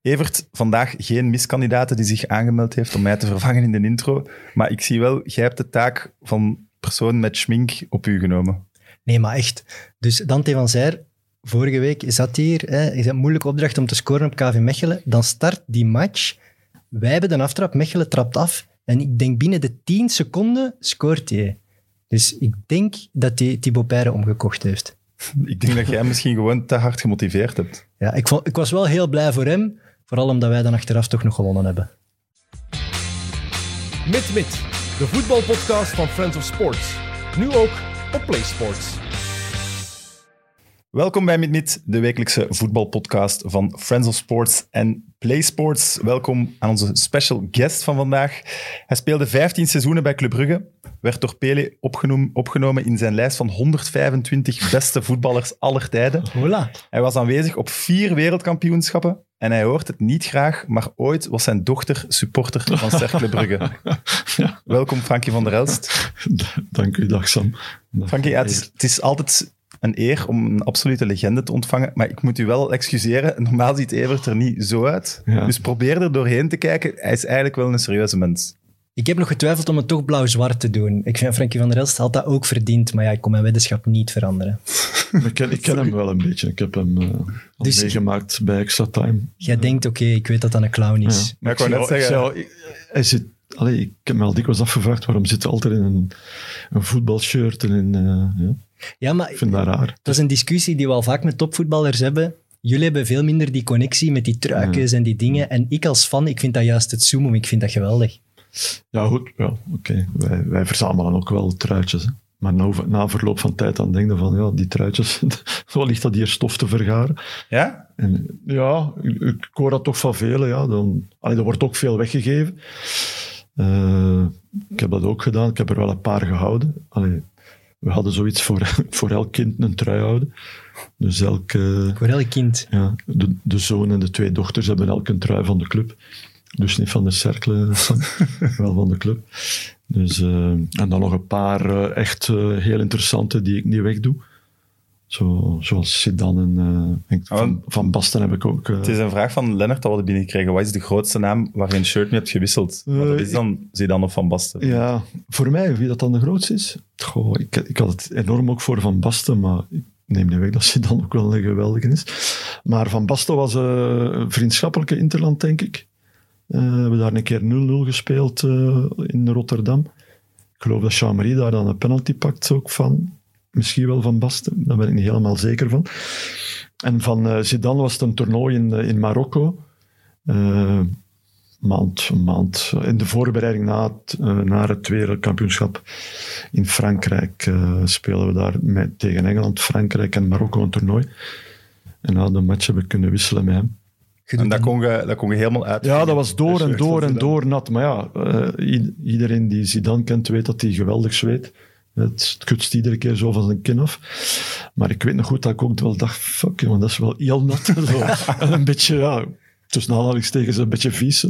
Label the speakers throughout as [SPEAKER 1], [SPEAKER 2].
[SPEAKER 1] Evert, vandaag geen miskandidaten die zich aangemeld heeft om mij te vervangen in de intro. Maar ik zie wel, jij hebt de taak van persoon met schmink op u genomen.
[SPEAKER 2] Nee, maar echt. Dus Dante van Zijr, vorige week zat hier, hè, is een moeilijke opdracht om te scoren op KV Mechelen. Dan start die match. Wij hebben de aftrap, Mechelen trapt af. En ik denk binnen de 10 seconden scoort hij. Dus ik denk dat hij Thibaut Peire omgekocht heeft.
[SPEAKER 1] Ik denk dat jij misschien gewoon te hard gemotiveerd hebt.
[SPEAKER 2] Ja, ik, vond, ik was wel heel blij voor hem. Vooral omdat wij dan achteraf toch nog gewonnen hebben.
[SPEAKER 3] Mit Mit, de voetbalpodcast van Friends of Sports. Nu ook op PlaySports.
[SPEAKER 1] Welkom bij MidMid, de wekelijkse voetbalpodcast van Friends of Sports en PlaySports. Welkom aan onze special guest van vandaag. Hij speelde 15 seizoenen bij Club Brugge, werd door Pele opgenomen, opgenomen in zijn lijst van 125 beste voetballers aller tijden.
[SPEAKER 2] Hola.
[SPEAKER 1] Hij was aanwezig op vier wereldkampioenschappen en hij hoort het niet graag, maar ooit was zijn dochter supporter van Cercle Brugge. Welkom Frankie van der Elst.
[SPEAKER 4] Dank u, dag Sam. Dag.
[SPEAKER 1] Frankie, ja, het, is, het is altijd een eer om een absolute legende te ontvangen, maar ik moet u wel excuseren, normaal ziet Evert er niet zo uit.
[SPEAKER 4] Ja.
[SPEAKER 1] Dus probeer er doorheen te kijken, hij is eigenlijk wel een serieuze mens.
[SPEAKER 2] Ik heb nog getwijfeld om het toch blauw-zwart te doen. Ik vind Frankie van der Elst had dat ook verdiend, maar ja, ik kon mijn weddenschap niet veranderen.
[SPEAKER 4] Ik ken, ik ken hem wel een beetje. Ik heb hem eh, al
[SPEAKER 2] Dus-
[SPEAKER 4] meegemaakt bij Extra Time.
[SPEAKER 2] Jij denkt, oké, ik weet dat dat een clown is.
[SPEAKER 4] Ja.
[SPEAKER 1] ik wou net
[SPEAKER 4] zou- ik
[SPEAKER 1] zeggen-
[SPEAKER 4] zou- ik- hij zit, allee, ik heb me al dikwijls afgevraagd waarom zit hij altijd in een, een voetbalshirt. En in, eh, ja,
[SPEAKER 2] Ja, maar
[SPEAKER 4] ik vind dat raar.
[SPEAKER 2] dat is een discussie die we al vaak met topvoetballers hebben. Jullie hebben veel minder die connectie met die truikens en die dingen. En ik als fan, ik vind dat juist het zoomum. Ik vind dat geweldig.
[SPEAKER 4] Ja, goed. Wel, oké. Wij, wij verzamelen ook wel truitjes. Hè. Maar nou, na verloop van tijd dan denk je van, ja, die truitjes, wellicht dat hier stof te vergaren.
[SPEAKER 1] Ja?
[SPEAKER 4] En, ja, ik, ik hoor dat toch van velen. Ja. Dan, allee, er wordt ook veel weggegeven. Eh, ik heb dat ook gedaan. Ik heb er wel een paar gehouden. Allee, we hadden zoiets voor, voor elk kind een trui houden. Dus elk, eh,
[SPEAKER 2] Voor elk kind.
[SPEAKER 4] ja, de, de zoon en de twee dochters hebben elk een trui van de club. Dus niet van de cercle, Sam, wel van de club. Dus, eh, en dan nog een paar eh, echt eh, heel interessante die ik niet wegdoe. Zo, zoals Sidan en, eh, en
[SPEAKER 1] Ah, want-
[SPEAKER 4] van, van Basten heb ik ook. eh,
[SPEAKER 1] Het is een vraag van Lennart dat we hebben binnengekregen. Wat is de grootste naam waar je een shirt mee hebt gewisseld? Maar dat
[SPEAKER 4] Eh,
[SPEAKER 1] is dan Zidane of Van Basten.
[SPEAKER 4] ja, voor mij, wie dat dan de grootste is? Goh, ik, ik had het enorm ook voor Van Basten, maar ik neem niet weg dat Sidan ook wel een geweldige is. Maar Van Basten was eh, een vriendschappelijke interland, denk ik. Eh, we hebben daar een keer 0-0 gespeeld eh, in Rotterdam. Ik geloof dat Chamry daar dan een penalty pakt ook van. Misschien wel van Basten, daar ben ik niet helemaal zeker van. En van eh Zidane was het een toernooi in, eh, in Marokko. Eh, maand, een maand. In de voorbereiding na het, eh, naar het wereldkampioenschap in Frankrijk eh, spelen we daar met, tegen Engeland, Frankrijk en Marokko een toernooi. En na de match hebben we kunnen wisselen met hem.
[SPEAKER 2] Je
[SPEAKER 1] En dat
[SPEAKER 2] doet dat-
[SPEAKER 1] kon je, dat kon je helemaal uit.
[SPEAKER 4] Ja, dat was door en
[SPEAKER 1] shirt
[SPEAKER 4] door
[SPEAKER 1] van
[SPEAKER 4] en
[SPEAKER 1] Zidane.
[SPEAKER 4] door nat. Maar ja, eh, i- iedereen die Zidane kent, weet dat hij geweldig zweet. Het kutst iedere keer zo van zijn kin af. Maar ik weet nog goed dat ik ook wel dacht, fuck jongen, dat is wel heel nat. Zo. en een beetje, ja, tussen aanhalingstekens een beetje vies.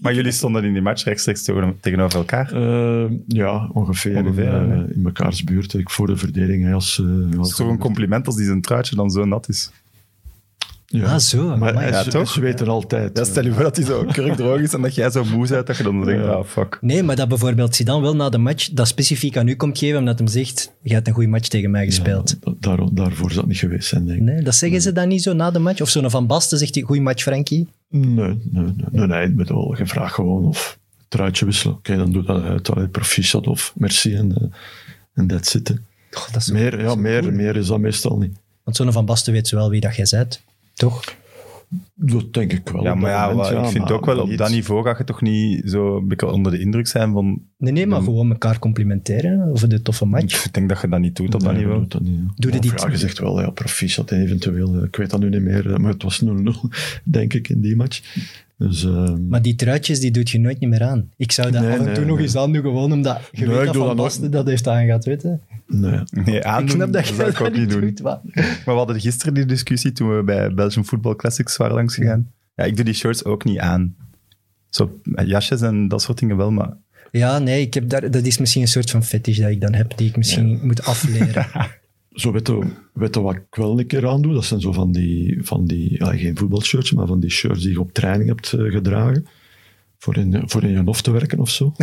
[SPEAKER 1] Maar jullie stonden in die match rechtstreeks tegen- tegenover elkaar.
[SPEAKER 4] Eh, ja, ongeveer,
[SPEAKER 1] Ongeveer,
[SPEAKER 4] in,
[SPEAKER 1] hè?
[SPEAKER 4] eh, in mekaars buurt. Ik voor de verdediging. Hij als, eh,
[SPEAKER 1] Dat is
[SPEAKER 4] als-
[SPEAKER 1] toch een compliment als die zijn truitje dan zo nat is.
[SPEAKER 4] Ja.
[SPEAKER 2] Ah, zo.
[SPEAKER 4] Maar
[SPEAKER 2] Amai.
[SPEAKER 4] hij,
[SPEAKER 1] Ja,
[SPEAKER 4] ze-
[SPEAKER 1] toch?
[SPEAKER 4] ze weten altijd. eh,
[SPEAKER 1] Ja, stel je voor dat hij zo kurkdroog is en dat jij zo moe bent dat je dan denkt,
[SPEAKER 4] Ja.
[SPEAKER 1] ah fuck.
[SPEAKER 2] Nee, maar dat bijvoorbeeld Zidane wel na de match dat specifiek aan u komt geven, omdat hem zegt, je hebt een goede match tegen mij gespeeld.
[SPEAKER 4] Ja, da- daar- daarvoor zou het niet geweest zijn, denk ik.
[SPEAKER 2] Nee, dat zeggen ze dan niet zo na de match? Of zo'n Van Basten zegt, goeie match Frankie.
[SPEAKER 4] Nee, nee, nee. nee, nee, ik bedoel, je vraagt gewoon of truitje wisselen. Oké, dan doe dat uit. Allee, proficiat of merci en eh, en dat zitten.
[SPEAKER 2] Goh, dat is-
[SPEAKER 4] Meer, ja, meer, meer is dat meestal niet.
[SPEAKER 2] Want zo'n Van Basten weet ze wel wie dat jij bent. Toch?
[SPEAKER 4] Dat denk ik wel.
[SPEAKER 1] Ja,
[SPEAKER 4] op
[SPEAKER 1] maar
[SPEAKER 4] dat
[SPEAKER 1] ja,
[SPEAKER 4] moment,
[SPEAKER 1] wel, ik vind
[SPEAKER 4] maar
[SPEAKER 1] ook wel, op
[SPEAKER 4] niet-
[SPEAKER 1] dat niveau ga je toch niet zo een beetje onder de indruk zijn van...
[SPEAKER 2] Nee, nee, maar gewoon elkaar complimenteren over de toffe match.
[SPEAKER 1] Ik denk dat je dat niet doet op dat
[SPEAKER 4] Nee,
[SPEAKER 1] niveau.
[SPEAKER 4] doet dat niet, ja.
[SPEAKER 2] Doe je
[SPEAKER 4] Of
[SPEAKER 2] die-
[SPEAKER 4] Ja, je zegt wel, ja, proficiat en eventueel. eh, Ik weet dat nu niet meer, eh, maar het was 0-0, denk ik, in die match. Dus, ehm,
[SPEAKER 2] Maar die truitjes, die doet je nooit niet meer aan. Ik zou dat
[SPEAKER 4] Nee,
[SPEAKER 2] af en toe
[SPEAKER 4] nee,
[SPEAKER 2] nog
[SPEAKER 4] nee.
[SPEAKER 2] eens aandoen, gewoon omdat je
[SPEAKER 4] Nee,
[SPEAKER 2] weet
[SPEAKER 4] ik
[SPEAKER 2] dat
[SPEAKER 4] doe
[SPEAKER 2] Van
[SPEAKER 4] dat nooit.
[SPEAKER 2] Basten dat heeft aangehaald, weet je.
[SPEAKER 4] nee.
[SPEAKER 1] Nee, aandoen,
[SPEAKER 2] Ik snap dat je
[SPEAKER 1] zou
[SPEAKER 2] dat,
[SPEAKER 1] ik ook niet doen.
[SPEAKER 2] doet, maar...
[SPEAKER 1] Maar we hadden gisteren die discussie toen we bij Belgium Football Classics waren langs gegaan. Ja, ik doe die shirts ook niet aan. Zo, jasjes en dat soort dingen wel, maar...
[SPEAKER 2] Ja, nee, ik heb daar, dat is misschien een soort van fetish dat ik dan heb, die ik misschien moet afleren.
[SPEAKER 4] zo weet je, weet je wat ik wel een keer aandoe? Dat zijn zo van die, van die ja, geen voetbalshirts, maar van die shirts die je op training hebt eh, gedragen. Voor in, voor in je hof te werken of zo.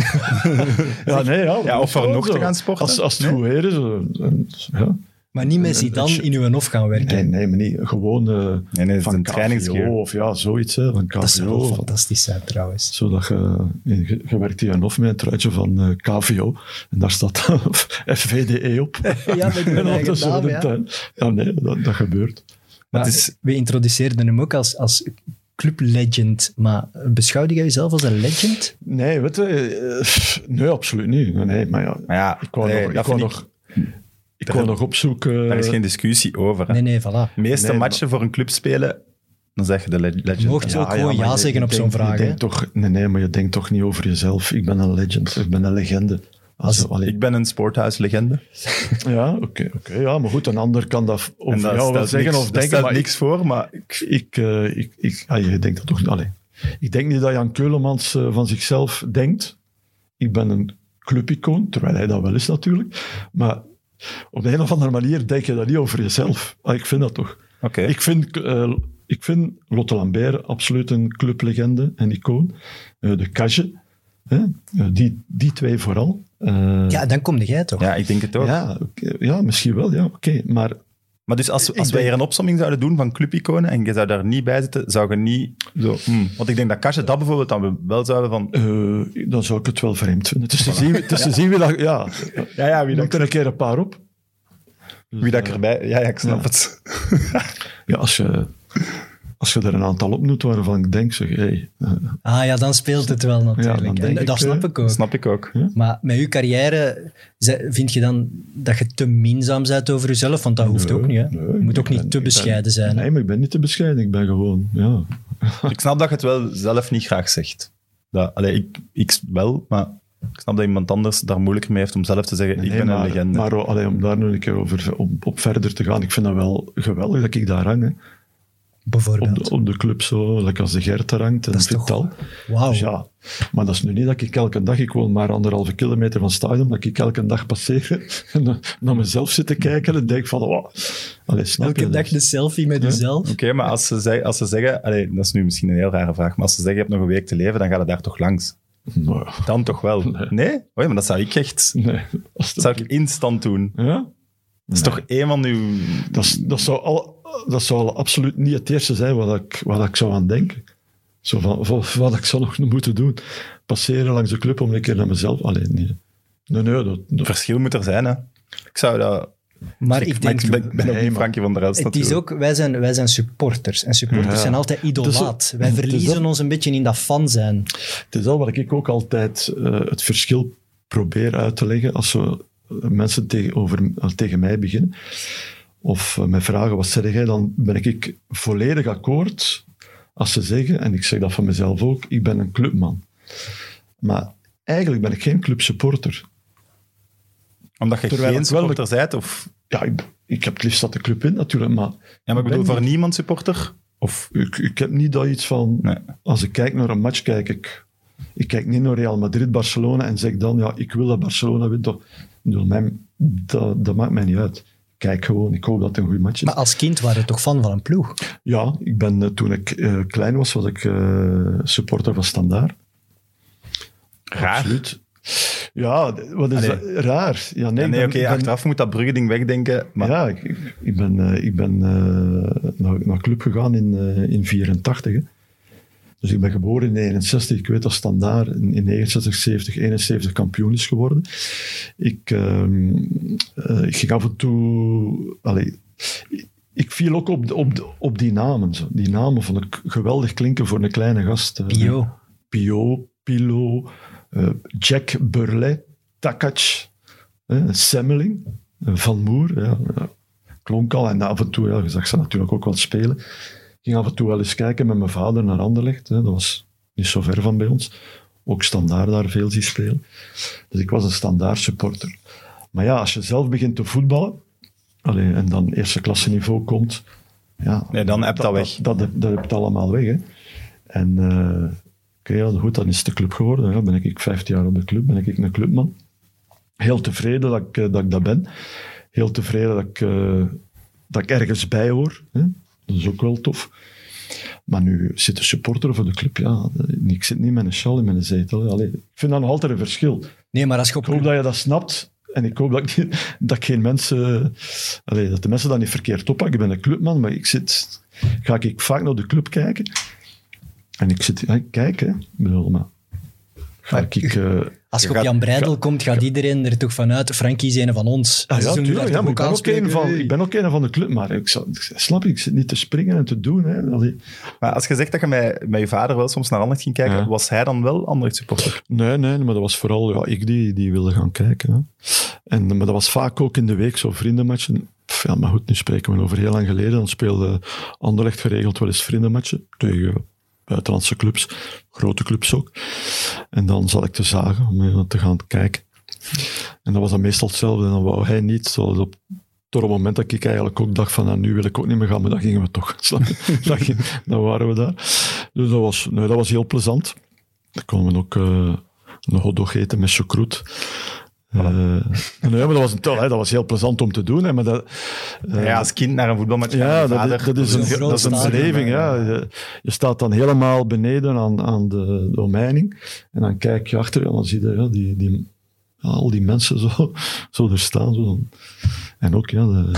[SPEAKER 4] ja, nee, ja.
[SPEAKER 1] Ja, of van nog te gaan sporten.
[SPEAKER 4] Als, als het goed weer is. eh, dan- ja.
[SPEAKER 2] Maar niet met Zidane in uw hof gaan werken.
[SPEAKER 4] Nee, nee, maar niet. Gewoon eh,
[SPEAKER 1] Nee, nee, het is
[SPEAKER 4] van
[SPEAKER 1] een
[SPEAKER 4] KVO
[SPEAKER 1] trainingsgear.
[SPEAKER 4] of ja, zoiets. Hè, van
[SPEAKER 2] dat zou wel
[SPEAKER 4] KVO. van-
[SPEAKER 2] fantastisch zijn trouwens.
[SPEAKER 4] Zodat je, in- je, je werkt hier in Hof met een truitje van eh, KVO. En daar staat FVDE E op.
[SPEAKER 2] Ja, met uw
[SPEAKER 4] En dan
[SPEAKER 2] eigen
[SPEAKER 4] tussen
[SPEAKER 2] naam,
[SPEAKER 4] de
[SPEAKER 2] ja.
[SPEAKER 4] tuin. Ja, nee, dat, dat gebeurt.
[SPEAKER 2] Maar
[SPEAKER 1] het is-
[SPEAKER 2] We introduceerden hem ook als, als clublegend, maar beschouwde jij jezelf als een legend?
[SPEAKER 4] Nee, weet je, eh, nee, absoluut niet. Nee, maar ja,
[SPEAKER 1] Maar ja,
[SPEAKER 4] ik wou
[SPEAKER 1] nee,
[SPEAKER 4] nog,
[SPEAKER 1] dat
[SPEAKER 4] ik wou
[SPEAKER 1] vind ik-
[SPEAKER 4] nog, ik wou nog opzoeken. eh,
[SPEAKER 1] daar is geen discussie over. hè.
[SPEAKER 2] Nee, nee, voilà.
[SPEAKER 1] De meeste
[SPEAKER 4] Nee,
[SPEAKER 1] matchen voor een club spelen, dan zeg je de le- legend.
[SPEAKER 2] Mocht je ook gewoon ja,
[SPEAKER 4] maar je-
[SPEAKER 2] zeggen
[SPEAKER 4] je
[SPEAKER 2] op zo'n
[SPEAKER 4] denkt- je
[SPEAKER 2] vraag. hè?
[SPEAKER 4] denkt toch, nee, nee, maar je denkt toch niet over jezelf. Ik ben een legend, ik ben een legende. Als, allee,
[SPEAKER 1] Ik ben een sporthuislegende.
[SPEAKER 4] ja, oké, oké, ja, maar goed, een ander kan dat
[SPEAKER 1] En
[SPEAKER 4] over
[SPEAKER 1] dat
[SPEAKER 4] jou wel
[SPEAKER 1] stelt
[SPEAKER 4] zeggen
[SPEAKER 1] niks,
[SPEAKER 4] of
[SPEAKER 1] dat
[SPEAKER 4] denken,
[SPEAKER 1] stelt
[SPEAKER 4] maar ik-
[SPEAKER 1] niks voor, maar
[SPEAKER 4] ik, ik, eh, ik, ik, ah, je denkt dat toch niet. Allee. Ik denk niet dat Jan Keulemans eh, van zichzelf denkt. Ik ben een clubicoon, terwijl hij dat wel is natuurlijk. Maar op de een of andere manier denk je dat niet over jezelf. Ah, ik vind dat toch.
[SPEAKER 1] oké.
[SPEAKER 4] Ik, vind, eh, ik vind Lotte Lambert absoluut een clublegende en icoon. Eh, de Cage, hè? Eh, die, die twee vooral. Eh,
[SPEAKER 2] Ja, dan kom jij toch?
[SPEAKER 1] Ja, ik denk het ook.
[SPEAKER 4] ja, oké, ja, misschien wel, ja, oké. Maar
[SPEAKER 1] Maar dus als, als
[SPEAKER 4] Ik
[SPEAKER 1] wij
[SPEAKER 4] denk-
[SPEAKER 1] hier een opsomming zouden doen van clubiconen en je zou daar niet bij zitten, zou je niet zo... hmm. Want ik denk dat Kasje dat bijvoorbeeld dan wel zouden van...
[SPEAKER 4] Eh, dan zou ik het wel vreemd vinden. Dus te zien, dus te zien wie dat... Ja,
[SPEAKER 1] Ja, ja,
[SPEAKER 4] wie er een keer een paar op.
[SPEAKER 1] Wie dat ik erbij... Ja, ja ik snap
[SPEAKER 4] Ja.
[SPEAKER 1] het.
[SPEAKER 4] Ja, als je, als je er een aantal op doet waarvan ik denk, zeg, hey, eh,
[SPEAKER 2] Ah ja, dan speelt het wel
[SPEAKER 4] Ja, dan
[SPEAKER 2] natuurlijk.
[SPEAKER 4] denk
[SPEAKER 2] En
[SPEAKER 4] ik,
[SPEAKER 2] dat snap
[SPEAKER 4] eh,
[SPEAKER 2] ik ook.
[SPEAKER 1] Snap ik ook.
[SPEAKER 2] Maar met uw carrière ze- vind je dan dat je te minzaam bent over jezelf? Want dat hoeft ook niet. Hè?
[SPEAKER 4] nee,
[SPEAKER 2] je moet ook
[SPEAKER 4] ik
[SPEAKER 2] niet
[SPEAKER 4] ben-
[SPEAKER 2] te
[SPEAKER 4] ik ben-
[SPEAKER 2] bescheiden zijn.
[SPEAKER 4] nee, maar ik ben niet te bescheiden. Ik ben gewoon, ja.
[SPEAKER 1] Ik snap dat je het wel zelf niet graag zegt. Dat, allee, ik, ik wel, maar ik snap dat iemand anders daar moeilijker mee heeft om zelf te zeggen, ik
[SPEAKER 4] Nee,
[SPEAKER 1] ben
[SPEAKER 4] maar,
[SPEAKER 1] een legende.
[SPEAKER 4] Maar oh, allee, om daar nog een keer over, om, op verder te gaan, ik vind dat wel geweldig dat ik daar hang. Hè. Op,
[SPEAKER 2] Bijvoorbeeld.
[SPEAKER 4] de, op de club zo, lekker als de Gert daar hangt en
[SPEAKER 2] Dat is toch-
[SPEAKER 4] Vital.
[SPEAKER 2] Wauw.
[SPEAKER 4] Dus ja, maar dat is nu niet dat ik elke dag, ik woon maar anderhalve kilometer van het stadion, dat ik elke dag passeer en dan naar mezelf zit te kijken en denk van, wow, allee, snap je
[SPEAKER 2] Elke
[SPEAKER 4] dat?
[SPEAKER 2] dag de selfie met jezelf.
[SPEAKER 1] Oké, maar als ze, zei- als ze zeggen... Allee, dat is nu misschien een heel rare vraag, maar als ze zeggen, je hebt nog een week te leven, dan ga je daar toch langs.
[SPEAKER 4] Nou,
[SPEAKER 1] Dan toch wel. Nee? Oei, maar dat zou ik echt...
[SPEAKER 4] nee. Als
[SPEAKER 1] Dat
[SPEAKER 4] dat,
[SPEAKER 1] zou ik instant doen.
[SPEAKER 4] ja?
[SPEAKER 1] Dat is toch een van uw...
[SPEAKER 4] dat, is- dat, zou al, dat zou al absoluut niet het eerste zijn wat ik, wat ik zou aan denken. Zo van, van- wat ik zou nog moeten doen. Passeren langs de club om een keer naar mezelf. Allee, nee. Nee, nee, dat, dat-
[SPEAKER 1] verschil moet er zijn, hè. Ik zou dat...
[SPEAKER 2] Maar
[SPEAKER 1] ik,
[SPEAKER 2] ik
[SPEAKER 1] maar ik
[SPEAKER 2] denk...
[SPEAKER 1] ben, ik ben ook
[SPEAKER 4] Nee,
[SPEAKER 1] niet
[SPEAKER 4] maar-
[SPEAKER 1] Frankie van der Elst
[SPEAKER 2] Het is
[SPEAKER 1] natuurlijk.
[SPEAKER 2] ook, wij zijn, wij zijn supporters. En supporters
[SPEAKER 4] Ja.
[SPEAKER 2] zijn altijd idolaat.
[SPEAKER 4] Dus dat-
[SPEAKER 2] wij
[SPEAKER 4] dus
[SPEAKER 2] verliezen
[SPEAKER 4] dat-
[SPEAKER 2] ons een beetje in dat fan zijn.
[SPEAKER 4] Het is wel wat ik ook altijd eh, het verschil probeer uit te leggen als we eh, mensen tegenover, eh, tegen mij beginnen. Of eh, mij vragen, wat zeg jij? Dan ben ik volledig akkoord als ze zeggen, en ik zeg dat van mezelf ook, ik ben een clubman. Maar eigenlijk ben ik geen clubsupporter.
[SPEAKER 1] Omdat je
[SPEAKER 4] Terwijl
[SPEAKER 1] geen
[SPEAKER 4] ik wel de-
[SPEAKER 1] supporter bent, of...
[SPEAKER 4] Ja, ik, ik heb het liefst dat de club in natuurlijk, maar
[SPEAKER 1] Ja, maar ik
[SPEAKER 4] Ben
[SPEAKER 1] bedoel,
[SPEAKER 4] je-
[SPEAKER 1] voor niemand supporter? Of...
[SPEAKER 4] ik, ik heb niet dat iets van...
[SPEAKER 1] Nee.
[SPEAKER 4] Als ik kijk naar een match, kijk ik... Ik kijk niet naar Real Madrid, Barcelona en zeg dan, ja, ik wil dat Barcelona wint. Dat, dat, mij- dat, dat maakt mij niet uit. Kijk gewoon, ik hoop dat het een goed match is.
[SPEAKER 2] Maar als kind waren we toch fan van een ploeg?
[SPEAKER 4] ja, ik ben, eh, toen ik eh, klein was, was ik eh, supporter van Standaard.
[SPEAKER 1] Raar.
[SPEAKER 4] Absoluut. Ja, d- wat is
[SPEAKER 1] Allee.
[SPEAKER 4] dat? Raar. Ja, nee,
[SPEAKER 1] Ja,
[SPEAKER 4] ik
[SPEAKER 1] nee,
[SPEAKER 4] ben-
[SPEAKER 1] oké,
[SPEAKER 4] ik ben-
[SPEAKER 1] achteraf moet dat Brugge-ding wegdenken. Maar
[SPEAKER 4] ja, ik, ik- ik ben, eh, ik ben eh, naar, naar club gegaan in 1984. dus ik ben geboren in 69. Ik weet dat Standaard in, in 69, 70, 71 kampioen is geworden. Ik, ehm, eh, ik ging af en toe... Allee, ik- ik viel ook op, de- op, de- op die namen. Zo. Die namen vond ik geweldig klinken voor een kleine gast. eh.
[SPEAKER 2] Pio.
[SPEAKER 4] Pio, Pilo, eh, Jack Burle, Takac, eh, Semmeling, eh, Van Moer. Ja, ja, klonk al. En af en toe, ja, je zag ze natuurlijk ook wel spelen. Ik ging af en toe wel eens kijken met mijn vader naar Anderlecht. Hè. Dat was niet zo ver van bij ons. Ook standaard daar veel zien spelen. Dus ik was een standaard supporter. Maar ja, als je zelf begint te voetballen, allee, en dan eerste klasse niveau komt, ja,
[SPEAKER 1] Nee, dan heb je dat weg.
[SPEAKER 4] Dat, dat, dat heb je allemaal weg. Hè. En eh, oké, ja, goed, dan is het de club geworden. Ja, ben ik 15 jaar op de club, ben ik een clubman. heel tevreden dat ik, eh, dat ik dat ben. Heel tevreden dat ik, eh, dat ik ergens bij hoor. Hè? Dat is ook wel tof. Maar nu zit de supporter voor de club, ja, ik zit niet met een sjaal in mijn zetel. hè. Allee, ik vind dat nog altijd een verschil.
[SPEAKER 2] Nee, maar als je op...
[SPEAKER 4] Ik hoop dat je dat snapt. En ik hoop dat, ik, niet- dat ik geen mensen... Allee, dat de mensen dat niet verkeerd oppakken. Ik ben een clubman, maar ik zit... Ga ik vaak naar de club kijken? En ik zit... Ja, ik kijk, hè. Ik bedoel, maar... Ga ik... eh,
[SPEAKER 2] Als
[SPEAKER 1] Je
[SPEAKER 2] je op
[SPEAKER 1] gaat-
[SPEAKER 2] Jan Breidel komt, gaat iedereen er toch vanuit. Frankie is een van ons.
[SPEAKER 4] ah,
[SPEAKER 2] Ze
[SPEAKER 4] ja,
[SPEAKER 2] zullen
[SPEAKER 4] tuurlijk,
[SPEAKER 2] daar toch
[SPEAKER 4] ja, maar ik ben, ook
[SPEAKER 2] aanspreken?
[SPEAKER 4] een van, ik ben ook een van de club, maar ik, zal- ik snap, ik zit niet te springen en te doen. Hè. Allee,
[SPEAKER 1] Maar als je zegt dat je met, met je vader wel soms naar Anderlecht ging kijken,
[SPEAKER 4] Ja.
[SPEAKER 1] was hij dan wel Anderlecht supporter?
[SPEAKER 4] Nee, nee, maar dat was vooral ja, ik die, die wilde gaan kijken. Hè. En, maar dat was vaak ook in de week zo vriendenmatchen. Pff, ja, maar goed, nu spreken we over heel lang geleden. Dan speelde Anderlecht geregeld wel eens vriendenmatchen tegen buitenlandse clubs, grote clubs ook. En dan zat ik te zagen om eh, te gaan kijken. En dat was dan meestal hetzelfde. En dan wou hij niet. Zoals op, door het moment dat ik eigenlijk ook dacht van, nou, nu wil ik ook niet meer gaan, maar dan gingen we toch. Snap je? dan, ging- dan waren we daar. Dus dat was, nee, dat was heel plezant. Dan konden we ook eh, een hotdog eten met choucroute. Eh, nee, maar dat was, een tel, hè. dat was heel plezant om te doen. Hè, maar dat, eh,
[SPEAKER 1] ja, als kind naar een voetbalmatch gaan met
[SPEAKER 4] ja,
[SPEAKER 1] je
[SPEAKER 4] dat,
[SPEAKER 1] vader.
[SPEAKER 4] is- dat is
[SPEAKER 2] een
[SPEAKER 4] een,
[SPEAKER 2] groot
[SPEAKER 4] dat is een
[SPEAKER 2] stadion,
[SPEAKER 4] beleving.
[SPEAKER 1] maar,
[SPEAKER 4] Ja. Je, je staat dan helemaal beneden aan, aan de, de omheining. En dan kijk je achter je en dan zie je ja, die, die, ja, al die mensen zo, zo er staan. Zo. En ook ja, de-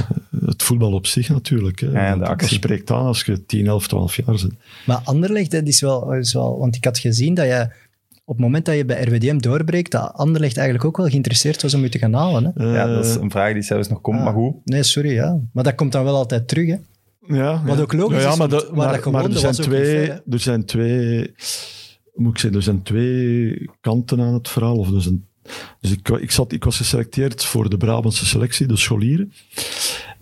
[SPEAKER 4] het voetbal op zich natuurlijk. Hè.
[SPEAKER 1] Ja, de
[SPEAKER 4] Dat-
[SPEAKER 1] actie.
[SPEAKER 4] Dat spreekt aan als je 10, 11, 12 jaar bent.
[SPEAKER 2] Maar Anderlecht, dat is wel, is wel... Want ik had gezien dat je op het moment dat je bij RWDM doorbreekt, dat Anderlecht eigenlijk ook wel geïnteresseerd was om je te gaan halen. Hè?
[SPEAKER 1] Ja, dat is
[SPEAKER 4] Eh,
[SPEAKER 1] een vraag die zelfs nog komt, maar goed.
[SPEAKER 2] Nee, sorry, ja. Maar dat komt dan wel altijd terug, hè.
[SPEAKER 4] Ja,
[SPEAKER 2] Wat
[SPEAKER 4] ja.
[SPEAKER 2] ook logisch is,
[SPEAKER 4] maar,
[SPEAKER 2] want waar
[SPEAKER 4] dat-
[SPEAKER 2] dat
[SPEAKER 4] maar, maar
[SPEAKER 2] gewonnen
[SPEAKER 4] er zijn
[SPEAKER 2] was ook niet
[SPEAKER 4] twee,
[SPEAKER 2] ver, hè?
[SPEAKER 4] er zijn twee, moet ik zeggen, er zijn twee kanten aan het verhaal. Of er zijn, dus ik, wa- ik, zat, ik was geselecteerd voor de Brabantse selectie, de scholieren.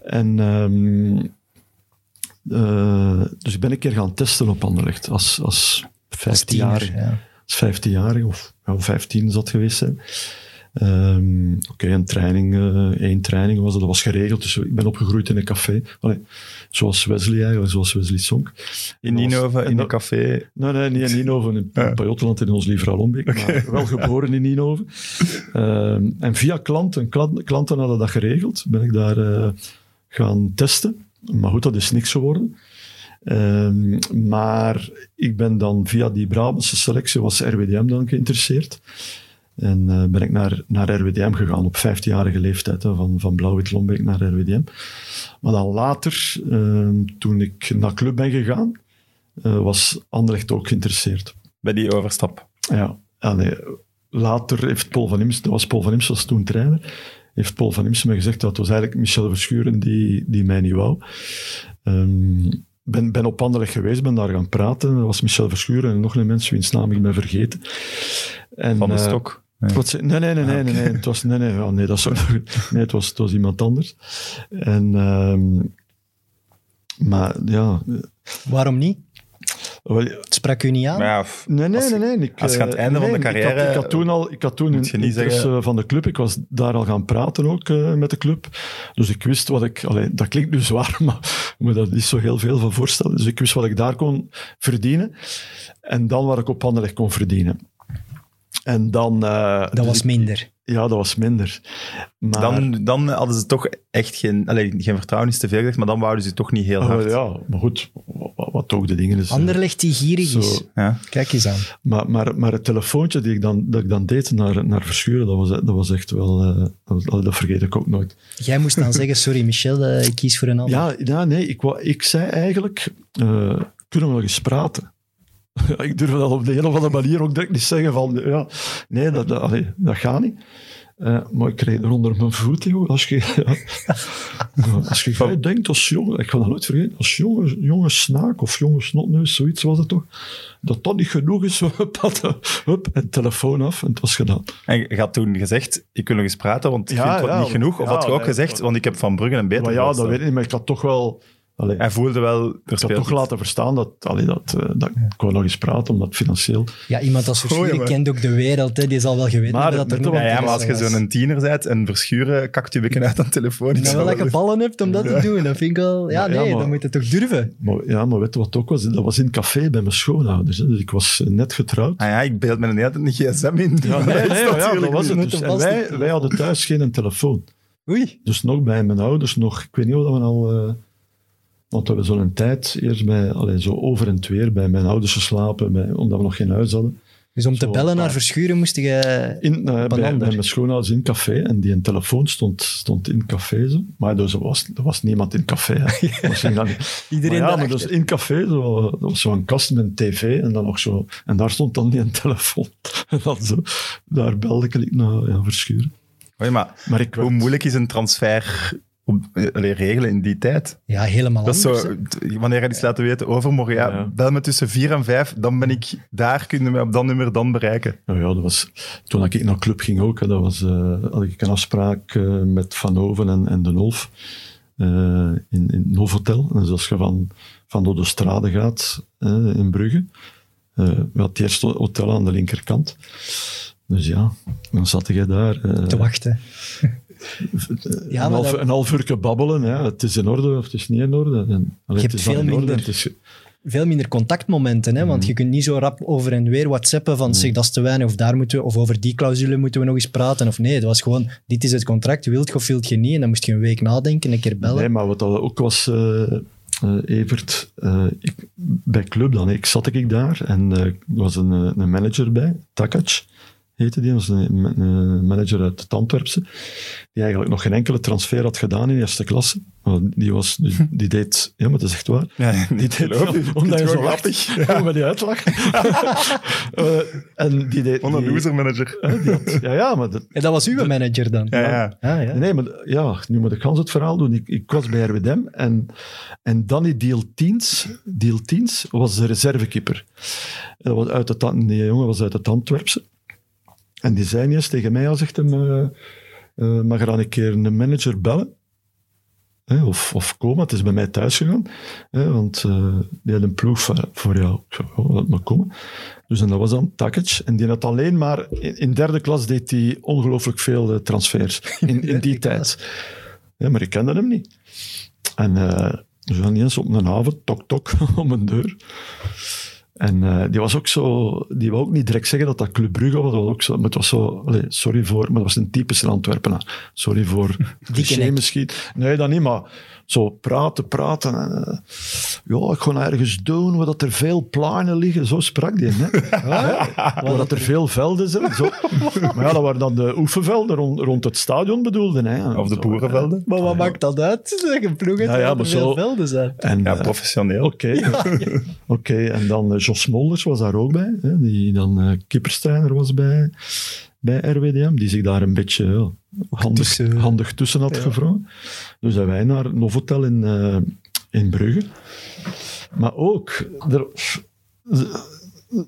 [SPEAKER 4] En ehm, eh, dus ik ben een keer gaan testen op Anderlecht als, als
[SPEAKER 2] Als tiener,
[SPEAKER 4] 15-jarige
[SPEAKER 2] ja.
[SPEAKER 4] als 15-jarige of ja, 15 zat geweest zijn. Ehm, Oké, een training, eh, één training was dat, dat was geregeld. Dus ik ben opgegroeid in een café. Allee, zoals Wesley eigenlijk, zoals Wesley Sonk.
[SPEAKER 1] In
[SPEAKER 4] En dat was-
[SPEAKER 1] Ninove,
[SPEAKER 4] en
[SPEAKER 1] in een
[SPEAKER 4] dat-
[SPEAKER 1] café.
[SPEAKER 4] Nee, nee, niet in Ninove, in
[SPEAKER 1] Ja.
[SPEAKER 4] Pajottenland, in ons lieve Alombeek. Maar wel geboren in Ninove. Ehm, en via klanten, klanten, klanten hadden dat geregeld, ben ik daar eh, gaan testen. Maar goed, dat is niks geworden. Ehm, maar ik ben dan via die Brabantse selectie, was RWDM dan geïnteresseerd. En eh, ben ik naar, naar RWDM gegaan op 15-jarige leeftijd, hè, van, van Blauw-Wit-Lombeek naar RWDM. Maar dan later, ehm, toen ik naar club ben gegaan, eh, was Anderlecht ook geïnteresseerd.
[SPEAKER 1] Bij die overstap.
[SPEAKER 4] Ja, ah, nee. later heeft Paul van Imst, dat was Paul van Imst was toen trainer, heeft Paul van Imst me gezegd dat het was eigenlijk Michel Verschuren die, die mij niet wou. Ehm, ben, ben op Anderlecht geweest, ben daar gaan praten. Dat was Michel Verschuren en nog een mens wiens naam ik ben vergeten. En,
[SPEAKER 1] Van de
[SPEAKER 4] eh,
[SPEAKER 1] stok. Ah,
[SPEAKER 4] wat ze- nee, nee, nee, nee, nee, nee. Het was, nee, nee, ja, nee, dat zou, nee het, was, het was iemand anders. En, ehm, maar ja,
[SPEAKER 2] Waarom niet?
[SPEAKER 4] wel,
[SPEAKER 2] Het sprak u niet aan?
[SPEAKER 1] Maar ja, f-
[SPEAKER 4] Nee, nee,
[SPEAKER 1] Als je-
[SPEAKER 4] nee. nee. Ik,
[SPEAKER 1] als je aan het
[SPEAKER 4] eh,
[SPEAKER 1] einde van de
[SPEAKER 4] ik had-
[SPEAKER 1] carrière-
[SPEAKER 4] Ik had, toen al ik had toen
[SPEAKER 1] moet je
[SPEAKER 4] een
[SPEAKER 1] niet
[SPEAKER 4] interesse
[SPEAKER 1] zeggen-
[SPEAKER 4] van de club. Ik was daar al gaan praten ook eh, met de club. Dus ik wist wat ik. Allee, dat klinkt nu zwaar, maar ik moet daar niet zo heel veel van voorstellen. Dus ik wist wat ik daar kon verdienen. En dan wat ik op Anderlecht kon verdienen. En dan. eh,
[SPEAKER 2] dat
[SPEAKER 4] dus
[SPEAKER 2] was
[SPEAKER 4] ik-
[SPEAKER 2] minder.
[SPEAKER 4] Ja, dat was minder. Maar,
[SPEAKER 1] dan, dan hadden ze toch echt geen... Allee, geen vertrouwen is te veel gezegd, maar dan wouden ze toch niet heel
[SPEAKER 4] Ah, wel,
[SPEAKER 1] hard.
[SPEAKER 4] ja, maar goed, wa- wa- wat ook de dingen is. eh,
[SPEAKER 2] Anderlecht die gierig
[SPEAKER 4] zo-
[SPEAKER 2] is.
[SPEAKER 1] Ja.
[SPEAKER 2] Kijk eens aan.
[SPEAKER 4] Maar, maar, maar het telefoontje die ik dan, dat ik dan deed naar, naar Verschuren, dat was, dat was echt wel... eh, dat, was- dat vergeet ik ook nooit.
[SPEAKER 2] Jij moest dan zeggen, sorry Michel, eh, ik kies voor een ander.
[SPEAKER 4] Ja, ja nee, ik, wou- ik zei eigenlijk... eh, kunnen we nog eens praten? Ja, ik durf dat op de een of andere manier ook direct niet zeggen van... Ja, nee, dat, dat, allee, dat gaat niet. Eh, maar ik kreeg er onder mijn voet, joh. Als je, ja. als je jij denkt als jongen, ik ga dat nooit vergeten, als jonge, jonge snaak of jonge snotneus, zoiets was het toch, dat dat niet genoeg is, hup, hup, hup, en telefoon af en het was gedaan.
[SPEAKER 1] En je had toen gezegd, ik wil nog eens praten, want ik
[SPEAKER 4] Ja,
[SPEAKER 1] vind het wat
[SPEAKER 4] ja,
[SPEAKER 1] niet genoeg. Of
[SPEAKER 4] ja,
[SPEAKER 1] had je ook
[SPEAKER 4] nee,
[SPEAKER 1] gezegd,
[SPEAKER 4] dat-
[SPEAKER 1] want ik heb Van Brugge een beter
[SPEAKER 4] Maar ja, dat
[SPEAKER 1] voorstel.
[SPEAKER 4] weet ik niet, maar ik had toch wel... Allee,
[SPEAKER 1] Hij voelde wel... Er
[SPEAKER 4] ik had
[SPEAKER 1] speelt
[SPEAKER 4] toch
[SPEAKER 1] iets.
[SPEAKER 4] laten verstaan dat, allee, dat, eh, dat ik wou nog eens praten, omdat financieel...
[SPEAKER 2] Ja, iemand als
[SPEAKER 1] Goeie,
[SPEAKER 2] Verschuren
[SPEAKER 1] maar-
[SPEAKER 2] kent ook de wereld. Hè. Die zal wel geweten
[SPEAKER 4] Maar
[SPEAKER 2] hebben dat
[SPEAKER 4] met
[SPEAKER 2] er nog
[SPEAKER 4] de-
[SPEAKER 1] Ja, ja, maar als
[SPEAKER 2] interesse
[SPEAKER 1] je
[SPEAKER 2] was.
[SPEAKER 1] zo'n tiener bent en verschuren, kakt je bekken uit aan telefoon.
[SPEAKER 2] Nou, wel dat je ballen hebt om dat te doen. Dat vind ik wel... Ja,
[SPEAKER 4] Ja,
[SPEAKER 2] nee,
[SPEAKER 4] maar-
[SPEAKER 2] dan moet je toch durven.
[SPEAKER 4] Maar, ja, maar weet je wat het ook was? Dat was in het café bij mijn schoonouders. Hè. Dus ik was eh, net getrouwd.
[SPEAKER 1] Ah ja, ik beeld me een hele tijd een gsm in.
[SPEAKER 4] Ja, nee, nee, maar ja, dat was het
[SPEAKER 2] niet.
[SPEAKER 4] dus.
[SPEAKER 2] Met een
[SPEAKER 4] En wij,
[SPEAKER 2] vaste-
[SPEAKER 4] wij hadden thuis geen telefoon.
[SPEAKER 2] Oei.
[SPEAKER 4] Dus nog bij mijn ouders, nog, ik weet niet wat we al... eh, want we hebben zo'n tijd eerst bij, allee, zo over en het weer bij mijn ouders geslapen, bij, omdat we nog geen huis hadden.
[SPEAKER 2] Dus om te
[SPEAKER 4] Zo,
[SPEAKER 2] bellen naar
[SPEAKER 4] maar-
[SPEAKER 2] Verschuren moest je...
[SPEAKER 4] In, eh, bij, bij
[SPEAKER 2] Banander.
[SPEAKER 4] mijn schoonouders in het café. En die een telefoon stond, stond in het café. Zo. Maar dus er, was, er was niemand in het café. hè. Dat ging dan niet.
[SPEAKER 2] Iedereen
[SPEAKER 4] maar ja, maar
[SPEAKER 2] daarachter.
[SPEAKER 4] dus in het café, zo, dat was zo'n kast met een tv. En, dan nog zo, en daar stond dan die een telefoon. En dan zo, daar belde ik naar ja, Verschuren.
[SPEAKER 1] Oei, maar
[SPEAKER 4] Maar ik
[SPEAKER 1] hoe
[SPEAKER 4] werd-
[SPEAKER 1] moeilijk is een transfer om, eh, allee, regelen in die tijd?
[SPEAKER 2] Ja, helemaal
[SPEAKER 1] Dat is
[SPEAKER 2] anders. hè.
[SPEAKER 1] zo, t- wanneer hij iets laten weten, overmorgen, ja,
[SPEAKER 4] Ja.
[SPEAKER 1] bel me tussen 4 en 5, dan ben ik daar, kun je mij op dat nummer dan bereiken.
[SPEAKER 4] Nou ja, dat was, toen ik naar club ging ook, hè, dat was, eh, had ik een afspraak eh, met Van Oven en, en De Nolf eh, in, in het Novotel. Dus als je van, van door de strade gaat eh, in Brugge, eh we hadden het eerste hotel aan de linkerkant. Dus ja, dan zat je daar. eh,
[SPEAKER 2] Te wachten. Ja, maar
[SPEAKER 4] een, half,
[SPEAKER 2] dat-
[SPEAKER 4] een half uurke babbelen. Hè. Het is in orde of het is niet in orde. En, allee, het
[SPEAKER 2] hebt
[SPEAKER 4] is dan
[SPEAKER 2] veel
[SPEAKER 4] in orde,
[SPEAKER 2] minder.
[SPEAKER 4] het is-
[SPEAKER 2] Veel minder contactmomenten, hè?
[SPEAKER 4] Mhm.
[SPEAKER 2] want je kunt niet zo rap over en weer whatsappen van zeg dat is te weinig of daar moeten we, of over die clausule moeten we nog eens praten of nee. Het was gewoon, dit is het contract, wilt je of wilt je niet en dan moest je een week nadenken, een keer bellen.
[SPEAKER 4] Nee, maar wat dat ook was, eh, eh, Evert, eh, ik, bij Club dan, ik zat ik daar en eh, er was een, eh, een manager bij, Takac heette die, was een, ma- een manager uit het Antwerpse, die eigenlijk nog geen enkele transfer had gedaan in eerste klasse. Want Die, was, die, die deed, ja maar dat is echt waar,
[SPEAKER 1] Ja,
[SPEAKER 4] die
[SPEAKER 1] niet
[SPEAKER 4] deed, omdat hij zo lacht, ja. met die uitlag. Eh, en die deed...
[SPEAKER 1] Onder
[SPEAKER 4] die-
[SPEAKER 1] loser manager.
[SPEAKER 4] hè, die had- ja, ja, maar dat,
[SPEAKER 2] En dat was uw manager dan?
[SPEAKER 1] Ja, ja.
[SPEAKER 2] Ah, ja.
[SPEAKER 4] Nee, maar ja, nu moet ik gans het verhaal doen. Ik, ik was bij RWDM en, en Danny Deal Tiens, Deal Tiens was de reservekeeper. En Dat was uit het, An- die jongen was uit het Antwerpse. En die zei niet eens tegen mij, al zegt hem, eh, eh, mag er dan een keer een manager bellen? Hè, of, of komen, het is bij mij thuis gegaan. Hè, want eh, die had een ploeg voor, voor jou. Ik zei, oh, laat maar komen. Dus en dat was dan Takic. En die had alleen maar... In, in derde klas deed hij ongelooflijk veel eh, transfers. In, in die tijd. Ja, maar ik kende hem niet. En eh dus dan eens op een avond, tok tok, om een deur. En eh, die was ook zo... Die wou ook niet direct zeggen dat dat Club Brugge was. Dat was ook zo, maar het was zo... allee, sorry voor... Maar dat was een typische Antwerpenaar. Sorry voor... cliché
[SPEAKER 2] nek.
[SPEAKER 4] misschien. Nee, dat niet, maar... Zo praten, praten. En, eh, ja, ik ga ergens doen waar dat er veel planen liggen. Zo sprak die. Hè? Ja, waar dat er veel velden zijn. Zo. Maar ja, dat waren dan de oefenvelden rond, rond het stadion bedoelden. Hè?
[SPEAKER 1] Of de
[SPEAKER 4] Zo,
[SPEAKER 1] boerenvelden.
[SPEAKER 2] Maar wat maakt dat uit? Dat je ploeg hebt
[SPEAKER 4] Ja, ja,
[SPEAKER 2] waar
[SPEAKER 4] maar
[SPEAKER 2] er veel
[SPEAKER 4] zo-
[SPEAKER 2] velden zijn.
[SPEAKER 4] hè. En,
[SPEAKER 1] Ja,
[SPEAKER 4] eh,
[SPEAKER 1] professioneel.
[SPEAKER 4] Oké, Oké, en dan eh, Jos Molders was daar ook bij, hè, die dan eh kippersteiner was bij, bij RWDM, die zich daar een beetje ja, handig,
[SPEAKER 2] tussen-
[SPEAKER 4] handig tussen had gevrongen. Dus zijn wij naar Novotel in, eh, in Brugge. Maar ook, er,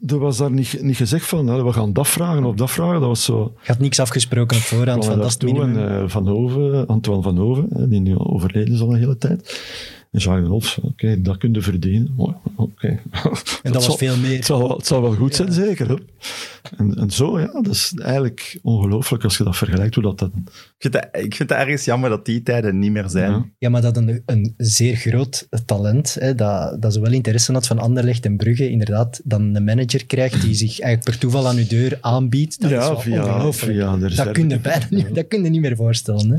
[SPEAKER 4] er was daar niet, niet gezegd van, nou, we gaan dat vragen of dat vragen, dat was zo...
[SPEAKER 2] Je had niks afgesproken op voorhand, van
[SPEAKER 4] Kwamen
[SPEAKER 2] dat is
[SPEAKER 4] daar
[SPEAKER 2] het
[SPEAKER 4] toe
[SPEAKER 2] minimum.
[SPEAKER 4] en, eh, Van Hoven, Antoine Van Hoven, hè, die nu al overleden is al een hele tijd. En Jacques de Wolf, oké, dat kun je verdienen. Mooi, oké.
[SPEAKER 2] en dat was
[SPEAKER 4] zal-
[SPEAKER 2] veel
[SPEAKER 4] Het
[SPEAKER 2] meer.
[SPEAKER 4] zal, wel- het zal wel goed zijn, zeker. Hè? En, en zo, ja, dat is eigenlijk ongelooflijk als je dat vergelijkt, hoe dat... dat
[SPEAKER 1] Ik vind, dat, ik vind dat ergens jammer dat die tijden niet meer zijn.
[SPEAKER 4] Ja.
[SPEAKER 2] Ja, maar dat een, een zeer groot talent, hè, dat, dat ze wel interesse had van Anderlecht en Brugge, inderdaad, dan een manager krijgt die zich eigenlijk per toeval aan uw deur aanbiedt. Dat is wel ongelooflijk.
[SPEAKER 4] via de
[SPEAKER 2] Dat
[SPEAKER 4] reserve.
[SPEAKER 2] kun, je bijna niet, dat kun je niet meer voorstellen. Hè?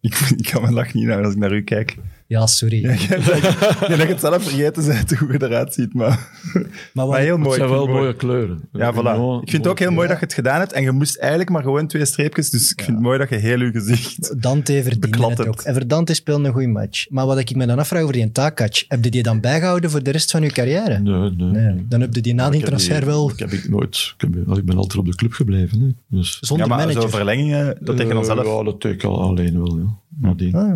[SPEAKER 1] Ik, ik kan mijn lach niet naar als ik naar u kijk.
[SPEAKER 2] Ja, sorry.
[SPEAKER 1] Ja, jij zegt- ik denk dat je het zelf vergeten bent hoe je eruit ziet, maar,
[SPEAKER 2] Maar wat-
[SPEAKER 1] maar heel mooi.
[SPEAKER 4] Het zijn
[SPEAKER 1] ik
[SPEAKER 4] wel
[SPEAKER 1] vind het mooi.
[SPEAKER 4] mooie kleuren.
[SPEAKER 1] Ja, voilà. Ik vind het ook heel mooi dat je het gedaan hebt en je moest eigenlijk maar gewoon twee streepjes, dus ik vind het mooi dat je heel je gezicht...
[SPEAKER 2] Dante verdiende het
[SPEAKER 1] Beklattend.
[SPEAKER 2] ook. En Verdante speelde een goede match. Maar wat ik me dan afvraag over die Takac, heb je die dan bijgehouden voor de rest van je carrière?
[SPEAKER 4] Nee, nee.
[SPEAKER 2] Nee. Dan heb je die na die
[SPEAKER 4] Ik heb
[SPEAKER 2] transfer
[SPEAKER 4] die-
[SPEAKER 2] wel
[SPEAKER 4] Ik, heb ik, nooit, ik, heb- ik ben altijd op de club gebleven. Hè. Dus,
[SPEAKER 1] Ja,
[SPEAKER 2] zonder
[SPEAKER 1] maar
[SPEAKER 2] manager.
[SPEAKER 1] zo verlengingen, dat tegen
[SPEAKER 4] Eh,
[SPEAKER 1] onszelf.
[SPEAKER 4] Ja, dat deed ik al alleen wel, ja. Nadien.
[SPEAKER 2] Ah,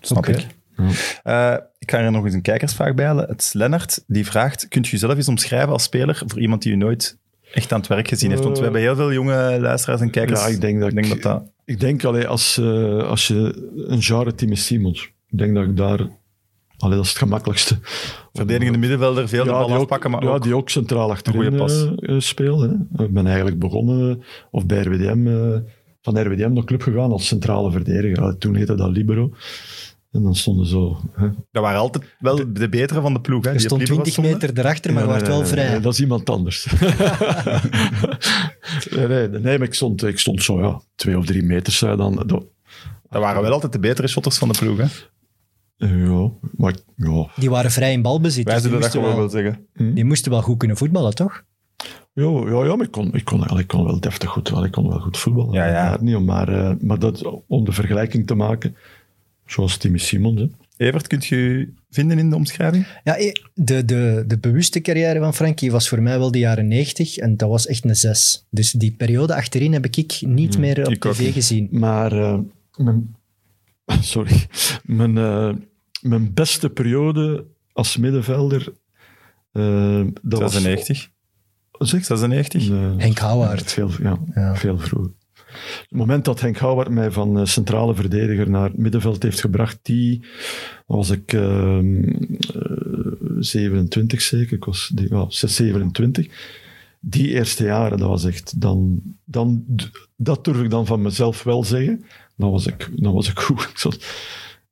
[SPEAKER 1] Snap
[SPEAKER 2] Oké.
[SPEAKER 1] ik. Eh, ik ga er nog eens een kijkersvraag bij halen. Het is Lennart, die vraagt, kunt u jezelf eens omschrijven als speler voor iemand die u nooit echt aan het werk gezien heeft? Want we
[SPEAKER 4] Eh,
[SPEAKER 1] hebben heel veel jonge luisteraars en kijkers.
[SPEAKER 4] Ja, ik denk dat
[SPEAKER 1] ik denk dat dat...
[SPEAKER 4] Ik denk alleen als, eh, als je een genre Timmy Simons. Ik denk dat ik daar Allee, dat is het gemakkelijkste.
[SPEAKER 1] Verdedigende middenvelder, veel de bal
[SPEAKER 4] die ook-
[SPEAKER 1] afpakken, maar
[SPEAKER 4] ja,
[SPEAKER 1] ook...
[SPEAKER 4] die ook centraal achterin
[SPEAKER 1] goede pas.
[SPEAKER 4] eh, eh, speelde. hè. Ik ben eigenlijk begonnen, eh, of bij RWDM, eh, van RWDM naar club gegaan als centrale verdediger. Ja, toen heette dat libero. En dan stonden zo... Hè.
[SPEAKER 1] Dat waren altijd wel de, betere van de ploeg. Hè.
[SPEAKER 2] Er
[SPEAKER 1] Die
[SPEAKER 2] stond
[SPEAKER 1] op Liverpool
[SPEAKER 2] 20
[SPEAKER 1] stonden.
[SPEAKER 2] meter erachter, maar
[SPEAKER 4] Nee,
[SPEAKER 2] je werd
[SPEAKER 4] nee,
[SPEAKER 2] wel
[SPEAKER 4] nee, nee,
[SPEAKER 2] vrij.
[SPEAKER 4] Eh, dat is iemand anders. nee, nee, nee, maar ik stond, ik stond zo, ja, twee of drie meter zei dan. Dat,
[SPEAKER 1] Dat waren wel altijd de betere shotters van de ploeg. Hè. Dus
[SPEAKER 4] eh, ja, maar ik- ja,
[SPEAKER 2] Die waren vrij in balbezit.
[SPEAKER 1] Wij
[SPEAKER 2] dus die,
[SPEAKER 1] zullen dat
[SPEAKER 2] moesten
[SPEAKER 1] gewoon
[SPEAKER 2] wel,
[SPEAKER 1] wel zeggen.
[SPEAKER 2] die moesten wel goed kunnen voetballen, toch?
[SPEAKER 4] Ja, ja, ja maar ik kon, ik, kon, ik kon wel deftig goed, wel, ik kon wel goed voetballen.
[SPEAKER 1] Ja, ja.
[SPEAKER 4] Daar Niet, om, maar, eh, maar dat, om de vergelijking te maken, zoals Timmy Simons. Hè.
[SPEAKER 1] Evert, kunt je je vinden in de omschrijving?
[SPEAKER 2] Ja, eh, de, de, de bewuste carrière van Frankie was voor mij wel de jaren 90 en dat was echt een 6. Dus die periode achterin heb ik niet
[SPEAKER 4] Mm,
[SPEAKER 2] meer op
[SPEAKER 1] ik ook
[SPEAKER 2] tv
[SPEAKER 1] niet.
[SPEAKER 2] gezien.
[SPEAKER 4] Maar eh, mijn, sorry, mijn, eh, mijn beste periode als middenvelder. eh dat was-
[SPEAKER 1] 96.
[SPEAKER 4] Zeg,
[SPEAKER 1] 96?
[SPEAKER 4] eh,
[SPEAKER 2] Henk Houwaard.
[SPEAKER 4] Veel, ja,
[SPEAKER 2] Ja.
[SPEAKER 4] veel vroeger. Het moment dat Henk Houwaard mij van eh, centrale verdediger naar het middenveld heeft gebracht, die was ik ehm, eh, 27 zeker, ik was die, ja, 6, 27. Die eerste jaren, dat was echt, dan, dan, dat durf ik dan van mezelf wel zeggen, dan was ik, dan was ik goed. Ik zat-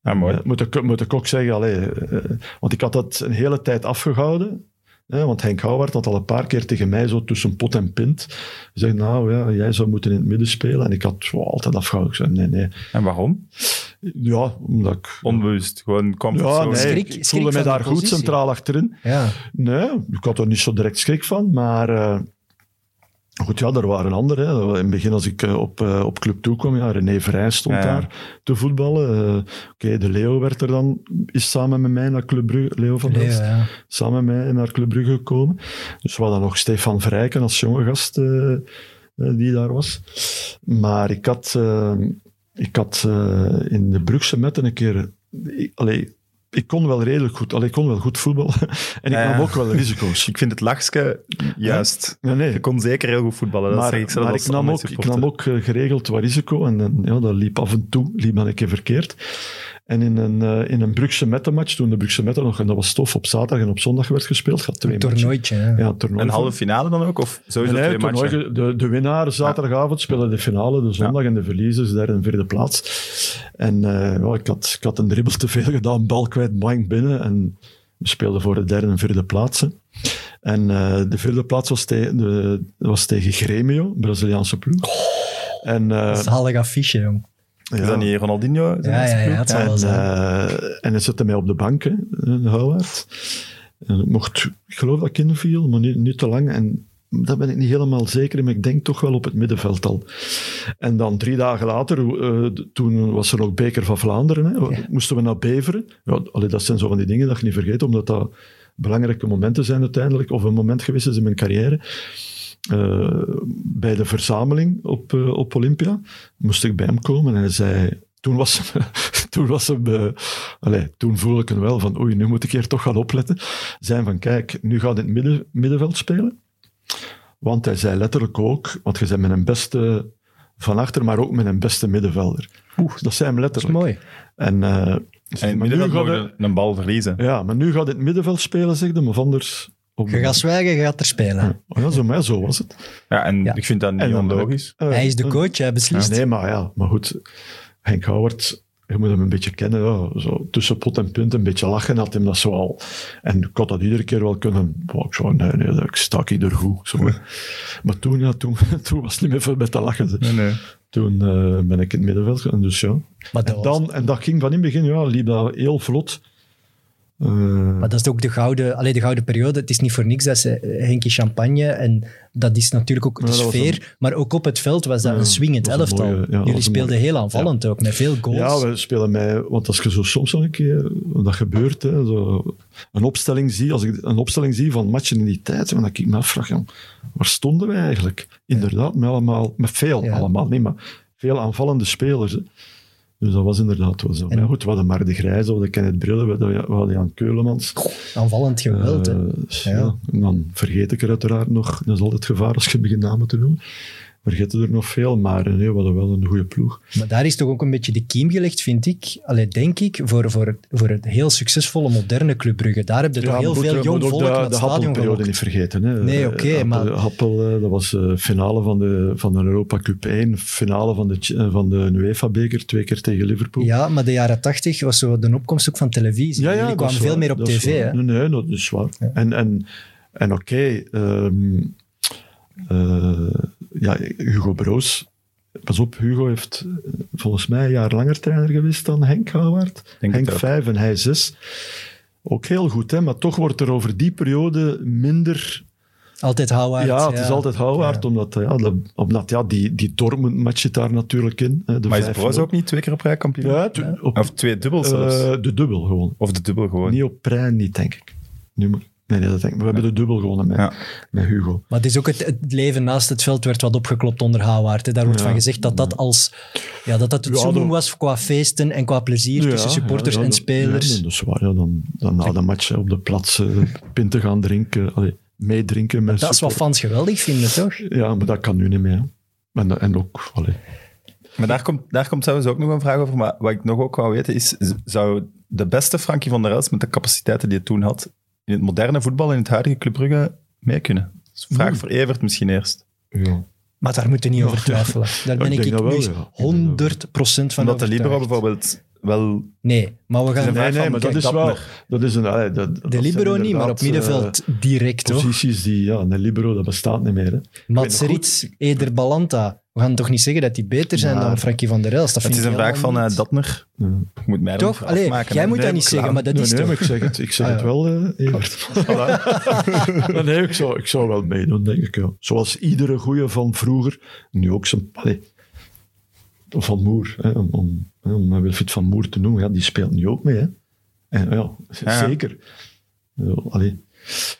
[SPEAKER 1] Ah, mooi.
[SPEAKER 4] ja, moet, ik, moet ik ook zeggen, allee, eh, want ik had dat een hele tijd afgehouden. Hè, want Henk Houwaard had al een paar keer tegen mij zo tussen pot en pint gezegd, nou ja, jij zou moeten in het midden spelen. En ik had zo altijd afgehouden. Ik zei, nee, nee.
[SPEAKER 1] En waarom?
[SPEAKER 4] Ja, omdat ik...
[SPEAKER 1] Onbewust. Gewoon
[SPEAKER 4] ja,
[SPEAKER 1] comfortzone.
[SPEAKER 4] nee,
[SPEAKER 2] Schrik-
[SPEAKER 4] ik
[SPEAKER 2] schrik
[SPEAKER 4] voelde
[SPEAKER 2] van
[SPEAKER 4] me
[SPEAKER 2] de
[SPEAKER 4] daar goed
[SPEAKER 2] positie.
[SPEAKER 4] centraal achterin.
[SPEAKER 2] Ja.
[SPEAKER 4] Nee, ik had er niet zo direct schrik van, maar... eh, Goed, ja, er waren anderen. Hè. In het begin, als ik eh, op, eh, op club toekwam, ja, René Vrij stond
[SPEAKER 1] Ja.
[SPEAKER 4] daar te voetballen. Eh, Oké, de Leo werd er dan, is samen met mij naar Club Brugge, Leo van
[SPEAKER 2] Leo,
[SPEAKER 4] Delft,
[SPEAKER 2] ja.
[SPEAKER 4] samen met mij naar Club Brugge gekomen. Dus we hadden nog Stefan Vrijken als jonge gast eh, eh, die daar was. Maar ik had, eh, ik had eh, in de Brugse metten een keer... Ik, allee, ik kon wel redelijk goed, allee, ik kon wel goed voetballen. en ik
[SPEAKER 1] Ja.
[SPEAKER 4] nam ook wel risico's.
[SPEAKER 1] Ik vind het lachske juist.
[SPEAKER 4] Nee, nee,
[SPEAKER 1] Je kon zeker heel goed voetballen. Dat
[SPEAKER 4] maar
[SPEAKER 1] zeg ik zelf
[SPEAKER 4] maar
[SPEAKER 1] als
[SPEAKER 4] ik, nam ook,
[SPEAKER 1] Anderlecht
[SPEAKER 4] ik
[SPEAKER 1] supporter.
[SPEAKER 4] nam ook eh, geregeld wat risico en, dan- ja, dat liep af en toe liep dan een keer verkeerd. En in een, eh, in een Brugse Metten-match, toen de Brugse Metten nog, en dat was stof, op zaterdag en op zondag werd gespeeld, gaat twee
[SPEAKER 2] Een
[SPEAKER 4] matchen.
[SPEAKER 2] toernooitje. hè.
[SPEAKER 4] Ja, toernooi.
[SPEAKER 1] Een halve finale dan ook? Of sowieso
[SPEAKER 4] Nee,
[SPEAKER 1] twee
[SPEAKER 4] toernooi,
[SPEAKER 1] matchen?
[SPEAKER 4] de, de winnaar zaterdagavond spelen de finale, de zondag, en de verliezers derde en vierde plaats. En eh, ja, ik, had, ik had een dribbel te veel gedaan, bal kwijt, bang binnen. En we speelden voor de derde en vierde plaatsen. En eh, de vierde plaats was, te- de, was tegen Grêmio, Braziliaanse ploeg. En, eh,
[SPEAKER 2] Zalig affiche, jong.
[SPEAKER 1] Is
[SPEAKER 4] ja.
[SPEAKER 1] Oh, dat niet Ronaldinho? zijn
[SPEAKER 2] Ja,
[SPEAKER 1] eerste
[SPEAKER 2] ja, ja,
[SPEAKER 1] ploeg?
[SPEAKER 2] het zal
[SPEAKER 4] En,
[SPEAKER 2] wel zijn.
[SPEAKER 4] eh, en hij zette mij op de bank, hè, een Howard. En ik mocht, ik geloof dat ik inviel, maar niet, niet te lang. En daar ben ik niet helemaal zeker in, maar ik denk toch wel op het middenveld al. En dan drie dagen later, eh, d- toen was er nog Beker van Vlaanderen, hè, moesten we naar Beveren. Ja, allee, dat zijn zo van die dingen dat je niet vergeet, omdat dat belangrijke momenten zijn uiteindelijk, of een moment geweest is in mijn carrière. Eh, bij de verzameling op, eh, op Olympia moest ik bij hem komen en hij zei... Toen was hem... toen, was hem eh, allee, toen voelde ik hem wel van oei, nu moet ik hier toch gaan opletten. Zijn van kijk, nu gaat het midden, middenveld spelen. Want hij zei letterlijk ook, want je bent mijn beste van achter, maar ook mijn beste middenvelder. Oeh, dat zei hem
[SPEAKER 2] Dat is mooi.
[SPEAKER 4] letterlijk. En, eh,
[SPEAKER 1] En in het
[SPEAKER 4] maar nu
[SPEAKER 1] middenveld
[SPEAKER 4] gaat
[SPEAKER 1] mogen
[SPEAKER 4] het-
[SPEAKER 1] we een bal verliezen.
[SPEAKER 4] ja, maar nu gaat het middenveld spelen, zegt hij, maar anders... Op
[SPEAKER 2] Je gaat zwijgen, je gaat er spelen.
[SPEAKER 4] Oh ja, zo, maar ja, zo was het.
[SPEAKER 1] Ja, en
[SPEAKER 2] Ja.
[SPEAKER 1] ik vind dat
[SPEAKER 4] En
[SPEAKER 1] niet
[SPEAKER 4] dan ben ik-
[SPEAKER 1] onlogisch.
[SPEAKER 4] Eh,
[SPEAKER 2] Hij is de
[SPEAKER 4] eh,
[SPEAKER 2] coach, hij beslist.
[SPEAKER 4] Nee, maar ja, maar goed. Henk Howard, je moet hem een beetje kennen. Ja. Zo, tussen pot en punt een beetje lachen had hem dat zo al. En ik had dat iedere keer wel kunnen. Maar ik zo, nee, nee, dat- ik stak ieder goed. Zo. maar toen, ja, toen, toen was het niet meer veel met te lachen. ze.
[SPEAKER 1] Nee, nee.
[SPEAKER 4] Toen eh, ben ik in het middenveld gegaan. Dus ja.
[SPEAKER 2] Maar dat
[SPEAKER 4] En,
[SPEAKER 2] was-
[SPEAKER 4] dan, en dat ging van in het begin, ja, liep dat heel vlot. Eh,
[SPEAKER 2] Maar dat is ook de gouden, allee, de gouden periode. Het is niet voor niks dat ze eh, Henkie Champagne. En dat is natuurlijk ook de
[SPEAKER 4] Ja, dat was
[SPEAKER 2] sfeer. Maar ook op het veld was dat
[SPEAKER 4] Ja,
[SPEAKER 2] een swingend
[SPEAKER 4] dat was een
[SPEAKER 2] elftal.
[SPEAKER 4] mooie- ja, dat was
[SPEAKER 2] Jullie
[SPEAKER 4] een
[SPEAKER 2] speelden
[SPEAKER 4] mooie-
[SPEAKER 2] heel aanvallend ook, met veel goals.
[SPEAKER 4] Ja, we spelen mij, want als je zo soms al een keer, dat gebeurt, hè, zo, een opstelling zie, als ik een opstelling zie van matchen in die tijd, dan denk ik me afvraag, jong, waar stonden wij eigenlijk? Inderdaad, met allemaal, met veel
[SPEAKER 2] Ja.
[SPEAKER 4] allemaal, niet, maar veel aanvallende spelers. Hè. Dus dat was inderdaad wel zo. Maar ja, goed, we hadden maar de Grijze, we hadden Kenneth Brille, we hadden, we hadden Jan Keulemans.
[SPEAKER 2] Aanvallend geweld. hè.
[SPEAKER 4] Eh, ja. En dan vergeet ik er uiteraard nog, dat is altijd het gevaar als je begint namen te noemen. vergeten er nog veel, maar eh, nee, we hadden wel een goede ploeg.
[SPEAKER 2] Maar daar is toch ook een beetje de kiem gelegd, vind ik. Allee, denk ik, voor, voor, voor het heel succesvolle moderne Club Brugge. Daar heb je toch heel
[SPEAKER 4] moet-
[SPEAKER 2] veel
[SPEAKER 4] moet
[SPEAKER 2] jong
[SPEAKER 4] ook
[SPEAKER 2] volk naar het
[SPEAKER 4] de, de
[SPEAKER 2] stadion
[SPEAKER 4] Happelperiode
[SPEAKER 2] gelokt.
[SPEAKER 4] niet vergeten. Hè.
[SPEAKER 2] Nee, oké,
[SPEAKER 4] Eh, Happel-
[SPEAKER 2] maar-
[SPEAKER 4] Happel, eh, dat was de finale van de, van de Europa Cup 1, finale van de, Ch- eh, van de UEFA-beker, twee keer tegen Liverpool.
[SPEAKER 2] Ja, maar de jaren tachtig was zo de opkomst ook van televisie. Jullie
[SPEAKER 4] dat is
[SPEAKER 2] kwamen veel
[SPEAKER 4] waar,
[SPEAKER 2] meer op
[SPEAKER 4] dat is
[SPEAKER 2] tv.
[SPEAKER 4] waar.
[SPEAKER 2] Hè?
[SPEAKER 4] Nee, nee, dat is waar. En, en, en oké, ehm, eh, ja, Hugo Broos. Pas op, Hugo heeft eh, volgens mij een jaar langer trainer geweest dan Henk Houwaard.
[SPEAKER 1] Denk het
[SPEAKER 4] Henk
[SPEAKER 1] ook.
[SPEAKER 4] vijf en hij zes. Ook heel goed, hè? maar toch wordt er over die periode minder
[SPEAKER 2] Altijd Howard.
[SPEAKER 4] ja, het is altijd Houwaard, omdat, eh, ja, dat- omdat ja, die, die Dortmund match zit daar natuurlijk in. hè, De
[SPEAKER 1] Maar is
[SPEAKER 4] 5-0.
[SPEAKER 1] Broos ook niet twee keer op rij kampioen?
[SPEAKER 4] Ja, tu- op,
[SPEAKER 1] Of twee dubbel zelfs?
[SPEAKER 4] eh, de dubbel gewoon.
[SPEAKER 1] of de dubbel gewoon?
[SPEAKER 4] Niet op Prijn, niet, denk ik. Nu moet- nee, nee, dat denk ik. We hebben de dubbel gewonnen met,
[SPEAKER 1] Ja.
[SPEAKER 4] met Hugo.
[SPEAKER 2] Maar het is ook het, het leven naast het veld werd wat opgeklopt onder Howard. hè. Daar wordt
[SPEAKER 4] Ja.
[SPEAKER 2] van gezegd dat dat als ja, dat dat het
[SPEAKER 4] Ja,
[SPEAKER 2] summum
[SPEAKER 4] dat-
[SPEAKER 2] was qua feesten en qua plezier tussen
[SPEAKER 4] Ja,
[SPEAKER 2] supporters
[SPEAKER 4] ja, ja,
[SPEAKER 2] en
[SPEAKER 4] dat-
[SPEAKER 2] spelers.
[SPEAKER 4] Ja, dat is waar. Ja, dan, dan na de match hè, op de plaats eh, pinten gaan drinken. Allee, meedrinken met
[SPEAKER 2] dat is wat
[SPEAKER 4] supporters.
[SPEAKER 2] fans geweldig vinden, toch?
[SPEAKER 4] Ja, maar dat kan nu niet meer. hè. En, en ook, allee,
[SPEAKER 1] Maar daar komt, daar komt zelfs ook nog een vraag over. Maar wat ik nog ook wou weten is, z- zou de beste Frankie van der Els met de capaciteiten die hij toen had, in het moderne voetbal, in het huidige Club Brugge, mee kunnen? Dat is een vraag voor Evert misschien eerst.
[SPEAKER 4] ja.
[SPEAKER 2] Maar daar moeten we niet over twijfelen. Daar ben
[SPEAKER 4] ik
[SPEAKER 2] ik,
[SPEAKER 4] denk dat wel,
[SPEAKER 2] nu
[SPEAKER 4] ja. Ik denk
[SPEAKER 2] 100% procent van
[SPEAKER 1] Omdat de
[SPEAKER 2] overtuigd.
[SPEAKER 1] Libero bijvoorbeeld wel...
[SPEAKER 2] Nee, maar we gaan...
[SPEAKER 1] vraag
[SPEAKER 4] Nee, nee,
[SPEAKER 1] van
[SPEAKER 4] maar dat
[SPEAKER 1] Kijk
[SPEAKER 4] is wel...
[SPEAKER 1] Dapper.
[SPEAKER 4] Dat is een, allee, dat, dat
[SPEAKER 2] De
[SPEAKER 4] zijn
[SPEAKER 2] Libero niet, maar op
[SPEAKER 4] inderdaad, eh,
[SPEAKER 2] middenveld direct, hoor.
[SPEAKER 4] posities die... Ja, een Libero, dat bestaat niet meer. Hè.
[SPEAKER 2] Matserits, Eder Balanta. We gaan toch niet zeggen dat die beter zijn
[SPEAKER 4] Maar-
[SPEAKER 2] dan Frankie van der Els? Dat
[SPEAKER 1] Het
[SPEAKER 2] vind
[SPEAKER 1] is
[SPEAKER 2] ik
[SPEAKER 1] een vraag van
[SPEAKER 2] helemaal
[SPEAKER 1] eh,
[SPEAKER 2] niet.
[SPEAKER 1] Datner.
[SPEAKER 4] Ja.
[SPEAKER 1] Ik moet mij er
[SPEAKER 2] Toch?
[SPEAKER 1] niet
[SPEAKER 2] Allee,
[SPEAKER 1] afmaken,
[SPEAKER 2] jij
[SPEAKER 1] hè.
[SPEAKER 2] moet
[SPEAKER 1] Nee,
[SPEAKER 2] dat niet
[SPEAKER 1] ik
[SPEAKER 2] zeggen,
[SPEAKER 1] laat-
[SPEAKER 2] maar dat
[SPEAKER 4] Nee,
[SPEAKER 2] is
[SPEAKER 4] nee,
[SPEAKER 2] toch...
[SPEAKER 4] maar ik zeg het, ik zeg
[SPEAKER 2] Ah,
[SPEAKER 4] het
[SPEAKER 2] ja.
[SPEAKER 4] wel, eh, Evert. nee, nee, ik zou, ik zou wel meedoen, denk ik. Ja. Zoals iedere goeie van vroeger, nu ook zijn... allee, van Moer, hè, om, om, hè, om Wilfried van Moer te noemen, ja, die speelt nu ook mee. Hè. En, ja,
[SPEAKER 1] ja.
[SPEAKER 4] zeker. Ja, allee.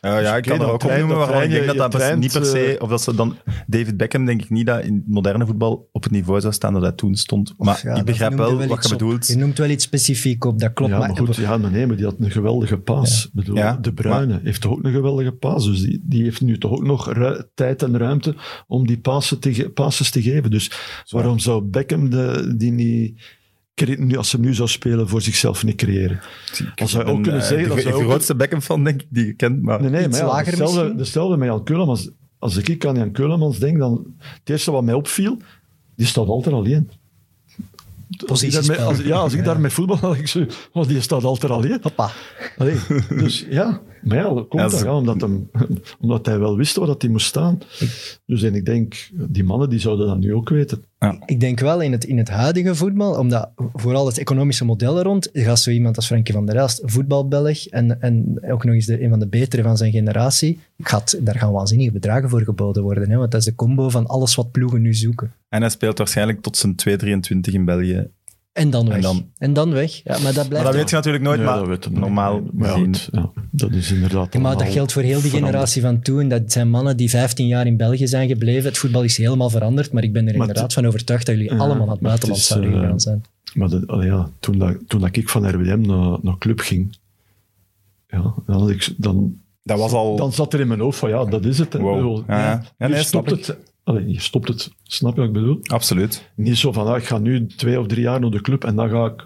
[SPEAKER 1] Ja, ja, ik kan
[SPEAKER 4] Oké,
[SPEAKER 1] er
[SPEAKER 4] dan
[SPEAKER 1] ook op
[SPEAKER 4] trein-
[SPEAKER 1] noemen,
[SPEAKER 4] dan
[SPEAKER 1] waarvan eh, ik
[SPEAKER 4] trein
[SPEAKER 1] denk
[SPEAKER 4] je-
[SPEAKER 1] dat
[SPEAKER 4] je
[SPEAKER 1] dat best-
[SPEAKER 4] treint,
[SPEAKER 1] niet per se... Of dat ze dan... David Beckham denk ik niet dat in het moderne voetbal op het niveau zou staan dat hij toen stond. Maar
[SPEAKER 2] Ja,
[SPEAKER 1] ik
[SPEAKER 2] dat
[SPEAKER 1] begrijp
[SPEAKER 2] noemde
[SPEAKER 1] wel wat
[SPEAKER 2] iets
[SPEAKER 1] je
[SPEAKER 2] op.
[SPEAKER 1] bedoelt.
[SPEAKER 2] Je noemt wel iets specifiek op, dat klopt.
[SPEAKER 4] ja, maar goed, ja, maar nee, maar die had een geweldige paas. Ik bedoel,
[SPEAKER 1] Ja,
[SPEAKER 4] de Bruyne heeft toch ook een geweldige paas. Dus die, die heeft nu toch ook nog ru- tijd en ruimte om die pases te, ge- passes te geven. Dus waarom zou Beckham de, die niet... cre- nu- Als hij nu zou spelen, voor zichzelf niet creëren. Als hij
[SPEAKER 1] Ik
[SPEAKER 4] ook
[SPEAKER 1] ben,
[SPEAKER 4] kunnen
[SPEAKER 1] eh,
[SPEAKER 4] zeggen...
[SPEAKER 1] de,
[SPEAKER 4] dat
[SPEAKER 1] de
[SPEAKER 4] zou ook-
[SPEAKER 1] grootste Beckham van denk ik die je kent, maar...
[SPEAKER 4] Nee, nee,
[SPEAKER 2] Iets
[SPEAKER 4] maar ja,
[SPEAKER 2] lager
[SPEAKER 4] hetzelfde,
[SPEAKER 2] misschien?
[SPEAKER 4] hetzelfde met Jan Keulemans. Als ik aan Jan Keulemans denk, dan... Het eerste wat mij opviel, die staat altijd alleen. Als ik
[SPEAKER 2] Positiespel.
[SPEAKER 4] daarmee- als- ja, als ik
[SPEAKER 2] Ja.
[SPEAKER 4] daar met voetbal had, ik zo... Oh, die staat altijd alleen.
[SPEAKER 2] Papa.
[SPEAKER 4] Allee, dus ja, maar ja, dat komt
[SPEAKER 1] Ja, dat is-
[SPEAKER 4] daar, ja, omdat, hem, omdat hij wel wist waar dat hij moest staan. Dus en ik denk, die mannen die zouden dat nu ook weten.
[SPEAKER 2] Ik denk wel in het, in het huidige voetbal, omdat vooral het economische model er rond, gaat zo iemand als Frankie van der Elst, voetbalbelg en, en ook nog eens de, een van de betere van zijn generatie, gaat, daar gaan waanzinnige bedragen voor geboden worden. Hè, want dat is de combo van alles wat ploegen nu zoeken.
[SPEAKER 1] En hij speelt waarschijnlijk tot zijn 2,23 in België.
[SPEAKER 2] En dan weg. En dan,
[SPEAKER 1] dan-
[SPEAKER 2] weg. Ja, maar dat
[SPEAKER 1] Maar
[SPEAKER 2] blijft...
[SPEAKER 1] dat weet je natuurlijk nooit,
[SPEAKER 4] Nee,
[SPEAKER 1] maar
[SPEAKER 4] dat weten we niet.
[SPEAKER 1] normaal
[SPEAKER 4] Maar ja,
[SPEAKER 1] gezien.
[SPEAKER 4] goed, ja, dat is inderdaad
[SPEAKER 2] Ja, maar dat
[SPEAKER 4] allemaal
[SPEAKER 2] geldt voor heel die
[SPEAKER 4] veranderd.
[SPEAKER 2] generatie van toen. Dat zijn mannen die 15 jaar in België zijn gebleven. Het voetbal is helemaal veranderd, maar ik ben er
[SPEAKER 4] Maar
[SPEAKER 2] inderdaad van overtuigd dat jullie
[SPEAKER 4] Ja,
[SPEAKER 2] allemaal naar het
[SPEAKER 4] maar het
[SPEAKER 2] buitenland
[SPEAKER 4] is,
[SPEAKER 2] zouden
[SPEAKER 4] eh,
[SPEAKER 2] gegaan zijn.
[SPEAKER 4] Maar dat, allee, ja, toen, dat, toen dat ik van RWDM naar, naar club ging, ja, dan, had ik, dan,
[SPEAKER 1] Dat was al...
[SPEAKER 4] dan zat er in mijn hoofd van ja, dat is het. hè.
[SPEAKER 1] Wow.
[SPEAKER 4] Ik bedoel,
[SPEAKER 1] Ja, ja. Ja,
[SPEAKER 4] je
[SPEAKER 1] nee, snap
[SPEAKER 4] stopt
[SPEAKER 1] ik.
[SPEAKER 4] het. Allee, je stopt het. Snap je wat ik bedoel?
[SPEAKER 1] Absoluut.
[SPEAKER 4] Niet zo van, ah, ik ga nu twee of drie jaar naar de club en dan ga ik,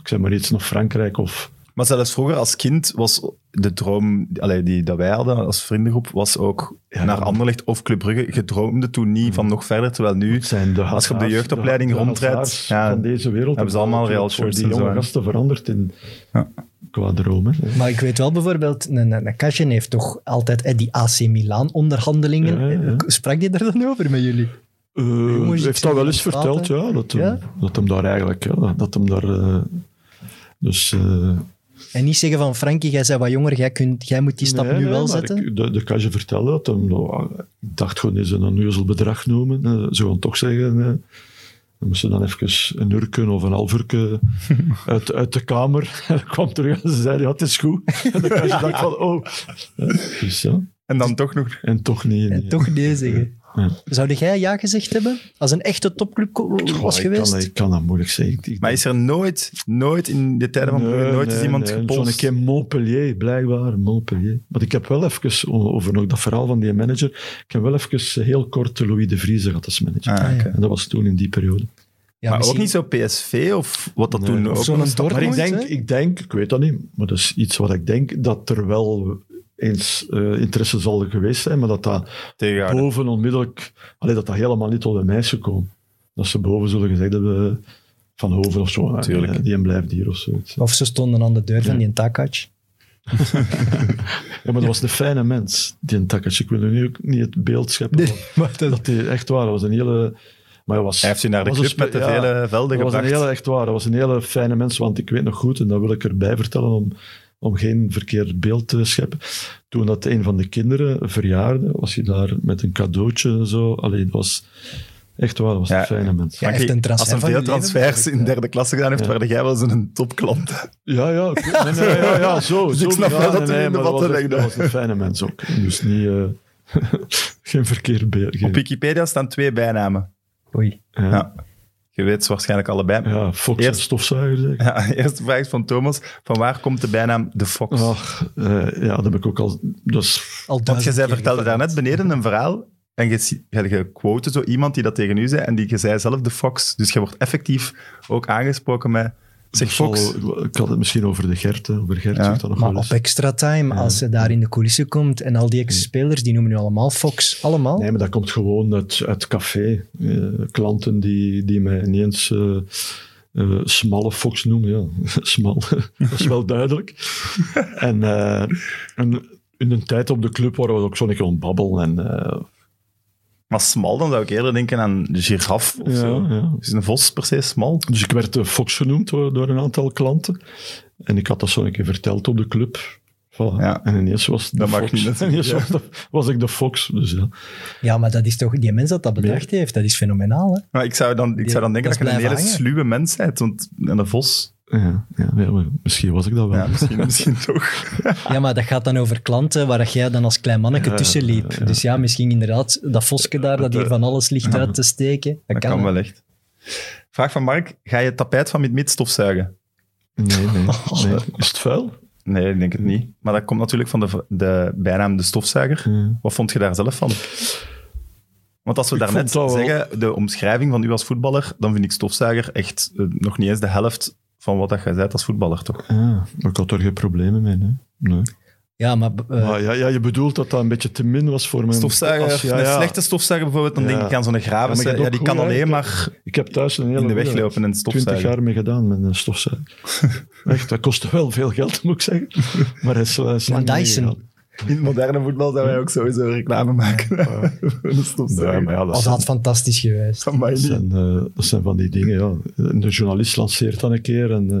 [SPEAKER 4] ik zeg maar iets, naar Frankrijk of...
[SPEAKER 1] Maar zelfs vroeger als kind was de droom allee, die dat wij hadden als vriendengroep, was ook
[SPEAKER 4] Ja.
[SPEAKER 1] naar Anderlecht of Club Brugge. Je droomde toen niet van nog verder, terwijl nu...
[SPEAKER 4] Het zijn de
[SPEAKER 1] Als je op de
[SPEAKER 4] Hazards,
[SPEAKER 1] jeugdopleiding
[SPEAKER 4] de- de
[SPEAKER 1] rondrijdt,
[SPEAKER 4] Hazards
[SPEAKER 1] ja,
[SPEAKER 4] van deze wereld
[SPEAKER 1] hebben ze allemaal Real
[SPEAKER 4] voor
[SPEAKER 1] shirts
[SPEAKER 4] die
[SPEAKER 1] en zo,
[SPEAKER 4] jonge
[SPEAKER 1] hè.
[SPEAKER 4] gasten veranderd in
[SPEAKER 1] Ja.
[SPEAKER 4] qua dromen.
[SPEAKER 2] Maar ik weet wel bijvoorbeeld, een, een, een Kasjen heeft toch altijd eh, die AC Milan onderhandelingen. Eh,
[SPEAKER 4] Ja, ja.
[SPEAKER 2] Sprak die daar dan over met jullie? jongens,
[SPEAKER 4] Hij
[SPEAKER 2] ik
[SPEAKER 4] heeft
[SPEAKER 2] zie
[SPEAKER 4] dat wel eens
[SPEAKER 2] jullie praten.
[SPEAKER 4] verteld, ja, dat, hem-
[SPEAKER 2] Ja?
[SPEAKER 4] dat hem daar eigenlijk, ja, dat hem daar, eh, dus eh,
[SPEAKER 2] En niet zeggen van Frankie, jij bent wat jonger, jij, kunt, jij moet die stap
[SPEAKER 4] Nee,
[SPEAKER 2] nu
[SPEAKER 4] nee,
[SPEAKER 2] wel
[SPEAKER 4] maar
[SPEAKER 2] zetten.
[SPEAKER 4] Ik, de, de Kasje vertelde dat. Hem, nou, ik dacht gewoon, is een onnozel bedrag noemen. eh, ze gaan toch zeggen... eh dan moesten dan even een urken of een half urken uit, uit de kamer. En dan kwam terug en ze zei, ja, het is goed. En dan dacht van, oh. Ja, dus ja.
[SPEAKER 1] En dan toch nog...
[SPEAKER 4] En toch niet.
[SPEAKER 2] En
[SPEAKER 4] nee.
[SPEAKER 2] toch nee zeggen.
[SPEAKER 4] Ja.
[SPEAKER 2] Zou jij ja gezegd hebben? Als een echte topclub ko- was
[SPEAKER 4] Goh, ik,
[SPEAKER 2] geweest?
[SPEAKER 4] kan, ik kan dat moeilijk zeggen. Ik- ik-
[SPEAKER 1] Maar is er nooit, nooit in de tijden van
[SPEAKER 4] Nee,
[SPEAKER 1] Brugge, nooit
[SPEAKER 4] nee,
[SPEAKER 1] is iemand
[SPEAKER 4] nee. Zo'n
[SPEAKER 1] gepolst?
[SPEAKER 4] keer Montpellier, blijkbaar Montpellier. Want ik heb wel even, o- over nog dat verhaal van die manager, ik heb wel even heel kort Louis de Vriezer gehad als manager.
[SPEAKER 1] Ah,
[SPEAKER 2] Ah, ja.
[SPEAKER 1] oké.
[SPEAKER 4] En dat was toen in die periode.
[SPEAKER 2] Ja,
[SPEAKER 1] maar ook
[SPEAKER 2] misschien-
[SPEAKER 1] niet zo PSV of wat dat
[SPEAKER 4] Nee.
[SPEAKER 1] toen
[SPEAKER 4] Of
[SPEAKER 1] ook
[SPEAKER 2] zo'n
[SPEAKER 1] was.
[SPEAKER 4] Maar ik
[SPEAKER 2] Dortmund,
[SPEAKER 4] denk,
[SPEAKER 2] hè?
[SPEAKER 4] ik denk, ik weet dat niet, maar dat is iets wat ik denk, dat er wel eens eh, interesse zal geweest zijn, maar dat dat
[SPEAKER 1] tegenhouden.
[SPEAKER 4] boven onmiddellijk, alleen dat dat helemaal niet tot een meisje komt. Dat ze boven zullen gezegd hebben van Hoven of zo, eh,
[SPEAKER 1] Tuurlijk.
[SPEAKER 4] die en blijft hier of zoiets.
[SPEAKER 2] Of ze stonden aan de deur van
[SPEAKER 4] Ja.
[SPEAKER 2] die Takac.
[SPEAKER 4] Ja, maar dat was een fijne mens, die Takac. Ik wil nu ook niet het beeld scheppen. van- dat die echt waar, dat was een hele... Maar hij, was,
[SPEAKER 1] Hij heeft u naar de
[SPEAKER 4] was een
[SPEAKER 1] club met de
[SPEAKER 4] spe- ja,
[SPEAKER 1] vele velden
[SPEAKER 4] dat was een
[SPEAKER 1] gebracht.
[SPEAKER 4] hele, echt waar, dat was een hele fijne mens, want ik weet nog goed, en dat wil ik erbij vertellen om, om geen verkeerd beeld te scheppen. Toen dat een van de kinderen verjaarde, was hij daar met een cadeautje zo. Allee, het was echt waar, dat was
[SPEAKER 1] Ja.
[SPEAKER 4] een fijne
[SPEAKER 2] Ja.
[SPEAKER 4] mens. Ja,
[SPEAKER 1] Frankie,
[SPEAKER 2] echt een transfer
[SPEAKER 1] als hij
[SPEAKER 2] van
[SPEAKER 1] veel
[SPEAKER 2] je leven
[SPEAKER 1] transfers in derde klasse gedaan heeft,
[SPEAKER 4] Ja.
[SPEAKER 1] waarde jij wel eens een topklant.
[SPEAKER 4] ja, ik weet- nee, nee, ja, ja, zo.
[SPEAKER 1] Dus
[SPEAKER 4] zo,
[SPEAKER 1] ik snap
[SPEAKER 4] ja,
[SPEAKER 1] wel dat
[SPEAKER 4] nee,
[SPEAKER 1] hij in de
[SPEAKER 4] maar dat
[SPEAKER 1] watten
[SPEAKER 4] was echt-
[SPEAKER 1] legde.
[SPEAKER 4] Dat was een fijne mens ook. Dus niet... eh, geen verkeerd beeld.
[SPEAKER 1] Op
[SPEAKER 4] Geen,
[SPEAKER 1] Wikipedia staan twee bijnamen.
[SPEAKER 2] Oei.
[SPEAKER 4] ja,
[SPEAKER 1] Ja. Je weet ze waarschijnlijk allebei. Ja.
[SPEAKER 4] ja, Fox en
[SPEAKER 1] Eerst-
[SPEAKER 4] stofzuiger, zeg.
[SPEAKER 1] eerste vraag is van Thomas. Van waar komt de bijnaam De Fox?
[SPEAKER 4] Ach, eh, ja, dat heb ik ook al. Dus,
[SPEAKER 2] Al
[SPEAKER 1] Want je
[SPEAKER 2] duizend
[SPEAKER 1] zei,
[SPEAKER 2] keer
[SPEAKER 1] vertelde
[SPEAKER 2] gevraagd.
[SPEAKER 1] daarnet beneden een verhaal en je, zie- je, je quote zo iemand die dat tegen u zei en die je zei zelf de Fox. Dus je wordt effectief ook aangesproken met zeg
[SPEAKER 4] ik
[SPEAKER 1] Fox.
[SPEAKER 4] zal- ik had het misschien over de Gert. hè. Over Gert
[SPEAKER 1] Ja,
[SPEAKER 4] zegt dat nog
[SPEAKER 2] Maar
[SPEAKER 4] wel eens.
[SPEAKER 2] op extra time,
[SPEAKER 4] Ja.
[SPEAKER 2] als ze daar in de coulissen komt en al die ex-spelers, die noemen nu allemaal Fox. Allemaal?
[SPEAKER 4] Nee, maar dat komt gewoon uit, uit café. Eh, klanten die, die mij ineens eh eh, smalle Fox noemen. Ja, smal. dat is wel duidelijk. en, eh, en in een tijd op de club waren we ook zo'n keer ontbabbel. En, eh,
[SPEAKER 1] Maar smal, dan zou ik eerder denken aan giraf of zo.
[SPEAKER 4] ja, ja.
[SPEAKER 1] Is een vos per se smal?
[SPEAKER 4] Dus ik werd eh, Fox genoemd door, door een aantal klanten. En ik had dat zo een keer verteld op de club. Voilà.
[SPEAKER 1] Ja.
[SPEAKER 4] En ineens was het de
[SPEAKER 1] Dat mag
[SPEAKER 4] Fox.
[SPEAKER 1] niet, natuurlijk,
[SPEAKER 4] Ineens
[SPEAKER 1] ja.
[SPEAKER 4] was, de- was ik de Fox. Dus ja.
[SPEAKER 2] Ja, maar dat is toch, die mens dat dat bedacht heeft, dat is fenomenaal. Hè?
[SPEAKER 1] Maar ik zou dan, ik zou dan denken dat,
[SPEAKER 2] dat
[SPEAKER 1] je
[SPEAKER 2] is
[SPEAKER 1] een hele
[SPEAKER 2] blijven hangen.
[SPEAKER 1] sluwe mens bent, want een vos...
[SPEAKER 4] Ja, ja, ja, maar misschien was ik dat wel.
[SPEAKER 1] Ja, misschien, misschien toch.
[SPEAKER 2] Ja, maar dat gaat dan over klanten waar dat jij dan als klein manneke
[SPEAKER 4] Ja,
[SPEAKER 2] tussen liep.
[SPEAKER 4] ja, ja.
[SPEAKER 2] Dus ja, misschien inderdaad dat Voske daar, dat hier van alles ligt uit te steken. Dat,
[SPEAKER 1] Dat
[SPEAKER 2] kan,
[SPEAKER 1] kan
[SPEAKER 2] hè.
[SPEAKER 1] wel echt. Vraag van Mark. Ga je het tapijt van Mitmit stofzuigen?
[SPEAKER 4] Nee, nee, nee. Is het vuil?
[SPEAKER 1] Nee, ik denk het niet. Maar dat komt natuurlijk van de, v- de bijnaam de stofzuiger.
[SPEAKER 4] Ja.
[SPEAKER 1] Wat vond je daar zelf van? Want als we
[SPEAKER 4] Ik
[SPEAKER 1] daarnet
[SPEAKER 4] vond dat wel-
[SPEAKER 1] zeggen, de omschrijving van u als voetballer, dan vind ik stofzuiger echt eh, nog niet eens de helft van wat dat jij zei als voetballer, toch?
[SPEAKER 4] Ja, maar ik had er geen problemen mee. Hè. Nee.
[SPEAKER 2] Ja, maar eh,
[SPEAKER 4] Maar ja, ja, je bedoelt dat dat een beetje te min was voor mijn...
[SPEAKER 1] Stofzuiger,
[SPEAKER 4] Als- ja,
[SPEAKER 1] een
[SPEAKER 4] ja.
[SPEAKER 1] slechte stofzuiger bijvoorbeeld, dan
[SPEAKER 4] Ja.
[SPEAKER 1] denk ik aan zo'n
[SPEAKER 4] Ja, maar
[SPEAKER 1] graven.
[SPEAKER 4] je
[SPEAKER 1] Ja,
[SPEAKER 4] hebt ook
[SPEAKER 1] die kan
[SPEAKER 4] goed
[SPEAKER 1] alleen
[SPEAKER 4] eigenlijk-
[SPEAKER 1] maar
[SPEAKER 4] Ik heb thuis een hele...
[SPEAKER 1] in de weg
[SPEAKER 4] goede-
[SPEAKER 1] lopen en
[SPEAKER 4] twintig
[SPEAKER 1] stofzuigen.
[SPEAKER 4] jaar mee gedaan met een stofzuiger. Echt, dat kostte wel veel geld, moet ik zeggen. Maar hij is, hij is
[SPEAKER 2] van
[SPEAKER 4] lang
[SPEAKER 2] Dyson.
[SPEAKER 4] meegegaan.
[SPEAKER 1] In het moderne voetbal zouden wij ook sowieso reclame maken. Voor een stofzuiger.
[SPEAKER 4] Nee, maar ja,
[SPEAKER 2] Was
[SPEAKER 4] dat,
[SPEAKER 2] dat fantastisch geweest.
[SPEAKER 1] Van mij
[SPEAKER 4] dat,
[SPEAKER 1] niet.
[SPEAKER 4] zijn, eh, dat zijn van die dingen, ja. De journalist lanceert dan een keer en, eh,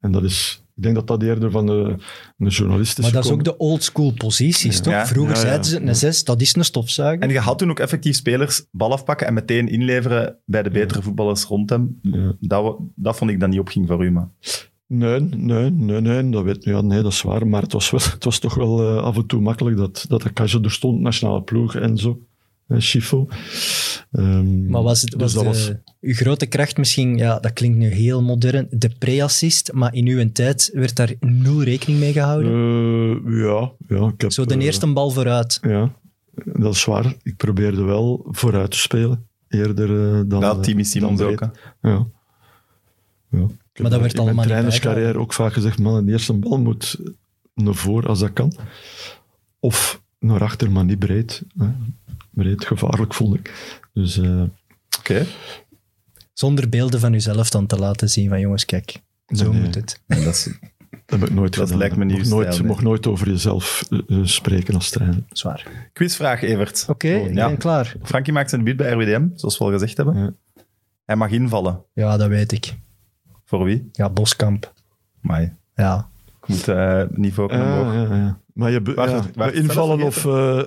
[SPEAKER 4] en dat is... Ik denk dat dat eerder van de, de journalist is
[SPEAKER 2] Maar dat is ook
[SPEAKER 4] gekomen.
[SPEAKER 2] de old school posities, toch?
[SPEAKER 1] Ja,
[SPEAKER 2] Vroeger
[SPEAKER 4] ja, ja.
[SPEAKER 2] zeiden ze een zes, dat is een
[SPEAKER 1] En
[SPEAKER 2] stofzuiger.
[SPEAKER 1] je had toen ook effectief spelers bal afpakken en meteen inleveren bij de betere voetballers rond hem.
[SPEAKER 4] Ja.
[SPEAKER 1] Dat, wa- dat vond ik dan niet opging voor u, maar...
[SPEAKER 4] Nee, nee, nee, nee, dat weet ja, nee, dat is waar. Maar het was, wel, het was toch wel eh, af en toe makkelijk dat, dat de Kaja er stond, nationale ploeg en zo. eh, Schifo. Ehm,
[SPEAKER 2] Maar was, het,
[SPEAKER 4] dus
[SPEAKER 2] was,
[SPEAKER 4] dat
[SPEAKER 2] de-
[SPEAKER 4] was
[SPEAKER 2] uw grote kracht misschien, ja, dat klinkt nu heel modern, de pre-assist, maar in uw tijd werd daar nul rekening mee gehouden.
[SPEAKER 4] eh, ja, ja, ik heb...
[SPEAKER 2] Zo de
[SPEAKER 4] eh,
[SPEAKER 2] eerste bal vooruit.
[SPEAKER 4] ja, dat is waar. Ik probeerde wel vooruit te spelen. Eerder eh, dan...
[SPEAKER 1] Dat
[SPEAKER 4] eh,
[SPEAKER 1] Timmy Simons
[SPEAKER 4] dan
[SPEAKER 1] ook.
[SPEAKER 4] breed. Ja. ja. Ik heb
[SPEAKER 2] werd
[SPEAKER 4] in
[SPEAKER 2] allemaal niet
[SPEAKER 4] mijn trainerscarrière ook vaak gezegd, man, de eerste bal moet naar voren als dat kan. Of naar achter, maar niet breed. Hè. Breed, gevaarlijk vond ik. Dus eh,
[SPEAKER 1] hè. Oké.
[SPEAKER 2] Zonder beelden van uzelf dan te laten zien van jongens, kijk, zo
[SPEAKER 4] Nee.
[SPEAKER 2] moet het.
[SPEAKER 1] En dat is-
[SPEAKER 4] dat heb ik nooit
[SPEAKER 1] Dat
[SPEAKER 4] gedaan.
[SPEAKER 1] lijkt me niet
[SPEAKER 4] mocht
[SPEAKER 1] uw
[SPEAKER 4] nooit,
[SPEAKER 1] stijl, nee.
[SPEAKER 4] mocht nooit over jezelf eh, eh, spreken als trainer.
[SPEAKER 2] Zwaar. Oké,
[SPEAKER 1] Quizvraag, Evert.
[SPEAKER 4] Oh,
[SPEAKER 2] ik
[SPEAKER 1] ja.
[SPEAKER 2] ben eh, klaar.
[SPEAKER 1] Frankie maakt zijn debuut bij RWDM, zoals we al gezegd hebben.
[SPEAKER 4] Ja.
[SPEAKER 1] Hij mag invallen.
[SPEAKER 2] Ja, dat weet ik.
[SPEAKER 1] Voor wie?
[SPEAKER 2] Ja, Boskamp.
[SPEAKER 1] Maar
[SPEAKER 2] Ja.
[SPEAKER 1] ik moet eh, niveau kunnen
[SPEAKER 4] Ah,
[SPEAKER 1] omhoog.
[SPEAKER 4] ja, ja. Maar je be-
[SPEAKER 1] Wacht,
[SPEAKER 4] ja,
[SPEAKER 1] wacht, wacht,
[SPEAKER 4] invallen
[SPEAKER 1] zelf
[SPEAKER 4] of eh,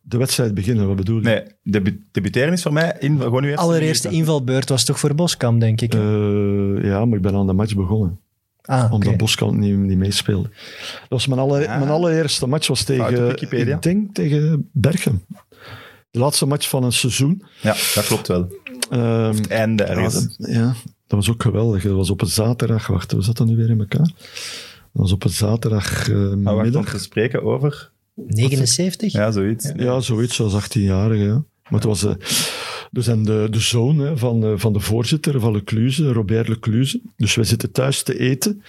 [SPEAKER 4] de wedstrijd beginnen, wat bedoel je?
[SPEAKER 1] Nee, debu- debuteren is voor mij in, gewoon uw eerste
[SPEAKER 2] Allereerste
[SPEAKER 1] minuut.
[SPEAKER 2] invalbeurt was toch voor Boskamp, denk ik.
[SPEAKER 4] Eh, ja, maar ik ben aan de match begonnen.
[SPEAKER 2] ah, oké.
[SPEAKER 4] Omdat Boskamp niet, niet meespeelde. Dat was mijn, alle,
[SPEAKER 1] Ah.
[SPEAKER 4] mijn allereerste match was
[SPEAKER 1] Fout op
[SPEAKER 4] tegen,
[SPEAKER 1] Wikipedia.
[SPEAKER 4] ik denk tegen Berchem. De laatste match van een seizoen.
[SPEAKER 1] Ja, dat klopt wel.
[SPEAKER 4] Ehm,
[SPEAKER 1] Het einde
[SPEAKER 4] ja,
[SPEAKER 1] ergens.
[SPEAKER 4] dat, ja, dat was ook geweldig. Dat was op een zaterdag. Wacht, we zaten nu weer in elkaar. Dat was op een zaterdag eh,
[SPEAKER 1] Maar waar
[SPEAKER 4] middag.
[SPEAKER 1] komt te spreken over?
[SPEAKER 2] 79?
[SPEAKER 1] Ja, zoiets.
[SPEAKER 4] Ja, zoiets als 18-jarige. ja. Maar het was. eh, dus en de, de zoon hè, van, eh, van de voorzitter van Lecluze, Robert Lecluze. Dus wij zitten thuis te eten.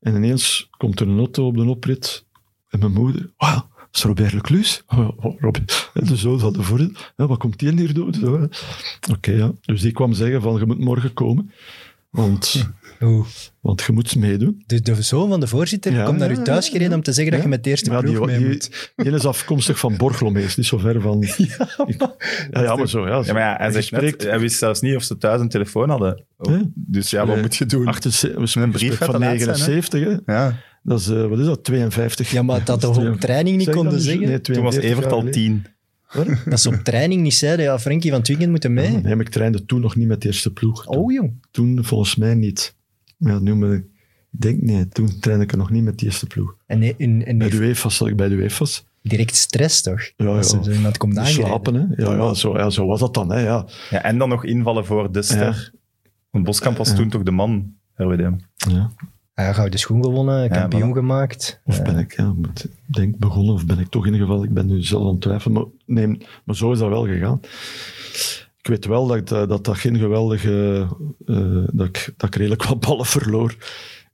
[SPEAKER 4] En ineens komt er een auto op de oprit. En mijn moeder. Wauw, dat is Robert Lecluze. Oh, ja, oh, Robert. En De zoon van de voorzitter. Ja, wat komt die hier doen? Zo, hè. Oké, ja. Dus die kwam zeggen: van je moet morgen komen. Want,
[SPEAKER 2] Oeh.
[SPEAKER 4] want je moet meedoen.
[SPEAKER 2] Dus de zoon van de voorzitter
[SPEAKER 4] Ja,
[SPEAKER 2] komt naar
[SPEAKER 4] ja,
[SPEAKER 2] u thuis gereden om te zeggen dat
[SPEAKER 4] Ja.
[SPEAKER 2] je met de eerste
[SPEAKER 4] Ja,
[SPEAKER 2] ploeg
[SPEAKER 4] die,
[SPEAKER 2] mee
[SPEAKER 4] die,
[SPEAKER 2] moet.
[SPEAKER 4] die is afkomstig van Borglomees, niet zo ver van. Ik- ja, ja, maar zo. Ja,
[SPEAKER 1] Ja, maar ja, hij,
[SPEAKER 4] Je
[SPEAKER 1] zegt net,
[SPEAKER 4] spreekt-
[SPEAKER 1] hij wist zelfs niet of ze thuis een telefoon hadden. Oh,
[SPEAKER 4] Nee.
[SPEAKER 1] Dus ja, wat
[SPEAKER 4] Nee.
[SPEAKER 1] moet je doen?
[SPEAKER 4] 78,
[SPEAKER 1] Een brief gaat te
[SPEAKER 4] van
[SPEAKER 1] laat zijn, hè?
[SPEAKER 4] 79, hè?
[SPEAKER 1] Ja.
[SPEAKER 4] dat is, eh, wat is dat, 52?
[SPEAKER 2] Ja, maar dat we op training niet
[SPEAKER 4] Zeg dat
[SPEAKER 2] konden
[SPEAKER 4] dus?
[SPEAKER 2] zeggen.
[SPEAKER 4] Nee,
[SPEAKER 1] Toen was
[SPEAKER 4] 42
[SPEAKER 1] Evert al
[SPEAKER 4] jaar
[SPEAKER 1] tien.
[SPEAKER 4] geleden.
[SPEAKER 2] Dat ze op training niet zeiden, ja, Frenkie van het weekend moeten mee.
[SPEAKER 4] Nee, maar ik trainde toen nog niet met de eerste ploeg. Toen,
[SPEAKER 2] Oh jong.
[SPEAKER 4] toen volgens mij niet. Ja, nu ben ik... ik denk, nee, toen trainde ik er nog niet met de eerste ploeg.
[SPEAKER 2] En, nee, en, en
[SPEAKER 4] Bij de UEFA zat ik bij de UEFA's.
[SPEAKER 2] direct stress toch?
[SPEAKER 4] Ja,
[SPEAKER 2] Als
[SPEAKER 4] ja.
[SPEAKER 2] er zo iemand komt aangereden.
[SPEAKER 4] Slapen, hè. Ja, ja, zo, ja, zo was dat dan, hè. Ja.
[SPEAKER 1] Ja, en dan nog invallen voor de ster. Want Boskamp was
[SPEAKER 4] Ja.
[SPEAKER 1] toen toch de man, RWDM.
[SPEAKER 4] Ja.
[SPEAKER 2] Ja, gouden schoen gewonnen, kampioen
[SPEAKER 1] voilà.
[SPEAKER 2] gemaakt.
[SPEAKER 4] Of ben ik, ja, moet- ik denk begonnen, of ben ik toch in ieder geval, ik ben nu zelf aan het twijfelen, maar, nee, maar zo is dat wel gegaan. Ik weet wel dat ik eh, dat, dat, dat geen geweldige, eh, dat, ik, dat ik redelijk wat ballen verloor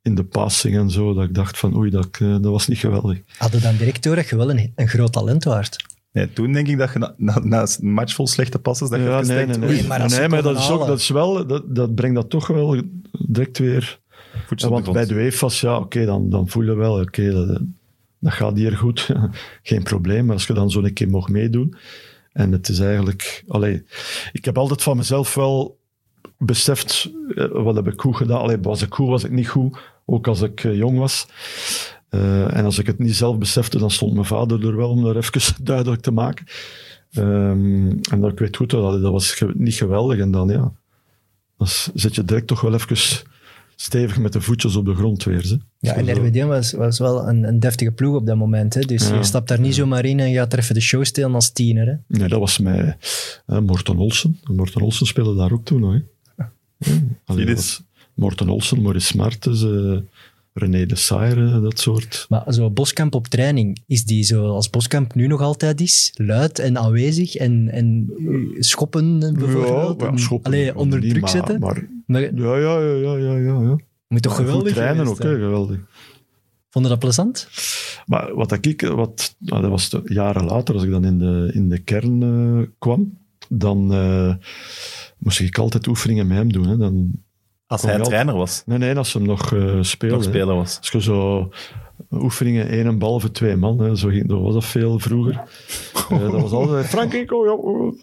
[SPEAKER 4] in de passing en zo, dat ik dacht van oei, dat, ik, eh, dat was niet geweldig.
[SPEAKER 2] Hadden dan direct door dat je wel een, een groot talent waart.
[SPEAKER 1] Nee, toen denk ik dat je na, na, na een match vol slechte passes, dat je
[SPEAKER 4] Ja,
[SPEAKER 1] even
[SPEAKER 4] nee,
[SPEAKER 1] denkt,
[SPEAKER 4] nee, nee.
[SPEAKER 1] oei,
[SPEAKER 2] oei, maar
[SPEAKER 4] maar,
[SPEAKER 2] als ze
[SPEAKER 4] nee, maar dat,
[SPEAKER 2] komen
[SPEAKER 4] is ook,
[SPEAKER 2] halen.
[SPEAKER 4] dat is wel, dat, dat brengt dat toch wel direct weer
[SPEAKER 1] voetjes
[SPEAKER 4] Ja,
[SPEAKER 1] op de
[SPEAKER 4] want bij
[SPEAKER 1] grond.
[SPEAKER 4] de UEFA's, ja, oké, dan, dan voel je wel, oké, dat, dat gaat hier goed, geen probleem. Maar als je dan zo'n keer mag meedoen, en het is eigenlijk... Allee, ik heb altijd van mezelf wel beseft, eh, wat heb ik goed gedaan? Allee, was ik goed, was ik niet goed? Ook als ik eh, jong was. Eh, en als ik het niet zelf besefte, dan stond mijn vader er wel, om dat even duidelijk te maken. Ehm, en dat, ik weet goed, dat, dat was ge- niet geweldig. En dan, ja, dan s- zit je direct toch wel even stevig met de voetjes op de grond weer. Ze.
[SPEAKER 2] Ja, en
[SPEAKER 4] Zo-
[SPEAKER 2] RWDM was, was wel een, een deftige ploeg op dat moment. Hè? Dus
[SPEAKER 4] Ja.
[SPEAKER 2] je stapt daar niet zomaar in en je gaat er even de show stelen als tiener. Hè?
[SPEAKER 4] Nee, dat was mij. eh, Morten Olsen. Morten Olsen speelde daar ook toen nog. Hè. Ja, allee,
[SPEAKER 1] dit?
[SPEAKER 4] dat was Morten Olsen, Maurice Martens, eh, René de Saer, eh, dat soort.
[SPEAKER 2] Maar zo Boskamp op training, is die zoals Boskamp nu nog altijd is? Luid en aanwezig en, en eh, schoppen bijvoorbeeld?
[SPEAKER 4] Ja, ja, schoppen.
[SPEAKER 2] Allee, onder
[SPEAKER 4] Niet,
[SPEAKER 2] druk
[SPEAKER 4] maar-
[SPEAKER 2] zetten?
[SPEAKER 4] Maar,
[SPEAKER 2] Maar,
[SPEAKER 4] ja, ja, ja, ja, ja, ja. ja.
[SPEAKER 2] moet toch
[SPEAKER 4] Goed
[SPEAKER 2] geweldig
[SPEAKER 4] trainen ook,
[SPEAKER 2] geweest
[SPEAKER 4] hè,
[SPEAKER 2] zijn?
[SPEAKER 4] geweldig.
[SPEAKER 2] Vond je dat plezant?
[SPEAKER 4] Maar wat ik, wat, nou, dat was de- jaren later, als ik dan in de, in de kern eh, kwam, dan eh, moest ik altijd oefeningen met hem doen. Hè. Dan,
[SPEAKER 1] Als
[SPEAKER 4] Kon
[SPEAKER 1] hij
[SPEAKER 4] wel-
[SPEAKER 1] trainer was,
[SPEAKER 4] nee, nee, als ze hem nog eh speelde.
[SPEAKER 1] nog
[SPEAKER 4] hè.
[SPEAKER 1] speler was.
[SPEAKER 4] Als je zo oefeningen één en bal voor twee man, hè, zo ging, dat was dat veel vroeger. Eh, dat was altijd, Frankrijk, oh ja, oh.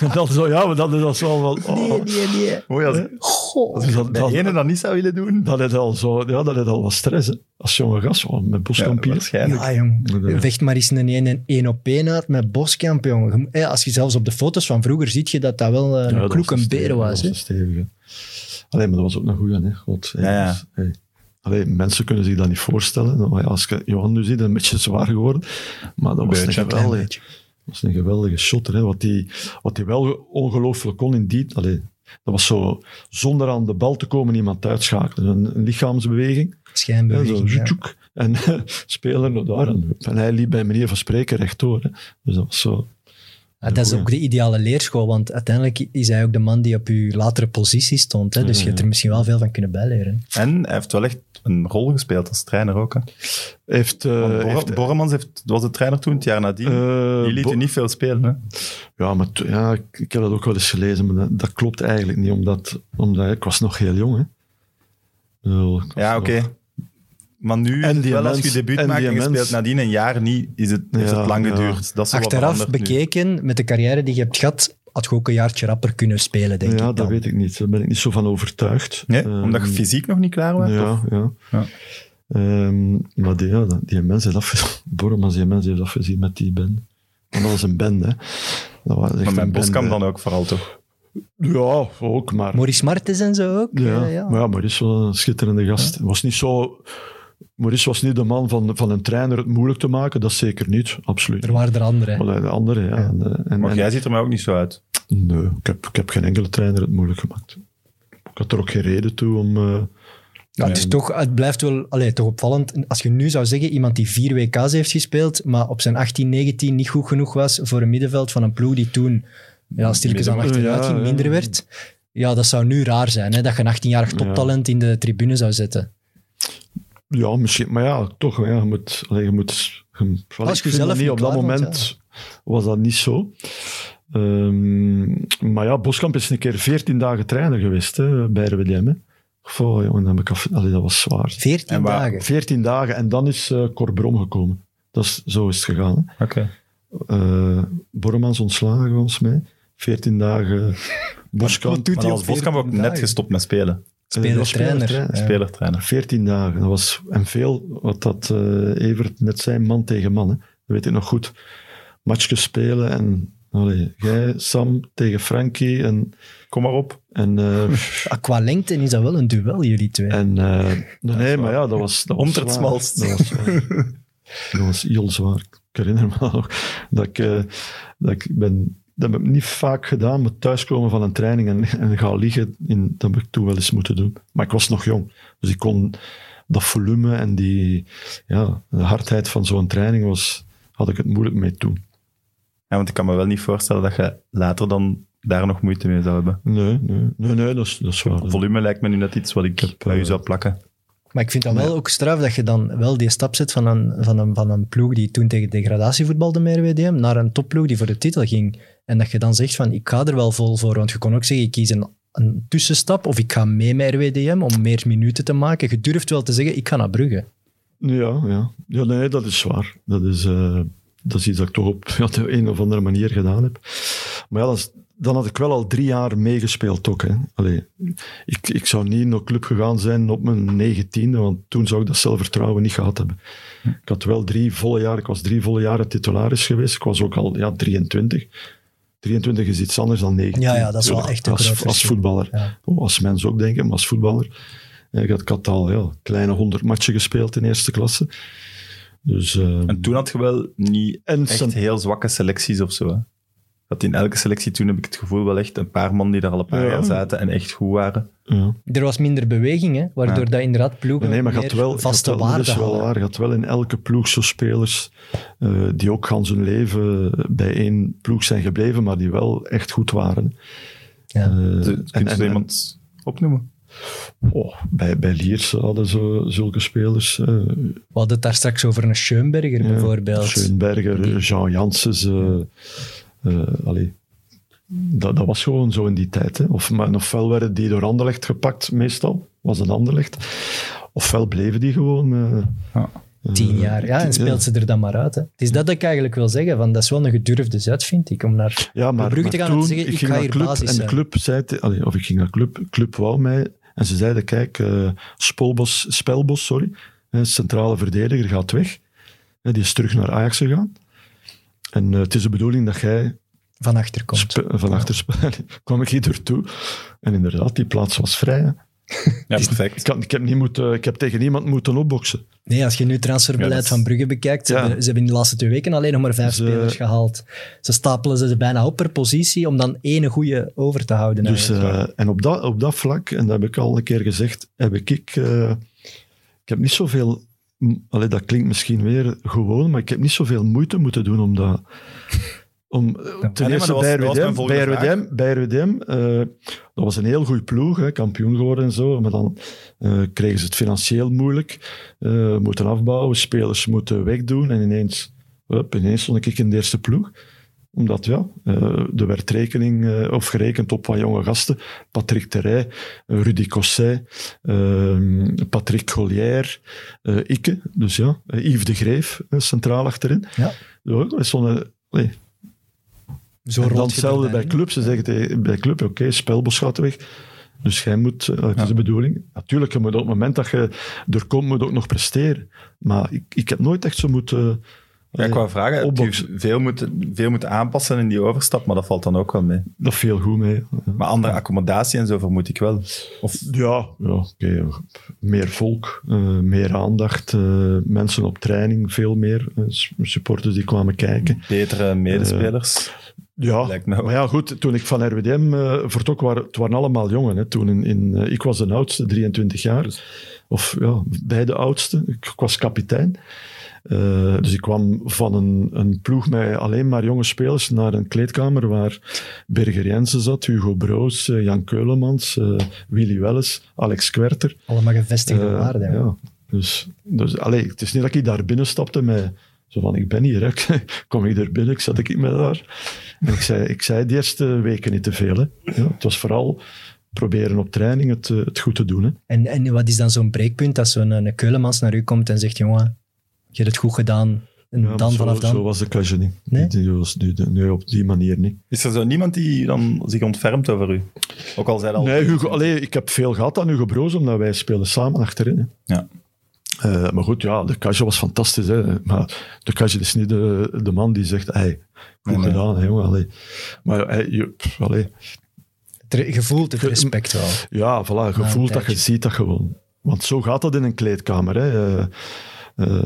[SPEAKER 4] En dan zo, ja, maar dat is dat zo van, oh.
[SPEAKER 2] nee, nee.
[SPEAKER 1] Oei, als
[SPEAKER 2] Goh.
[SPEAKER 4] Dus dat,
[SPEAKER 1] de
[SPEAKER 4] dat,
[SPEAKER 1] ene dat niet zou willen doen,
[SPEAKER 4] dat is al zo, ja, dat is al wat stress, hè. Als jonge gast, oh, met boskampioen.
[SPEAKER 1] waarschijnlijk.
[SPEAKER 2] Ja, jong.
[SPEAKER 4] Ja.
[SPEAKER 2] Vecht maar eens een 1 en 1 op 1 uit met Boskamp, jongen. Je moet- eh, Als je zelfs op de foto's van vroeger ziet je dat dat wel eh, een
[SPEAKER 4] dat
[SPEAKER 2] kloek
[SPEAKER 4] was
[SPEAKER 2] en
[SPEAKER 4] een
[SPEAKER 2] beren
[SPEAKER 4] stevige,
[SPEAKER 2] was.
[SPEAKER 4] dat
[SPEAKER 2] hè.
[SPEAKER 4] een stevige. Allee, maar dat was ook een goeie, hè. God, hè,
[SPEAKER 1] Ja, ja.
[SPEAKER 4] dus, hey. Allee, mensen kunnen zich dat niet voorstellen. Maar ja, als ik Johan nu zie, dan is het een beetje zwaar geworden. Maar dat was
[SPEAKER 1] Beetje,
[SPEAKER 4] een
[SPEAKER 1] een
[SPEAKER 2] Klein
[SPEAKER 4] geweldige,
[SPEAKER 2] beetje.
[SPEAKER 4] dat was een geweldige shotter. Hè. Wat die, wat die wel ongelooflijk kon in die... Allee, dat was zo, zonder aan de bal te komen, iemand uitschakelen. Een, een lichaamsbeweging. Ja, zo,
[SPEAKER 2] Schijnbeweging. ja.
[SPEAKER 4] zoetjoek. En spelen naar daar. En, en hij liep bij manier van spreken rechtdoor. Hè. Dus dat was zo...
[SPEAKER 2] Ja, Ah, dat is
[SPEAKER 4] Ja.
[SPEAKER 2] ook de ideale leerschool, want uiteindelijk is hij ook de man die op je latere positie stond. Hè? Dus je hebt er misschien wel veel van kunnen bijleren.
[SPEAKER 1] En hij heeft wel echt een rol gespeeld als trainer ook. Hè.
[SPEAKER 4] Heeft, eh,
[SPEAKER 1] Want Borre-
[SPEAKER 4] heeft,
[SPEAKER 1] Borremans heeft, was de trainer toen, het jaar nadien.
[SPEAKER 4] eh,
[SPEAKER 1] Die liet
[SPEAKER 4] Bo-
[SPEAKER 1] u niet veel spelen. Hè?
[SPEAKER 4] Ja, maar t- ja, ik, ik heb dat ook wel eens gelezen, maar dat, dat klopt eigenlijk niet, omdat, omdat ik was nog heel jong. Hè. Ik bedoel, ik was
[SPEAKER 1] Ja,
[SPEAKER 4] nog-
[SPEAKER 1] oké. Maar nu,
[SPEAKER 4] En die
[SPEAKER 1] wel als je
[SPEAKER 4] mens-
[SPEAKER 1] debuut
[SPEAKER 4] en
[SPEAKER 1] maakt
[SPEAKER 4] die
[SPEAKER 1] en je
[SPEAKER 4] mens-
[SPEAKER 1] speelt nadien een jaar niet, is het, heeft
[SPEAKER 4] Ja,
[SPEAKER 1] het lang
[SPEAKER 4] ja.
[SPEAKER 1] geduurd. Dat is wel wat
[SPEAKER 2] Achteraf
[SPEAKER 1] veranderd nu.
[SPEAKER 2] bekeken, met de carrière die je hebt gehad, had je ook een jaartje rapper kunnen spelen, denk
[SPEAKER 4] Ja,
[SPEAKER 2] ik.
[SPEAKER 4] dat
[SPEAKER 2] Dan.
[SPEAKER 4] weet ik niet. Daar ben ik niet zo van overtuigd.
[SPEAKER 1] Nee,
[SPEAKER 4] Ehm,
[SPEAKER 1] omdat je fysiek nog niet klaar was?
[SPEAKER 4] Ja, ja.
[SPEAKER 1] Ja.
[SPEAKER 4] Ehm, maar die, ja, die mens heeft afgezien. Bormans, die mens heeft afgezien met die band. Want dat was een band, hè. Dat was echt
[SPEAKER 1] Maar
[SPEAKER 4] een
[SPEAKER 1] met Boskamp
[SPEAKER 4] bende.
[SPEAKER 1] dan ook vooral, toch?
[SPEAKER 4] Ja, ook, maar...
[SPEAKER 2] Maurice Martens en zo ook.
[SPEAKER 4] Ja,
[SPEAKER 2] eh, ja.
[SPEAKER 4] Maar ja, maar hij is wel een schitterende gast. Het was niet zo Maurice was niet de man van, van een trainer het moeilijk te maken, dat zeker niet, absoluut.
[SPEAKER 2] Er waren er anderen. hè.
[SPEAKER 4] Maar de andere, ja. En, eh, en-
[SPEAKER 1] Maar
[SPEAKER 4] en-
[SPEAKER 1] jij ziet er mij ook niet zo uit.
[SPEAKER 4] Nee, ik heb, ik heb geen enkele trainer het moeilijk gemaakt. Ik had er ook geen reden toe om... eh,
[SPEAKER 2] Ja, het, is toch, het blijft wel allee, toch opvallend. En Als je nu zou zeggen, iemand die vier WK's heeft gespeeld, maar op zijn 18, 19 niet goed genoeg was voor een middenveld van een ploeg die toen ja, stilletjes aan
[SPEAKER 4] Middenveld,
[SPEAKER 2] achteruit
[SPEAKER 4] ja,
[SPEAKER 2] ging,
[SPEAKER 4] ja.
[SPEAKER 2] minder werd. Ja, dat zou nu raar zijn, hè, dat je een 18-jarig toptalent in de tribune zou zetten.
[SPEAKER 4] Ja, misschien. Maar ja, toch. Ja, je moet, allee, je moet, je, moet- wel,
[SPEAKER 2] Als
[SPEAKER 4] ik
[SPEAKER 2] je
[SPEAKER 4] vind
[SPEAKER 2] zelf
[SPEAKER 4] dat
[SPEAKER 2] niet
[SPEAKER 4] niet, op dat
[SPEAKER 2] klaar bent,
[SPEAKER 4] moment was dat niet zo. Ehm, maar ja, Boskamp is een keer 14 dagen trainer geweest hè, bij RWDM. Hè. Goh, jongen, dat, heb ik af- allee, dat was zwaar.
[SPEAKER 2] 14
[SPEAKER 1] En waar-
[SPEAKER 2] dagen.
[SPEAKER 4] 14 dagen en dan is eh Corbrom gekomen. Dat is, zo is het gegaan. Hè.
[SPEAKER 1] Oké.
[SPEAKER 4] Eh, Bormans ontslagen volgens mij. 14 dagen Boskamp.
[SPEAKER 2] doet
[SPEAKER 1] Maar als Boskamp ook net gestopt met spelen.
[SPEAKER 4] eh,
[SPEAKER 2] Speler,
[SPEAKER 4] was
[SPEAKER 2] trainer.
[SPEAKER 4] speler-trainer.
[SPEAKER 1] Spelertrainer.
[SPEAKER 4] 14 dagen. Dat was, en veel, wat dat eh, Evert net zei, man tegen man. Hè. Dat weet ik nog goed. Matchjes spelen en... Allee, jij, Sam, tegen Frankie en...
[SPEAKER 1] Kom maar op.
[SPEAKER 4] en, eh,
[SPEAKER 2] Ah, Qua lengte is dat wel een duel, jullie twee.
[SPEAKER 4] en eh, nee, nee, maar ja, dat was... Dat was
[SPEAKER 1] Onder het
[SPEAKER 4] zwaar.
[SPEAKER 1] smalst.
[SPEAKER 4] Dat was, zwaar. dat was heel zwaar. Ik herinner me nog dat ik... eh, dat ik ben... Dat heb ik niet vaak gedaan, maar thuiskomen van een training en, en gaan liggen, in, dat heb ik toen wel eens moeten doen. Maar ik was nog jong, dus ik kon dat volume en die ja, de hardheid van zo'n training was, had ik het moeilijk mee toen.
[SPEAKER 1] Ja, want ik kan me wel niet voorstellen dat je later dan daar nog moeite mee zou hebben.
[SPEAKER 4] Nee, nee, nee, nee dat, is, dat is waar.
[SPEAKER 1] Volume lijkt me nu net iets wat ik
[SPEAKER 4] heb,
[SPEAKER 1] bij u
[SPEAKER 4] eh,
[SPEAKER 1] zou plakken.
[SPEAKER 2] Maar ik vind dat wel ook straf dat je dan wel die stap zet van een, van een, van een ploeg die toen tegen degradatie voetbalde met RWDM naar een topploeg die voor de titel ging. En dat je dan zegt van ik ga er wel vol voor, want je kon ook zeggen ik kies een, een tussenstap of ik ga mee met RWDM om meer minuten te maken. Je durft wel te zeggen ik ga naar Brugge.
[SPEAKER 4] Ja, ja. ja nee, dat is waar. Dat is, eh, dat is iets dat ik toch op ja, de een of andere manier gedaan heb. Maar ja, dat is- dan had ik wel al drie jaar meegespeeld ook. Hè. Allee, ik, ik zou niet naar club gegaan zijn op mijn negentiende, want toen zou ik dat zelfvertrouwen niet gehad hebben. Ik had wel drie volle jaren, ik was drie volle jaren titularis geweest. Ik was ook al ja, 23. 23 is iets anders dan 19.
[SPEAKER 2] Ja, ja, dat is wel
[SPEAKER 4] Tuurlijk,
[SPEAKER 2] echt een
[SPEAKER 4] als,
[SPEAKER 2] groot
[SPEAKER 4] als
[SPEAKER 2] verschil.
[SPEAKER 4] voetballer.
[SPEAKER 2] Ja.
[SPEAKER 4] Oh, als mens ook, denk ik, maar als voetballer. Ja, Ik had, ik had al ja, kleine 100 matchen gespeeld in eerste klasse. Dus, ehm,
[SPEAKER 1] En toen had je wel niet
[SPEAKER 4] en
[SPEAKER 1] echt
[SPEAKER 4] cent-
[SPEAKER 1] heel zwakke selecties of zo. hè? Dat in elke selectie toen heb ik het gevoel wel echt een paar man die daar al een paar
[SPEAKER 4] Ja.
[SPEAKER 1] jaar zaten en echt goed waren.
[SPEAKER 4] ja.
[SPEAKER 2] Er was minder beweging, hè, waardoor
[SPEAKER 1] Ja.
[SPEAKER 2] dat inderdaad ploegen
[SPEAKER 4] Nee, maar je had
[SPEAKER 2] meer
[SPEAKER 4] wel,
[SPEAKER 2] vaste
[SPEAKER 4] je had wel,
[SPEAKER 2] waarden
[SPEAKER 4] dat is wel
[SPEAKER 2] hadden.
[SPEAKER 4] waar. Je had wel in elke ploeg zo spelers eh, die ook gans hun leven bij één ploeg zijn gebleven, maar die wel echt goed waren.
[SPEAKER 2] Ja.
[SPEAKER 4] Eh,
[SPEAKER 1] Dus
[SPEAKER 4] en-
[SPEAKER 1] kun je
[SPEAKER 4] en-
[SPEAKER 1] zo
[SPEAKER 4] en-
[SPEAKER 1] iemand opnoemen?
[SPEAKER 4] oh, bij, bij Liers hadden ze zulke spelers. eh,
[SPEAKER 2] We hadden het daar straks over een Schoenberger
[SPEAKER 4] Ja,
[SPEAKER 2] bijvoorbeeld.
[SPEAKER 4] Schoenberger, Jean Janssens. eh, eh, allee. Dat, dat was gewoon zo in die tijd. Hè. Of, maar ofwel werden die door Anderlecht gepakt, meestal. Was het Anderlecht. Ofwel bleven die gewoon... eh,
[SPEAKER 1] Ja.
[SPEAKER 4] eh,
[SPEAKER 2] Tien jaar, ja, en
[SPEAKER 4] tien-
[SPEAKER 2] speelt ze er dan maar uit. Hè. Het is dat ik eigenlijk wil zeggen, van, dat is wel een gedurfde zet, vind ik, om naar
[SPEAKER 4] Ja, maar,
[SPEAKER 2] Brugge
[SPEAKER 4] maar
[SPEAKER 2] te gaan en
[SPEAKER 4] toen,
[SPEAKER 2] te zeggen, ik
[SPEAKER 4] ging
[SPEAKER 2] ga
[SPEAKER 4] naar
[SPEAKER 2] hier
[SPEAKER 4] club,
[SPEAKER 2] basis
[SPEAKER 4] En de
[SPEAKER 2] zijn.
[SPEAKER 4] club zei... te- allee, of ik ging naar club, club wou mij... En ze zeiden, kijk, eh, Spolbos, Spelbos, sorry, hè, centrale verdediger, gaat weg. Hè, die is terug naar Ajax gegaan. En eh, het is de bedoeling dat jij
[SPEAKER 2] van achter komt.
[SPEAKER 4] Sp- van achter sp- kwam ik hier ertoe. En inderdaad, die plaats was vrij. hè.
[SPEAKER 1] Ja, perfect.
[SPEAKER 4] Ik, had- ik, heb niet moeten, ik heb tegen niemand moeten opboksen.
[SPEAKER 2] Nee, als je nu het transferbeleid
[SPEAKER 1] Ja, dat is-
[SPEAKER 2] van Brugge bekijkt, ze,
[SPEAKER 4] Ja.
[SPEAKER 2] hebben, ze hebben in de laatste twee weken alleen nog maar vijf
[SPEAKER 4] Ze-
[SPEAKER 2] spelers gehaald. Ze stapelen ze bijna op per positie om dan ene goede over te houden.
[SPEAKER 4] Dus,
[SPEAKER 2] eigenlijk.
[SPEAKER 4] eh, en op dat, op dat vlak, en dat heb ik al een keer gezegd, heb ik... Ik, eh, ik heb niet zoveel... m- Allee, dat klinkt misschien weer gewoon, maar ik heb niet zoveel moeite moeten doen om dat... Om, eh,
[SPEAKER 1] maar
[SPEAKER 4] ten eerste
[SPEAKER 1] dat was-
[SPEAKER 4] bij
[SPEAKER 1] dat was mijn
[SPEAKER 4] RWDM,
[SPEAKER 1] volgende
[SPEAKER 4] bij
[SPEAKER 1] vraag.
[SPEAKER 4] RWDM, bij RWDM eh, dat was een heel goede ploeg, hè, kampioen geworden en zo, maar dan eh, kregen ze het financieel moeilijk, eh, moeten afbouwen, spelers moeten wegdoen en ineens, hup, ineens stond ik in de eerste ploeg omdat ja, eh, er werd rekening eh, of gerekend op wat jonge gasten. Patrick Terrey, eh, Rudy Cosset, ehm, Patrick Collier, eh Ikke, dus ja, eh, Yves de Greef eh, centraal achterin.
[SPEAKER 2] Ja.
[SPEAKER 4] Zo, er stonden, eh, allee,
[SPEAKER 2] Zo
[SPEAKER 4] en
[SPEAKER 2] rolt
[SPEAKER 4] dan
[SPEAKER 2] je
[SPEAKER 4] hetzelfde
[SPEAKER 2] erbij
[SPEAKER 4] bij
[SPEAKER 2] in.
[SPEAKER 4] club. Ze zeggen tegen- bij club, oké, spelbos gaat weg. Dus jij moet, eh, het is de bedoeling. Natuurlijk, je moet op het moment dat je er komt, moet je ook nog presteren. Maar ik, ik heb nooit echt zo moeten
[SPEAKER 1] Ja, qua vragen, heb
[SPEAKER 4] opbod.
[SPEAKER 1] je veel moeten, veel moeten aanpassen in die overstap, maar dat valt dan ook wel mee.
[SPEAKER 4] Dat viel goed mee. Ja,
[SPEAKER 1] Maar andere accommodatie en zo vermoed ik wel. Of
[SPEAKER 4] ja, ja oké. meer volk, eh, meer aandacht, eh, mensen op training, veel meer eh, s- supporters die kwamen kijken.
[SPEAKER 1] betere medespelers.
[SPEAKER 4] Ja,
[SPEAKER 1] Lijkt me wel.
[SPEAKER 4] maar ja, goed, toen ik van RWDM eh, vertrok, waren, het waren allemaal jongen. Hè. Toen in, in, eh, ik was de oudste, 23 jaar.
[SPEAKER 1] Dus-
[SPEAKER 4] Of ja, bij de oudste. Ik, ik was kapitein. Eh, dus ik kwam van een, een ploeg met alleen maar jonge spelers naar een kleedkamer waar Berger Jensen zat, Hugo Broos, eh, Jan Keulemans, eh, Willy Welles, Alex Kwerter.
[SPEAKER 2] Allemaal gevestigde
[SPEAKER 4] Eh,
[SPEAKER 2] waarden. hè.
[SPEAKER 4] Ja, dus, dus allee, het is niet dat ik daar binnen stapte met zo van, ik ben hier, hè. kom ik er binnen, ik zat ik met daar. En ik zei, ik zei de eerste weken niet te veel. Hè. Ja, het was vooral proberen op training het, eh, het goed te doen. Hè.
[SPEAKER 2] En, en wat is dan zo'n breekpunt als zo'n eh, een Keulemans naar u komt en zegt, jongen, je hebt het goed gedaan. En
[SPEAKER 4] Ja,
[SPEAKER 2] dan
[SPEAKER 4] zo,
[SPEAKER 2] vanaf dan.
[SPEAKER 4] Zo was de keuze niet.
[SPEAKER 2] Nee?
[SPEAKER 4] Die was nu, de- nu op die manier niet.
[SPEAKER 1] Is er zo niemand die dan zich ontfermt over u? Ook al zei dat al.
[SPEAKER 4] Nee, Hugo, allee, ik heb veel gehad aan Hugo Broos, omdat wij spelen samen achterin. hè.
[SPEAKER 1] Ja.
[SPEAKER 4] Eh, maar goed, ja, de Kajje was fantastisch. Hè. Maar de Kajje is niet de, de man die zegt, hey, goed
[SPEAKER 1] Nee, nee.
[SPEAKER 4] gedaan, hè, jongen. allee." Maar hey, je, pff, allee.
[SPEAKER 2] Het re- gevoeld het respect wel.
[SPEAKER 4] ja, voilà, je voelt dat, je
[SPEAKER 2] tijdje.
[SPEAKER 4] ziet dat gewoon. Want zo gaat dat in een kleedkamer. Hè. Eh, eh,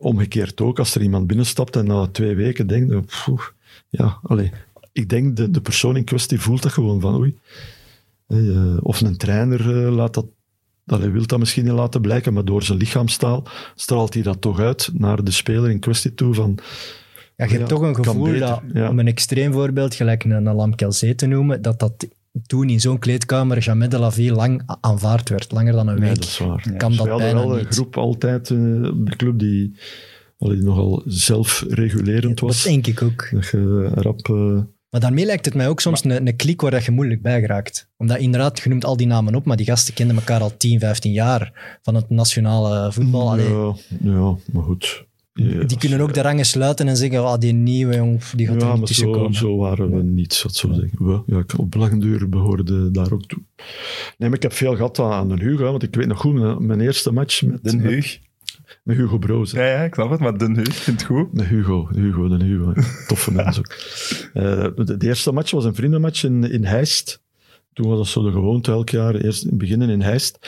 [SPEAKER 4] omgekeerd ook, als er iemand binnenstapt en na twee weken denkt, eh, pff, ja, allee. Ik denk, de, de persoon in kwestie voelt dat gewoon van, oei. Hey, eh, of een trainer eh, laat dat, allee, wil dat misschien niet laten blijken, maar door zijn lichaamstaal straalt hij dat toch uit naar de speler in kwestie toe van,
[SPEAKER 2] Ja, je hebt
[SPEAKER 4] Ja,
[SPEAKER 2] toch een
[SPEAKER 4] kan
[SPEAKER 2] gevoel
[SPEAKER 4] beter,
[SPEAKER 2] dat,
[SPEAKER 4] ja.
[SPEAKER 2] om een extreem voorbeeld, gelijk een, een Lam Kelzee te noemen, dat dat toen in zo'n kleedkamer Jamet de Lavie lang a- aanvaard werd, langer dan een
[SPEAKER 4] nee,
[SPEAKER 2] week.
[SPEAKER 4] dat is waar.
[SPEAKER 2] kan
[SPEAKER 4] Dus
[SPEAKER 2] dat
[SPEAKER 4] we hadden
[SPEAKER 2] bijna
[SPEAKER 4] wel een
[SPEAKER 2] niet.
[SPEAKER 4] groep altijd, eh, op de club die, allee, die nogal zelfregulerend
[SPEAKER 2] dat
[SPEAKER 4] was.
[SPEAKER 2] denk ik ook.
[SPEAKER 4] Dat je rap... eh,
[SPEAKER 2] Maar daarmee lijkt het mij ook soms een, een klik waar dat je moeilijk bij geraakt. Omdat inderdaad, je noemt al die namen op, maar die gasten kenden elkaar al 10, 15 jaar van het nationale voetbal. Allee,
[SPEAKER 4] Mm, ja, ja, maar goed. Ja,
[SPEAKER 2] die kunnen ook de rangen sluiten en zeggen, ah die nieuwe jong, die gaat
[SPEAKER 4] ja,
[SPEAKER 2] er niet
[SPEAKER 4] maar
[SPEAKER 2] tussen
[SPEAKER 4] zo,
[SPEAKER 2] komen.
[SPEAKER 4] zo waren we niet, zou ik zo zeggen. We, ja, ik, op lange duur behoorde daar ook toe. Nee, maar ik heb veel gehad aan, aan de Hugo, hè, want ik weet nog goed, mijn, mijn eerste match met,
[SPEAKER 1] Den
[SPEAKER 4] met,
[SPEAKER 1] Huug.
[SPEAKER 4] met Hugo Broos. hè.
[SPEAKER 1] Ja, ja, ik snap het, maar Den Huug vindt het goed.
[SPEAKER 4] De Hugo, de Hugo, de Hugo. Toffe mens ook. Eh, de, de eerste match was een vriendenmatch in, in Heist. Toen was dat zo de gewoonte elk jaar, eerst beginnen in Heist.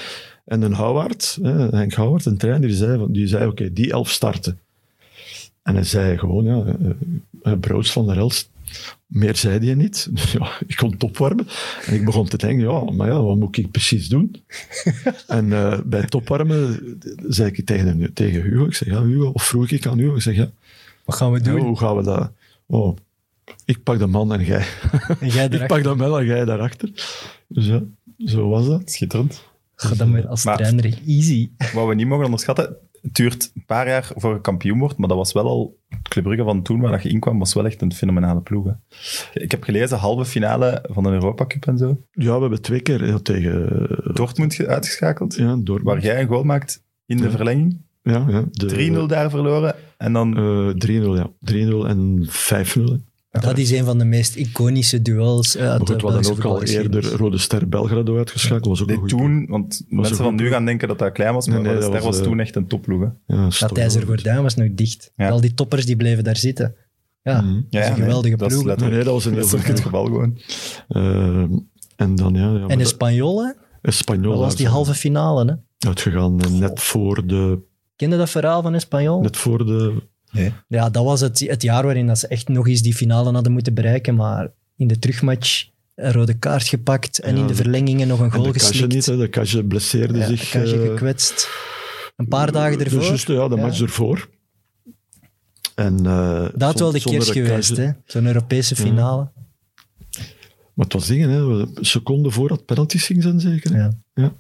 [SPEAKER 4] En een Houwaard, hè, Henk Houwaard, een trainer, die zei, van- die zei oké, die elf starten. En hij zei gewoon, ja, eh, eh, Broods van der Elst, meer zei hij niet. Dus ja, ik kon het opwarmen. En ik begon te denken, ja, maar ja, wat moet ik precies doen? en eh, bij het opwarmen eh, zei ik tegen, hem- tegen Hugo, ik zeg, ja, Hugo, of vroeg ik aan Hugo, ik zeg, ja,
[SPEAKER 2] Wat gaan we
[SPEAKER 4] ja,
[SPEAKER 2] doen?
[SPEAKER 4] hoe gaan we dat? Oh, ik pak de man en jij.
[SPEAKER 2] En jij
[SPEAKER 4] Ik
[SPEAKER 2] erachter,
[SPEAKER 4] pak de man en jij daarachter. Dus ja, zo was dat.
[SPEAKER 1] Schitterend.
[SPEAKER 2] Goh, dan moet je als
[SPEAKER 1] Maar-
[SPEAKER 2] trainer easy.
[SPEAKER 1] Wat we niet mogen onderschatten, het duurt een paar jaar voor je kampioen wordt, maar dat was wel al... Club Brugge van toen, waar dat je inkwam, was wel echt een fenomenale ploeg. hè. Ik heb gelezen, halve finale van de Europa Cup en zo.
[SPEAKER 4] Ja, we hebben twee keer ja, tegen eh,
[SPEAKER 1] Dortmund ge- uitgeschakeld,
[SPEAKER 4] ja, Dortmund.
[SPEAKER 1] waar jij een goal maakt in de
[SPEAKER 4] Ja.
[SPEAKER 1] verlenging.
[SPEAKER 4] Ja, ja, de-
[SPEAKER 1] 3-0 daar verloren en dan...
[SPEAKER 4] eh, 3-0, ja. 3-0 en 5-0. hè.
[SPEAKER 2] Dat is een van de meest iconische duels eh, uit
[SPEAKER 4] Maar
[SPEAKER 2] de
[SPEAKER 4] goed, we hadden
[SPEAKER 2] Belgische
[SPEAKER 4] ook al
[SPEAKER 2] voetbalgeschiedenis.
[SPEAKER 4] eerder Rode Ster Belgrado uitgeschakeld. was ook een
[SPEAKER 1] Nee,
[SPEAKER 4] goede
[SPEAKER 1] toen, want mensen
[SPEAKER 4] een
[SPEAKER 1] van
[SPEAKER 4] goed
[SPEAKER 1] nu gaan denken dat dat klein was, maar
[SPEAKER 4] Nee, nee,
[SPEAKER 1] de
[SPEAKER 4] dat
[SPEAKER 1] Ster was,
[SPEAKER 4] was, eh,
[SPEAKER 1] toen echt een topploeg. hè.
[SPEAKER 4] ploeg. Ja,
[SPEAKER 2] Dat
[SPEAKER 4] stom.
[SPEAKER 2] ijzeren gordijn was nog dicht.
[SPEAKER 1] Ja.
[SPEAKER 2] Al die toppers die bleven daar zitten. Ja,
[SPEAKER 4] Mhm.
[SPEAKER 2] dat is een
[SPEAKER 1] nee,
[SPEAKER 2] geweldige
[SPEAKER 1] dat is
[SPEAKER 2] ploeg.
[SPEAKER 1] letterlijk-
[SPEAKER 4] Nee, nee, dat was een heel
[SPEAKER 1] Dat is ook
[SPEAKER 4] goed
[SPEAKER 1] het geval gewoon.
[SPEAKER 4] Eh, en dan, ja, ja
[SPEAKER 2] En Espanyol, hè?
[SPEAKER 4] Espanol
[SPEAKER 2] dat was die halve finale. Hè?
[SPEAKER 4] uitgegaan. eh, Net voor de...
[SPEAKER 2] Ken je dat verhaal van Espanyol?
[SPEAKER 4] Net voor de
[SPEAKER 2] Ja, dat was het, het jaar waarin dat ze echt nog eens die finale hadden moeten bereiken. Maar in de terugmatch een rode kaart gepakt en
[SPEAKER 4] Ja,
[SPEAKER 2] in de
[SPEAKER 4] de-
[SPEAKER 2] verlengingen nog een
[SPEAKER 4] en
[SPEAKER 2] goal
[SPEAKER 4] de Kaje
[SPEAKER 2] geslikt.
[SPEAKER 4] niet, hè. de Kaje blesseerde
[SPEAKER 2] Ja,
[SPEAKER 4] zich.
[SPEAKER 2] Kaasje
[SPEAKER 4] eh,
[SPEAKER 2] gekwetst. Een paar dagen
[SPEAKER 4] Dus
[SPEAKER 2] ervoor.
[SPEAKER 4] juist, ja, de
[SPEAKER 2] Ja.
[SPEAKER 4] match ervoor. En, eh,
[SPEAKER 2] dat had wel de
[SPEAKER 4] zonder Mhm.
[SPEAKER 2] kerst
[SPEAKER 4] een
[SPEAKER 2] geweest,
[SPEAKER 4] kaasje.
[SPEAKER 2] hè? Zo'n Europese
[SPEAKER 4] Ja.
[SPEAKER 2] finale.
[SPEAKER 4] Maar het was dingen, hè. seconden voordat penalties gingen zijn zeker. hè?
[SPEAKER 2] Ja.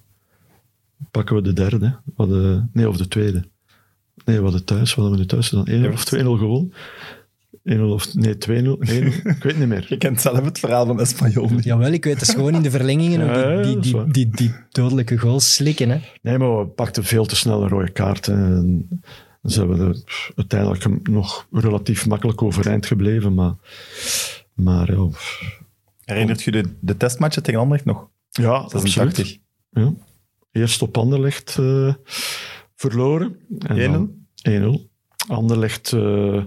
[SPEAKER 4] Pakken we de derde, hè. we hadden, nee, of de tweede. Nee, we hadden thuis, we hadden we nu thuis dan 1-0 of 2-0 gewonnen. 1-0 of, nee, 2-0, 1-0, ik weet niet meer.
[SPEAKER 1] Je kent zelf het verhaal van Espanyol niet.
[SPEAKER 2] Jawel, ik weet het. is gewoon in de verlengingen nog
[SPEAKER 4] Ja, ja,
[SPEAKER 2] die, die,
[SPEAKER 4] dat is
[SPEAKER 2] die,
[SPEAKER 4] waar.
[SPEAKER 2] die, die dodelijke goals slikken. Hè?
[SPEAKER 4] Nee, maar we pakten veel te snel een rode kaart. hè. En ze hebben er pff, uiteindelijk hem nog relatief makkelijk overeind gebleven, maar... Maar ja, pff.
[SPEAKER 1] Herinnert je de, de testmatchen tegen Anderlecht nog?
[SPEAKER 4] ja absoluut.
[SPEAKER 1] 86.
[SPEAKER 4] Ja. Eerst op Anderlecht eh, verloren. En dan 1-0. Anderlecht eh,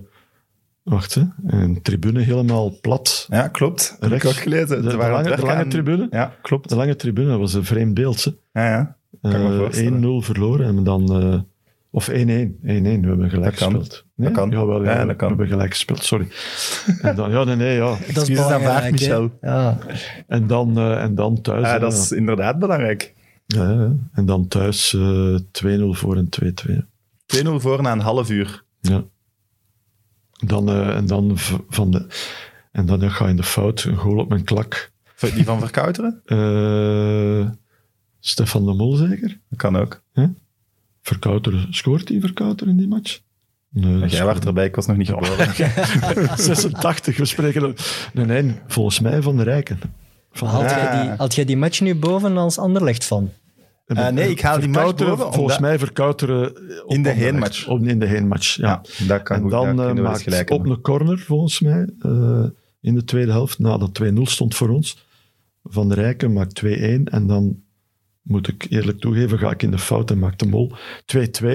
[SPEAKER 4] Wacht, hè. Een tribune helemaal plat.
[SPEAKER 1] Ja, klopt. Dat heb ik
[SPEAKER 4] Rechts.
[SPEAKER 1] ook gelezen.
[SPEAKER 4] De,
[SPEAKER 1] Ze
[SPEAKER 4] de
[SPEAKER 1] waren aan
[SPEAKER 4] lange,
[SPEAKER 1] het
[SPEAKER 4] de
[SPEAKER 1] werken
[SPEAKER 4] lange
[SPEAKER 1] aan-
[SPEAKER 4] tribune.
[SPEAKER 1] Ja, klopt.
[SPEAKER 4] De lange tribune dat was een vreemd beeld. hè.
[SPEAKER 1] Ja, ja. Kan ik me
[SPEAKER 4] Eh,
[SPEAKER 1] voorstellen.
[SPEAKER 4] 1-0 verloren en dan... eh, of 1-1. 1-1, we hebben gelijk
[SPEAKER 1] Dat kan.
[SPEAKER 4] gespeeld.
[SPEAKER 1] Dat kan.
[SPEAKER 4] Jawel,
[SPEAKER 1] Ja,
[SPEAKER 4] ja,
[SPEAKER 1] dat
[SPEAKER 4] we
[SPEAKER 1] kan.
[SPEAKER 4] hebben gelijk gespeeld, sorry. en dan, ja, nee, nee, ja.
[SPEAKER 2] Dat is
[SPEAKER 1] Excuses aanvaard,
[SPEAKER 2] belangrijk, hè.
[SPEAKER 1] Michel.
[SPEAKER 2] Ja.
[SPEAKER 4] En dan, eh, en dan thuis.
[SPEAKER 1] Ja,
[SPEAKER 4] hè,
[SPEAKER 1] dat is inderdaad belangrijk. 2-0
[SPEAKER 4] ja, ja, ja. En dan thuis eh, 2-0 voor en 2-2.
[SPEAKER 1] voor na een half uur.
[SPEAKER 4] Ja. Dan, eh, en dan, v- van de, en dan ja, ga je in de fout, een goal op mijn klak.
[SPEAKER 1] Die van Verkouteren?
[SPEAKER 4] Eh, Stefan de Mol zeker?
[SPEAKER 1] Dat kan ook.
[SPEAKER 4] Verkouter, scoort hij Verkouter in die match? Nee, dat
[SPEAKER 1] Jij
[SPEAKER 4] scoort-
[SPEAKER 1] werd erbij, ik was nog niet geboren.
[SPEAKER 4] 86, we spreken... er- Nee, nee, volgens mij Van de Rijken. Van
[SPEAKER 2] Had,
[SPEAKER 1] Ah.
[SPEAKER 2] jij die, had jij die match nu boven als Anderlecht van?
[SPEAKER 1] Eh, nee, ik haal die match
[SPEAKER 4] Verkouteren,
[SPEAKER 1] boven, omdat-
[SPEAKER 4] Volgens mij Verkouter...
[SPEAKER 1] In de heenmatch.
[SPEAKER 4] In de heenmatch, ja.
[SPEAKER 1] Ja, dat kan
[SPEAKER 4] en
[SPEAKER 1] goed.
[SPEAKER 4] dan
[SPEAKER 1] daar
[SPEAKER 4] eh,
[SPEAKER 1] kunnen we eens
[SPEAKER 4] maakt
[SPEAKER 1] gelijk
[SPEAKER 4] op
[SPEAKER 1] hebben.
[SPEAKER 4] een corner, volgens mij, eh, in de tweede helft, nadat 2-0 stond voor ons, Van der Rijken maakt 2-1 en dan moet ik eerlijk toegeven, ga ik in de fout en maak de mol 2-2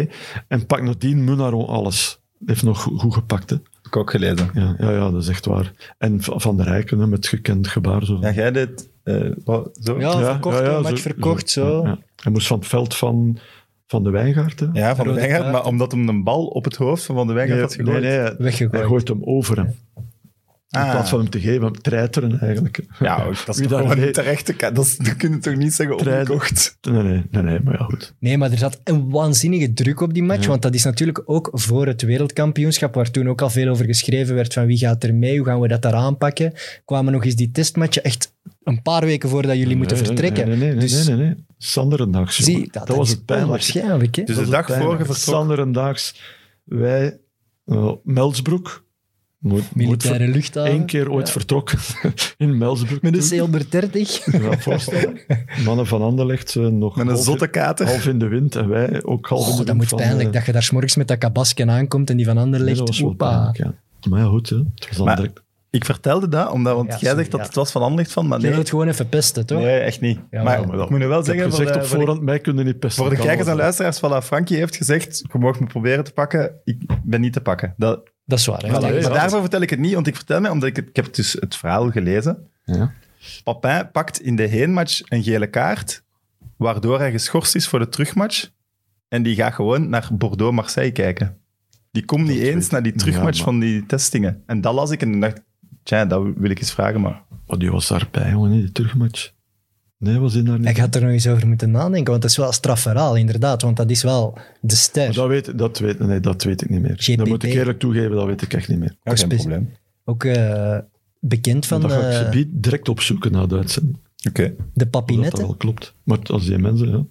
[SPEAKER 4] en pak nadien Munaron alles. Heeft nog goed, goed gepakt, hè.
[SPEAKER 1] Heb ik ook gelezen.
[SPEAKER 4] Ja, ja, ja, dat is echt waar. En Va- Van der Rijken, hè, met gekend gebaar. Zo.
[SPEAKER 1] Ja, jij dit... eh, wat, zo?
[SPEAKER 2] Ja, Oh, verkocht, een match verkocht, zo.
[SPEAKER 4] ja, ja. Hij moest van het veld van, van de Wijngaard, hè.
[SPEAKER 1] Ja, Van de
[SPEAKER 2] Rode
[SPEAKER 1] Wenger,
[SPEAKER 2] kaart.
[SPEAKER 1] maar omdat hem een bal op het hoofd van Van de Wenger
[SPEAKER 4] Nee,
[SPEAKER 1] had gegooid.
[SPEAKER 4] nee, nee, hij
[SPEAKER 2] Weggegooid.
[SPEAKER 4] gooit hem over hem. In
[SPEAKER 1] Ah.
[SPEAKER 4] plaats van hem te geven, hem treiteren eigenlijk.
[SPEAKER 1] Ja,
[SPEAKER 2] oh,
[SPEAKER 1] ook, dat is
[SPEAKER 4] Wie
[SPEAKER 1] toch
[SPEAKER 4] dat
[SPEAKER 1] gewoon
[SPEAKER 4] weet.
[SPEAKER 1] terecht. Dat, is, dat kun je toch niet zeggen
[SPEAKER 4] Trein-
[SPEAKER 1] opgekocht?
[SPEAKER 4] Nee, nee, nee, nee, maar ja, goed.
[SPEAKER 2] Nee, maar er zat een waanzinnige druk op die match. Want dat is natuurlijk ook voor het wereldkampioenschap, waar toen ook al veel over geschreven werd van wie gaat er mee, hoe gaan we dat daar aanpakken. Kwamen nog eens die testmatchen echt een paar weken voordat jullie moeten
[SPEAKER 4] Nee, nee,
[SPEAKER 2] vertrekken.
[SPEAKER 4] Nee, nee, nee,
[SPEAKER 2] dus
[SPEAKER 4] nee, nee, nee. Sanderendaags,
[SPEAKER 2] zie,
[SPEAKER 4] jongen.
[SPEAKER 2] dat, dat
[SPEAKER 4] was
[SPEAKER 2] is
[SPEAKER 4] het pijnlijk.
[SPEAKER 2] onwaarschijnlijk, hè?
[SPEAKER 1] Dus de dag voor je vertrok...
[SPEAKER 4] Sanderendaags, wij, eh, Melsbroek, nooit, nooit ver-
[SPEAKER 2] Militaire luchthaven.
[SPEAKER 4] één keer ooit vertrokken in Melsbroek.
[SPEAKER 2] Met een
[SPEAKER 4] toen.
[SPEAKER 2] Sailbert 30.
[SPEAKER 4] Ja, voorstellen. Mannen van Anderlecht eh, nog
[SPEAKER 1] Met een
[SPEAKER 4] half-
[SPEAKER 1] zotte kater.
[SPEAKER 4] half in de wind en wij ook half in de
[SPEAKER 2] Oh,
[SPEAKER 4] wind.
[SPEAKER 2] dat moet
[SPEAKER 4] van,
[SPEAKER 2] pijnlijk.
[SPEAKER 4] eh,
[SPEAKER 2] Dat je daar s'morgens met dat kabasken aankomt en die van
[SPEAKER 4] nee,
[SPEAKER 2] Anderlecht.
[SPEAKER 4] dat was wel
[SPEAKER 2] Opa.
[SPEAKER 4] pijnlijk, ja. Maar ja, goed, hè. het was dan
[SPEAKER 1] Maar-
[SPEAKER 4] direct-
[SPEAKER 1] Ik vertelde dat, omdat, want
[SPEAKER 2] Ja,
[SPEAKER 1] jij
[SPEAKER 2] sorry,
[SPEAKER 1] zegt dat
[SPEAKER 2] ja.
[SPEAKER 1] het was van Anderlecht van, maar
[SPEAKER 2] Je wil
[SPEAKER 1] nee,
[SPEAKER 2] het gewoon even pesten, toch?
[SPEAKER 1] nee, echt niet.
[SPEAKER 2] Ja,
[SPEAKER 1] maar
[SPEAKER 2] maar
[SPEAKER 4] wel.
[SPEAKER 1] ik moet nu wel
[SPEAKER 4] Ik heb
[SPEAKER 1] zeggen, voor
[SPEAKER 4] gezegd
[SPEAKER 1] de,
[SPEAKER 4] op
[SPEAKER 1] voor de-
[SPEAKER 4] voorhand, mij kunnen niet pesten.
[SPEAKER 1] voor de
[SPEAKER 4] Kan
[SPEAKER 1] kijkers en
[SPEAKER 4] wel.
[SPEAKER 1] luisteraars, voilà, Frankie heeft gezegd, je mag me proberen te pakken, ik ben niet te pakken. Dat,
[SPEAKER 2] Dat is waar. hè?
[SPEAKER 1] Voilà.
[SPEAKER 2] Dat
[SPEAKER 4] ja,
[SPEAKER 2] is-
[SPEAKER 1] maar daarvoor vertel ik het niet, want ik vertel mij, omdat ik, het, ik heb dus het verhaal gelezen.
[SPEAKER 4] Ja.
[SPEAKER 1] Papin pakt in de heenmatch een gele kaart, waardoor hij geschorst is voor de terugmatch. En die gaat gewoon naar Bordeaux-Marseille kijken. Die komt niet
[SPEAKER 4] weet
[SPEAKER 1] eens
[SPEAKER 4] ik.
[SPEAKER 1] naar die terugmatch
[SPEAKER 4] Ja, maar-
[SPEAKER 1] van die testingen. En dat las ik en dacht, tja, dat wil ik eens vragen, maar...
[SPEAKER 4] Oh, die was daarbij, jongen, in die terugmatch. Nee, was die daar niet?
[SPEAKER 2] Ik had er nog eens over moeten nadenken, want dat is wel een straf verhaal, inderdaad. Want dat is wel de
[SPEAKER 4] Maar
[SPEAKER 2] ster.
[SPEAKER 4] dat weet, dat, weet, nee, dat weet ik niet meer.
[SPEAKER 2] GPP.
[SPEAKER 4] Dat moet ik eerlijk toegeven, dat weet ik echt niet meer.
[SPEAKER 1] Ja, geen
[SPEAKER 2] spe-
[SPEAKER 1] probleem.
[SPEAKER 2] Ook eh, bekend van
[SPEAKER 4] dat ga ik
[SPEAKER 2] eh,
[SPEAKER 4] gebied direct opzoeken na de uitzending. of
[SPEAKER 1] Oké.
[SPEAKER 2] de
[SPEAKER 4] Dat, dat
[SPEAKER 2] papinetten.
[SPEAKER 4] wel klopt. Maar als die mensen, ja,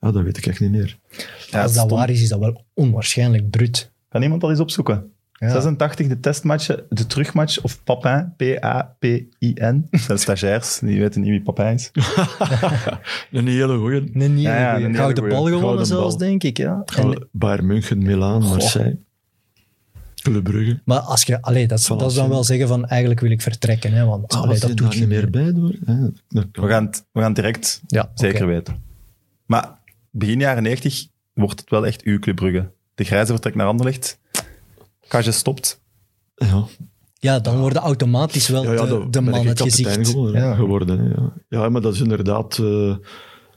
[SPEAKER 4] ja, dat weet ik echt niet meer.
[SPEAKER 1] Ja,
[SPEAKER 2] Als dat
[SPEAKER 1] stom.
[SPEAKER 2] waar is, is dat wel onwaarschijnlijk bruut.
[SPEAKER 1] Kan iemand dat eens opzoeken?
[SPEAKER 2] Ja.
[SPEAKER 1] 86, de testmatchen, de terugmatch of Papin, P-A-P-I-N. Dat zijn stagiairs, die weten niet wie Papin is.
[SPEAKER 4] Een hele goeie.
[SPEAKER 2] Nee, niet
[SPEAKER 1] Ja, ja, een
[SPEAKER 2] een
[SPEAKER 1] hele
[SPEAKER 2] gouden
[SPEAKER 1] goeie.
[SPEAKER 2] bal gewonnen,
[SPEAKER 4] Gouden
[SPEAKER 2] zelfs,
[SPEAKER 4] bal.
[SPEAKER 2] denk ik. Ja. En-
[SPEAKER 4] Bayern München, Milaan, Marseille, Club Brugge.
[SPEAKER 2] maar als je, allee, dat, is-
[SPEAKER 4] Van
[SPEAKER 2] dat is dan wel zeggen van eigenlijk wil ik vertrekken. Hè, want
[SPEAKER 4] Ah,
[SPEAKER 2] allee,
[SPEAKER 4] was
[SPEAKER 2] dat
[SPEAKER 4] die
[SPEAKER 2] doet
[SPEAKER 4] daar
[SPEAKER 2] je
[SPEAKER 4] niet meer bij door? Ja, dat kan.
[SPEAKER 1] We gaan het, we gaan het direct
[SPEAKER 2] Ja,
[SPEAKER 1] zeker
[SPEAKER 2] oké.
[SPEAKER 1] weten. Maar begin jaren 90 wordt het wel echt uw Club Brugge. De grijze vertrekt naar Anderlecht. Kaasje stopt.
[SPEAKER 4] Ja.
[SPEAKER 2] Ja, dan worden automatisch wel
[SPEAKER 4] Ja, ja,
[SPEAKER 2] de,
[SPEAKER 4] dat
[SPEAKER 2] de
[SPEAKER 4] ben
[SPEAKER 2] man
[SPEAKER 4] ik
[SPEAKER 2] het
[SPEAKER 4] kapitein
[SPEAKER 2] gezicht.
[SPEAKER 4] Geworden, hè,
[SPEAKER 2] Ja.
[SPEAKER 4] geworden hè, ja. ja, maar dat is inderdaad eh,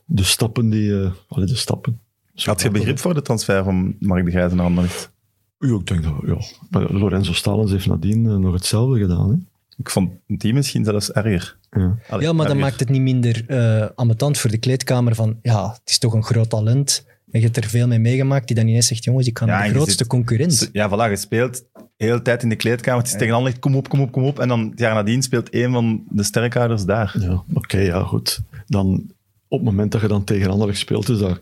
[SPEAKER 4] de stappen die... eh allee, de stappen. Zo
[SPEAKER 1] Had je
[SPEAKER 4] makkelijk.
[SPEAKER 1] begrip voor de transfer van Mark de Grijze naar Anderlecht?
[SPEAKER 4] Ja, ik denk dat, ja. Maar Lorenzo Stalens heeft nadien eh, nog hetzelfde gedaan.
[SPEAKER 1] Ik vond die misschien zelfs erger.
[SPEAKER 4] Hè? Ja.
[SPEAKER 1] Allee,
[SPEAKER 2] Ja, maar dat
[SPEAKER 1] erger.
[SPEAKER 2] maakt het niet minder eh ambetant voor de kleedkamer van ja, het is toch een groot talent. En je hebt er veel mee meegemaakt die dan ineens zegt, jongens, ik kan
[SPEAKER 1] Ja,
[SPEAKER 2] naar
[SPEAKER 1] en
[SPEAKER 2] de
[SPEAKER 1] je
[SPEAKER 2] grootste
[SPEAKER 1] zit-
[SPEAKER 2] concurrent.
[SPEAKER 1] Dus, Ja, voilà, gespeeld. De hele tijd in de kleedkamer. Het is tegen Anderlecht, kom op, kom op, kom op. En dan het jaar nadien speelt een van de sterkhouders daar.
[SPEAKER 4] Ja, oké, ja, goed. Dan, op het moment dat je dan tegen Anderlecht speelt, is dat...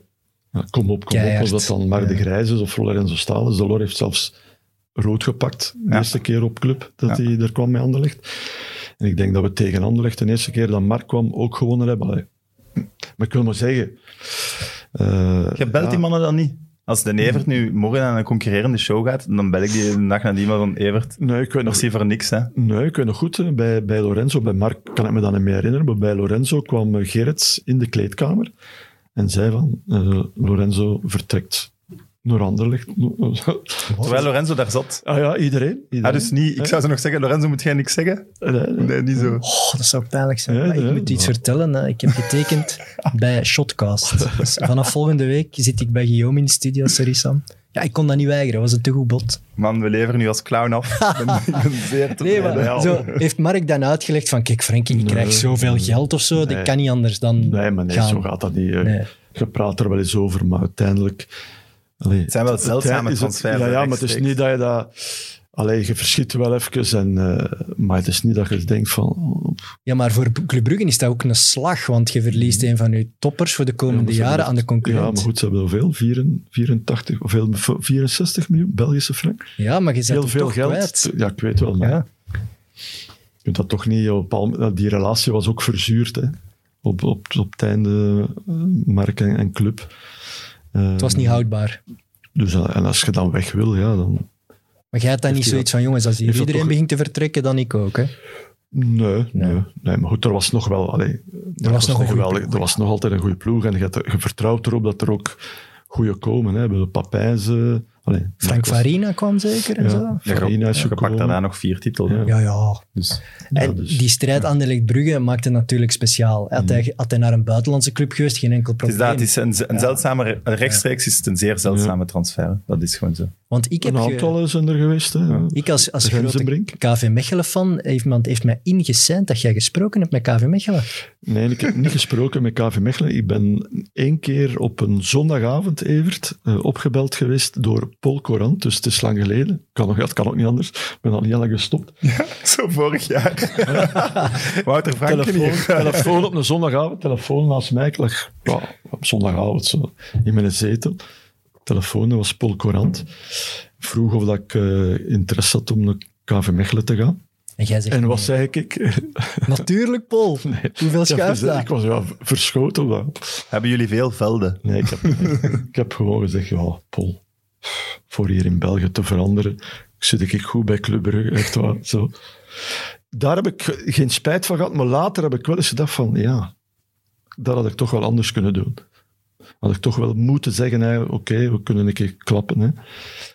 [SPEAKER 4] ja, kom op, kom
[SPEAKER 2] Keihard.
[SPEAKER 4] op. Of dat dan Mark de Grijs is of Lorenzo Stalens. De Lor heeft zelfs rood gepakt de
[SPEAKER 1] Ja.
[SPEAKER 4] eerste keer op club dat
[SPEAKER 1] Ja.
[SPEAKER 4] hij er kwam met Anderlecht. En ik denk dat we tegen Anderlecht de eerste keer dat Mark kwam ook gewonnen hebben. Allee, Maar ik wil maar zeggen... eh,
[SPEAKER 1] Je belt
[SPEAKER 4] ja,
[SPEAKER 1] die mannen dan niet. Als de Evert nu morgen aan een concurrerende show gaat, dan bel ik die de dag nadien maar van Evert.
[SPEAKER 4] Nee, ik weet nog,
[SPEAKER 1] Merci voor niks, hè.
[SPEAKER 4] Nee, ik weet nog goed. hè. Bij, bij Lorenzo, bij Mark kan ik me dat niet meer herinneren, maar bij Lorenzo kwam eh, Gerrits in de kleedkamer en zei van, eh, Lorenzo vertrekt Naar Anderlecht.
[SPEAKER 1] Terwijl Lorenzo daar zat.
[SPEAKER 4] ah ja, iedereen. iedereen.
[SPEAKER 1] Ah, dus niet, ik zou ze nog zeggen, Lorenzo, moet jij niks zeggen?
[SPEAKER 4] Nee, nee.
[SPEAKER 1] Nee, niet zo.
[SPEAKER 2] Oh, dat zou pijnlijk zijn.
[SPEAKER 4] Ja,
[SPEAKER 2] Maar ik
[SPEAKER 4] ja,
[SPEAKER 2] moet iets
[SPEAKER 4] maar-
[SPEAKER 2] vertellen. hè. Ik heb getekend bij Shotcast. Dus vanaf volgende week zit ik bij Guillaume in de studio, sorry Sam. Ja, ik kon dat niet weigeren. Dat was een te goed bod.
[SPEAKER 1] Man, we leveren nu als clown af. ik, ben, ik ben zeer
[SPEAKER 2] Nee,
[SPEAKER 1] tevreden.
[SPEAKER 2] maar
[SPEAKER 4] ja.
[SPEAKER 2] Eh, zo heeft Mark dan uitgelegd van, kijk Frankie, ik krijg
[SPEAKER 4] Nee.
[SPEAKER 2] zoveel geld of zo.
[SPEAKER 4] Nee.
[SPEAKER 2] Dat kan niet anders dan
[SPEAKER 4] Nee, maar nee,
[SPEAKER 2] gaan.
[SPEAKER 4] zo gaat dat niet. eh.
[SPEAKER 2] Nee.
[SPEAKER 4] Je praat er wel eens over, maar uiteindelijk... Allee, het
[SPEAKER 1] zijn wel zeldzame
[SPEAKER 4] is het-
[SPEAKER 1] transfers,
[SPEAKER 4] Ja,
[SPEAKER 1] hè,
[SPEAKER 4] ja, maar het is
[SPEAKER 1] rechtstreeks.
[SPEAKER 4] niet dat je dat... Allee, je verschiet wel even, en, eh, maar het is niet dat je denkt van... oh,
[SPEAKER 2] Ja, maar voor Club Brugge is dat ook een slag, want je verliest een van je toppers voor de
[SPEAKER 4] Mm. ja,
[SPEAKER 2] komende
[SPEAKER 4] maar ze
[SPEAKER 2] jaren
[SPEAKER 4] hebben-
[SPEAKER 2] aan de
[SPEAKER 4] Ja,
[SPEAKER 2] concurrent.
[SPEAKER 4] maar goed, ze hebben wel veel. 84, 84 of veel- 64 miljoen Belgische frank.
[SPEAKER 2] Ja, maar je zet
[SPEAKER 4] heel
[SPEAKER 2] hem
[SPEAKER 4] veel
[SPEAKER 2] toch
[SPEAKER 4] geld. eh,
[SPEAKER 2] kwijt.
[SPEAKER 4] Ja, ik weet wel, maar
[SPEAKER 2] Ja.
[SPEAKER 4] je kunt dat toch niet... Op, al- die relatie was ook verzuurd, hè. Op, op, op het einde, eh, Mark en, en club. Eh,
[SPEAKER 2] Het was
[SPEAKER 4] mm.
[SPEAKER 2] niet houdbaar.
[SPEAKER 4] Dus, eh, en als je dan weg wil, ja, dan...
[SPEAKER 2] Maar jij hebt dan
[SPEAKER 4] Heeft
[SPEAKER 2] niet
[SPEAKER 4] hij
[SPEAKER 2] zoiets van, jongens, als hier
[SPEAKER 4] heeft dat
[SPEAKER 2] iedereen
[SPEAKER 4] toch-
[SPEAKER 2] begint te vertrekken, dan ik ook. Hè?
[SPEAKER 4] Nee, nee.
[SPEAKER 2] Nee.
[SPEAKER 4] nee, Maar goed, er was nog wel... Allee, er
[SPEAKER 2] nog een goede ploeg,
[SPEAKER 4] Er was nog altijd een goede ploeg. En je, hebt- je vertrouwt erop dat er ook goede komen. Hè. Bij Papijzen... Allee,
[SPEAKER 2] Frank
[SPEAKER 4] dat was-
[SPEAKER 2] Farina kwam zeker en
[SPEAKER 4] Ja,
[SPEAKER 2] zo.
[SPEAKER 1] Ja,
[SPEAKER 4] Farina is
[SPEAKER 1] je pakt
[SPEAKER 4] gekomen.
[SPEAKER 1] daarna nog vier titels. hè.
[SPEAKER 4] Ja.
[SPEAKER 2] Ja, ja.
[SPEAKER 1] Dus
[SPEAKER 4] Ja, Mm.
[SPEAKER 2] en
[SPEAKER 4] dus-
[SPEAKER 2] die strijd aan de Brugge maakte het natuurlijk speciaal. Had, hij, had hij naar een buitenlandse club geweest, geen enkel
[SPEAKER 1] het is,
[SPEAKER 2] probleem.
[SPEAKER 1] dat, het is een, een zeldzame, re- rechtstreeks is het een zeer zeldzame transfer. Dat is gewoon zo.
[SPEAKER 2] Want ik heb
[SPEAKER 4] Een eh,
[SPEAKER 2] ge-
[SPEAKER 4] aantal zijn er geweest. Hè. Ja.
[SPEAKER 2] ik als, als grote
[SPEAKER 4] Gemzenbrink.
[SPEAKER 2] KV Mechelen-fan, heeft- iemand heeft mij ingeseind dat jij gesproken hebt met KV Mechelen.
[SPEAKER 4] Nee, ik heb niet gesproken met KV Mechelen. Ik ben één keer op een zondagavond, Evert, eh, opgebeld geweest door Paul Coran. Dus het is lang geleden. Kan nog, ja, het kan ook niet anders. Ik ben al niet lang gestopt.
[SPEAKER 1] Zo vorig jaar. Wouter Franken
[SPEAKER 4] Telefoon,
[SPEAKER 1] hier.
[SPEAKER 4] telefoon op een zondagavond. Telefoon naast mij. Ik lag ja, op zondagavond zo, in mijn zetel. Telefoon, dat was Paul Coran. Vroeg of dat ik eh, interesse had om naar KV Mechelen te gaan.
[SPEAKER 2] En jij zegt,
[SPEAKER 4] En wat zei ik?
[SPEAKER 2] natuurlijk Paul, hoeveel
[SPEAKER 4] Ja, dus, eh,
[SPEAKER 2] schuift dat?
[SPEAKER 4] ik was ja, verschoten. maar-
[SPEAKER 1] Hebben jullie veel velden?
[SPEAKER 4] Nee, ik heb, ik heb gewoon gezegd, ja, Paul, voor hier in België te veranderen, zit ik goed bij Club Brugge, echt waar. Zo. Daar heb ik ge- geen spijt van gehad, maar later heb ik wel eens gedacht van, ja, dat had ik toch wel anders kunnen doen. Had ik toch wel moeten zeggen, hè, oké, we kunnen een keer klappen. Hè.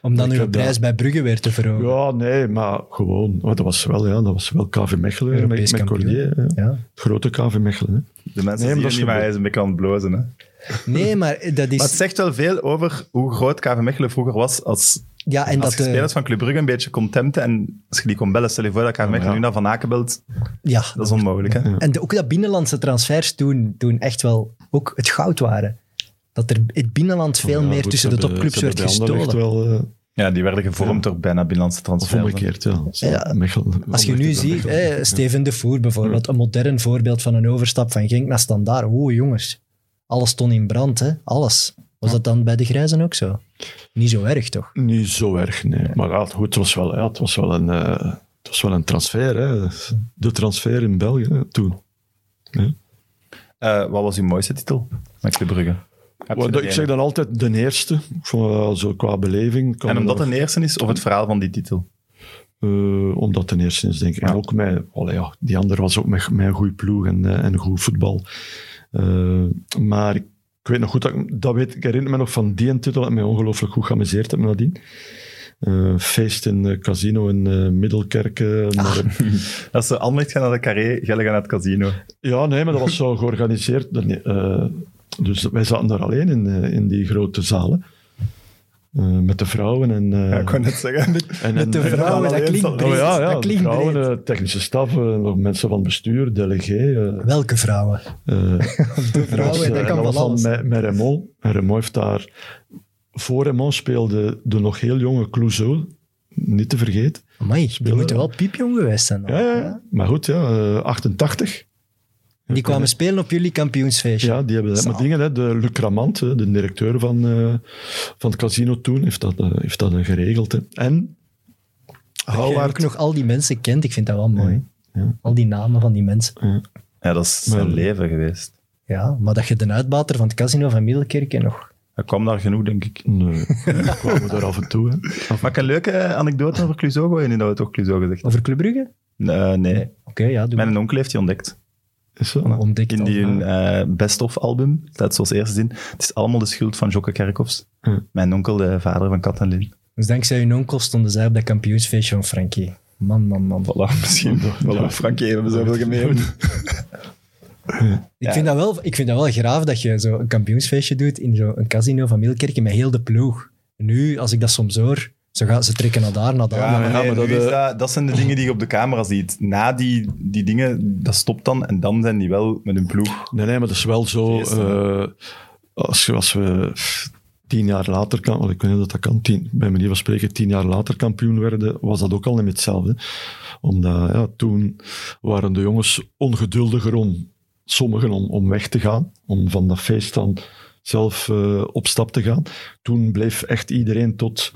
[SPEAKER 2] Om dan
[SPEAKER 4] Ik
[SPEAKER 2] uw
[SPEAKER 4] heb dat-
[SPEAKER 2] prijs bij Brugge weer te verhogen.
[SPEAKER 4] Ja, nee, maar gewoon, maar dat was wel, ja, dat was wel KV Mechelen hè,
[SPEAKER 2] Europees
[SPEAKER 4] met, met
[SPEAKER 2] kampioen.
[SPEAKER 4] Cordier. hè.
[SPEAKER 2] Ja.
[SPEAKER 4] Het grote KV Mechelen. Hè.
[SPEAKER 1] De mensen
[SPEAKER 4] Nee, maar
[SPEAKER 1] zien
[SPEAKER 4] dat
[SPEAKER 1] het
[SPEAKER 4] is
[SPEAKER 1] niet, maar
[SPEAKER 4] gebeurd.
[SPEAKER 1] hij is een beetje aan het blozen. Hè? Maar
[SPEAKER 2] Nee, maar dat
[SPEAKER 1] het
[SPEAKER 2] is...
[SPEAKER 1] zegt wel veel over hoe groot KV Mechelen vroeger was als,
[SPEAKER 2] Ja,
[SPEAKER 1] als
[SPEAKER 2] en dat...
[SPEAKER 1] je
[SPEAKER 2] eh,
[SPEAKER 1] spelers van Club Brugge een beetje kon tempten. En als je die kon bellen, stel je voor dat KV Mechelen
[SPEAKER 4] ja.
[SPEAKER 1] nu naar Van Aken belt.
[SPEAKER 2] ja,
[SPEAKER 1] Dat is onmogelijk. Hè?
[SPEAKER 2] En de- ook dat binnenlandse transfers toen, toen echt wel ook het goud waren. Dat er in het binnenland veel
[SPEAKER 4] Ja,
[SPEAKER 2] meer
[SPEAKER 4] goed,
[SPEAKER 2] tussen
[SPEAKER 4] ze
[SPEAKER 2] de
[SPEAKER 4] hebben-
[SPEAKER 2] topclubs
[SPEAKER 4] ze
[SPEAKER 2] werd
[SPEAKER 4] hebben bij
[SPEAKER 2] gestolen.
[SPEAKER 4] Anderlecht wel... eh,
[SPEAKER 1] Ja, die werden gevormd door bijna binnenlandse
[SPEAKER 4] Of
[SPEAKER 1] transfers.
[SPEAKER 4] omgekeerd, ja.
[SPEAKER 2] Ja.
[SPEAKER 4] Mechelen-
[SPEAKER 2] Als je nu
[SPEAKER 4] Anderlecht is
[SPEAKER 2] ziet,
[SPEAKER 4] dan Mechelen.
[SPEAKER 2] hè, Steven de Voer bijvoorbeeld, een modern voorbeeld van een overstap van Genk naar Standaard. Oeh, jongens. Alles stond in brand, hè. Alles. Was dat dan bij de Grijzen ook zo? Niet zo erg, toch?
[SPEAKER 4] Niet zo erg, nee. Maar ja, goed, het was wel, ja, het was wel, een, eh, het was wel een transfer, hè. De transfer in België hè, toen.
[SPEAKER 1] Eh, wat was uw mooiste titel met Club Brugge? Heb je
[SPEAKER 4] Want
[SPEAKER 1] er
[SPEAKER 4] ik
[SPEAKER 1] een?
[SPEAKER 4] zeg dan altijd de eerste, van, eh, zo qua beleving. kan
[SPEAKER 1] En omdat
[SPEAKER 4] dat-
[SPEAKER 1] het een eerste is, of het verhaal van die titel?
[SPEAKER 4] eh, omdat de eerste is, denk ik. En ook mij, allee, ja, die andere was ook met, met een goede ploeg en, eh, en goed voetbal. Eh, maar ik, ik weet nog goed, dat, ik- dat weet, ik herinner me nog van die titel, dat ik mij ongelooflijk goed geamuseerd heb nadien. Eh feest in eh, casino in eh, Middelkerken.
[SPEAKER 2] Ah.
[SPEAKER 4] Maar-
[SPEAKER 1] Als ze Anderlecht gaan naar de carré, Gelle gaan naar het casino.
[SPEAKER 4] Ja, nee, maar dat was zo georganiseerd. Dan, eh, dus wij zaten daar alleen in, eh, in die grote zalen. Eh, met de vrouwen en... eh,
[SPEAKER 1] Ja, ik kon net zeggen.
[SPEAKER 4] en,
[SPEAKER 2] Met de
[SPEAKER 4] en-
[SPEAKER 2] vrouwen, dat klinkt
[SPEAKER 4] Oh
[SPEAKER 2] breed.
[SPEAKER 4] ja, ja,
[SPEAKER 2] dat klinkt
[SPEAKER 4] vrouwen,
[SPEAKER 2] breed.
[SPEAKER 4] eh, technische staf, eh, nog mensen van bestuur, delegé. eh,
[SPEAKER 2] Welke vrouwen?
[SPEAKER 4] eh,
[SPEAKER 2] De vrouwen,
[SPEAKER 4] dus, eh,
[SPEAKER 2] dat kan
[SPEAKER 4] was
[SPEAKER 2] van alles.
[SPEAKER 4] dan met, met Raymond. En Raymond heeft daar... Voor Raymond speelde de nog heel jonge Clouseau, niet te vergeten.
[SPEAKER 2] Amai, die moeten wel piepjong geweest zijn. dan.
[SPEAKER 4] Ja, ja, ja. Maar goed, ja, eh, 88.
[SPEAKER 2] Die kwamen spelen op jullie kampioensfeestje.
[SPEAKER 4] Ja, die hebben dat. Maar
[SPEAKER 2] Zalig.
[SPEAKER 4] dingen, hè, de Luc Ramant, hè, de directeur van, eh, van het casino toen, heeft dat, eh, heeft dat eh, geregeld. hè. En
[SPEAKER 2] Dat jij ook
[SPEAKER 4] Houwaard.
[SPEAKER 2] nog al die mensen kent, ik vind dat wel mooi.
[SPEAKER 4] Ja.
[SPEAKER 2] Al die namen van die mensen.
[SPEAKER 1] Ja, dat is zijn
[SPEAKER 4] Maar-
[SPEAKER 1] leven geweest.
[SPEAKER 2] Ja, maar dat je de uitbater van het casino van Middelkerken nog...
[SPEAKER 1] Hij kwam daar genoeg, denk ik.
[SPEAKER 4] Nee, die eh, kwamen daar af en toe. Hè.
[SPEAKER 1] Mag ik een leuke eh, anekdote over Cluzo gooien? Nu dat we toch Cluzo gezegd
[SPEAKER 2] Over Club Brugge?
[SPEAKER 1] hebben. Eh, nee,
[SPEAKER 2] Oké, ja, doe maar.
[SPEAKER 1] mijn onkel heeft die ontdekt.
[SPEAKER 4] Is zo.
[SPEAKER 2] ontdekt.
[SPEAKER 1] In
[SPEAKER 2] al.
[SPEAKER 1] die eh, Best of album staat zoals eerste zin. Het is allemaal de schuld van Jocke Kerkhoffs.
[SPEAKER 4] Ja.
[SPEAKER 1] Mijn onkel, de vader van Kat en Lin.
[SPEAKER 2] Dus dankzij hun onkel stonden zij op dat kampioensfeestje van Frankie. Man, man, man.
[SPEAKER 1] Voilà, misschien. Voilà, Frankie, we hebben zoveel gemeen.
[SPEAKER 2] Ik,
[SPEAKER 1] Ja.
[SPEAKER 2] vind dat wel, ik vind dat wel graaf dat je zo een kampioensfeestje doet in zo'n casino van Middelkerken met heel de ploeg. Nu, als ik dat soms hoor, zo gaan ze trekken naar daar, naar daar.
[SPEAKER 1] Ja,
[SPEAKER 2] naar
[SPEAKER 1] maar,
[SPEAKER 4] ja,
[SPEAKER 1] nee,
[SPEAKER 4] maar dat,
[SPEAKER 1] nu is
[SPEAKER 4] eh,
[SPEAKER 1] dat, dat zijn de dingen die je op de camera ziet. Na die, die dingen, dat stopt dan. En dan zijn die wel met hun ploeg.
[SPEAKER 4] Nee, nee, maar dat is wel zo.
[SPEAKER 1] Feest, hè?
[SPEAKER 4] eh, als, je- als we pff, tien jaar later, kan, wel, ik weet niet of dat kan, tien, bij manier van spreken tien jaar later kampioen werden, was dat ook al niet meer hetzelfde. Omdat ja, toen waren de jongens ongeduldiger om, sommigen om, om weg te gaan, om van dat feest dan zelf eh, op stap te gaan. Toen bleef echt iedereen tot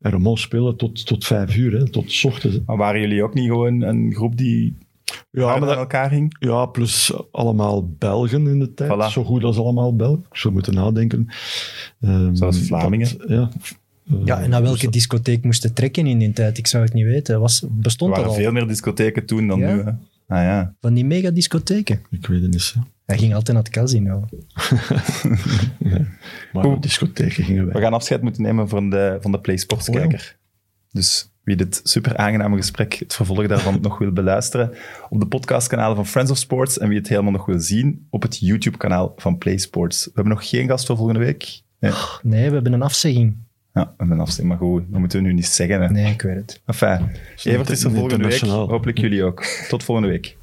[SPEAKER 4] RMO spelen, tot, tot vijf uur, hè, tot 's ochtends. hè.
[SPEAKER 1] Maar waren jullie ook niet gewoon een groep die
[SPEAKER 4] Ja,
[SPEAKER 1] ja,
[SPEAKER 4] Ah, maar
[SPEAKER 1] aan
[SPEAKER 4] dat,
[SPEAKER 1] elkaar ging?
[SPEAKER 4] ja, plus allemaal Belgen in de tijd.
[SPEAKER 1] Voilà.
[SPEAKER 4] Zo goed als allemaal Belgen. Ik zou moeten nadenken. Ehm,
[SPEAKER 1] Zoals Vlamingen.
[SPEAKER 4] dat- ja. Eh,
[SPEAKER 2] Ja, en naar welke discotheek moesten trekken in die tijd? Ik zou het niet weten. Was,
[SPEAKER 1] Er
[SPEAKER 2] bestond dat
[SPEAKER 1] waren
[SPEAKER 2] al?
[SPEAKER 1] veel meer discotheken toen dan
[SPEAKER 2] Ja?
[SPEAKER 1] nu. Hè? Ah ja.
[SPEAKER 2] Van die megadiscotheken.
[SPEAKER 4] Ik weet het niet. hè.
[SPEAKER 2] Hij ging altijd naar het casino.
[SPEAKER 4] Maar
[SPEAKER 1] Goed.
[SPEAKER 4] naar discotheken gingen
[SPEAKER 1] We
[SPEAKER 4] wij.
[SPEAKER 1] gaan afscheid moeten nemen van de, van de PlaySports-kijker. Dus wie dit super aangename gesprek, het vervolg daarvan, nog wil beluisteren, op de podcastkanalen van Friends of Sports. En wie het helemaal nog wil zien, op het YouTube-kanaal van PlaySports. We hebben nog geen gast voor volgende week. Nee.
[SPEAKER 2] Nee, we hebben een afzegging.
[SPEAKER 1] Ja, we hebben een afspraak, maar goed, dat moeten we nu niet zeggen. Hè.
[SPEAKER 2] Nee, ik weet het.
[SPEAKER 1] Enfin, Evert is er volgende week.
[SPEAKER 4] internationaal.
[SPEAKER 1] Hopelijk jullie ook. Tot volgende week.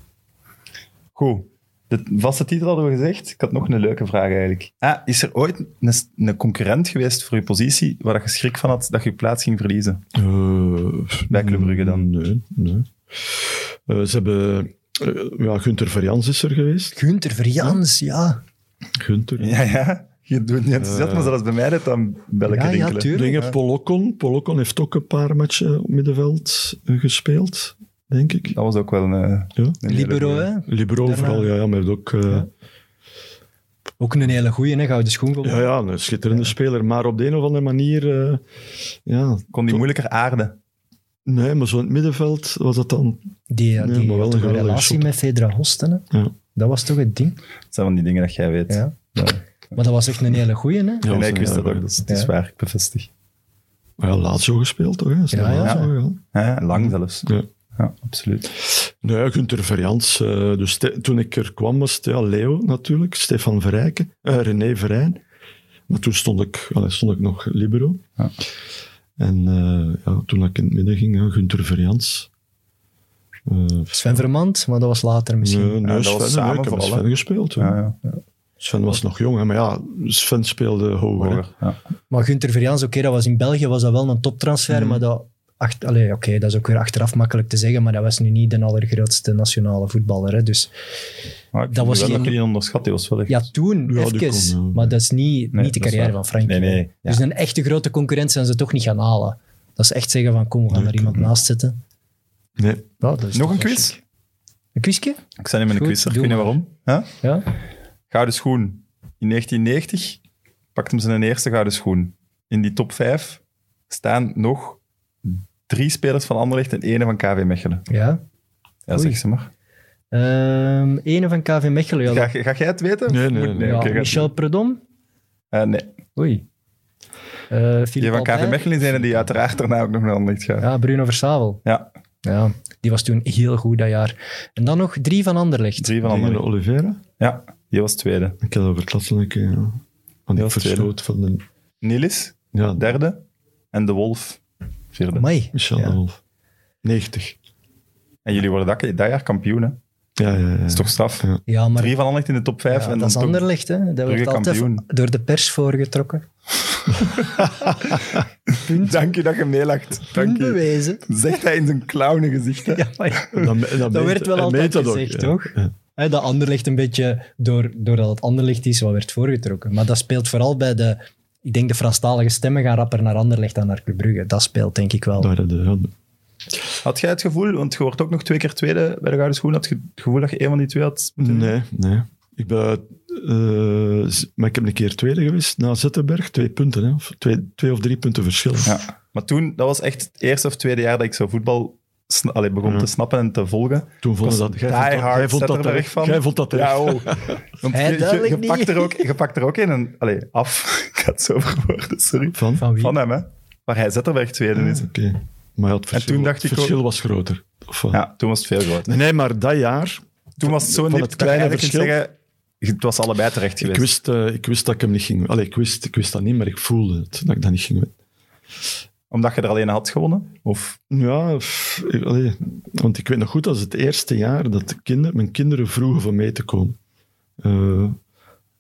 [SPEAKER 1] Goed. De vaste titel hadden we gezegd. Ik had nog een leuke vraag eigenlijk. Ah, is er ooit een, een concurrent geweest voor je positie waar dat je schrik van had dat je je plaats ging verliezen?
[SPEAKER 4] Eh,
[SPEAKER 1] Bij Club Brugge dan?
[SPEAKER 4] Nee, nee. Eh, ze hebben... eh, ja, Gunther Verjans is er geweest.
[SPEAKER 2] Gunther Verjans, ja.
[SPEAKER 4] Gunther.
[SPEAKER 1] Ja, ja. Je doet niet enthousiast,
[SPEAKER 4] Eh.
[SPEAKER 1] maar zelfs bij mij dat dan bellen
[SPEAKER 2] Ja, ja,
[SPEAKER 1] rinkelen.
[SPEAKER 2] tuurlijk.
[SPEAKER 4] Dingen,
[SPEAKER 2] Ja.
[SPEAKER 4] Polokon. Polokon heeft ook een paar matchen op middenveld eh, gespeeld, denk ik.
[SPEAKER 1] Dat was ook wel een...
[SPEAKER 4] Ja.
[SPEAKER 1] een
[SPEAKER 2] Libero,
[SPEAKER 1] hele-
[SPEAKER 2] hè?
[SPEAKER 4] Libero
[SPEAKER 2] Daarna-
[SPEAKER 4] vooral, ja, ja, maar hij heeft ook... eh,
[SPEAKER 2] Ook een hele goeie, hè? Gouden schoen gewonnen.
[SPEAKER 4] Ja, ja, een schitterende speler. Maar op de een of andere manier... eh, ja,
[SPEAKER 1] Kon die moeilijker aarden.
[SPEAKER 4] nee, maar zo in het middenveld was dat dan...
[SPEAKER 2] Die, ja,
[SPEAKER 4] Nee,
[SPEAKER 2] die
[SPEAKER 4] maar wel
[SPEAKER 2] had
[SPEAKER 4] een
[SPEAKER 2] toch een
[SPEAKER 4] geweldige
[SPEAKER 2] relatie
[SPEAKER 4] shot.
[SPEAKER 2] met Fedra Hosten, hè?
[SPEAKER 4] Ja.
[SPEAKER 2] Dat was toch het ding?
[SPEAKER 1] Dat zijn van die dingen dat jij weet.
[SPEAKER 2] Ja.
[SPEAKER 1] Ja.
[SPEAKER 2] Maar dat was echt een hele goeie, hè?
[SPEAKER 1] Nee,
[SPEAKER 4] was
[SPEAKER 1] nee, ik
[SPEAKER 4] een
[SPEAKER 1] wist
[SPEAKER 4] hele
[SPEAKER 1] dat ook.
[SPEAKER 4] goeie.
[SPEAKER 1] Dat is, dat is
[SPEAKER 2] Ja.
[SPEAKER 1] waar, ik bevestig.
[SPEAKER 4] Ja, laat zo gespeeld, toch? Hè? Is
[SPEAKER 2] Ja,
[SPEAKER 4] dat
[SPEAKER 2] ja.
[SPEAKER 4] Lazio gegaan?
[SPEAKER 1] Hè, lang zelfs.
[SPEAKER 4] Ja.
[SPEAKER 1] ja absoluut.
[SPEAKER 4] Nee, Gunther Verjans. eh, dus te- toen ik er kwam was het ja, Leo natuurlijk, Stefan Verrijken, eh, René Verijn. Maar toen stond ik, allee, stond ik nog libero.
[SPEAKER 1] Ja.
[SPEAKER 4] En eh, ja, toen ik in het midden ging, ja, Gunther Verjans. Eh,
[SPEAKER 2] Sven Vermand, maar dat was later misschien.
[SPEAKER 4] nee, nee,
[SPEAKER 1] dat was
[SPEAKER 4] Sven, nee, ik
[SPEAKER 1] samen
[SPEAKER 4] heb met
[SPEAKER 1] vooral, hè?
[SPEAKER 4] Sven gespeeld. ja.
[SPEAKER 1] Ja, ja.
[SPEAKER 4] Sven was nog jong, hè, maar ja, Sven speelde hoger. hè.
[SPEAKER 1] Hoger, ja.
[SPEAKER 2] Maar Gunther Verjans, oké, dat was in België was dat wel een toptransfer, maar dat, acht, allee, oké, dat is ook weer achteraf makkelijk te zeggen, maar dat was nu niet de allergrootste nationale voetballer. Hè, dus
[SPEAKER 1] Maar ik
[SPEAKER 2] Dat was
[SPEAKER 1] vind wel
[SPEAKER 2] geen-
[SPEAKER 1] dat je die onderschat, die was wel echt...
[SPEAKER 2] ja, toen,
[SPEAKER 4] Ja, die
[SPEAKER 2] even,
[SPEAKER 4] kon, ja.
[SPEAKER 2] maar dat is niet,
[SPEAKER 1] Nee,
[SPEAKER 2] niet de
[SPEAKER 1] dat is
[SPEAKER 2] carrière
[SPEAKER 1] waar.
[SPEAKER 2] van Frank.
[SPEAKER 1] Nee, nee, ja.
[SPEAKER 2] Dus een echte grote concurrent zijn ze toch niet gaan halen. Dat is echt zeggen van, kom, we gaan er iemand naast zetten.
[SPEAKER 4] Nee,
[SPEAKER 2] Ja, dat is
[SPEAKER 1] Nog
[SPEAKER 2] toch
[SPEAKER 1] een
[SPEAKER 2] wel
[SPEAKER 1] quiz?
[SPEAKER 2] chic. Een quizje?
[SPEAKER 1] Ik zijn in mijn
[SPEAKER 2] Goed,
[SPEAKER 1] quizzer, ik
[SPEAKER 2] doe
[SPEAKER 1] weet niet waarom. Ja?
[SPEAKER 2] Ja.
[SPEAKER 1] Gouden schoen. In 1990 pakte hem zijn eerste gouden schoen. In die top 5 staan nog drie spelers van Anderlecht en ene van KV Mechelen.
[SPEAKER 2] ja.
[SPEAKER 1] Ja,
[SPEAKER 2] Oei.
[SPEAKER 1] zeg ze maar.
[SPEAKER 2] Ehm ene van KV Mechelen. Ja,
[SPEAKER 1] Ga,
[SPEAKER 2] dat-
[SPEAKER 1] ga jij het weten?
[SPEAKER 4] Nee, nee,
[SPEAKER 1] Moet-
[SPEAKER 4] nee,
[SPEAKER 2] ja,
[SPEAKER 1] oké, ga-
[SPEAKER 2] Michel Predom.
[SPEAKER 1] Eh, nee.
[SPEAKER 2] Oei. Eh
[SPEAKER 1] Die
[SPEAKER 2] Philippe
[SPEAKER 1] van KV
[SPEAKER 2] Albert.
[SPEAKER 1] Mechelen is ene die uiteraard daarna ook nog naar Anderlecht gaat.
[SPEAKER 2] Ja, Bruno Versavel.
[SPEAKER 1] Ja.
[SPEAKER 2] Ja, die was toen heel goed dat jaar. En dan nog drie van Anderlecht.
[SPEAKER 1] Drie van
[SPEAKER 4] tegen
[SPEAKER 1] Anderlecht.
[SPEAKER 4] Oliveira.
[SPEAKER 1] Ja, die was tweede.
[SPEAKER 4] Ik eh, had over het laatste een keer, ja. Van die
[SPEAKER 1] was tweede.
[SPEAKER 4] verstoot van de...
[SPEAKER 1] Nilis,
[SPEAKER 4] Ja,
[SPEAKER 1] derde. En De Wolf, vierde.
[SPEAKER 2] Amai.
[SPEAKER 4] Michel
[SPEAKER 2] Ja.
[SPEAKER 4] de Wolf. 90.
[SPEAKER 1] En jullie worden dat, dat jaar kampioen, hè? Dat
[SPEAKER 4] Ja, ja, ja.
[SPEAKER 1] is toch straf?
[SPEAKER 4] Ja.
[SPEAKER 2] Ja, maar
[SPEAKER 1] Drie van Anderlecht in de top vijf.
[SPEAKER 2] ja,
[SPEAKER 1] en
[SPEAKER 2] dat
[SPEAKER 1] dan
[SPEAKER 2] is
[SPEAKER 1] toch-
[SPEAKER 2] Anderlecht, hè. Dat wordt
[SPEAKER 1] Brugge
[SPEAKER 2] altijd
[SPEAKER 1] kampioen.
[SPEAKER 2] door de pers voorgetrokken.
[SPEAKER 1] Dank je dat je meelacht. Dank
[SPEAKER 2] Punt
[SPEAKER 1] je.
[SPEAKER 2] bewezen.
[SPEAKER 1] Zegt hij in zijn clownengezicht. hè?
[SPEAKER 2] Ja, maar ja.
[SPEAKER 4] Dat, me- dat meet-
[SPEAKER 2] werd wel
[SPEAKER 4] en
[SPEAKER 2] altijd
[SPEAKER 4] meet dat ook,
[SPEAKER 2] gezegd,
[SPEAKER 4] ja.
[SPEAKER 2] toch?
[SPEAKER 4] Ja.
[SPEAKER 2] Hè, dat Anderlecht een beetje, door, doordat het Anderlecht is, wat werd voorgetrokken. Maar dat speelt vooral bij de... Ik denk de Franstalige stemmen gaan rapper naar Anderlecht dan naar Club Brugge. Dat speelt denk ik wel.
[SPEAKER 4] Daar hadden we-
[SPEAKER 1] Had jij het gevoel, want je wordt ook nog twee keer tweede bij de Gouden Schoen, had je het gevoel dat je een van die twee had? moeten doen?
[SPEAKER 4] Nee, nee. Ik ben, eh, z- maar ik heb een keer tweede geweest na Zettenberg. Twee punten, hè. Of twee, twee of drie punten verschil.
[SPEAKER 1] Ja. Maar toen, dat was echt het eerste of tweede jaar dat ik zo voetbal sna- allee, begon te snappen en te volgen.
[SPEAKER 4] Toen vond
[SPEAKER 1] was
[SPEAKER 4] dat, jij
[SPEAKER 1] die
[SPEAKER 4] vond dat,
[SPEAKER 1] hard
[SPEAKER 4] jij vond dat
[SPEAKER 1] Saturday
[SPEAKER 4] terecht.
[SPEAKER 1] fan.
[SPEAKER 4] Jij vond dat terecht.
[SPEAKER 1] Ja, oh. Want
[SPEAKER 2] Hij
[SPEAKER 1] je, je,
[SPEAKER 2] duidelijk
[SPEAKER 1] je
[SPEAKER 2] niet.
[SPEAKER 1] pakt er ook, je pakt er ook in en... Allee, af. Ik had zo verwoorden, sorry.
[SPEAKER 4] Van?
[SPEAKER 2] Van wie?
[SPEAKER 1] Van hem, hè. Waar hij Zetterberg tweede is.
[SPEAKER 4] Oké. Maar ja, het verschil,
[SPEAKER 1] toen dacht
[SPEAKER 4] het
[SPEAKER 1] ik ook-
[SPEAKER 4] verschil was groter. Of wat?
[SPEAKER 1] Ja, toen was het veel groter.
[SPEAKER 4] Nee, nee, maar dat jaar...
[SPEAKER 1] Toen was het zo
[SPEAKER 4] van
[SPEAKER 1] nip
[SPEAKER 4] het
[SPEAKER 1] dat je
[SPEAKER 4] kleine
[SPEAKER 1] eigenlijk kunt
[SPEAKER 4] verschil-
[SPEAKER 1] zeggen, het was allebei terecht
[SPEAKER 4] Ik
[SPEAKER 1] geweest.
[SPEAKER 4] wist, eh, ik wist dat ik hem niet ging... Allee, ik wist, ik wist dat niet, maar ik voelde het, dat ik dat niet ging winnen.
[SPEAKER 1] Omdat je er alleen had gewonnen? Of
[SPEAKER 4] Ja, pff, ik- allee, want ik weet nog goed, dat is het eerste jaar dat de kinder, mijn kinderen vroegen van mee te komen. Eh,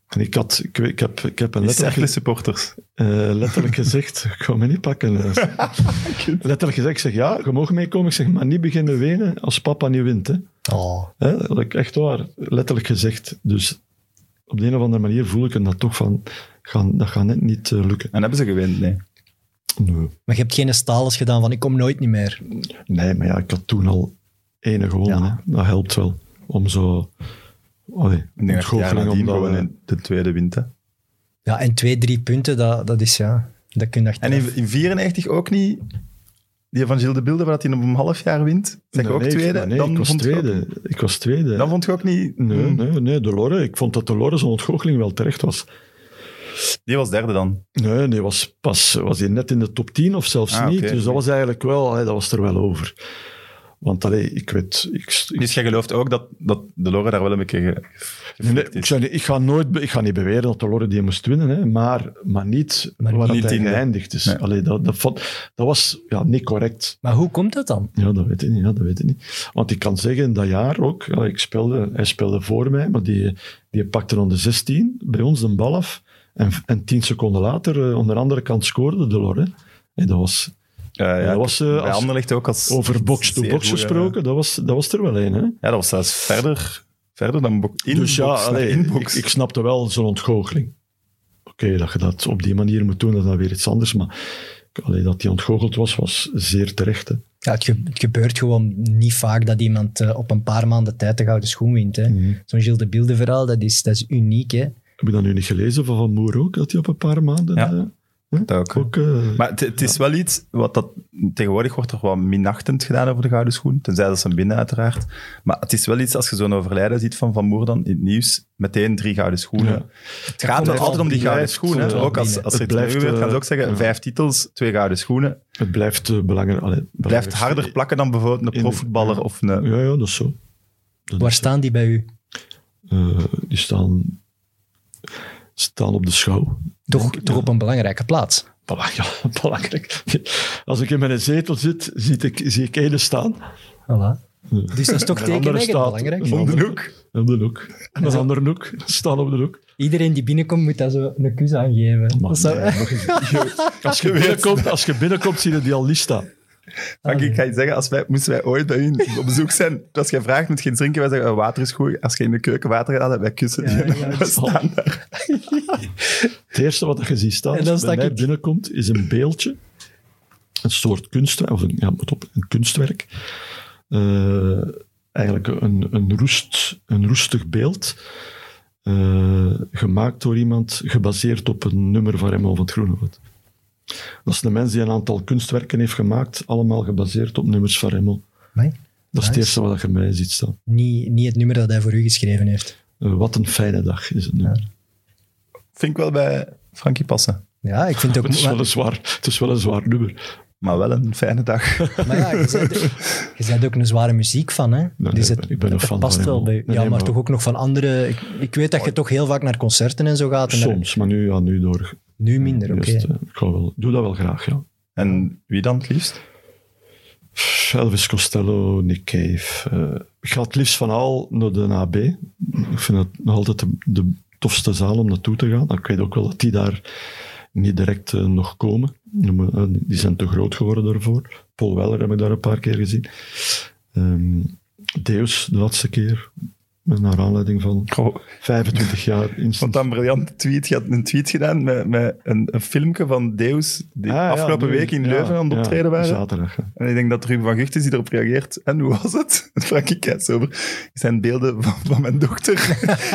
[SPEAKER 4] en ik, had, ik, weet- ik, heb, ik heb een
[SPEAKER 1] die
[SPEAKER 4] letterlijk,
[SPEAKER 1] cerkelen supporters?
[SPEAKER 4] eh, letterlijk gezegd, ik ga me niet pakken. letterlijk gezegd, ik zeg ja, je mag meekomen. Ik zeg, maar niet beginnen wenen als papa niet wint. Hè.
[SPEAKER 2] Oh,
[SPEAKER 4] Hè, dat heb ik echt waar, letterlijk gezegd. Dus op de een of andere manier voel ik hem dat toch van, gaan, dat gaat net niet eh, lukken.
[SPEAKER 1] En hebben ze gewend? Nee.
[SPEAKER 4] Nee.
[SPEAKER 2] maar je hebt geen stales gedaan van ik kom nooit niet meer.
[SPEAKER 4] Nee, maar ja, ik had toen al ene gewonnen.
[SPEAKER 2] Ja.
[SPEAKER 4] hè. Dat helpt wel. Om zo... Allee,
[SPEAKER 1] Ik denk dat het jaar
[SPEAKER 4] ontgoocheling eh,
[SPEAKER 1] nadien
[SPEAKER 4] omdat
[SPEAKER 1] gewoon
[SPEAKER 4] we-
[SPEAKER 1] in de tweede wint. hè.
[SPEAKER 2] Ja, en twee, drie punten, dat, dat is ja, dat kun je
[SPEAKER 1] En
[SPEAKER 2] achteraf.
[SPEAKER 1] in, in 94 ook niet. Die van Gilles de Bilde, waar dat hij om een half jaar wint. Zeg je
[SPEAKER 4] Nee,
[SPEAKER 1] ook
[SPEAKER 4] nee,
[SPEAKER 1] tweede?
[SPEAKER 4] Nee, ik was
[SPEAKER 1] vond je ook-
[SPEAKER 4] tweede. Ik was tweede.
[SPEAKER 1] dan vond je ook niet...
[SPEAKER 4] Nee,
[SPEAKER 1] Hmm.
[SPEAKER 4] nee, nee, de Lore. Ik vond dat de Lore zijn ontgoocheling wel terecht was.
[SPEAKER 1] Die was derde dan.
[SPEAKER 4] Nee, nee, was pas was hij net in de top 10 of zelfs
[SPEAKER 1] Ah,
[SPEAKER 4] niet.
[SPEAKER 1] oké.
[SPEAKER 4] Dus dat was eigenlijk wel, allee, dat was er wel over. Want allee, ik weet, ik, ik,
[SPEAKER 1] Dus jij gelooft ook dat, dat de Lore daar wel een beetje ge- geflikt
[SPEAKER 4] nee, nee, ik,
[SPEAKER 1] is.
[SPEAKER 4] zou niet- ik ga nooit, be- ik ga niet beweren dat de Lore die moest winnen, hè, maar, maar niet
[SPEAKER 2] Maar
[SPEAKER 4] waar
[SPEAKER 1] niet
[SPEAKER 4] dat hij
[SPEAKER 1] in de-
[SPEAKER 4] geëindigd is.
[SPEAKER 1] Nee.
[SPEAKER 4] Allee, dat, dat, vond- dat was ja, niet correct.
[SPEAKER 2] Maar hoe komt dat dan?
[SPEAKER 4] Ja, dat weet ik niet. Ja, dat weet ik niet. Want ik kan zeggen, in dat jaar ook, ja, ik speelde, hij speelde voor mij, maar die, die pakte onder 16 bij ons de bal af. En, en tien seconden later, eh, onder andere kant, scoorde de Lor. hè. En dat was
[SPEAKER 1] Eh, ja,
[SPEAKER 4] dat was, eh,
[SPEAKER 1] bij
[SPEAKER 4] als-
[SPEAKER 1] Anderlecht ook als...
[SPEAKER 4] over
[SPEAKER 1] zeer
[SPEAKER 4] box-to-box
[SPEAKER 1] goeie-
[SPEAKER 4] gesproken, dat was, dat was er wel een. Hè?
[SPEAKER 1] Ja, dat was zelfs verder, verder dan bo- in
[SPEAKER 4] dus ja,
[SPEAKER 1] box, naar
[SPEAKER 4] allee,
[SPEAKER 1] in
[SPEAKER 4] ik,
[SPEAKER 1] box.
[SPEAKER 4] ik snapte wel zo'n ontgoocheling. Oké, dat je dat op die manier moet doen, dat is dan weer iets anders. Maar allee, dat die ontgoocheld was, was zeer terecht. Hè.
[SPEAKER 2] Ja, het, ge- het gebeurt gewoon niet vaak dat iemand eh, op een paar maanden tijd de gouden schoen wint. hè.
[SPEAKER 4] Mhm.
[SPEAKER 2] Zo'n Gilles de Bilde verhaal, dat is, dat is uniek. Hè?
[SPEAKER 4] Heb je dat nu niet gelezen van Van Moer ook, dat hij op een paar maanden...
[SPEAKER 1] Ja.
[SPEAKER 4] eh,
[SPEAKER 1] Dat ook.
[SPEAKER 4] ook eh,
[SPEAKER 1] Maar het, het is wel iets wat dat, tegenwoordig wordt er wel minachtend gedaan over de gouden schoen. Tenzij dat ze hem binnen, uiteraard. Maar het is wel iets als je zo'n overlijden ziet van Van Moer dan in het nieuws. Meteen drie gouden schoenen.
[SPEAKER 4] Ja.
[SPEAKER 1] Het gaat wel
[SPEAKER 4] blijft-
[SPEAKER 1] altijd om die gouden
[SPEAKER 4] blijft,
[SPEAKER 1] schoenen.
[SPEAKER 4] eh,
[SPEAKER 1] Ook als, als er
[SPEAKER 4] het
[SPEAKER 1] iets blijft,
[SPEAKER 4] blijft,
[SPEAKER 1] gebeurt, gaan ze
[SPEAKER 4] eh,
[SPEAKER 1] ook zeggen:
[SPEAKER 4] ja.
[SPEAKER 1] vijf titels, twee gouden schoenen.
[SPEAKER 4] Het blijft eh, belangrijk. Allee,
[SPEAKER 1] Blijft
[SPEAKER 4] belangrijk.
[SPEAKER 1] harder plakken dan bijvoorbeeld een
[SPEAKER 4] de-
[SPEAKER 1] profvoetballer of een.
[SPEAKER 4] Ja, ja, dat is zo. Dat
[SPEAKER 2] Waar
[SPEAKER 4] is-
[SPEAKER 2] staan die bij u?
[SPEAKER 4] eh, die staan, staan op de schouw.
[SPEAKER 2] Toch,
[SPEAKER 4] Denk ik,
[SPEAKER 2] toch
[SPEAKER 4] ja.
[SPEAKER 2] op een belangrijke plaats.
[SPEAKER 4] Belang- ja, belangrijk. Als ik in mijn zetel zit, zie ik, zie ik Ede staan.
[SPEAKER 2] Voilà.
[SPEAKER 4] Ja.
[SPEAKER 2] Dus dat is toch
[SPEAKER 4] En een andere
[SPEAKER 2] tekenend
[SPEAKER 4] staat
[SPEAKER 2] belangrijk.
[SPEAKER 4] een
[SPEAKER 1] Om de
[SPEAKER 4] andere-
[SPEAKER 1] hoek.
[SPEAKER 4] Op de hoek. En een andere hoek. Staan op de hoek.
[SPEAKER 2] Iedereen die binnenkomt moet daar zo een kus aan geven.
[SPEAKER 4] Maar
[SPEAKER 2] Dat zou-
[SPEAKER 4] nee, nog eens- je- als, je binnenkomt, als je binnenkomt, zie je die al lief staan.
[SPEAKER 1] Frank,
[SPEAKER 4] Ah,
[SPEAKER 1] ik ga je zeggen, als wij, moesten wij ooit bij u op bezoek zijn, als jij vraagt, moet geen drinken, wij zeggen, eh, water is goed. Als je in de keuken water gaat, wij kussen. die en we staan daar.
[SPEAKER 4] Het eerste wat je ziet staan,
[SPEAKER 2] En dan
[SPEAKER 4] als
[SPEAKER 2] sta
[SPEAKER 4] bij mij
[SPEAKER 2] ik-
[SPEAKER 4] binnenkomt, is een beeldje. Een soort kunstwerk, of een, ja, moet op, een kunstwerk. Eh, eigenlijk een, een, roest, een roestig beeld. eh, gemaakt door iemand, gebaseerd op een nummer van Remo van het Groenewoud. Dat is de mens die een aantal kunstwerken heeft gemaakt, allemaal gebaseerd op nummers van Remo.
[SPEAKER 2] Amai.
[SPEAKER 4] Dat is het
[SPEAKER 2] Nice.
[SPEAKER 4] eerste wat je mij ziet staan.
[SPEAKER 2] Niet, niet het nummer dat hij voor u geschreven heeft.
[SPEAKER 4] Eh, wat een fijne dag is het nummer.
[SPEAKER 1] Vind ik wel bij Frankie passen.
[SPEAKER 2] Ja, ik vind het ook...
[SPEAKER 4] Het, is wel
[SPEAKER 2] Maar,
[SPEAKER 4] een zwaar, het is wel een zwaar nummer.
[SPEAKER 1] Maar wel een fijne dag.
[SPEAKER 2] maar ja, je bent, je bent ook een zware muziek van, hè?
[SPEAKER 4] nee,
[SPEAKER 2] dus het,
[SPEAKER 4] ik ben- ik ben een
[SPEAKER 2] het
[SPEAKER 4] fan
[SPEAKER 2] past
[SPEAKER 4] van
[SPEAKER 2] wel
[SPEAKER 4] hem.
[SPEAKER 2] bij
[SPEAKER 4] Nee,
[SPEAKER 2] Ja,
[SPEAKER 4] nee,
[SPEAKER 2] maar
[SPEAKER 4] maar-
[SPEAKER 2] toch ook nog van andere... Ik, ik weet dat je toch heel vaak naar concerten en zo gaat. En daar-
[SPEAKER 4] Soms, maar nu, ja, nu door.
[SPEAKER 2] nu minder, oké.
[SPEAKER 4] Juist, eh, ik ga wel, doe dat wel graag, ja.
[SPEAKER 1] En wie dan het liefst?
[SPEAKER 4] Pff, Elvis Costello, Nick Cave. eh, ik ga het liefst van al naar de AB. Ik vind het nog altijd de, de tofste zaal om naartoe te gaan. Ik weet ook wel dat die daar niet direct eh, nog komen. Die mo- eh, Die zijn te groot geworden daarvoor. Paul Weller heb ik daar een paar keer gezien. Ehm Deus, de laatste keer. Naar aanleiding van
[SPEAKER 1] Goh,
[SPEAKER 4] 25 jaar
[SPEAKER 1] Ik vond
[SPEAKER 4] instant.
[SPEAKER 1] dat een briljante tweet. Je had een tweet gedaan met, met een, een filmpje van Deus, die
[SPEAKER 4] Ah, ja,
[SPEAKER 1] afgelopen
[SPEAKER 4] nu-
[SPEAKER 1] week in
[SPEAKER 4] ja,
[SPEAKER 1] Leuven aan het
[SPEAKER 4] ja,
[SPEAKER 1] optreden waren.
[SPEAKER 4] Zaterdag. ja.
[SPEAKER 1] En ik denk dat Ruben van Gucht is die erop reageert. En hoe was het? Dat vraag ik eens over. Het zijn beelden van, van mijn dochter.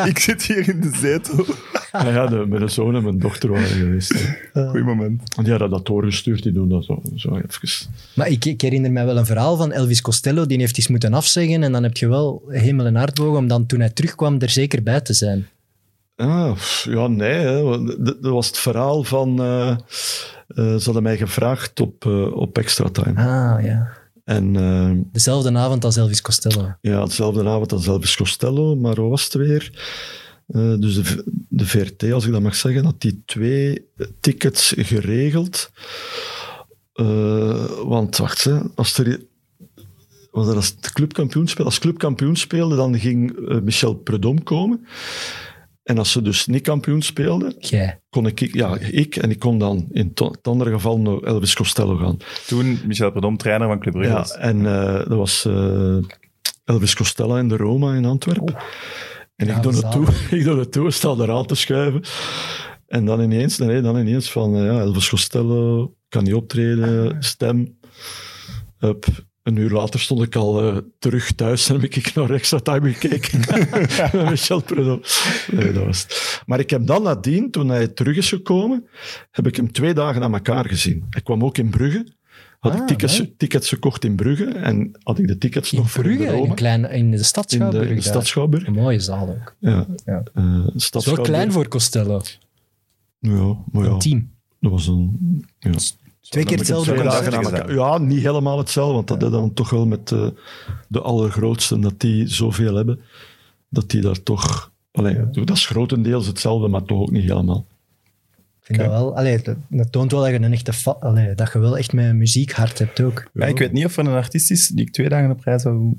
[SPEAKER 1] ik zit hier in de zetel.
[SPEAKER 4] Ah, ja, de, mijn zoon en mijn dochter waren geweest. hè.
[SPEAKER 1] Goeie moment.
[SPEAKER 4] Want die hadden dat doorgestuurd, die doen dat zo, zo even.
[SPEAKER 2] Maar ik, ik herinner mij wel een verhaal van Elvis Costello, die heeft iets moeten afzeggen en dan heb je wel hemel en aardbogen om dan toen hij terugkwam er zeker bij te zijn.
[SPEAKER 4] Ah, pff, ja, nee. Hè. Want d- Dat was het verhaal van... eh, eh, ze hadden mij gevraagd op, eh, op extra time.
[SPEAKER 2] Ah ja.
[SPEAKER 4] En eh,
[SPEAKER 2] Dezelfde avond als Elvis Costello.
[SPEAKER 4] ja, hetzelfde avond als Elvis Costello, maar hoe was het weer? Eh, dus de, V- de VRT, als ik dat mag zeggen, had die twee tickets geregeld. Eh, want wacht, hè, als er... Was dat als het clubkampioen speelde? Als clubkampioen speelde, dan ging eh, Michel Predom komen. En als ze dus niet kampioen speelden,
[SPEAKER 2] Jij.
[SPEAKER 4] kon ik, ja, ik en ik kon dan in to- het andere geval naar Elvis Costello gaan.
[SPEAKER 1] Toen Michel Perdom, trainer van Club Brugge.
[SPEAKER 4] Ja,
[SPEAKER 1] was.
[SPEAKER 4] en eh, dat was eh, Elvis Costello in de Roma in Antwerpen. En
[SPEAKER 2] Ja,
[SPEAKER 4] ik, doe
[SPEAKER 2] dat is
[SPEAKER 4] naartoe, ik doe naartoe, sta daar aan te schuiven. En dan ineens, nee, dan ineens van eh, ja, Elvis Costello, kan niet optreden, stem. Hup. Een uur later stond ik al eh, terug thuis en heb ik naar extra time gekeken. Met Michel Prudhomme. Nee, dat was het. Maar ik heb dan nadien, toen hij terug is gekomen, heb ik hem twee dagen aan elkaar gezien. Hij kwam ook in Brugge. Had
[SPEAKER 2] Ah,
[SPEAKER 4] ik tickets,
[SPEAKER 2] leuk.
[SPEAKER 4] tickets gekocht in Brugge en had ik de tickets
[SPEAKER 2] In
[SPEAKER 4] nog voor in
[SPEAKER 2] Brugge,
[SPEAKER 4] de
[SPEAKER 2] in,
[SPEAKER 4] Roma.
[SPEAKER 2] een kleine, in de stad
[SPEAKER 4] in de,
[SPEAKER 2] Schouwburg
[SPEAKER 4] in de
[SPEAKER 2] daar.
[SPEAKER 4] stad Schouwburg.
[SPEAKER 2] Een mooie zaal ook.
[SPEAKER 4] Ja.
[SPEAKER 2] Ja.
[SPEAKER 4] Eh,
[SPEAKER 2] Het
[SPEAKER 4] stad
[SPEAKER 2] is wel
[SPEAKER 4] Schouwburg. Oh.
[SPEAKER 2] klein voor Costello.
[SPEAKER 4] Ja, maar ja,
[SPEAKER 2] Een team.
[SPEAKER 4] dat was een... Ja.
[SPEAKER 2] Twee keer
[SPEAKER 1] moet je
[SPEAKER 2] hetzelfde
[SPEAKER 1] twee
[SPEAKER 2] concert.
[SPEAKER 1] dagen aan elkaar.
[SPEAKER 4] Ja, niet helemaal hetzelfde, want dat is dan toch wel met eh, de allergrootste, dat die zoveel hebben, dat die daar toch... Allee, dat is grotendeels hetzelfde, maar toch ook niet helemaal.
[SPEAKER 2] Ik vind dat wel. Allee, dat, dat toont wel dat je een echte fa- allee, dat je wel echt mijn muziekhart hebt ook.
[SPEAKER 1] Ja, ik weet niet of er een artiest is die ik twee dagen op rij zou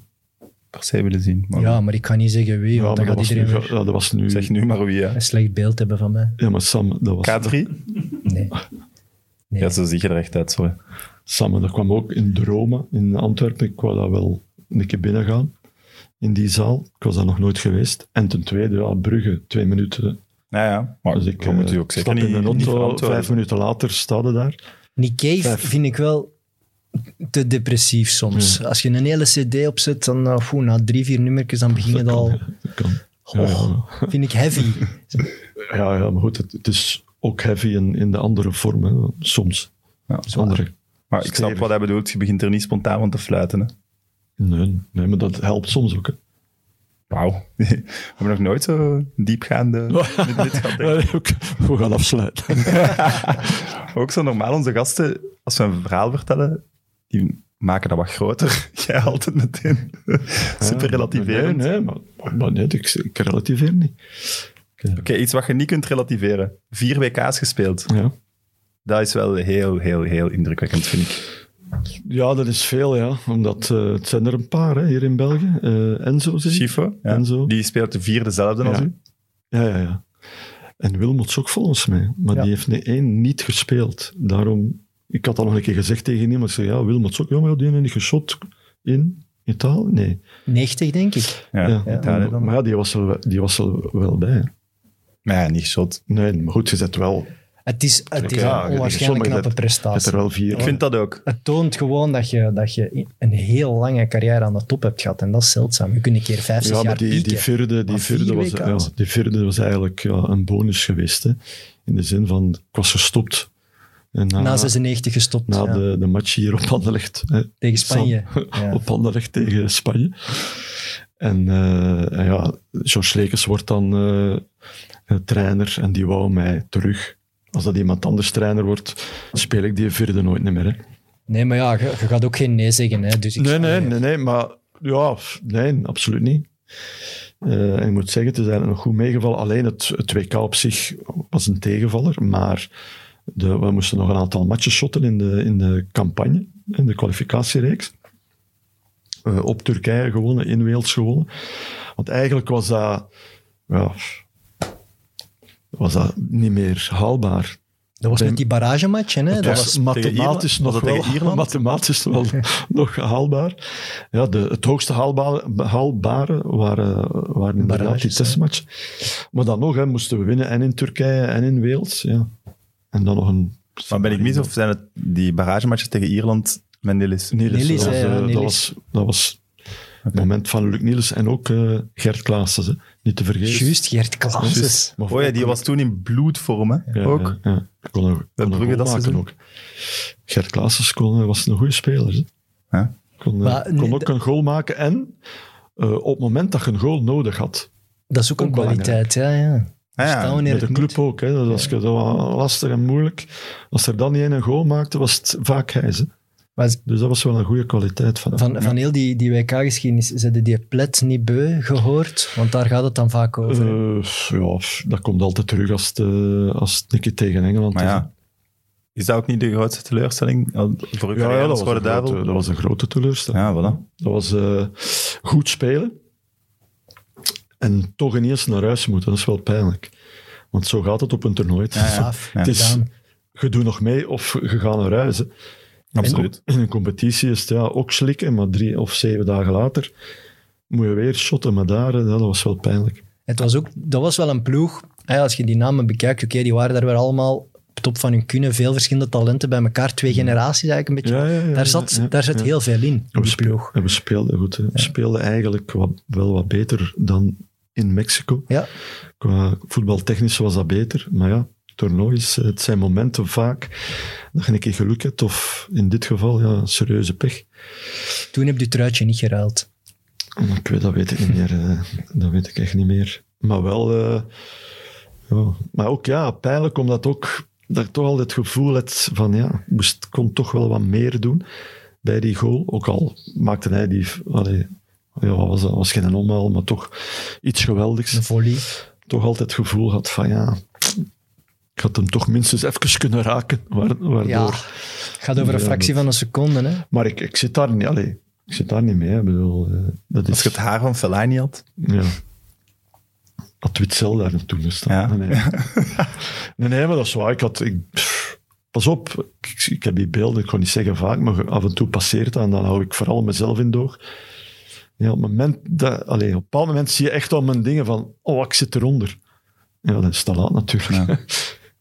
[SPEAKER 1] per se willen zien. Maar
[SPEAKER 2] Ja, maar ik kan niet zeggen wie,
[SPEAKER 4] Ja,
[SPEAKER 2] want
[SPEAKER 4] maar
[SPEAKER 2] dan
[SPEAKER 4] dat
[SPEAKER 2] gaat
[SPEAKER 4] was, nu,
[SPEAKER 2] iedereen weer
[SPEAKER 4] ja, dat was nu...
[SPEAKER 1] Zeg nu maar wie, ja.
[SPEAKER 2] een slecht beeld hebben van mij.
[SPEAKER 4] Ja, maar Sam, dat was...
[SPEAKER 1] K3?
[SPEAKER 2] Nee. Nee.
[SPEAKER 1] Ja, zo zie je er echt uit, sorry.
[SPEAKER 4] Samen, dat kwam ook in de Roma in Antwerpen. Ik wou daar wel een keer binnen gaan, in die zaal. Ik was daar nog nooit geweest. En ten tweede, ja, Brugge, twee minuten.
[SPEAKER 1] Nou ja, maar
[SPEAKER 4] Dus ik
[SPEAKER 1] je moet
[SPEAKER 4] eh,
[SPEAKER 1] u ook
[SPEAKER 4] stap
[SPEAKER 1] zeker niet
[SPEAKER 4] in de
[SPEAKER 1] niet
[SPEAKER 4] auto,
[SPEAKER 1] verantwoorden.
[SPEAKER 4] vijf minuten later staat daar.
[SPEAKER 2] Nick Cave
[SPEAKER 4] Vijf.
[SPEAKER 2] vind ik wel te depressief soms. Als je een hele cd opzet, dan nou, foe, na drie, vier nummertjes, dan begin het al...
[SPEAKER 4] Dat kan. Ja,
[SPEAKER 2] Oh,
[SPEAKER 4] ja.
[SPEAKER 2] vind ik heavy.
[SPEAKER 4] Ja, ja, maar goed, het, het is ook heavy in, in de andere vormen, soms.
[SPEAKER 1] Ja.
[SPEAKER 4] Dat is andere.
[SPEAKER 1] Maar ik snap
[SPEAKER 4] Stevig.
[SPEAKER 1] wat hij bedoelt. Je begint er niet spontaan van te fluiten. Hè.
[SPEAKER 4] Nee, nee, maar dat helpt soms ook. Hè.
[SPEAKER 1] Wauw. We hebben nog nooit zo diepgaande dit, dit gehad, denk ik.
[SPEAKER 4] We gaan afsluiten.
[SPEAKER 1] Ook zo normaal, onze gasten, als we een verhaal vertellen, die maken dat wat groter. Jij haalt het meteen super relativerend.
[SPEAKER 4] Nee, nee, maar, maar, maar nee, ik, ik relativeer niet.
[SPEAKER 1] Oké, iets wat je niet kunt relativeren. Vier WK's gespeeld.
[SPEAKER 4] Ja.
[SPEAKER 1] Dat is wel heel, heel, heel indrukwekkend, vind ik.
[SPEAKER 4] Ja, dat is veel, ja. Omdat eh, het zijn er een paar hè, hier in België. Eh Enzo, zie ik.
[SPEAKER 1] Schifo, ja.
[SPEAKER 4] En zo.
[SPEAKER 1] die speelt de vier dezelfde als
[SPEAKER 4] Ja.
[SPEAKER 1] u.
[SPEAKER 4] Ja, ja, ja. En Wilmots ook volgens mij. Maar
[SPEAKER 2] Ja.
[SPEAKER 4] die heeft niet één niet gespeeld. Daarom, ik had al nog een keer gezegd tegen iemand. Ik zei, ja, Wilmots ook. Ja, maar die heeft niet geschot in Italië. Nee.
[SPEAKER 2] 90, denk ik.
[SPEAKER 1] Ja,
[SPEAKER 4] Ja.
[SPEAKER 1] Italië dan.
[SPEAKER 4] Maar ja, die was er, wel- die was er wel bij. hè.
[SPEAKER 1] Maar ja, niet shot.
[SPEAKER 4] Nee, maar goed, je zet wel.
[SPEAKER 2] Het is, het is
[SPEAKER 4] Ja,
[SPEAKER 2] een onwaarschijnlijk
[SPEAKER 4] sommige
[SPEAKER 2] knappe
[SPEAKER 4] dat- Je zet
[SPEAKER 2] prestatie.
[SPEAKER 4] er wel vier.
[SPEAKER 1] Ik vind dat ook.
[SPEAKER 2] Het toont gewoon dat je, dat je een heel lange carrière aan de top hebt gehad. En dat is zeldzaam. Je kunt een keer vijf, zes
[SPEAKER 4] Ja, maar
[SPEAKER 2] jaar
[SPEAKER 4] die, die,
[SPEAKER 2] pieken.
[SPEAKER 4] vierde, die,
[SPEAKER 2] Maar vier
[SPEAKER 4] vierde was, ja,
[SPEAKER 2] WK's.
[SPEAKER 4] die vierde was eigenlijk ja, een bonus geweest. Hè. In de zin van, ik was gestopt. En
[SPEAKER 2] Na 96 gestopt
[SPEAKER 4] na
[SPEAKER 2] ja,
[SPEAKER 4] de, de match hier op Anderlecht. Hè,
[SPEAKER 2] tegen Spanje. Ja.
[SPEAKER 4] Op Anderlecht tegen Spanje. En eh, en ja, George Lekers wordt dan eh, eh, trainer en die wou mij terug. Als dat iemand anders trainer wordt, speel ik die vierde nooit meer. Hè.
[SPEAKER 2] Nee, maar ja, je, je gaat ook geen nee zeggen. Hè, dus ik
[SPEAKER 4] Nee, nee, nee, nee, maar ja, f- nee, absoluut niet. Eh, en ik moet zeggen, het is eigenlijk nog goed meegevallen. Alleen het, het WK op zich was een tegenvaller, maar de, we moesten nog een aantal matches shotten in de, in de campagne, in de kwalificatiereeks. Eh, op Turkije gewonnen, in Wales gewonnen. Want eigenlijk was dat, ja, was dat niet meer haalbaar.
[SPEAKER 2] Dat was
[SPEAKER 4] Bij-
[SPEAKER 2] met die barragematch, hè? Dat
[SPEAKER 4] Dat
[SPEAKER 2] was-
[SPEAKER 4] was
[SPEAKER 1] tegen
[SPEAKER 4] mathematisch
[SPEAKER 1] Ierland? Was
[SPEAKER 4] nog
[SPEAKER 1] dat
[SPEAKER 4] wel,
[SPEAKER 1] tegen Ierland?
[SPEAKER 4] mathematisch wel nog haalbaar. Ja, de, het hoogste haalbare, haalbare waren, waren inderdaad die
[SPEAKER 2] Barrages,
[SPEAKER 4] testmatch. Maar dan nog, hè, moesten we winnen en in Turkije en in Wales. Ja. En dan nog een...
[SPEAKER 1] Maar ben ik mis of zijn het die barragematches tegen Ierland met Nilis?
[SPEAKER 4] Niels,
[SPEAKER 2] Niels,
[SPEAKER 4] dat, was,
[SPEAKER 2] ja, ja,
[SPEAKER 4] eh, dat
[SPEAKER 2] Niels.
[SPEAKER 4] was, dat was het moment van Luc Niels en ook eh, Gert Klaassen, hè. niet te vergeten.
[SPEAKER 2] Juist, Gert Klaassen.
[SPEAKER 4] Maar
[SPEAKER 1] Oh ja, die was toen in bloedvorm, hè?
[SPEAKER 4] Ja,
[SPEAKER 1] ook.
[SPEAKER 4] Ja, ja. Ik kon een, kon een
[SPEAKER 1] Brugge
[SPEAKER 4] goal
[SPEAKER 1] dat
[SPEAKER 4] maken
[SPEAKER 1] seizoen.
[SPEAKER 4] ook. Gert Klaasens kon, eh, was een goede speler. hè.
[SPEAKER 1] Ja.
[SPEAKER 4] Kon, eh,
[SPEAKER 2] Maar
[SPEAKER 4] kon
[SPEAKER 2] nee,
[SPEAKER 4] ook een goal maken. En eh, op het moment dat je een goal nodig had,
[SPEAKER 2] Dat is ook een
[SPEAKER 4] Ook belangrijk.
[SPEAKER 2] kwaliteit, ja. ja.
[SPEAKER 1] Ah, ja.
[SPEAKER 2] Staan wanneer
[SPEAKER 4] met de
[SPEAKER 2] het
[SPEAKER 4] club
[SPEAKER 2] moet.
[SPEAKER 4] ook. Hè, dat was, dat was lastig en moeilijk. Als er dan niet één een goal maakte, was het vaak hij. hè.
[SPEAKER 2] Maar
[SPEAKER 4] Dus dat was wel een goede kwaliteit van hem.
[SPEAKER 2] Van, van heel die, die WK-geschiedenis, ze hadden die plet niet beu gehoord, want daar gaat het dan vaak over. hè.
[SPEAKER 4] Eh, ja, dat komt altijd terug als het, eh, als het een keer tegen Engeland
[SPEAKER 1] Maar
[SPEAKER 4] is.
[SPEAKER 1] ja, is dat ook niet de grootste teleurstelling voor uw
[SPEAKER 4] Ja,
[SPEAKER 1] carrière
[SPEAKER 4] ja,
[SPEAKER 1] als
[SPEAKER 4] dat, was
[SPEAKER 1] Rode
[SPEAKER 4] een
[SPEAKER 1] Duivel?
[SPEAKER 4] grote, dat was een grote teleurstelling.
[SPEAKER 1] Ja, voilà.
[SPEAKER 4] Dat was eh, goed spelen. En toch ineens naar huis moeten, dat is wel pijnlijk. Want zo gaat het op een toernooi.
[SPEAKER 2] Gaaf.
[SPEAKER 1] Ja.
[SPEAKER 4] Het is,
[SPEAKER 2] Gedaan.
[SPEAKER 4] je doet nog mee of je gaat naar huis. hè.
[SPEAKER 1] Absoluut.
[SPEAKER 4] In een competitie is het ja, ook slikken, maar drie of zeven dagen later moet je weer shotten. Maar daar, hè, dat was wel pijnlijk.
[SPEAKER 2] Het was ook, dat was wel een ploeg, hè, als je die namen bekijkt, oké, die waren daar wel allemaal op top van hun kunnen, veel verschillende talenten bij elkaar, twee generaties eigenlijk een beetje.
[SPEAKER 4] Ja, ja, ja,
[SPEAKER 2] daar zat,
[SPEAKER 4] ja, ja,
[SPEAKER 2] daar zat
[SPEAKER 4] ja.
[SPEAKER 2] heel veel in, in
[SPEAKER 4] En we,
[SPEAKER 2] die
[SPEAKER 4] speel-
[SPEAKER 2] ploeg.
[SPEAKER 4] en we speelden goed. hè. We speelden eigenlijk wat, wel wat beter dan in Mexico.
[SPEAKER 2] Ja,
[SPEAKER 4] Qua voetbaltechnisch was dat beter, maar ja, toernoois, eh, het zijn momenten vaak dat je een keer geluk hebt, of in dit geval, ja, serieuze pech.
[SPEAKER 2] toen heb je het truitje niet geruild.
[SPEAKER 4] Maar Ik weet, dat weet ik niet meer, eh, dat weet ik echt niet meer. Maar wel, eh, ja. maar ook ja, pijnlijk omdat ook, dat ik toch al het gevoel had van ja, ik moest, kon toch wel wat meer doen bij die goal. Ook al maakte hij die, allee, ja, wat was dat was geen omhaal, maar toch iets geweldigs
[SPEAKER 2] Een volley.
[SPEAKER 4] toch altijd het gevoel had van ja, ik had hem toch minstens even kunnen raken, waar- waardoor...
[SPEAKER 2] Ja, gaat over een
[SPEAKER 4] Ja,
[SPEAKER 2] fractie
[SPEAKER 4] dat-
[SPEAKER 2] van een seconde. Hè.
[SPEAKER 4] Maar ik, ik zit daar niet, allee, ik zit daar niet mee. hè. Ik bedoel, eh, dat
[SPEAKER 1] Als
[SPEAKER 4] is...
[SPEAKER 1] je het haar van Fellaini had.
[SPEAKER 4] Ja. Had Witzel daar naartoe gestaan.
[SPEAKER 1] Ja.
[SPEAKER 4] Nee, nee. nee, nee, maar dat is waar. Ik had... Ik, pff, pas op, ik, ik heb die beelden, ik kan niet zeggen vaak, maar af en toe passeert dat en dan hou ik vooral mezelf in doog. Ja, op, het moment dat, allee, op een bepaald moment zie je echt al mijn dingen van, oh, ik zit eronder. Ja, dat is te laat natuurlijk.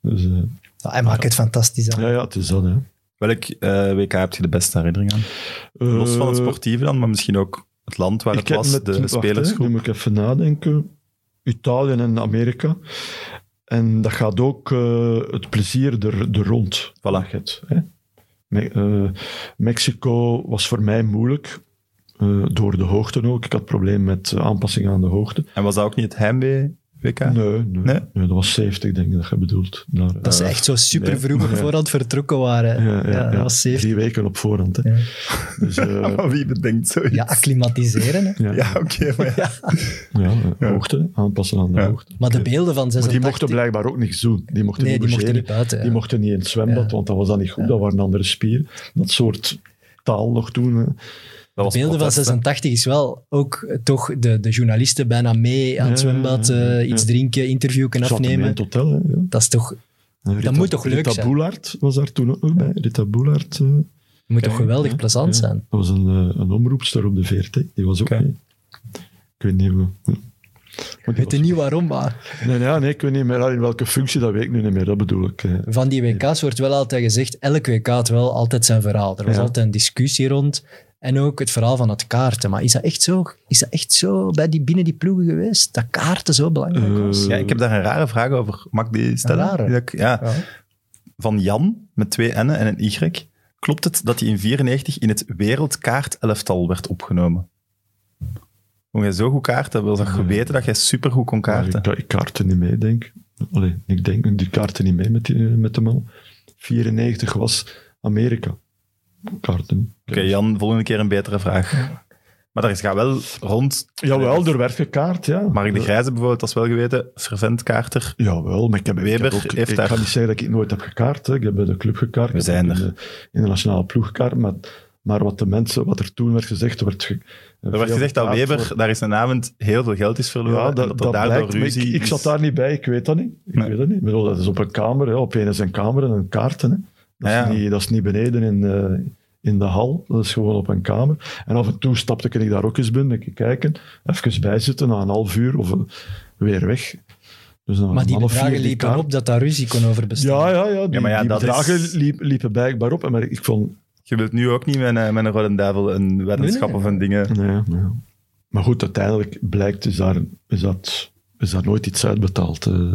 [SPEAKER 4] dus, eh,
[SPEAKER 2] Ja, Ah, hij maakt het fantastisch aan.
[SPEAKER 4] ja, ja, het is dat, hè.
[SPEAKER 1] Welk eh, WK heb je de beste herinnering aan? Los van het
[SPEAKER 4] Eh,
[SPEAKER 1] sportieve dan, maar misschien ook het land waar het
[SPEAKER 4] heb
[SPEAKER 1] was,
[SPEAKER 4] met-
[SPEAKER 1] de
[SPEAKER 4] wacht, hè,
[SPEAKER 1] spelersgroep.
[SPEAKER 4] Nu moet ik even nadenken. Italië en Amerika. En dat gaat ook eh, het plezier er, er rond.
[SPEAKER 1] Voilà.
[SPEAKER 4] Het, hè. Me- eh, Mexico was voor mij moeilijk. eh, door de hoogte ook. Ik had probleem met eh, aanpassing aan de hoogte.
[SPEAKER 1] En was dat ook niet het heimwee-WK?
[SPEAKER 4] Nee, nee,
[SPEAKER 1] Nee?
[SPEAKER 4] nee, dat was 70, denk ik, dat je bedoelt. Naar,
[SPEAKER 2] Dat ze
[SPEAKER 4] eh,
[SPEAKER 2] echt zo super
[SPEAKER 1] nee.
[SPEAKER 2] vroeg op voorhand vertrokken waren.
[SPEAKER 4] ja,
[SPEAKER 2] Ja,
[SPEAKER 4] eh, ja, ja.
[SPEAKER 2] dat was safe.
[SPEAKER 4] Drie weken op voorhand. Hè.
[SPEAKER 2] Ja.
[SPEAKER 4] Dus, eh,
[SPEAKER 1] Maar Wie bedenkt zoiets?
[SPEAKER 2] Ja, acclimatiseren. Hè.
[SPEAKER 4] ja,
[SPEAKER 1] Ja, oké, maar ja.
[SPEAKER 4] ja, eh, hoogte, aanpassen aan de
[SPEAKER 1] Ja.
[SPEAKER 4] hoogte.
[SPEAKER 2] Maar de beelden van
[SPEAKER 4] Maar
[SPEAKER 2] 86...
[SPEAKER 4] die mochten blijkbaar ook niks doen. Die mochten
[SPEAKER 2] Nee,
[SPEAKER 4] niet
[SPEAKER 2] die mochten niet
[SPEAKER 4] bougeren.
[SPEAKER 2] buiten.
[SPEAKER 4] Die
[SPEAKER 2] ja.
[SPEAKER 4] mochten niet in het zwembad,
[SPEAKER 2] Ja.
[SPEAKER 4] want dat was dan niet goed. Dat waren andere spieren. Dat soort taal nog toen. hè.
[SPEAKER 1] Dat was
[SPEAKER 2] De beelden van
[SPEAKER 1] protest, hè.
[SPEAKER 2] 86 is wel ook eh, toch de, de journalisten bijna mee aan het
[SPEAKER 4] Ja,
[SPEAKER 2] zwembad,
[SPEAKER 4] ja, ja,
[SPEAKER 2] eh, iets
[SPEAKER 4] ja.
[SPEAKER 2] drinken, interview kunnen
[SPEAKER 4] Zaten mee in
[SPEAKER 2] afnemen.
[SPEAKER 4] het hotel. hè, ja.
[SPEAKER 2] Dat is toch, moet
[SPEAKER 4] En Rita-
[SPEAKER 2] moet toch leuk
[SPEAKER 4] Rita
[SPEAKER 2] zijn?
[SPEAKER 4] Boelaert was daar toen ook nog bij. Rita Boelaert. eh,
[SPEAKER 2] toch geweldig
[SPEAKER 4] ja,
[SPEAKER 2] plezant
[SPEAKER 4] ja.
[SPEAKER 2] zijn.
[SPEAKER 4] Dat was een, eh, een omroepster op de VRT. Die was ook
[SPEAKER 1] Oké.
[SPEAKER 4] mee. Ik weet niet hoe... hoe-
[SPEAKER 2] Ik weet niet waarom, maar
[SPEAKER 4] Nee, nee, nee, ik weet niet meer in welke functie, dat weet ik nu niet meer. Dat bedoel ik. eh.
[SPEAKER 2] van die WK's wordt wel altijd gezegd, elk WK had wel altijd zijn verhaal. Er was
[SPEAKER 4] Ja.
[SPEAKER 2] altijd een discussie rond. En ook het verhaal van het kaarten. Maar is dat echt zo, is dat echt zo bij die, binnen die ploegen geweest? Dat kaarten zo belangrijk was?
[SPEAKER 4] Eh,
[SPEAKER 1] Ja, ik heb daar een rare vraag over. Mag ik die stellen?
[SPEAKER 2] rare?
[SPEAKER 1] Die ik- ja.
[SPEAKER 2] Ja.
[SPEAKER 1] Van Jan, met twee N'en en een Y. Klopt het dat hij in 94 in het wereldkaartelftal werd opgenomen? Kon jij zo goed kaarten? Wil dat je weten dat jij supergoed kon kaarten?
[SPEAKER 4] Ik, ik kaarten niet mee, denk ik. Allee, ik denk, die kaarten niet mee met, die, eh, met de man. 94 was Amerika. Kaarten. niet.
[SPEAKER 1] Oké, Jan, volgende keer een betere vraag. Maar daar is gaat wel rond.
[SPEAKER 4] Jawel, er werd gekaart, ja.
[SPEAKER 1] Mark de Grijze bijvoorbeeld, dat is wel geweten. Fervent kaarter.
[SPEAKER 4] Jawel, maar ik heb, ik,
[SPEAKER 1] Weber
[SPEAKER 4] heb ook,
[SPEAKER 1] heeft
[SPEAKER 4] ik
[SPEAKER 1] daar-
[SPEAKER 4] ga niet zeggen dat ik nooit heb gekaart. Hè. Ik heb bij de club gekaart.
[SPEAKER 1] We zijn
[SPEAKER 4] ik heb
[SPEAKER 1] er.
[SPEAKER 4] In de internationale ploeg gekaart. Maar Maar wat de mensen, wat er toen werd gezegd, werd... ge-
[SPEAKER 1] Er werd
[SPEAKER 4] veel
[SPEAKER 1] gezegd dat
[SPEAKER 4] gepraat
[SPEAKER 1] Weber
[SPEAKER 4] voor-
[SPEAKER 1] daar is een avond heel veel geld is verloren.
[SPEAKER 4] Ja,
[SPEAKER 1] en
[SPEAKER 4] dat,
[SPEAKER 1] dat, er
[SPEAKER 4] dat
[SPEAKER 1] daardoor
[SPEAKER 4] blijkt, maar ik-
[SPEAKER 1] ruzie
[SPEAKER 4] ik,
[SPEAKER 1] is.
[SPEAKER 4] zat daar niet bij, ik weet dat niet. Ik
[SPEAKER 1] Nee.
[SPEAKER 4] weet dat niet. Ik bedoel, dat is op een kamer, hè. op een is een kamer en een kaarten. Hè. Dat,
[SPEAKER 1] Ja, ja.
[SPEAKER 4] is niet, dat is niet beneden in, eh, in de hal, dat is gewoon op een kamer. En af en toe stapte ik daar ook eens binnen, een keer kijken, even bijzitten, na een half uur of eh, weer weg. Dus dan
[SPEAKER 2] Maar die
[SPEAKER 4] een half
[SPEAKER 2] bedragen
[SPEAKER 4] uur die
[SPEAKER 2] liepen
[SPEAKER 4] kaart-
[SPEAKER 2] op dus dat daar ruzie kon over bestaan.
[SPEAKER 4] Ja, ja, ja. Die,
[SPEAKER 1] maar ja,
[SPEAKER 4] die
[SPEAKER 1] dat
[SPEAKER 4] bedragen
[SPEAKER 1] is-
[SPEAKER 4] liep- liepen blijkbaar op. Maar ik vond...
[SPEAKER 1] Je wilt nu ook niet met een, met een rode duivel een weddenschap
[SPEAKER 2] Nee,
[SPEAKER 1] of een dingen.
[SPEAKER 4] Nee, nee. Maar goed, uiteindelijk blijkt is daar, is dat, is daar nooit iets uitbetaald. eh.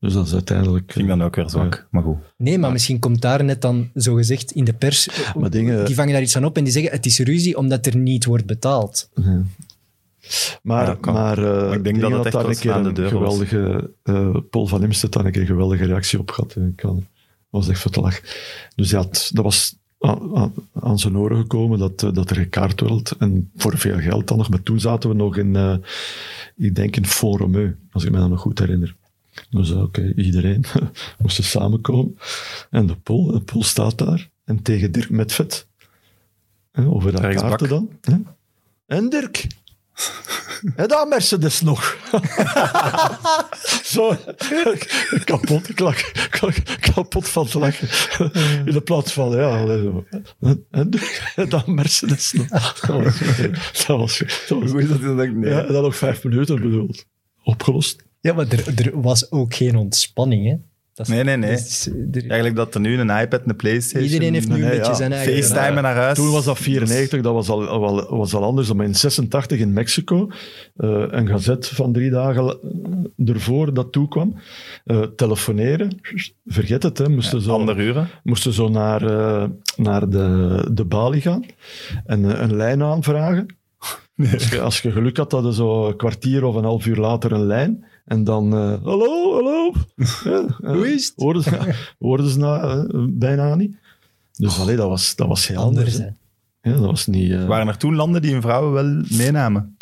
[SPEAKER 4] dus dat is uiteindelijk...
[SPEAKER 1] Ging dan ook weer zwak. Maar goed.
[SPEAKER 2] Nee, maar misschien komt daar net dan, zogezegd, in de pers...
[SPEAKER 1] Eh.
[SPEAKER 4] Maar dingen-
[SPEAKER 2] Die vangen daar iets aan op en die zeggen het is ruzie omdat er niet wordt betaald.
[SPEAKER 4] Ja. Maar,
[SPEAKER 1] Ja, kan.
[SPEAKER 4] maar, eh,
[SPEAKER 1] ik denk dat het echt
[SPEAKER 4] daar
[SPEAKER 1] wel
[SPEAKER 4] een keer
[SPEAKER 1] aan de
[SPEAKER 4] een
[SPEAKER 1] deur was.
[SPEAKER 4] geweldige, eh, Paul van Imst had daar een keer een geweldige reactie op gehad. Ik kan, was echt voor te lachen. Dus hij had, dat was aan, aan- aan zijn oren gekomen dat, eh, dat er gekaart werd. En voor veel geld dan nog. Maar toen zaten we nog in, eh, ik denk in Forumeu, als ik me dat nog goed herinner. Dus eh, oké, iedereen moest samenkomen. En de Pool, de Pool staat daar. En tegen Dirk Metvet. Hè, over dat
[SPEAKER 1] Rechtsbak.
[SPEAKER 4] kaarten dan. Hè? En Dirk. En daar Mercedes nog. Zo, kapot, klak, klak- kapot van te lachen. In de plaats van, ja, allee, zo. en, en, en dan Mercedes nog. Dat was, dat was, dat was-
[SPEAKER 1] Hoe is dat dan denk ik? Nee.
[SPEAKER 4] ja, en dan nog vijf minuten bedoeld. Opgelost.
[SPEAKER 2] Ja, maar er, er was ook geen ontspanning, hè. Dat is-
[SPEAKER 1] Nee, nee, nee.
[SPEAKER 2] dat is- er-
[SPEAKER 1] Eigenlijk dat er nu een iPad en een Playstation...
[SPEAKER 2] iedereen heeft nu een
[SPEAKER 4] nee,
[SPEAKER 2] beetje
[SPEAKER 4] ja.
[SPEAKER 2] zijn eigen... eh,
[SPEAKER 1] FaceTime naar huis.
[SPEAKER 4] Toen was dat 94, dat was al, al- al, was al anders. Maar in 86 in Mexico, eh, een gazet van drie dagen la- ervoor dat toekwam, eh, telefoneren, vergeet het, hè, moesten zo,
[SPEAKER 1] Andere uren.
[SPEAKER 4] moesten zo naar, eh, naar de, de balie gaan en eh, een lijn aanvragen. Als, je, als je geluk had, hadden zo een kwartier of een half uur later een lijn. En dan, eh, hallo, hallo. Ja,
[SPEAKER 2] Hoe is het?
[SPEAKER 4] Hoorden ze, hoorden ze na, eh, bijna niet. Dus allee, dat, was, dat was heel anders.
[SPEAKER 2] Anders, hè.
[SPEAKER 4] hè. Ja, dat was niet. eh,
[SPEAKER 1] Waren er toen landen die hun vrouwen wel meenamen?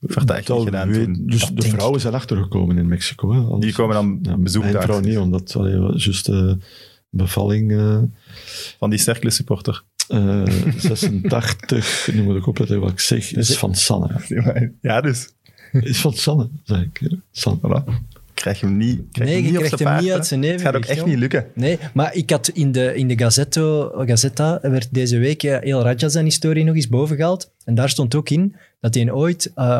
[SPEAKER 1] Vertel ik
[SPEAKER 4] dat
[SPEAKER 1] niet gedaan
[SPEAKER 4] weet-
[SPEAKER 1] toen.
[SPEAKER 4] Dus
[SPEAKER 2] Dat
[SPEAKER 4] de
[SPEAKER 2] denk
[SPEAKER 4] vrouwen zijn achtergekomen in Mexico. Hè, anders-
[SPEAKER 1] Die komen dan
[SPEAKER 4] Ja,
[SPEAKER 1] bezoek
[SPEAKER 4] Mijn
[SPEAKER 1] daar.
[SPEAKER 4] vrouw niet, omdat allee, wel, juist eh, bevalling eh,
[SPEAKER 1] Van die sterke supporter.
[SPEAKER 4] eh, 86, nu moet ik opletten wat ik zeg,
[SPEAKER 2] Dus-
[SPEAKER 4] is van Sanne.
[SPEAKER 1] Ja, dus.
[SPEAKER 4] Is van Sanne, zei ik. hè. Sanne.
[SPEAKER 1] Krijg je hem niet, krijg je
[SPEAKER 2] Nee,
[SPEAKER 1] hem
[SPEAKER 2] je
[SPEAKER 1] niet op
[SPEAKER 2] krijgt
[SPEAKER 1] zijn
[SPEAKER 2] hem
[SPEAKER 1] paard.
[SPEAKER 2] niet
[SPEAKER 1] hè.
[SPEAKER 2] uit zijn
[SPEAKER 1] Het gaat ook
[SPEAKER 2] evenwicht,
[SPEAKER 1] echt
[SPEAKER 2] joh.
[SPEAKER 1] niet lukken.
[SPEAKER 2] Nee, maar ik had in de, in de Gazzetto, Gazzetta werd deze week eh, heel Raja zijn historie nog eens bovengehaald. En daar stond ook in dat hij ooit eh,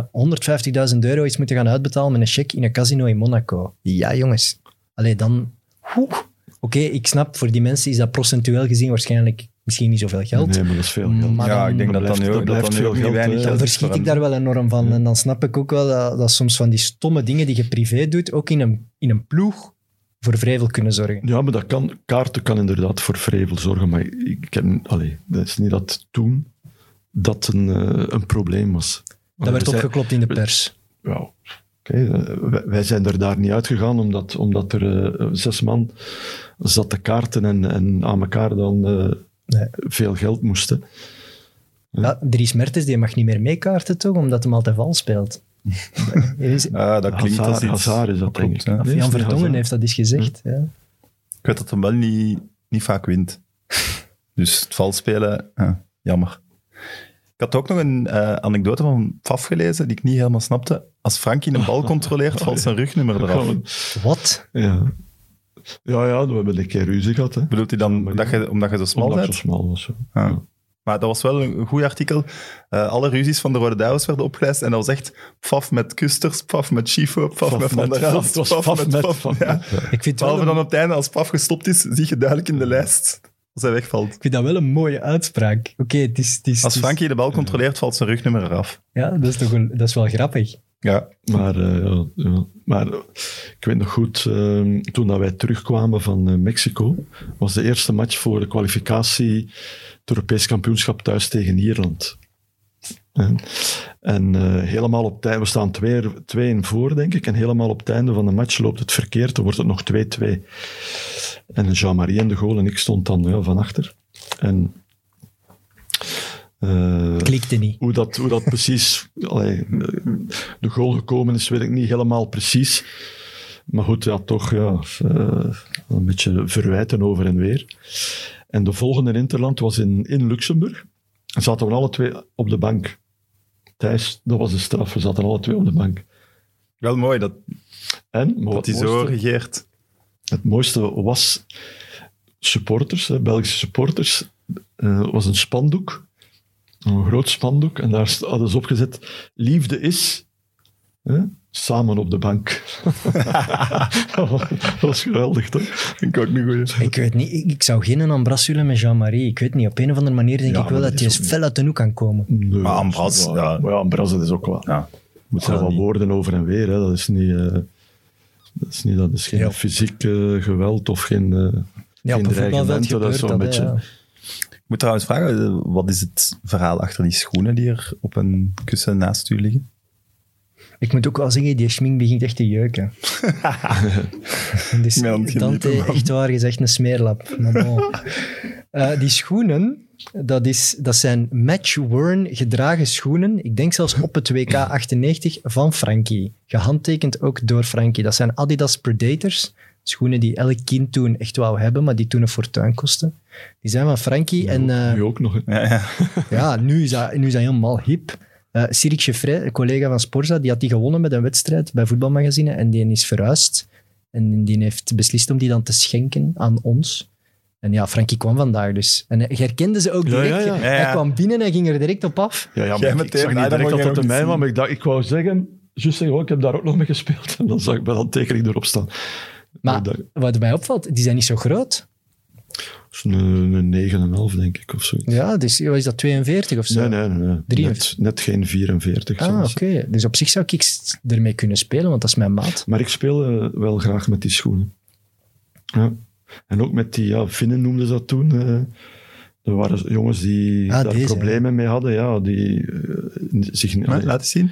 [SPEAKER 2] 150.000 euro is moeten gaan uitbetalen met een cheque in een casino in Monaco. Ja, jongens. Allee, dan... Oeh. Oké, ik snap, voor die mensen is dat procentueel gezien waarschijnlijk misschien niet zoveel geld.
[SPEAKER 4] Nee, maar dat is veel geld.
[SPEAKER 2] Maar
[SPEAKER 1] ja,
[SPEAKER 2] dan-
[SPEAKER 1] ik denk dat
[SPEAKER 4] dat
[SPEAKER 1] dat nu
[SPEAKER 4] blijft-
[SPEAKER 1] ook,
[SPEAKER 4] dat
[SPEAKER 1] dat dat nu
[SPEAKER 4] blijft
[SPEAKER 1] ook niet
[SPEAKER 4] veel
[SPEAKER 1] weinig
[SPEAKER 4] geld,
[SPEAKER 1] geld
[SPEAKER 2] Dan
[SPEAKER 1] is
[SPEAKER 2] verschiet
[SPEAKER 1] voor
[SPEAKER 2] ik
[SPEAKER 1] hem.
[SPEAKER 2] daar wel enorm van. En dan snap ik ook wel dat, dat soms van die stomme dingen die je privé doet, ook in een, in een ploeg, voor vrevel kunnen zorgen.
[SPEAKER 4] Ja, maar dat kan, kaarten kan inderdaad voor vrevel zorgen, maar ik ik heb, allee, dat is niet dat toen dat een, eh, een probleem was.
[SPEAKER 2] Dat werd
[SPEAKER 4] We zijn-
[SPEAKER 2] opgeklopt in de pers.
[SPEAKER 4] Ja, oké. eh, wij- Wij zijn er daar niet uitgegaan, omdat, omdat er eh, zes man zat te kaarten en, en aan elkaar dan eh,
[SPEAKER 2] Nee.
[SPEAKER 4] veel geld moesten. Hm?
[SPEAKER 2] Ja, Dries Mertens die mag niet meer meekaarten, toch? Omdat hem altijd vals speelt. Er is-
[SPEAKER 1] Ah, dat klinkt
[SPEAKER 4] Hazard-
[SPEAKER 1] als iets...
[SPEAKER 4] Hazard is dat,
[SPEAKER 1] klopt,
[SPEAKER 4] denk ik.
[SPEAKER 1] hè.
[SPEAKER 4] Nee, is
[SPEAKER 2] Jan
[SPEAKER 4] niet Hm?
[SPEAKER 2] Vertongen
[SPEAKER 4] Hazard.
[SPEAKER 2] heeft dat eens gezegd. Ja.
[SPEAKER 1] Ik weet dat hem wel niet, niet vaak wint. Dus het vals spelen, eh, jammer. Ik had ook nog een eh, anekdote van Faf gelezen die ik niet helemaal snapte. Als Frankie een bal controleert, valt zijn rugnummer eraf.
[SPEAKER 2] Wat?
[SPEAKER 4] Ja. ja, ja, we hebben een keer ruzie gehad, hè.
[SPEAKER 1] Bedoelt hij dan dat je, omdat je zo smal
[SPEAKER 4] Omdat ik
[SPEAKER 1] bent?
[SPEAKER 4] zo smal was. ja.
[SPEAKER 1] Ah. Maar dat was wel een een goed artikel. Eh, alle ruzies van de Rode Duivels werden opgelijst. En dat was echt paf met Kusters, paf met Schifo, paf
[SPEAKER 4] Faf
[SPEAKER 1] met Van
[SPEAKER 4] met-
[SPEAKER 1] der Elst,
[SPEAKER 4] Faf- het was Faf met Faf
[SPEAKER 1] ja.
[SPEAKER 4] met, ja.
[SPEAKER 2] Ik vind, wel
[SPEAKER 1] Behalve
[SPEAKER 2] een,
[SPEAKER 1] dan op het einde, als paf gestopt is, zie je duidelijk in de lijst als hij wegvalt. Dus-
[SPEAKER 2] ik vind dat wel een mooie uitspraak. Oké, het is... Het is
[SPEAKER 1] Als
[SPEAKER 2] het is-
[SPEAKER 1] Frankie de bal controleert, valt zijn rugnummer eraf.
[SPEAKER 2] Ja, dat is, toch wel, dat is wel grappig.
[SPEAKER 1] Ja,
[SPEAKER 4] Maar, eh, ja, ja. maar eh, ik weet nog goed, eh, toen dat wij terugkwamen van eh, Mexico, was de eerste match voor de kwalificatie het Europees kampioenschap thuis tegen Ierland. En, en eh, helemaal op tijd, we staan 2-1 twee, twee in voor, denk ik, en helemaal op het einde van de match loopt het verkeerd, dan wordt het nog 2-2. En Jean-Marie en de goal en ik stond dan ja, van achter. En, eh,
[SPEAKER 2] Klikte niet.
[SPEAKER 4] hoe dat, hoe dat precies allee, de goal gekomen is, weet ik niet helemaal precies. Maar goed, ja, toch ja, eh, een beetje verwijten over en weer. En de volgende Interland was in, in Luxemburg. En zaten we alle twee op de bank. Thijs, dat was de straf. We zaten alle twee op de bank.
[SPEAKER 1] Wel mooi dat,
[SPEAKER 4] En, maar
[SPEAKER 1] dat
[SPEAKER 4] wat
[SPEAKER 1] hij
[SPEAKER 4] het
[SPEAKER 1] zo
[SPEAKER 4] mooiste,
[SPEAKER 1] regeert.
[SPEAKER 4] het mooiste was supporters, hè, Belgische supporters. eh was een spandoek, een groot spandoek, en daar st- hadden ze opgezet: Liefde is. hè, Samen op de bank. dat was- dat was geweldig, toch?
[SPEAKER 1] Vind ik ook niet goed.
[SPEAKER 2] Ik weet niet, ik, ik zou geen Ambrassule met Jean-Marie. Ik weet niet, op een of andere manier denk
[SPEAKER 4] Ja,
[SPEAKER 2] ik wel
[SPEAKER 4] maar
[SPEAKER 2] dat
[SPEAKER 4] dat
[SPEAKER 2] hij
[SPEAKER 4] is ook
[SPEAKER 2] fel uit de hoek kan komen.
[SPEAKER 4] Nee,
[SPEAKER 1] Maar Ambras,
[SPEAKER 4] dat is
[SPEAKER 1] ja.
[SPEAKER 4] waar. Maar ja, Ambras, dat is ook wel.
[SPEAKER 1] Ja.
[SPEAKER 4] moet zijn
[SPEAKER 1] Ah,
[SPEAKER 4] wel
[SPEAKER 1] niet.
[SPEAKER 4] woorden over en weer. Hè. Dat is niet. eh, dat is, niet, dat is geen
[SPEAKER 2] Ja.
[SPEAKER 4] fysiek eh, geweld of geen, eh
[SPEAKER 2] Ja,
[SPEAKER 4] geen
[SPEAKER 2] op een voetbalveld
[SPEAKER 4] dreigementen. Dat is
[SPEAKER 2] gebeurt
[SPEAKER 4] zo'n
[SPEAKER 2] dat, hè,
[SPEAKER 4] beetje...
[SPEAKER 2] ja.
[SPEAKER 1] Ik moet trouwens vragen, eh, wat is het verhaal achter die schoenen die er op een kussen naast u liggen?
[SPEAKER 2] Ik moet ook wel zeggen, die schmink begint echt te jeuken. dus
[SPEAKER 1] ben aan het genieten,
[SPEAKER 2] Dante,
[SPEAKER 1] man.
[SPEAKER 2] echt waar, je is echt een smeerlap. Maar bon. Eh, die schoenen, dat, is, dat zijn match-worn gedragen schoenen. Ik denk zelfs op het WK 98 van Frankie. Gehandtekend ook door Frankie. Dat zijn Adidas Predators. Schoenen die elk kind toen echt wou hebben, maar die toen een fortuin kosten. Die zijn van Frankie en... eh,
[SPEAKER 4] Nu ook nog. hè.
[SPEAKER 1] Ja, ja.
[SPEAKER 2] ja, nu is dat, nu is dat helemaal hip. Eh Sirik Cheffray, een collega van Sporza, die had die gewonnen met een wedstrijd bij voetbalmagazine en die is verhuisd. En die heeft beslist om die dan te schenken aan ons. En ja, Frankie kwam vandaag dus. En hij herkende ze ook
[SPEAKER 4] Ja,
[SPEAKER 2] direct.
[SPEAKER 4] ja, ja.
[SPEAKER 1] Ja, ja.
[SPEAKER 2] Hij kwam binnen en ging er direct op af.
[SPEAKER 4] Ja, ja,
[SPEAKER 1] Jij
[SPEAKER 4] maar ik
[SPEAKER 1] meteen,
[SPEAKER 4] zag
[SPEAKER 1] ah, dat
[SPEAKER 4] niet
[SPEAKER 1] moet
[SPEAKER 4] direct dat
[SPEAKER 1] je
[SPEAKER 4] het
[SPEAKER 1] nog niet
[SPEAKER 4] een mij was,
[SPEAKER 1] zien.
[SPEAKER 4] maar ik, dacht, ik wou zeggen, juist zeggen, oh, ik heb daar ook nog mee gespeeld. En dan zag ik wel een tekening erop staan.
[SPEAKER 2] Maar
[SPEAKER 4] Ik dacht,
[SPEAKER 2] wat mij opvalt, die zijn niet zo groot.
[SPEAKER 4] dat is een, een 9,5 denk ik of zo.
[SPEAKER 2] Ja, dus wat is dat, 42 of zo?
[SPEAKER 4] Nee, nee, nee. nee.
[SPEAKER 2] Drie-
[SPEAKER 4] Net, net geen 44.
[SPEAKER 2] Ah, oké.
[SPEAKER 4] zelfs.
[SPEAKER 2] Dus op zich zou ik s- ermee kunnen spelen, want dat is mijn maat.
[SPEAKER 4] Maar ik speel eh, wel graag met die schoenen. Ja. En ook met die, ja, Finnen noemden ze dat toen. eh. er waren jongens die
[SPEAKER 2] Ah,
[SPEAKER 4] daar
[SPEAKER 2] deze,
[SPEAKER 4] problemen mee hadden. Ja, die eh, zich niet-
[SPEAKER 1] Maar, laat eens zien.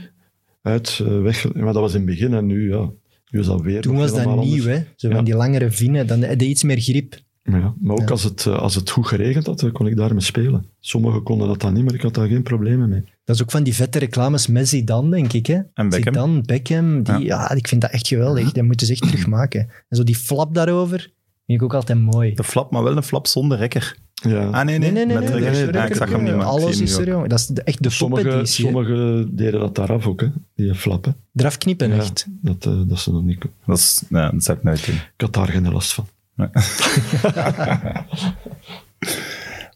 [SPEAKER 4] uit, eh, weg. Maar dat was in het begin en nu, ja. Nu is dat weer.
[SPEAKER 2] Toen
[SPEAKER 4] nog
[SPEAKER 2] was dat
[SPEAKER 4] helemaal
[SPEAKER 2] nieuw,
[SPEAKER 4] anders.
[SPEAKER 2] hè. Zo van
[SPEAKER 4] Ja.
[SPEAKER 2] die langere vinnen, dan had je iets meer grip.
[SPEAKER 4] Maar, ja, maar ook
[SPEAKER 2] Ja.
[SPEAKER 4] als, het, eh, als het goed geregend had, dan kon ik daarmee spelen. Sommigen konden dat dan niet, maar ik had daar geen problemen mee.
[SPEAKER 2] Dat is ook van die vette reclames met Zidane, denk ik. Hè?
[SPEAKER 1] En Beckham.
[SPEAKER 2] Zidane, Beckham. Die, ja. ik vind dat echt geweldig. Dat moeten ze echt terugmaken. En zo die flap daarover, vind ik ook altijd mooi.
[SPEAKER 1] De flap, maar wel een flap zonder rekker.
[SPEAKER 4] Ja.
[SPEAKER 1] Ah, nee, nee. met
[SPEAKER 4] nee,
[SPEAKER 1] rekker.
[SPEAKER 4] nee,
[SPEAKER 1] Ja,
[SPEAKER 4] nee,
[SPEAKER 1] ik zag hem niet, maar ik
[SPEAKER 2] Alles
[SPEAKER 1] zie hem
[SPEAKER 2] is
[SPEAKER 1] nu
[SPEAKER 2] er,
[SPEAKER 1] ook.
[SPEAKER 2] jongen. Dat is de- echt de
[SPEAKER 4] Sommigen
[SPEAKER 2] topeditie. hè.
[SPEAKER 4] sommigen deden dat daaraf ook, hè. die flappen.
[SPEAKER 2] Eraf knippen,
[SPEAKER 4] Ja,
[SPEAKER 2] echt.
[SPEAKER 4] dat, eh, dat ze nog niet... Ik
[SPEAKER 1] Dat, is, nee, dat zou ik nooit doen.
[SPEAKER 4] had daar geen last van.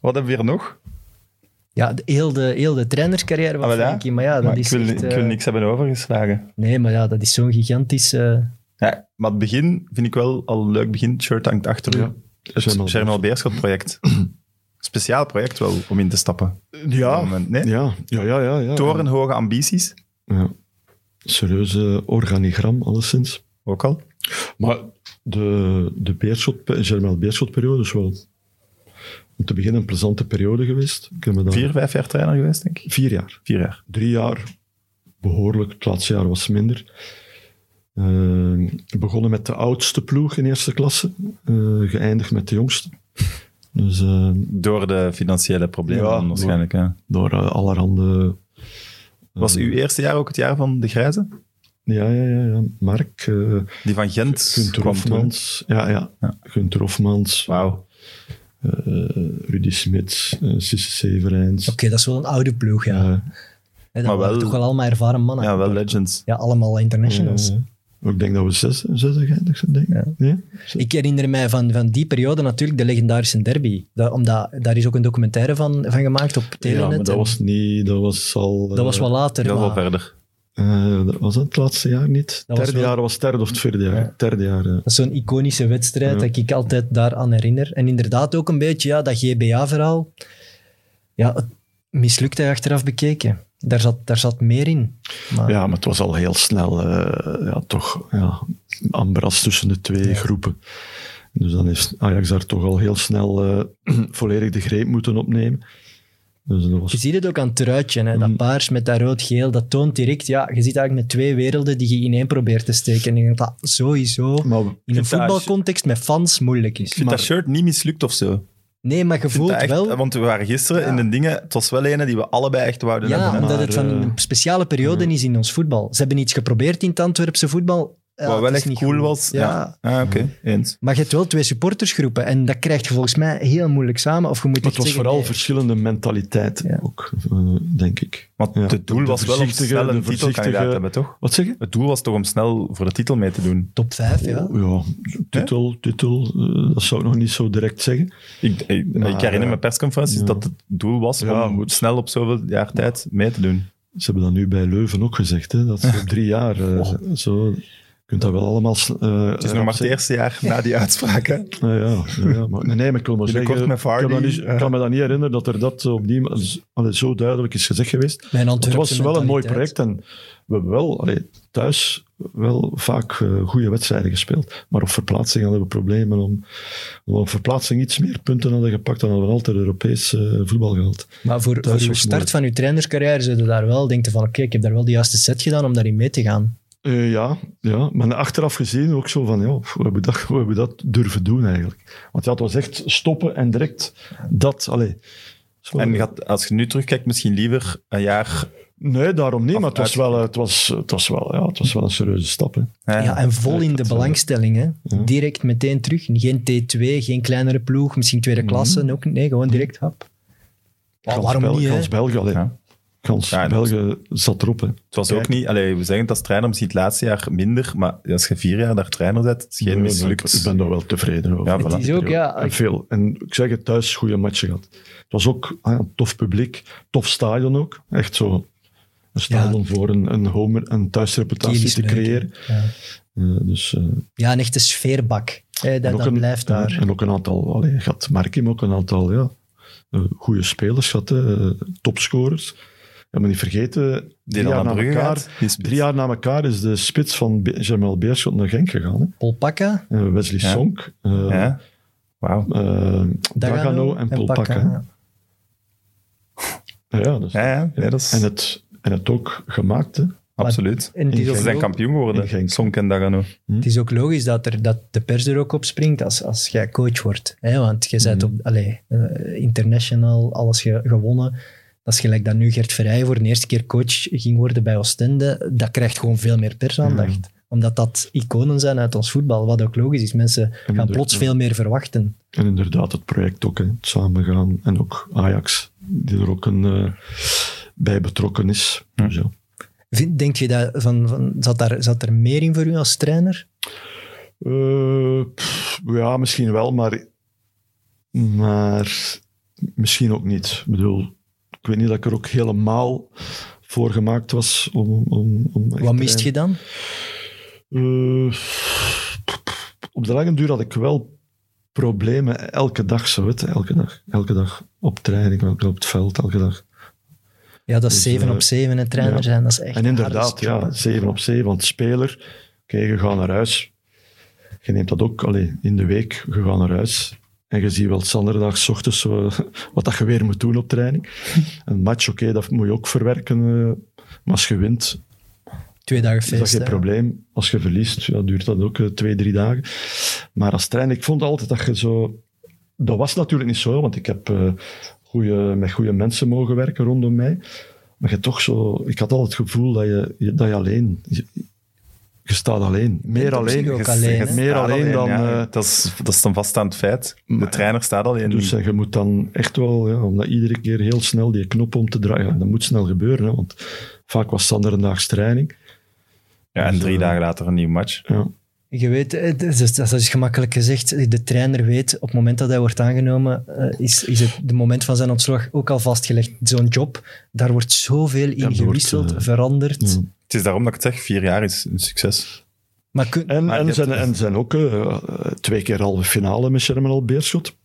[SPEAKER 1] Wat hebben we hier nog?
[SPEAKER 2] Ja, de, heel, de, heel de trainerscarrière van
[SPEAKER 1] Ah, wel, ja.
[SPEAKER 2] Frankie. Maar ja, dat
[SPEAKER 1] Maar
[SPEAKER 2] is
[SPEAKER 1] ik, wil,
[SPEAKER 2] echt,
[SPEAKER 1] ik
[SPEAKER 2] eh,
[SPEAKER 1] wil niks hebben overgeslagen.
[SPEAKER 2] Nee, maar ja, dat is zo'n gigantisch... eh,
[SPEAKER 1] Ja, maar het begin vind ik wel al een leuk begin. Het shirt hangt achter u.
[SPEAKER 4] Ja.
[SPEAKER 1] Het Germinal Beerschot project. Speciaal project wel, om in te stappen. Op dat
[SPEAKER 4] Ja,
[SPEAKER 1] moment, Nee?
[SPEAKER 4] ja, ja, ja. ja, ja.
[SPEAKER 1] Torenhoge ambities.
[SPEAKER 4] Ja. Serieuze organigram, alleszins.
[SPEAKER 1] Ook al.
[SPEAKER 4] Maar de, de Beerschot, eh, Germain Beerschot periode is wel om te beginnen een plezante periode geweest. Ik heb me daar-
[SPEAKER 1] Vier, vijf jaar trainer geweest, denk ik.
[SPEAKER 4] Vier jaar.
[SPEAKER 1] Vier jaar.
[SPEAKER 4] Drie jaar, behoorlijk. Het laatste jaar was minder. Eh, begonnen met de oudste ploeg in eerste klasse. eh, geëindigd met de jongste. Dus eh,
[SPEAKER 1] Door de financiële problemen
[SPEAKER 4] Ja,
[SPEAKER 1] dan waarschijnlijk. Ja.
[SPEAKER 4] door eh, allerhande...
[SPEAKER 1] Was
[SPEAKER 4] eh,
[SPEAKER 1] uw eerste jaar ook het jaar van de Grijze?
[SPEAKER 4] Ja, ja, ja. ja. Mark... eh,
[SPEAKER 1] Die van Gent
[SPEAKER 4] Gunther
[SPEAKER 1] kwam toen.
[SPEAKER 4] Hofmans. Ja, ja.
[SPEAKER 1] Ja.
[SPEAKER 4] Gunther Hofmans,
[SPEAKER 1] Wauw.
[SPEAKER 4] eh, Rudy Smits, eh Sisse Severijns.
[SPEAKER 2] Oké, dat is wel een oude ploeg, ja.
[SPEAKER 4] Eh,
[SPEAKER 2] Hè, dat
[SPEAKER 1] maar
[SPEAKER 2] waren
[SPEAKER 1] wel-
[SPEAKER 2] toch wel allemaal ervaren mannen.
[SPEAKER 1] Ja, wel legends.
[SPEAKER 2] Ja, allemaal internationals.
[SPEAKER 4] eh, ik denk dat we zes, zes geëindigd zijn, denk ik.
[SPEAKER 2] Ja.
[SPEAKER 4] Ja?
[SPEAKER 2] Ik herinner mij van, van die periode natuurlijk de legendarische derby. Dat, omdat, daar is ook een documentaire van, van gemaakt op Telenet.
[SPEAKER 4] Ja, maar dat
[SPEAKER 2] En
[SPEAKER 4] was niet... Dat was al... eh,
[SPEAKER 2] dat was wel later.
[SPEAKER 1] Heel
[SPEAKER 2] maar
[SPEAKER 1] veel verder.
[SPEAKER 4] eh, dat was dat het laatste jaar niet?
[SPEAKER 2] was
[SPEAKER 4] Het derde
[SPEAKER 2] wel-
[SPEAKER 4] jaar was het derde of het vierde jaar. Het derde jaar, eh.
[SPEAKER 2] dat is zo'n iconische wedstrijd
[SPEAKER 4] Ja.
[SPEAKER 2] dat ik altijd daaraan herinner. En inderdaad ook een beetje ja, dat GBA-verhaal. Ja, het mislukt hij achteraf bekeken. Daar zat, daar zat meer in. Maar,
[SPEAKER 4] Ja, maar het was al heel snel, eh, ja, toch, ja, ambras tussen de twee groepen. Dus dan heeft Ajax daar toch al heel snel eh, volledig de greep moeten opnemen. Dus dat was
[SPEAKER 2] Je ziet het ook aan het truitje, hè?
[SPEAKER 4] Mm.
[SPEAKER 2] dat paars met dat rood-geel. Dat toont direct, ja, je zit eigenlijk met twee werelden die je ineen probeert te steken. En ik denk dat dat sowieso
[SPEAKER 4] Maar
[SPEAKER 2] in een
[SPEAKER 1] vind dat als-
[SPEAKER 2] voetbalcontext met fans moeilijk is.
[SPEAKER 1] Ik vind dat shirt niet mislukt of zo. Ik
[SPEAKER 2] Nee, maar je
[SPEAKER 1] vind
[SPEAKER 2] voelt
[SPEAKER 1] dat echt-
[SPEAKER 2] wel...
[SPEAKER 1] Want we waren gisteren
[SPEAKER 2] Ja.
[SPEAKER 1] in de dingen. Het was wel een die we allebei echt wouden
[SPEAKER 2] Ja,
[SPEAKER 1] hebben. hè.
[SPEAKER 2] omdat
[SPEAKER 4] maar,
[SPEAKER 2] het van
[SPEAKER 4] eh,
[SPEAKER 2] een speciale periode is in ons voetbal. Ze hebben iets geprobeerd in het Antwerpse voetbal. ja,
[SPEAKER 1] Wat
[SPEAKER 2] het
[SPEAKER 1] wel
[SPEAKER 2] is
[SPEAKER 1] echt
[SPEAKER 2] niet
[SPEAKER 1] cool
[SPEAKER 2] goed.
[SPEAKER 1] was. Ja. Ah, oké. Eens.
[SPEAKER 2] Maar je hebt wel twee supportersgroepen en dat krijg je volgens mij heel moeilijk samen. Of je moet
[SPEAKER 4] Maar het
[SPEAKER 2] echt
[SPEAKER 4] was
[SPEAKER 2] zeggen, eh,
[SPEAKER 4] vooral
[SPEAKER 2] nee.
[SPEAKER 4] verschillende mentaliteiten
[SPEAKER 2] Ja.
[SPEAKER 4] ook, eh, denk ik.
[SPEAKER 1] Want
[SPEAKER 4] Ja.
[SPEAKER 1] het doel
[SPEAKER 4] De
[SPEAKER 1] was wel om
[SPEAKER 4] voorzichtige-
[SPEAKER 1] snel een
[SPEAKER 4] de
[SPEAKER 1] titelkandidaat te
[SPEAKER 4] voorzichtige-
[SPEAKER 1] hebben, toch?
[SPEAKER 4] Wat zeg je?
[SPEAKER 1] Het doel was toch om snel voor de titel mee te doen?
[SPEAKER 2] top 5, ja.
[SPEAKER 4] Oh, ja, titel, titel, eh, dat zou ik nog niet zo direct zeggen.
[SPEAKER 1] Ik, ik,
[SPEAKER 4] Maar,
[SPEAKER 1] ik herinner me
[SPEAKER 4] eh,
[SPEAKER 1] persconferenties
[SPEAKER 4] ja.
[SPEAKER 1] dat het doel was
[SPEAKER 4] Ja,
[SPEAKER 1] om
[SPEAKER 4] goed.
[SPEAKER 1] snel op zoveel jaar tijd mee te doen.
[SPEAKER 4] Ze hebben dat nu bij Leuven ook gezegd, hè, dat ze op drie jaar eh, zo... Je kunt dat wel allemaal... s- eh,
[SPEAKER 1] Het is nog maar het
[SPEAKER 4] rap zeggen.
[SPEAKER 1] eerste jaar na die uitspraak. hè.
[SPEAKER 4] Ja, ja, ja, ja, maar, nee, nee, maar ik wil maar
[SPEAKER 1] Binnenkort
[SPEAKER 4] zeggen...
[SPEAKER 1] met Vardy,
[SPEAKER 4] ik kan, me niet,
[SPEAKER 1] eh.
[SPEAKER 4] kan me dat niet herinneren dat er dat op die, allee, zo duidelijk is gezegd geweest.
[SPEAKER 2] Mijn
[SPEAKER 4] Het
[SPEAKER 2] Antwerpse
[SPEAKER 4] was wel een mooi
[SPEAKER 2] mentaliteit.
[SPEAKER 4] project en we hebben wel allee, thuis wel vaak eh, goede wedstrijden gespeeld. Maar op verplaatsing hadden we problemen. Om, om op verplaatsing iets meer punten hadden gepakt, dan hadden we altijd Europees eh, voetbal gehad.
[SPEAKER 2] Maar voor,
[SPEAKER 4] Dat
[SPEAKER 2] voor
[SPEAKER 4] is
[SPEAKER 2] uw
[SPEAKER 4] ook
[SPEAKER 2] start
[SPEAKER 4] moeilijk.
[SPEAKER 2] van uw trainerscarrière zou je daar wel denken van oké, ik heb daar wel de juiste set gedaan om daarin mee te gaan.
[SPEAKER 4] Eh, ja, ja, maar achteraf gezien ook zo van, ja, we hebben, dat, we hebben dat durven doen eigenlijk. Want ja, het was echt stoppen en direct dat, allee. Zo-
[SPEAKER 1] En gaat, als je nu terugkijkt, misschien liever een jaar.
[SPEAKER 4] Nee, daarom niet, maar het was
[SPEAKER 1] Uit-
[SPEAKER 4] wel, eh, het was, het was wel, ja, het was wel een serieuze stap. Hè.
[SPEAKER 1] hè.
[SPEAKER 2] Ja, en vol in de
[SPEAKER 4] dat, eh,
[SPEAKER 2] belangstelling. Hè.
[SPEAKER 4] ja.
[SPEAKER 2] Direct meteen terug. Geen T2, geen kleinere ploeg, misschien tweede klasse. ook niet. Nee, gewoon direct hap. Ja,
[SPEAKER 4] Mhm. Kans
[SPEAKER 2] waarom
[SPEAKER 4] Bel-
[SPEAKER 2] niet, hè?
[SPEAKER 4] Kans België, allee.
[SPEAKER 1] Ja.
[SPEAKER 4] Kans
[SPEAKER 1] Ja, dat-
[SPEAKER 4] België zat erop, hè.
[SPEAKER 1] Het was ook niet, allee, we zeggen het als trainer misschien het laatste jaar minder, maar als je vier jaar daar trainer bent, is geen
[SPEAKER 4] Nee,
[SPEAKER 1] mislukt.
[SPEAKER 4] Ik ben daar wel tevreden over.
[SPEAKER 1] Ja,
[SPEAKER 2] Het is ook, ja,
[SPEAKER 4] En veel. En ik zeg het, thuis goede matchen gehad. Het was ook ah, een tof publiek, tof stadion ook. Echt zo een stadion voor een, een, homer, een thuisreputatie
[SPEAKER 2] Kiel is
[SPEAKER 4] te
[SPEAKER 2] leuk,
[SPEAKER 4] creëren.
[SPEAKER 2] ja.
[SPEAKER 4] Eh, dus, eh,
[SPEAKER 2] Ja, een echte sfeerbak. Hè,
[SPEAKER 4] en
[SPEAKER 2] dat
[SPEAKER 4] ook
[SPEAKER 2] dat
[SPEAKER 4] een-
[SPEAKER 2] blijft
[SPEAKER 4] ja,
[SPEAKER 2] daar.
[SPEAKER 4] En ook een aantal, allee, gaat Markim ook een aantal ja, eh, goede spelers gehad, hè, eh, topscorers. Ja, maar niet vergeten,
[SPEAKER 1] Die
[SPEAKER 4] drie
[SPEAKER 1] dan
[SPEAKER 4] jaar,
[SPEAKER 1] naar
[SPEAKER 4] na
[SPEAKER 1] Brugge
[SPEAKER 4] elkaar,
[SPEAKER 1] gaat. die is-
[SPEAKER 4] drie jaar na elkaar is de spits van Be- Jamal Beerschot naar Genk gegaan. Hè.
[SPEAKER 2] Polpakka,
[SPEAKER 4] Eh, Wesley
[SPEAKER 1] Ja.
[SPEAKER 4] Sonk, eh,
[SPEAKER 1] Ja. Wauw.
[SPEAKER 4] eh,
[SPEAKER 2] Dagano,
[SPEAKER 4] Dagano en Polpakka. Ja, dus.
[SPEAKER 1] Ja, ja, nee, dat is
[SPEAKER 4] En, het, en het ook gemaakt. Hè.
[SPEAKER 1] absoluut.
[SPEAKER 2] En het is,
[SPEAKER 4] In
[SPEAKER 1] Ze
[SPEAKER 2] ook
[SPEAKER 1] zijn
[SPEAKER 2] lo-
[SPEAKER 1] kampioen
[SPEAKER 4] In
[SPEAKER 1] geworden,
[SPEAKER 4] Genk.
[SPEAKER 1] Sonk en Dagano.
[SPEAKER 2] het is ook logisch dat, er, dat de pers er ook op springt als, als jij coach wordt. Hè? Want je
[SPEAKER 4] Mhm.
[SPEAKER 2] bent op allee, eh, international, alles ge- gewonnen. Dat is gelijk dat nu Gert Verheyen voor de eerste keer coach ging worden bij Oostende. Dat krijgt gewoon veel meer persaandacht.
[SPEAKER 4] Mhm.
[SPEAKER 2] Omdat dat iconen zijn uit ons voetbal. Wat ook logisch is. Mensen gaan
[SPEAKER 4] inderdaad,
[SPEAKER 2] plots
[SPEAKER 4] ja.
[SPEAKER 2] veel meer verwachten.
[SPEAKER 4] En inderdaad, het project ook. Hè, het samengaan. En ook Ajax, die er ook een, eh, bij betrokken is. Dus ja.
[SPEAKER 2] Vind, denk je dat van, van, zat, daar, zat er meer in voor u als trainer?
[SPEAKER 4] Eh, pff, ja, misschien wel, maar, maar misschien ook niet. Ik bedoel, ik weet niet dat ik er ook helemaal voor gemaakt was om... om, om echt
[SPEAKER 2] Wat mist je dan?
[SPEAKER 4] Eh, op de lange duur had ik wel problemen elke dag, zo het, elke dag. Elke dag op training, elke dag op het veld, elke dag.
[SPEAKER 2] Ja, dat is
[SPEAKER 4] Dus,
[SPEAKER 2] 7
[SPEAKER 4] eh,
[SPEAKER 2] op 7 en trainer
[SPEAKER 4] ja.
[SPEAKER 2] zijn. Dat is echt
[SPEAKER 4] en
[SPEAKER 2] een harde
[SPEAKER 4] inderdaad,
[SPEAKER 2] strop, hè.
[SPEAKER 4] ja, 7 op 7, want speler, oké, je gaat naar huis. Je neemt dat ook allee, in de week, je gaat naar huis. En je ziet wel zanderdags ochtends zo, wat dat je weer moet doen op training. Een match, oké, dat moet je ook verwerken. eh, maar als je wint,
[SPEAKER 2] Twee dagen
[SPEAKER 4] is dat
[SPEAKER 2] feest.
[SPEAKER 4] geen
[SPEAKER 2] hè.
[SPEAKER 4] probleem. Als je verliest, ja, duurt dat ook eh, twee, drie dagen. Maar als trainer, ik vond altijd dat je zo... Dat was natuurlijk niet zo, want ik heb eh, goeie, met goede mensen mogen werken rondom mij. Maar je toch zo... Ik had altijd het gevoel dat je, je- dat je alleen... Je, je staat alleen. Meer
[SPEAKER 2] op zich
[SPEAKER 4] alleen.
[SPEAKER 2] ook alleen, hè?
[SPEAKER 4] Meer
[SPEAKER 1] staat
[SPEAKER 4] alleen dan,
[SPEAKER 1] ja.
[SPEAKER 4] eh,
[SPEAKER 1] dat, is, dat is een vaststaand feit. De
[SPEAKER 4] Maar-
[SPEAKER 1] trainer staat alleen.
[SPEAKER 4] Dus eh, je moet dan echt wel, ja, omdat iedere keer heel snel die knop om te draaien. Ja, dat moet snel gebeuren, hè, want vaak was Sander een daags training.
[SPEAKER 1] ja, en
[SPEAKER 4] dus,
[SPEAKER 1] drie
[SPEAKER 4] eh,
[SPEAKER 1] dagen later een nieuw match.
[SPEAKER 4] Ja.
[SPEAKER 2] Je weet, eh, dat is, dat is gemakkelijk gezegd. De trainer weet, op het moment dat hij wordt aangenomen, eh, is, is het de moment van zijn ontslag ook al vastgelegd. Zo'n job, daar wordt zoveel in
[SPEAKER 4] Ja, er wordt,
[SPEAKER 2] gewisseld,
[SPEAKER 4] eh,
[SPEAKER 2] veranderd.
[SPEAKER 4] ja.
[SPEAKER 1] Het is daarom dat ik het zeg, vier jaar is een succes.
[SPEAKER 2] Maar kun-
[SPEAKER 4] En,
[SPEAKER 1] Maar je
[SPEAKER 4] en,
[SPEAKER 1] hebt-
[SPEAKER 4] zijn, en zijn ook eh, twee keer halve finale met Sherman Beerschot.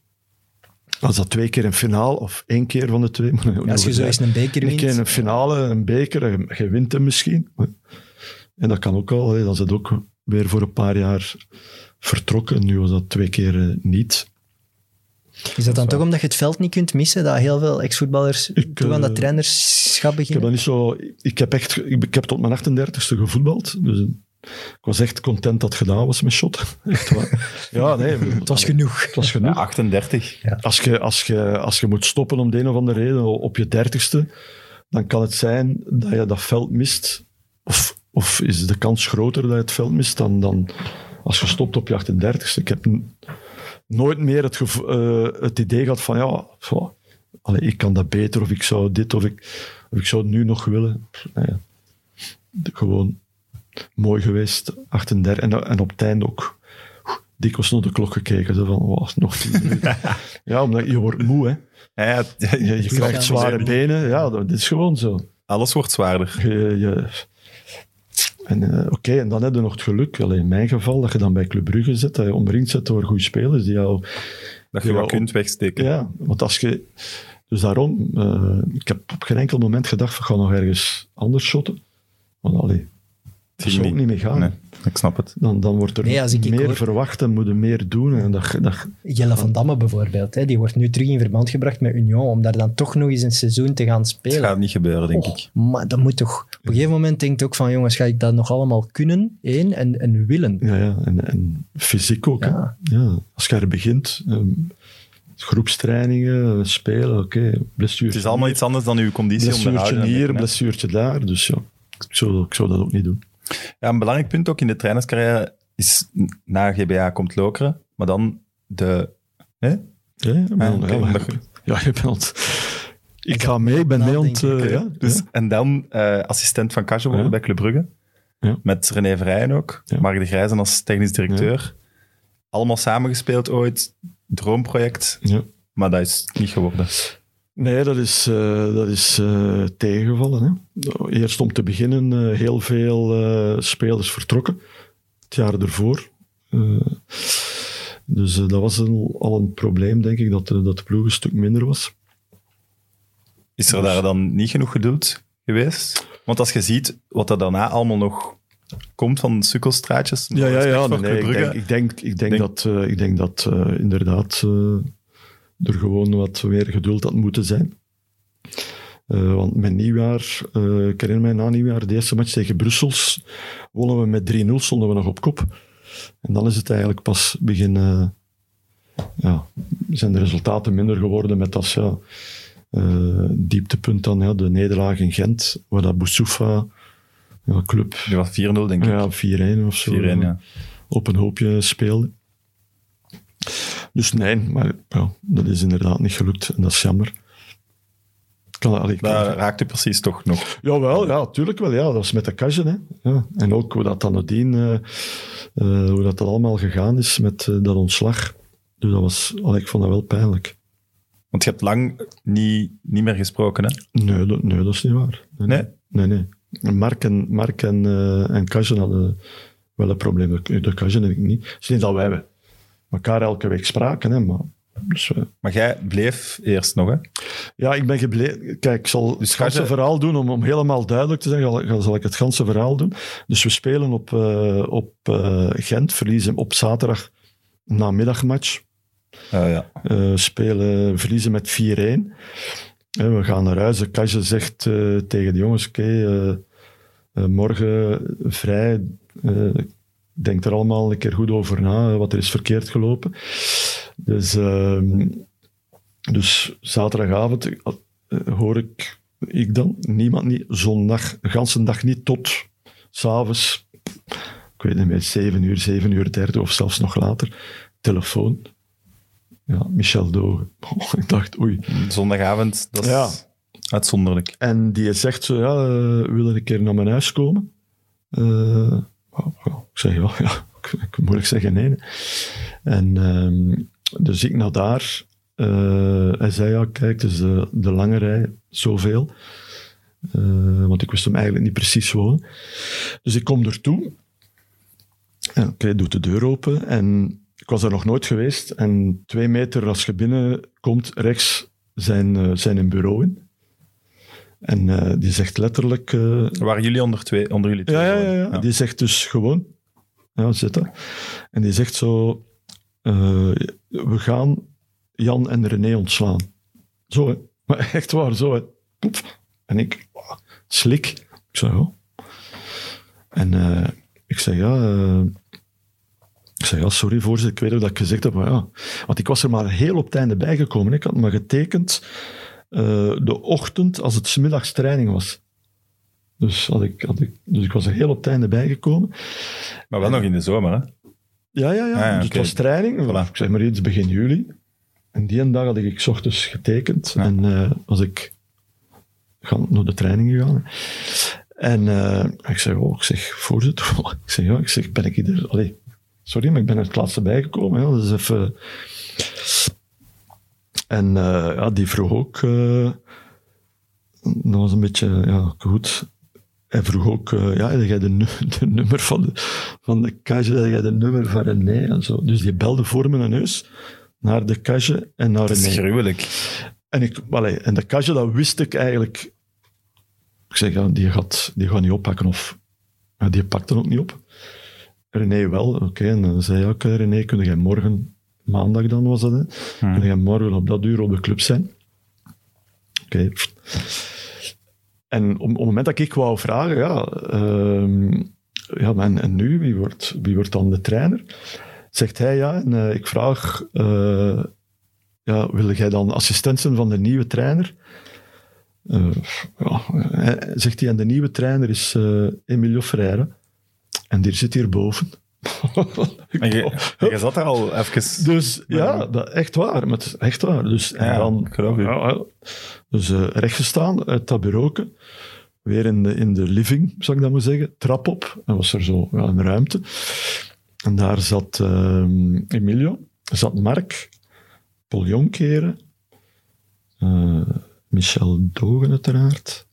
[SPEAKER 4] Als dat twee keer een finale, of één keer van de twee. maar ook
[SPEAKER 2] als
[SPEAKER 4] nog
[SPEAKER 2] je zo
[SPEAKER 4] een-
[SPEAKER 2] eens een beker
[SPEAKER 4] Een keer
[SPEAKER 2] wint,
[SPEAKER 4] een finale, een beker, en je wint hem misschien. En dat kan ook al, hè. dan is het ook weer voor een paar jaar vertrokken. Nu was dat twee keer eh, niet.
[SPEAKER 2] is dat dan toch omdat je het veld niet kunt missen? Dat heel veel ex-voetballers
[SPEAKER 4] Ik,
[SPEAKER 2] toe aan dat
[SPEAKER 4] eh,
[SPEAKER 2] trainerschap
[SPEAKER 4] Ik heb,
[SPEAKER 2] beginnen?
[SPEAKER 4] dat niet zo, ik heb, echt, ik, ik heb tot mijn 38ste gevoetbald. Dus ik was echt content dat het gedaan was met shot. Echt waar. Ja, nee.
[SPEAKER 2] Het was genoeg.
[SPEAKER 4] Het was
[SPEAKER 1] Ja,
[SPEAKER 4] genoeg.
[SPEAKER 1] 38.
[SPEAKER 4] Als je, als, je, als je moet stoppen om de een of andere reden op je dertigste, dan kan het zijn dat je dat veld mist. Of Of is de kans groter dat je het veld mist dan, dan als je stopt op je 38ste? Ik heb n- nooit meer het, gevo- eh, het idee gehad van, ja, zo, allee, ik kan dat beter, of ik zou dit, of ik, of ik zou het nu nog willen. Nou ja, de- gewoon mooi geweest, 38. En, en op het einde ook dikwijls naar de klok gekeken. Zo van, wow, nog 10 minuten. ja, omdat je wordt moe, hè.
[SPEAKER 1] Ja, ja, het-
[SPEAKER 4] Je, je krijgt zware benen. Ja, dat, dat is gewoon zo.
[SPEAKER 1] Alles wordt zwaarder.
[SPEAKER 4] Je, je- en, eh, Oké, en dan heb je nog het geluk, alleen in mijn geval, dat je dan bij Club Brugge zit, dat je omringd zit door goede spelers die jou
[SPEAKER 1] Dat je
[SPEAKER 4] Ja,
[SPEAKER 1] wat
[SPEAKER 4] om-
[SPEAKER 1] kunt wegsteken.
[SPEAKER 4] ja, want als je... Dus daarom, eh, ik heb op geen enkel moment gedacht, we gaan nog ergens anders shotten. Want allee, dat
[SPEAKER 1] Zie
[SPEAKER 4] zou
[SPEAKER 1] je
[SPEAKER 4] ook niet mee gaan.
[SPEAKER 1] Nee, ik snap het.
[SPEAKER 4] Dan, dan wordt er
[SPEAKER 2] Nee, als ik- ik
[SPEAKER 4] meer
[SPEAKER 2] hoor-
[SPEAKER 4] verwacht en moet je meer doen. En dat, dat,
[SPEAKER 2] Jelle van Damme bijvoorbeeld, hè, die wordt nu terug in verband gebracht met Union, om daar dan toch nog eens een seizoen te gaan
[SPEAKER 1] Het
[SPEAKER 2] spelen.
[SPEAKER 1] gaat niet gebeuren, denk
[SPEAKER 4] Oh.
[SPEAKER 2] Och,
[SPEAKER 1] ik.
[SPEAKER 2] Maar dat moet toch... Op een gegeven moment denkt ook van, jongens, ga ik dat nog allemaal kunnen? Eén, en, en willen.
[SPEAKER 4] Ja, ja en, en fysiek ook. hè.
[SPEAKER 2] Ja.
[SPEAKER 4] Ja, als je er begint, ehm, groepstrainingen, eh, spelen, oké, blessure.
[SPEAKER 1] Het is allemaal iets anders dan uw conditie om te houden.
[SPEAKER 4] Blessuurtje hier,
[SPEAKER 1] en-
[SPEAKER 4] blessuurtje daar. Dus ja, ik zou, ik zou dat ook niet doen.
[SPEAKER 1] Ja, een belangrijk punt ook in de trainerscarrière is n- na GBA komt Lokeren, maar dan de... Hè?
[SPEAKER 4] Ja, ja, maar,
[SPEAKER 1] Ah,
[SPEAKER 4] ja,
[SPEAKER 1] oké,
[SPEAKER 4] maar-
[SPEAKER 1] dat-
[SPEAKER 4] ja, je bent... aan het- Ik ga mee, ik ben mee aan het... eh,
[SPEAKER 1] Oké,
[SPEAKER 4] ja,
[SPEAKER 1] dus,
[SPEAKER 4] ja.
[SPEAKER 1] En dan eh, assistent van Kajo worden
[SPEAKER 4] Ja.
[SPEAKER 1] bij Club Brugge.
[SPEAKER 4] Ja.
[SPEAKER 1] Met René Vrijen ook.
[SPEAKER 4] Ja.
[SPEAKER 1] Mark de Grijzen als technisch directeur. Allemaal samengespeeld ooit. Droomproject.
[SPEAKER 4] Ja.
[SPEAKER 1] Maar dat is niet geworden.
[SPEAKER 4] Nee, dat is, eh, dat is eh, tegengevallen. Hè. Eerst om te beginnen eh, heel veel eh, spelers vertrokken. Het jaar ervoor. Eh, dus eh, dat was een- al een probleem, denk ik, dat, de- dat de ploeg een stuk minder was.
[SPEAKER 1] Is er daar dan niet genoeg geduld geweest? Want als je ziet wat er daarna allemaal nog komt van sukkelstraatjes. respect voor Club
[SPEAKER 4] ik,
[SPEAKER 1] Brugge.
[SPEAKER 4] denk, ik, denk, ik, denk
[SPEAKER 1] Denk-
[SPEAKER 4] dat, eh, ik denk dat eh, inderdaad eh, er gewoon wat meer geduld had moeten zijn. Eh, want mijn nieuwjaar, eh ik herinner mij na nieuwjaar, de eerste match tegen Brussels, wonnen we met 3-0, stonden we nog op kop. En dan is het eigenlijk pas beginnen, ja, zijn de resultaten minder geworden met als ja, eh, dieptepunt dan ja, de nederlaag in Gent, waar dat Boussoufa, ja, club,
[SPEAKER 1] Die was 4-0, denk ik.
[SPEAKER 4] ja, 4-1 of zo
[SPEAKER 1] 4-1, ja.
[SPEAKER 4] op een hoopje speelde. Dus nee, maar ja, dat is inderdaad niet gelukt en dat is jammer. Ik Kan, allee, ik kan-
[SPEAKER 1] Daar raakte precies toch nog.
[SPEAKER 4] Jawel, ja, tuurlijk wel. Ja. Dat was met de cashen. Hè. Ja. En ook hoe dat dan nadien, eh, eh, hoe dat, dat allemaal gegaan is met eh, dat ontslag. Dus dat was, allee, ik vond dat wel pijnlijk.
[SPEAKER 1] Want je hebt lang niet, niet meer gesproken, hè?
[SPEAKER 4] Nee, dat, nee, dat is niet waar.
[SPEAKER 1] Nee?
[SPEAKER 4] Nee, nee. En Mark en, Mark en, eh, en Kajan hadden wel een probleem. De, de Kajan en ik niet. Het is niet dat wij elkaar elke week spraken, hè, maar... Dus, eh,
[SPEAKER 1] Maar jij bleef eerst nog, hè?
[SPEAKER 4] ja, ik ben gebleven... Kijk, ik zal
[SPEAKER 1] Dus
[SPEAKER 4] het ganse
[SPEAKER 1] Kajan-
[SPEAKER 4] verhaal doen, om, om helemaal duidelijk te zijn, zal, ik- zal ik het ganse verhaal doen. Dus we spelen op, eh, op eh, Gent, verliezen op zaterdag namiddagmatch.
[SPEAKER 1] Eh, ja.
[SPEAKER 4] Eh, spelen, verliezen met 4-1. En we gaan naar huis. De Kasje zegt eh, tegen de jongens: Oké, eh, eh, morgen vrij. eh, denk er allemaal een keer goed over na eh, wat er is verkeerd gelopen. Dus, ehm, dus zaterdagavond eh, eh, hoor ik, ik dan, niemand niet, zondag, de ganse dag niet tot s'avonds, ik weet niet meer, 7 uur, 7 uur 30 of zelfs nog later, telefoon. Ja, Michel Dogen. Oh, ik dacht, oei.
[SPEAKER 1] Zondagavond, dat is
[SPEAKER 4] Ja.
[SPEAKER 1] uitzonderlijk.
[SPEAKER 4] En die zegt zo, ja, eh, wil je een keer naar mijn huis komen? Eh, wauw, wauw. ik zeg ja, ja. Ik, ik kan moeilijk zeggen nee. hè. En ehm, dus ik naar daar. Eh, hij zei, ja, kijk, het is de, de lange rij, zoveel. Eh, want ik wist hem eigenlijk niet precies wonen. Dus ik kom ertoe. En oké, doet de deur open. En ik was er nog nooit geweest. En twee meter als je binnenkomt, rechts zijn, eh, zijn een bureau in. En eh, die zegt letterlijk... eh,
[SPEAKER 1] Waren jullie onder, twee, onder jullie twee?
[SPEAKER 4] ja, ja, ja,
[SPEAKER 1] gewoon?
[SPEAKER 4] ja. Die zegt dus gewoon... Ja, zit dat. En die zegt zo... eh, we gaan Jan en René ontslaan. Zo, hè. Maar echt waar, zo, hè. Poep. En ik... ah, Slik. Ik zei, ja. En eh, ik zei, ja... eh, ik zei, ja, sorry voorzitter, ik weet ook dat ik gezegd heb, maar ja. Want ik was er maar heel op het einde bijgekomen. hè. Ik had maar getekend eh, de ochtend als het 's middags training was. Dus, had ik, had ik, dus ik was er heel op het einde bijgekomen.
[SPEAKER 1] Maar wel nog in de zomer, hè?
[SPEAKER 4] Ja, ja, ja.
[SPEAKER 1] Ah, ja,
[SPEAKER 4] dus
[SPEAKER 1] oké.
[SPEAKER 4] het was training.
[SPEAKER 1] Voilà.
[SPEAKER 4] Ik zeg maar iets, begin juli. En die ene dag had ik 's ochtends getekend.
[SPEAKER 1] Ja.
[SPEAKER 4] En eh, was ik gaan, naar de training gegaan. En eh, ik zeg, oh, ik zeg, voorzitter. ik zeg, ja, ik zeg, ben ik hier... Allee, sorry, maar ik ben er het laatste bijgekomen. Hè, dus even... En eh, ja, die vroeg ook... eh, dat was een beetje, ja, goed. Hij vroeg ook, eh, ja, heb jij de, nu- de nummer van de, van de cage, heb jij de nummer van René en zo. Dus die belde voor mijn neus naar de cage en naar
[SPEAKER 1] Dat is
[SPEAKER 4] René.
[SPEAKER 1] gruwelijk.
[SPEAKER 4] En, ik, allee, en de cage, dat wist ik eigenlijk. Ik zeg, ja, die, gaat, die gaat niet oppakken of... Ja, die pakt dan ook niet op. René wel, oké. En dan zei hij ook, eh, René, kun jij morgen, maandag dan was dat, hè,
[SPEAKER 1] Hmm.
[SPEAKER 4] kun jij morgen op dat uur op de club zijn? Oké. En op, op het moment dat ik wou vragen, ja, ehm, ja maar en, en nu, wie wordt, wie wordt dan de trainer? Zegt hij, ja, en eh, ik vraag, eh, ja, wil jij dan assistent zijn van de nieuwe trainer? Eh, ja, hij- zegt hij, en de nieuwe trainer is eh, Emilio Freire. En die zit hier boven.
[SPEAKER 1] En je, en je zat daar al even...
[SPEAKER 4] Dus ja,
[SPEAKER 1] Ja.
[SPEAKER 4] dat, echt waar. maar het is echt waar. Dus, en
[SPEAKER 1] Ja,
[SPEAKER 4] dan,
[SPEAKER 1] ik geloof u.
[SPEAKER 4] Ja, ja. dus eh rechtgestaan uit dat bureauke. Weer in de, in de living, zou ik dat maar zeggen. Trap op. En was er zo ja, een ruimte. En daar zat ehm, Emilio, zat Mark, Paul Jonkeren, eh, Michel Dogen uiteraard.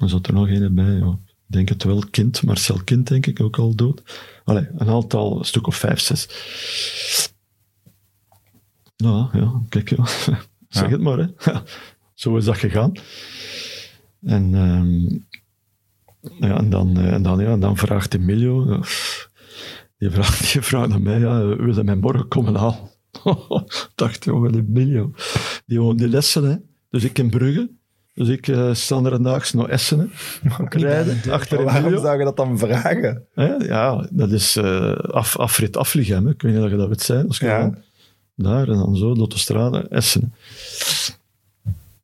[SPEAKER 4] Er zat er nog een bij, ja. Ik denk het wel, Kind, Marcel Kind denk ik, ook al dood. Allee, een aantal, een stuk of vijf, zes. Nou ja, kijk ja. Zeg
[SPEAKER 1] Ja.
[SPEAKER 4] het maar, hè. Zo is dat gegaan. En, ehm, ja, en, dan, eh, en, dan, ja, en dan vraagt Emilio, ja, die vraagt, die vraagt aan mij, ja, wil je mij morgen komen halen? Ik dacht, jongen, Emilio, die woont in Essen, hè. Dus ik in Brugge. Dus ik eh sta er een daags naar Essen, hè. Rijden, achter
[SPEAKER 1] Oh, waarom
[SPEAKER 4] Emilio.
[SPEAKER 1] zou je dat dan vragen?
[SPEAKER 4] Hè? Ja, dat is eh af, afrit Afligem. hè. Ik weet niet of je dat weet zijn. Als je
[SPEAKER 1] Ja.
[SPEAKER 4] dan daar en dan zo, Lottostrade, Essen.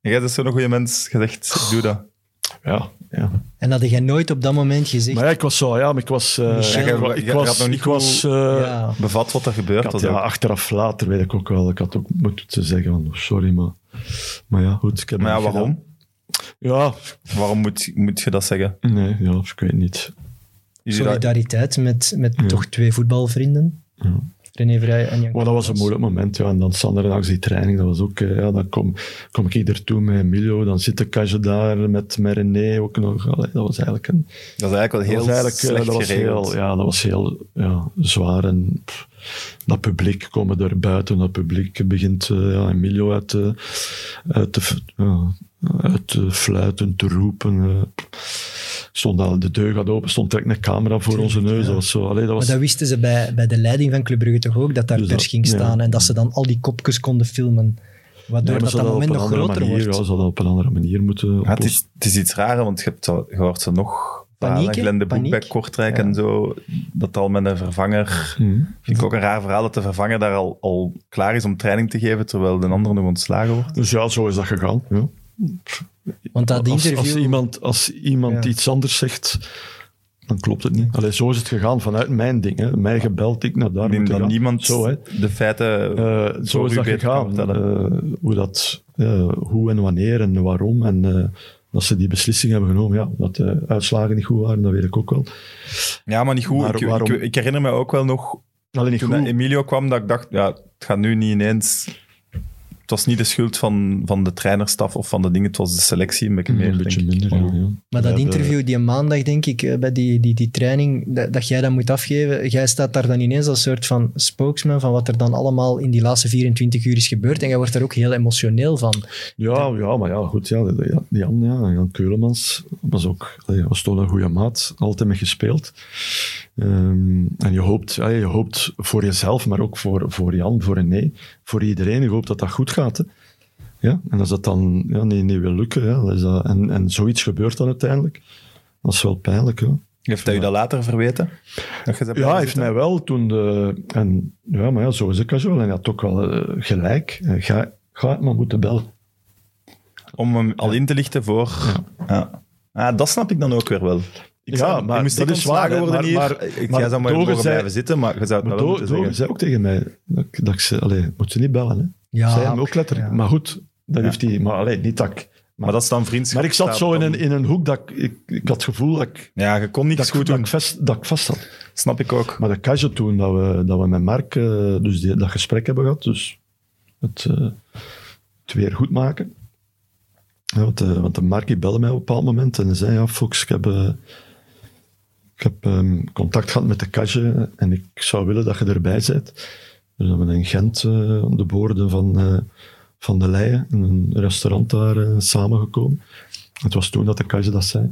[SPEAKER 1] En jij bent zo'n goede mens gezegd, doe dat.
[SPEAKER 4] Ja, ja.
[SPEAKER 2] En had jij nooit op dat moment gezegd...
[SPEAKER 4] Maar ja, ik was zo, ja, maar ik was... eh,
[SPEAKER 2] Michel.
[SPEAKER 4] ik wa- ik
[SPEAKER 1] Je had
[SPEAKER 4] was,
[SPEAKER 1] nog niet
[SPEAKER 4] ik was
[SPEAKER 1] goed-
[SPEAKER 4] eh,
[SPEAKER 2] ja.
[SPEAKER 1] Bevat wat er gebeurd
[SPEAKER 4] ik had,
[SPEAKER 1] was
[SPEAKER 4] ja,
[SPEAKER 1] ook.
[SPEAKER 4] achteraf later weet ik ook wel, ik had ook moeten zeggen van, oh, sorry, maar... Maar ja, goed, ik heb
[SPEAKER 1] Maar ja,
[SPEAKER 4] het niet
[SPEAKER 1] waarom?
[SPEAKER 4] gedaan.
[SPEAKER 1] Waarom moet, moet je dat zeggen?
[SPEAKER 4] Ja, nee, ja, ik weet niet.
[SPEAKER 1] Is je dat-
[SPEAKER 2] solidariteit met, met toch twee voetbalvrienden.
[SPEAKER 4] Ja.
[SPEAKER 2] René Vrij en Jan
[SPEAKER 4] Maar dat was een moeilijk moment, ja. En dan Sander en Ax die training, dat was ook... eh, Ja, dan kom, kom ik hier toe met Emilio, dan zit de Cage daar met, met René ook nog. Allee, dat was eigenlijk een...
[SPEAKER 1] Dat is eigenlijk wel heel
[SPEAKER 4] dat was eigenlijk, eh,
[SPEAKER 1] slecht
[SPEAKER 4] dat was
[SPEAKER 1] geregeld.
[SPEAKER 4] heel, ja, dat was heel ja, zwaar. En pff, dat publiek komen er buiten. Dat publiek begint eh, ja, Emilio uit, te- uit, te f- ja, uit te fluiten, te roepen. eh. stond al, de deur gaat open, stond direct een camera voor onze neus. Dat was zo. Allee, dat was,
[SPEAKER 2] Maar dat wisten ze bij, bij de leiding van Club Brugge toch ook, dat daar
[SPEAKER 4] Dus
[SPEAKER 2] pers
[SPEAKER 4] dat-
[SPEAKER 2] ging
[SPEAKER 4] ja.
[SPEAKER 2] staan en dat ze dan al die kopjes konden filmen. Waardoor
[SPEAKER 4] Nee, maar
[SPEAKER 2] dat,
[SPEAKER 4] ze
[SPEAKER 2] dat
[SPEAKER 4] hadden
[SPEAKER 2] moment
[SPEAKER 4] op een
[SPEAKER 2] nog
[SPEAKER 4] andere
[SPEAKER 2] groter
[SPEAKER 4] manier,
[SPEAKER 2] wordt.
[SPEAKER 4] Ja, ze hadden op een andere manier moeten
[SPEAKER 1] Ja, het,
[SPEAKER 4] oplossen.
[SPEAKER 1] is, het is iets raar, want je hebt zo- je hoort ze nog...
[SPEAKER 2] Paniek,
[SPEAKER 1] verhalen.
[SPEAKER 2] hè?
[SPEAKER 1] Glenn de Boek
[SPEAKER 2] Paniek.
[SPEAKER 1] bij Kortrijk
[SPEAKER 2] Ja.
[SPEAKER 1] en zo. Dat al met een vervanger...
[SPEAKER 4] Mhm.
[SPEAKER 1] Vind ik ook een raar verhaal dat de vervanger daar al, al klaar is om training te geven, terwijl de ander nog ontslagen wordt.
[SPEAKER 4] Dus ja, zo is dat gegaan. Ja.
[SPEAKER 2] Want dat
[SPEAKER 4] als,
[SPEAKER 2] interview...
[SPEAKER 4] als iemand, als iemand
[SPEAKER 2] Ja.
[SPEAKER 4] iets anders zegt, dan klopt het niet. Allee, zo is het gegaan vanuit mijn ding. Hè. Mij gebeld, ik naar daar.
[SPEAKER 1] Neem
[SPEAKER 4] moeten
[SPEAKER 1] dan
[SPEAKER 4] gaan.
[SPEAKER 1] niemand
[SPEAKER 4] Zo, hè.
[SPEAKER 1] de feiten...
[SPEAKER 4] Eh,
[SPEAKER 1] voor
[SPEAKER 4] zo is
[SPEAKER 1] u
[SPEAKER 4] dat
[SPEAKER 1] beter
[SPEAKER 4] gegaan.
[SPEAKER 1] kan vertellen.
[SPEAKER 4] Eh, hoe, dat, eh, hoe en wanneer en waarom. En eh, dat ze die beslissing hebben genomen. Ja, dat de uitslagen niet goed waren, dat weet ik ook wel.
[SPEAKER 1] ja, maar niet goed.
[SPEAKER 4] maar
[SPEAKER 1] Ik- ik,
[SPEAKER 4] waarom-
[SPEAKER 1] ik, herinner me ook wel nog,
[SPEAKER 4] Alleen niet
[SPEAKER 1] toen dat
[SPEAKER 4] goed.
[SPEAKER 1] Emilio kwam, dat ik dacht, ja, het gaat nu niet ineens... Het was niet de schuld van, van de trainerstaf of van de dingen, het was de selectie een beetje meer,
[SPEAKER 4] Mhm. een
[SPEAKER 1] denk
[SPEAKER 4] beetje
[SPEAKER 1] ik.
[SPEAKER 4] minder.
[SPEAKER 1] Maar-
[SPEAKER 4] ja, ja.
[SPEAKER 2] Maar dat
[SPEAKER 4] Ja, de-
[SPEAKER 2] interview die maandag, denk ik, eh, bij die, die, die training, dat, dat jij dat moet afgeven, jij staat daar dan ineens als soort van spokesman van wat er dan allemaal in die laatste 24 uur is gebeurd. En jij wordt daar ook heel emotioneel van.
[SPEAKER 4] Ja, ja, maar ja, goed. Ja, de- de- ja, Jan, ja, Jan Keulemans was ook allee, was toch een goede maat, altijd mee gespeeld. Ehm, en je hoopt, allee, je hoopt voor jezelf, maar ook voor, voor Jan, voor René, voor iedereen. Je hoopt dat dat goed gaat. Hè. Ja? En als dat dan ja, niet, niet wil lukken, ja, dat is dat, en, en zoiets gebeurt dan uiteindelijk, dat is wel pijnlijk. Hè.
[SPEAKER 1] Heeft hij u dat later verweten? Dat je ze
[SPEAKER 4] Ja,
[SPEAKER 1] blijven
[SPEAKER 4] hij heeft
[SPEAKER 1] zitten?
[SPEAKER 4] mij wel toen de... En, ja, maar ja, zo is het casual. En hij had ook wel eh, gelijk. Eh, Ga, ga het maar moeten bellen.
[SPEAKER 1] Om hem al in te lichten voor... Ja. Ah, dat snap ik dan ook weer wel. Ik
[SPEAKER 4] Ja,
[SPEAKER 1] zou-
[SPEAKER 4] maar
[SPEAKER 1] ik moest
[SPEAKER 4] dat
[SPEAKER 1] niet
[SPEAKER 4] is
[SPEAKER 1] ontslagen
[SPEAKER 4] waar, hè.
[SPEAKER 1] worden
[SPEAKER 4] Maar-
[SPEAKER 1] hier.
[SPEAKER 4] maar-
[SPEAKER 1] ik
[SPEAKER 4] maar
[SPEAKER 1] ga zo maar
[SPEAKER 4] Dogen
[SPEAKER 1] mogen
[SPEAKER 4] zei-
[SPEAKER 1] blijven zitten, maar je zou het
[SPEAKER 4] Maar
[SPEAKER 1] wel wel moeten
[SPEAKER 4] Dogen
[SPEAKER 1] zeggen.
[SPEAKER 4] Dogen zei ook tegen mij dat, ik- dat ik ze... Allee, moet ze niet bellen, hè.
[SPEAKER 2] Ja,
[SPEAKER 4] zei hem ook letterlijk.
[SPEAKER 2] ja.
[SPEAKER 4] Maar goed,
[SPEAKER 1] Ja.
[SPEAKER 4] dat heeft hij... Maar allee, niet dat ik...
[SPEAKER 1] Maar dat is dan vriendschap.
[SPEAKER 4] Maar ik zat
[SPEAKER 1] staat
[SPEAKER 4] zo in
[SPEAKER 1] dan-
[SPEAKER 4] een, in een hoek dat ik, ik... ik had het gevoel dat ik...
[SPEAKER 1] Ja, je kon
[SPEAKER 4] Dat
[SPEAKER 1] niks
[SPEAKER 4] ik,
[SPEAKER 1] goed
[SPEAKER 4] dat,
[SPEAKER 1] doen.
[SPEAKER 4] ik vast, dat ik vast had.
[SPEAKER 1] Snap ik ook.
[SPEAKER 4] Maar dat kastje toen, dat we, dat we met Mark eh, dus die- dat gesprek hebben gehad, dus het, eh, het weer goed maken. Ja, want, eh, want de Mark die belde mij op een bepaald moment en hij zei, ja Fox, ik heb, eh, ik heb ehm, contact gehad met de kastje en ik zou willen dat je erbij bent. Dus dan ben ik in Gent eh, op de boorden van, eh, van de Leyen, in een restaurant daar eh, samengekomen. Het was toen dat de kastje dat zei.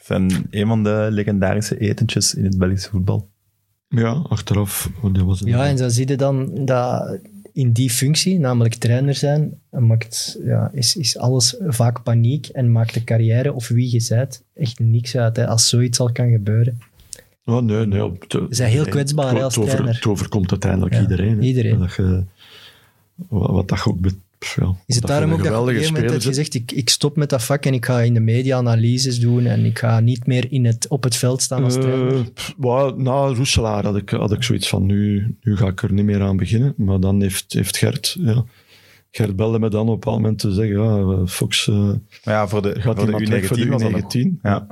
[SPEAKER 1] Van een van de legendarische etentjes in het Belgische voetbal.
[SPEAKER 4] Ja, achteraf, want dat was een-
[SPEAKER 2] Ja, en dan zie je dan dat in die functie, namelijk trainer zijn, maakt, ja, is, is alles vaak paniek en maakt de carrière of wie je bent echt niks uit. Hè, als zoiets al kan gebeuren.
[SPEAKER 4] Oh, nee, nee. Op het-
[SPEAKER 2] Ze zijn heel
[SPEAKER 4] nee,
[SPEAKER 2] kwetsbaar,
[SPEAKER 4] het-
[SPEAKER 2] hè, als
[SPEAKER 4] het over-
[SPEAKER 2] trainer.
[SPEAKER 4] Het overkomt uiteindelijk
[SPEAKER 2] Ja,
[SPEAKER 4] iedereen. hè.
[SPEAKER 2] iedereen.
[SPEAKER 4] Dat je- wa- wat dat je ook... bet- pff, ja,
[SPEAKER 2] Is het
[SPEAKER 4] dat
[SPEAKER 2] daarom
[SPEAKER 4] je
[SPEAKER 2] ook
[SPEAKER 4] een
[SPEAKER 2] dat je op een
[SPEAKER 4] geweldige
[SPEAKER 2] gegeven moment
[SPEAKER 4] speler
[SPEAKER 2] hebt
[SPEAKER 4] zit.
[SPEAKER 2] gezegd, ik, ik stop met dat vak en ik ga in de media analyses doen en ik ga niet meer in het, op het veld staan als trainer?
[SPEAKER 4] Eh, pff, wa- na Roeselaar had ik, had ik zoiets van, nu, nu ga ik er niet meer aan beginnen. Maar dan heeft, heeft Gert... Ja, Gert belde me dan op een bepaald moment te zeggen, ja, eh, Fox, eh,
[SPEAKER 1] Maar ja, voor de,
[SPEAKER 4] gaat
[SPEAKER 1] voor de
[SPEAKER 4] iemand weg
[SPEAKER 1] U19
[SPEAKER 4] voor de
[SPEAKER 1] was dat nog.
[SPEAKER 4] U19?
[SPEAKER 1] Ja.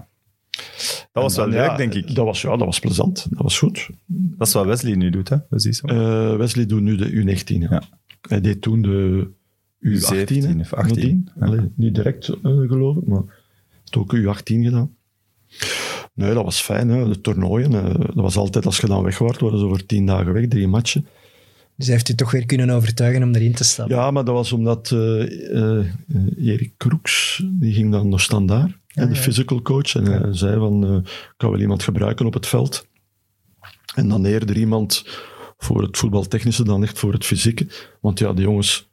[SPEAKER 1] Dat was
[SPEAKER 4] En
[SPEAKER 1] wel
[SPEAKER 4] dan,
[SPEAKER 1] leuk,
[SPEAKER 4] ja,
[SPEAKER 1] denk ik.
[SPEAKER 4] Dat was, ja, dat was plezant. Dat was goed.
[SPEAKER 1] Dat is wat Wesley nu doet, hè? Precies. zo.
[SPEAKER 4] Eh, Wesley doet nu de U19. Ja.
[SPEAKER 1] Ja.
[SPEAKER 4] Hij deed toen de U18.
[SPEAKER 1] U17
[SPEAKER 4] hè,
[SPEAKER 1] of 18.
[SPEAKER 4] nadien.
[SPEAKER 1] Ja.
[SPEAKER 4] Allee, niet direct eh, geloof ik, maar het ook U18 gedaan. Nee, dat was fijn. Hè. De toernooien, eh, dat was altijd als je dan weg wordt, waren ze voor tien dagen weg, drie matchen.
[SPEAKER 2] dus hij heeft u toch weer kunnen overtuigen om erin te stappen.
[SPEAKER 4] Ja, maar dat was omdat eh, eh, eh, Erik Kroeks, die ging dan naar standaard, hè, de
[SPEAKER 2] ja.
[SPEAKER 4] physical coach, en hij zei van, eh, ik kan wel iemand gebruiken op het veld. En dan eerder iemand voor het voetbaltechnische dan echt voor het fysieke. Want ja, de jongens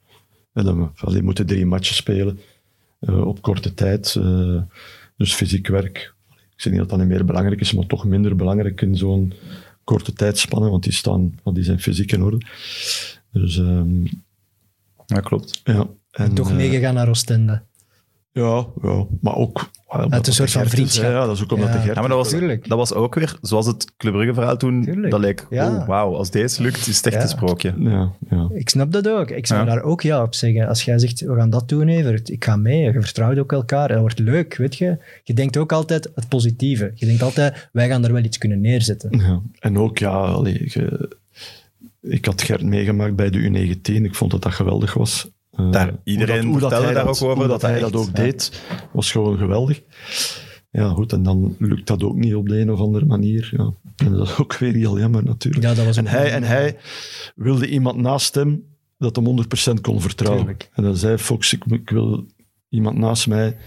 [SPEAKER 4] en dan, wel, die moeten drie matchen spelen eh, op korte tijd. eh, dus fysiek werk, ik zeg niet dat dat niet meer belangrijk is, maar toch minder belangrijk in zo'n korte tijdspanne, want die, staan, want die zijn fysiek in orde. Dus ehm,
[SPEAKER 1] Ja, klopt.
[SPEAKER 4] ja. En,
[SPEAKER 2] toch
[SPEAKER 4] eh,
[SPEAKER 2] meegegaan naar Oostende.
[SPEAKER 4] Ja, ja, maar ook... Ja,
[SPEAKER 2] een soort van vriendschap.
[SPEAKER 4] Ja, dat is ook omdat
[SPEAKER 2] Ja.
[SPEAKER 4] de Gert...
[SPEAKER 1] Ja, maar dat was,
[SPEAKER 2] Tuurlijk.
[SPEAKER 1] dat was ook weer, zoals het Club Brugge verhaal toen,
[SPEAKER 2] Tuurlijk.
[SPEAKER 1] dat leek,
[SPEAKER 2] Ja.
[SPEAKER 1] oh, wauw, als deze lukt, is het echt
[SPEAKER 2] Ja.
[SPEAKER 1] een sprookje.
[SPEAKER 4] Ja, ja.
[SPEAKER 2] Ik snap dat ook. Ik zou
[SPEAKER 1] Ja.
[SPEAKER 2] daar ook ja op zeggen. Als jij zegt, we gaan dat doen, Evert. Ik ga mee. Je vertrouwt ook elkaar. Dat wordt leuk, weet je. Je denkt ook altijd het positieve. Je denkt altijd, wij gaan er wel iets kunnen neerzetten.
[SPEAKER 4] Ja. En ook, ja, allee, je- ik had Gert meegemaakt bij de U19. Ik vond dat dat geweldig was. Eh,
[SPEAKER 1] Daar-
[SPEAKER 4] hoe
[SPEAKER 1] iedereen
[SPEAKER 4] dat- hoe dat
[SPEAKER 1] vertelde
[SPEAKER 4] hij
[SPEAKER 1] daar
[SPEAKER 4] dat-
[SPEAKER 1] ook over
[SPEAKER 4] hoe
[SPEAKER 1] dat
[SPEAKER 4] dat
[SPEAKER 1] dat
[SPEAKER 4] hij
[SPEAKER 1] echt-
[SPEAKER 4] dat ook
[SPEAKER 1] ja.
[SPEAKER 4] deed, was gewoon geweldig. Ja, goed, en dan lukt dat ook niet op de een of andere manier. Ja. En dat is ook weer heel jammer natuurlijk.
[SPEAKER 2] Ja, dat was
[SPEAKER 4] En
[SPEAKER 2] ook-
[SPEAKER 4] hij, en hij wilde iemand naast hem dat hem 100% kon vertrouwen.
[SPEAKER 2] Tuurlijk.
[SPEAKER 4] En dan zei Fox, ik, ik wil iemand naast mij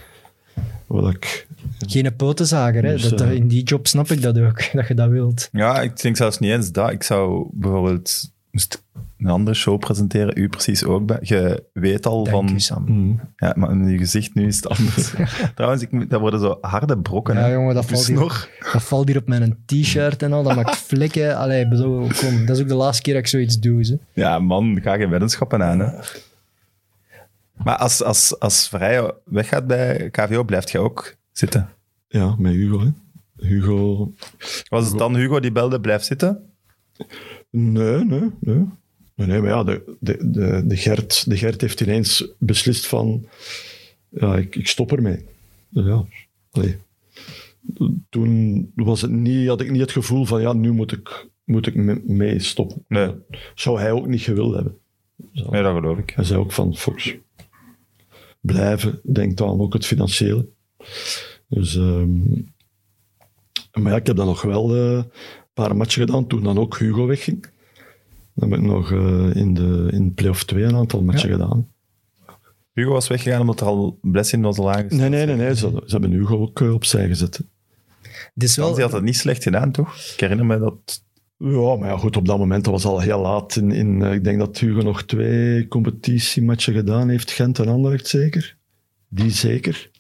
[SPEAKER 4] wat ik...
[SPEAKER 2] Geen potenzager. Hè?
[SPEAKER 4] Dus,
[SPEAKER 2] dat, dat-
[SPEAKER 4] eh,
[SPEAKER 2] in die job snap ik dat ook, dat je dat wilt.
[SPEAKER 1] Ja, ik denk zelfs niet eens dat. Ik zou bijvoorbeeld moest ik een andere show presenteren, u precies ook. Bij. Je weet al
[SPEAKER 2] Dank
[SPEAKER 1] van...
[SPEAKER 2] u, Sam.
[SPEAKER 1] Ja, maar in je gezicht nu is het anders. Trouwens, ik, moet- dat worden zo harde brokken.
[SPEAKER 2] Ja,
[SPEAKER 1] hè.
[SPEAKER 2] jongen, dat
[SPEAKER 4] dus
[SPEAKER 1] Op je
[SPEAKER 2] valt hier-
[SPEAKER 1] snor.
[SPEAKER 2] Dat valt hier op mijn t-shirt en al. Dat maakt vlekken. Allee, ik bedoel, kom. Dat is ook de laatste keer dat ik zoiets doe. Ze.
[SPEAKER 1] Ja, man, ga geen weddenschappen aan. Hè. Maar als, als, als Vrij weggaat bij KVO, blijft jij ook zitten.
[SPEAKER 4] Ja, met Hugo. Hè. Hugo...
[SPEAKER 1] Was het dan Hugo die belde, blijf zitten?
[SPEAKER 4] Nee, nee, nee. Nee, nee, maar ja, de, de, de, de, Gert, de Gert heeft ineens beslist van... Ja, ik, ik stop ermee. Dus ja, allee. Toen was het niet, had ik niet het gevoel van... Ja, nu moet ik, moet ik me- mee stoppen.
[SPEAKER 1] Nee.
[SPEAKER 4] Zou hij ook niet gewild hebben.
[SPEAKER 1] Nee, dat geloof ik.
[SPEAKER 4] Hij zei ook van, Fox, blijven, denk dan ook het financiële. Dus, ehm, maar ja, ik heb dan nog wel eh, een paar matchen gedaan, toen dan ook Hugo wegging. Dan heb ik nog eh, in, de, in play-off 2 een aantal matchen gedaan.
[SPEAKER 1] Hugo was weggegaan omdat er al blessing was al aangesteld.
[SPEAKER 4] Nee, nee, nee, nee ze, ze hebben Hugo ook eh, opzij gezet. hè.
[SPEAKER 2] Het is wel...
[SPEAKER 1] Die had dat niet slecht gedaan, toch? Ik herinner me dat...
[SPEAKER 4] Ja, maar ja, goed, op dat moment dat was al heel laat. In, in, eh, ik denk dat Hugo nog twee competitiematchen gedaan heeft. Gent en Anderlecht zeker. Die zeker.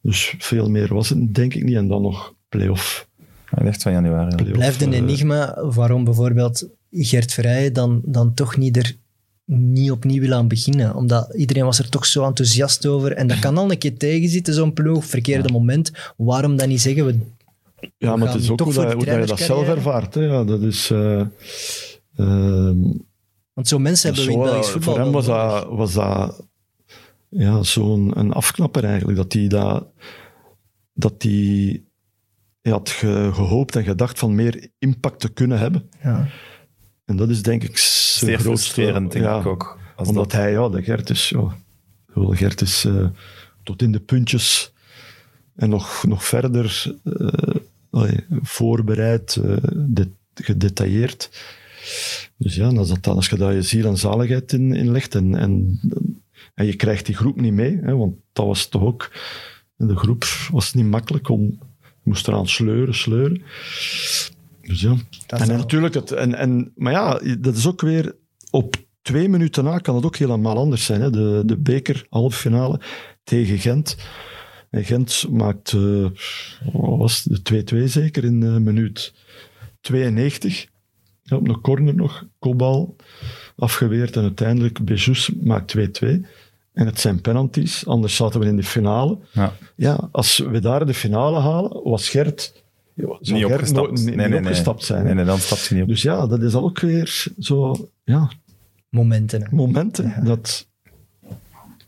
[SPEAKER 4] Dus veel meer was het denk ik niet. En dan nog play-off.
[SPEAKER 1] Echt van januari. ja.
[SPEAKER 4] play-off,
[SPEAKER 2] blijft een
[SPEAKER 4] eh,
[SPEAKER 2] enigma waarom bijvoorbeeld Gert Verrijen dan, dan toch niet er niet opnieuw wil aan beginnen. Omdat iedereen was er toch zo enthousiast over. En dat kan al een keer tegenzitten, zo'n ploeg. Verkeerde moment. Waarom dan niet zeggen, we
[SPEAKER 4] Ja, maar
[SPEAKER 2] gaan
[SPEAKER 4] het is ook
[SPEAKER 2] toch
[SPEAKER 4] hoe,
[SPEAKER 2] voor
[SPEAKER 4] dat,
[SPEAKER 2] de
[SPEAKER 4] hoe dat je dat zelf
[SPEAKER 2] trainerscarrière.
[SPEAKER 4] ervaart. Hè. Ja, dat is... eh, ehm,
[SPEAKER 2] Want zo'n mensen hebben we in
[SPEAKER 4] Zo,
[SPEAKER 2] Belgisch voetbal.
[SPEAKER 4] Voor hem
[SPEAKER 2] wel
[SPEAKER 4] was
[SPEAKER 2] nodig.
[SPEAKER 4] dat, was dat ja, zo'n een afknapper eigenlijk. Dat hij dat, dat die, hij had ge- gehoopt en gedacht van meer impact te kunnen hebben.
[SPEAKER 2] Ja.
[SPEAKER 4] En dat is denk ik zijn
[SPEAKER 1] Zeer
[SPEAKER 4] grootste-
[SPEAKER 1] frustrerend, denk
[SPEAKER 4] ja,
[SPEAKER 1] ik ook. Als
[SPEAKER 4] Omdat
[SPEAKER 1] dat,
[SPEAKER 4] hij, ja, de Gert is, ja, ik bedoel, Gert is eh, tot in de puntjes en nog, nog verder eh, allee, voorbereid, eh, de- gedetailleerd. Dus ja, en als, dat dan, als je daar je ziel en zaligheid in, in legt en, en, en je krijgt die groep niet mee, hè, want dat was toch ook, de groep was niet makkelijk om, je moest eraan sleuren, sleuren. Dus ja.
[SPEAKER 2] Dat
[SPEAKER 4] en
[SPEAKER 2] wel.
[SPEAKER 4] natuurlijk, het, en, en, maar ja, dat is ook weer op twee minuten na kan het ook helemaal anders zijn. Hè? De, de beker, halffinale tegen Gent. En Gent maakt, eh, wat was het, de 2-2 zeker in eh, minuut 92. Ja, op een corner nog, kopbal afgeweerd en uiteindelijk Bejus maakt 2-2. En het zijn penalties, anders zaten we in de finale.
[SPEAKER 1] ja.
[SPEAKER 4] Ja, als we daar de finale halen, was Gert, zou
[SPEAKER 1] Niet
[SPEAKER 4] Gert
[SPEAKER 1] opgestapt.
[SPEAKER 4] nooit- niet, niet opgestapt zijn. hè.
[SPEAKER 1] Nee, nee, dan stapt hij niet op.
[SPEAKER 4] Dus ja, dat is al ook weer zo, ja,
[SPEAKER 2] Momenten. hè.
[SPEAKER 4] momenten. Dat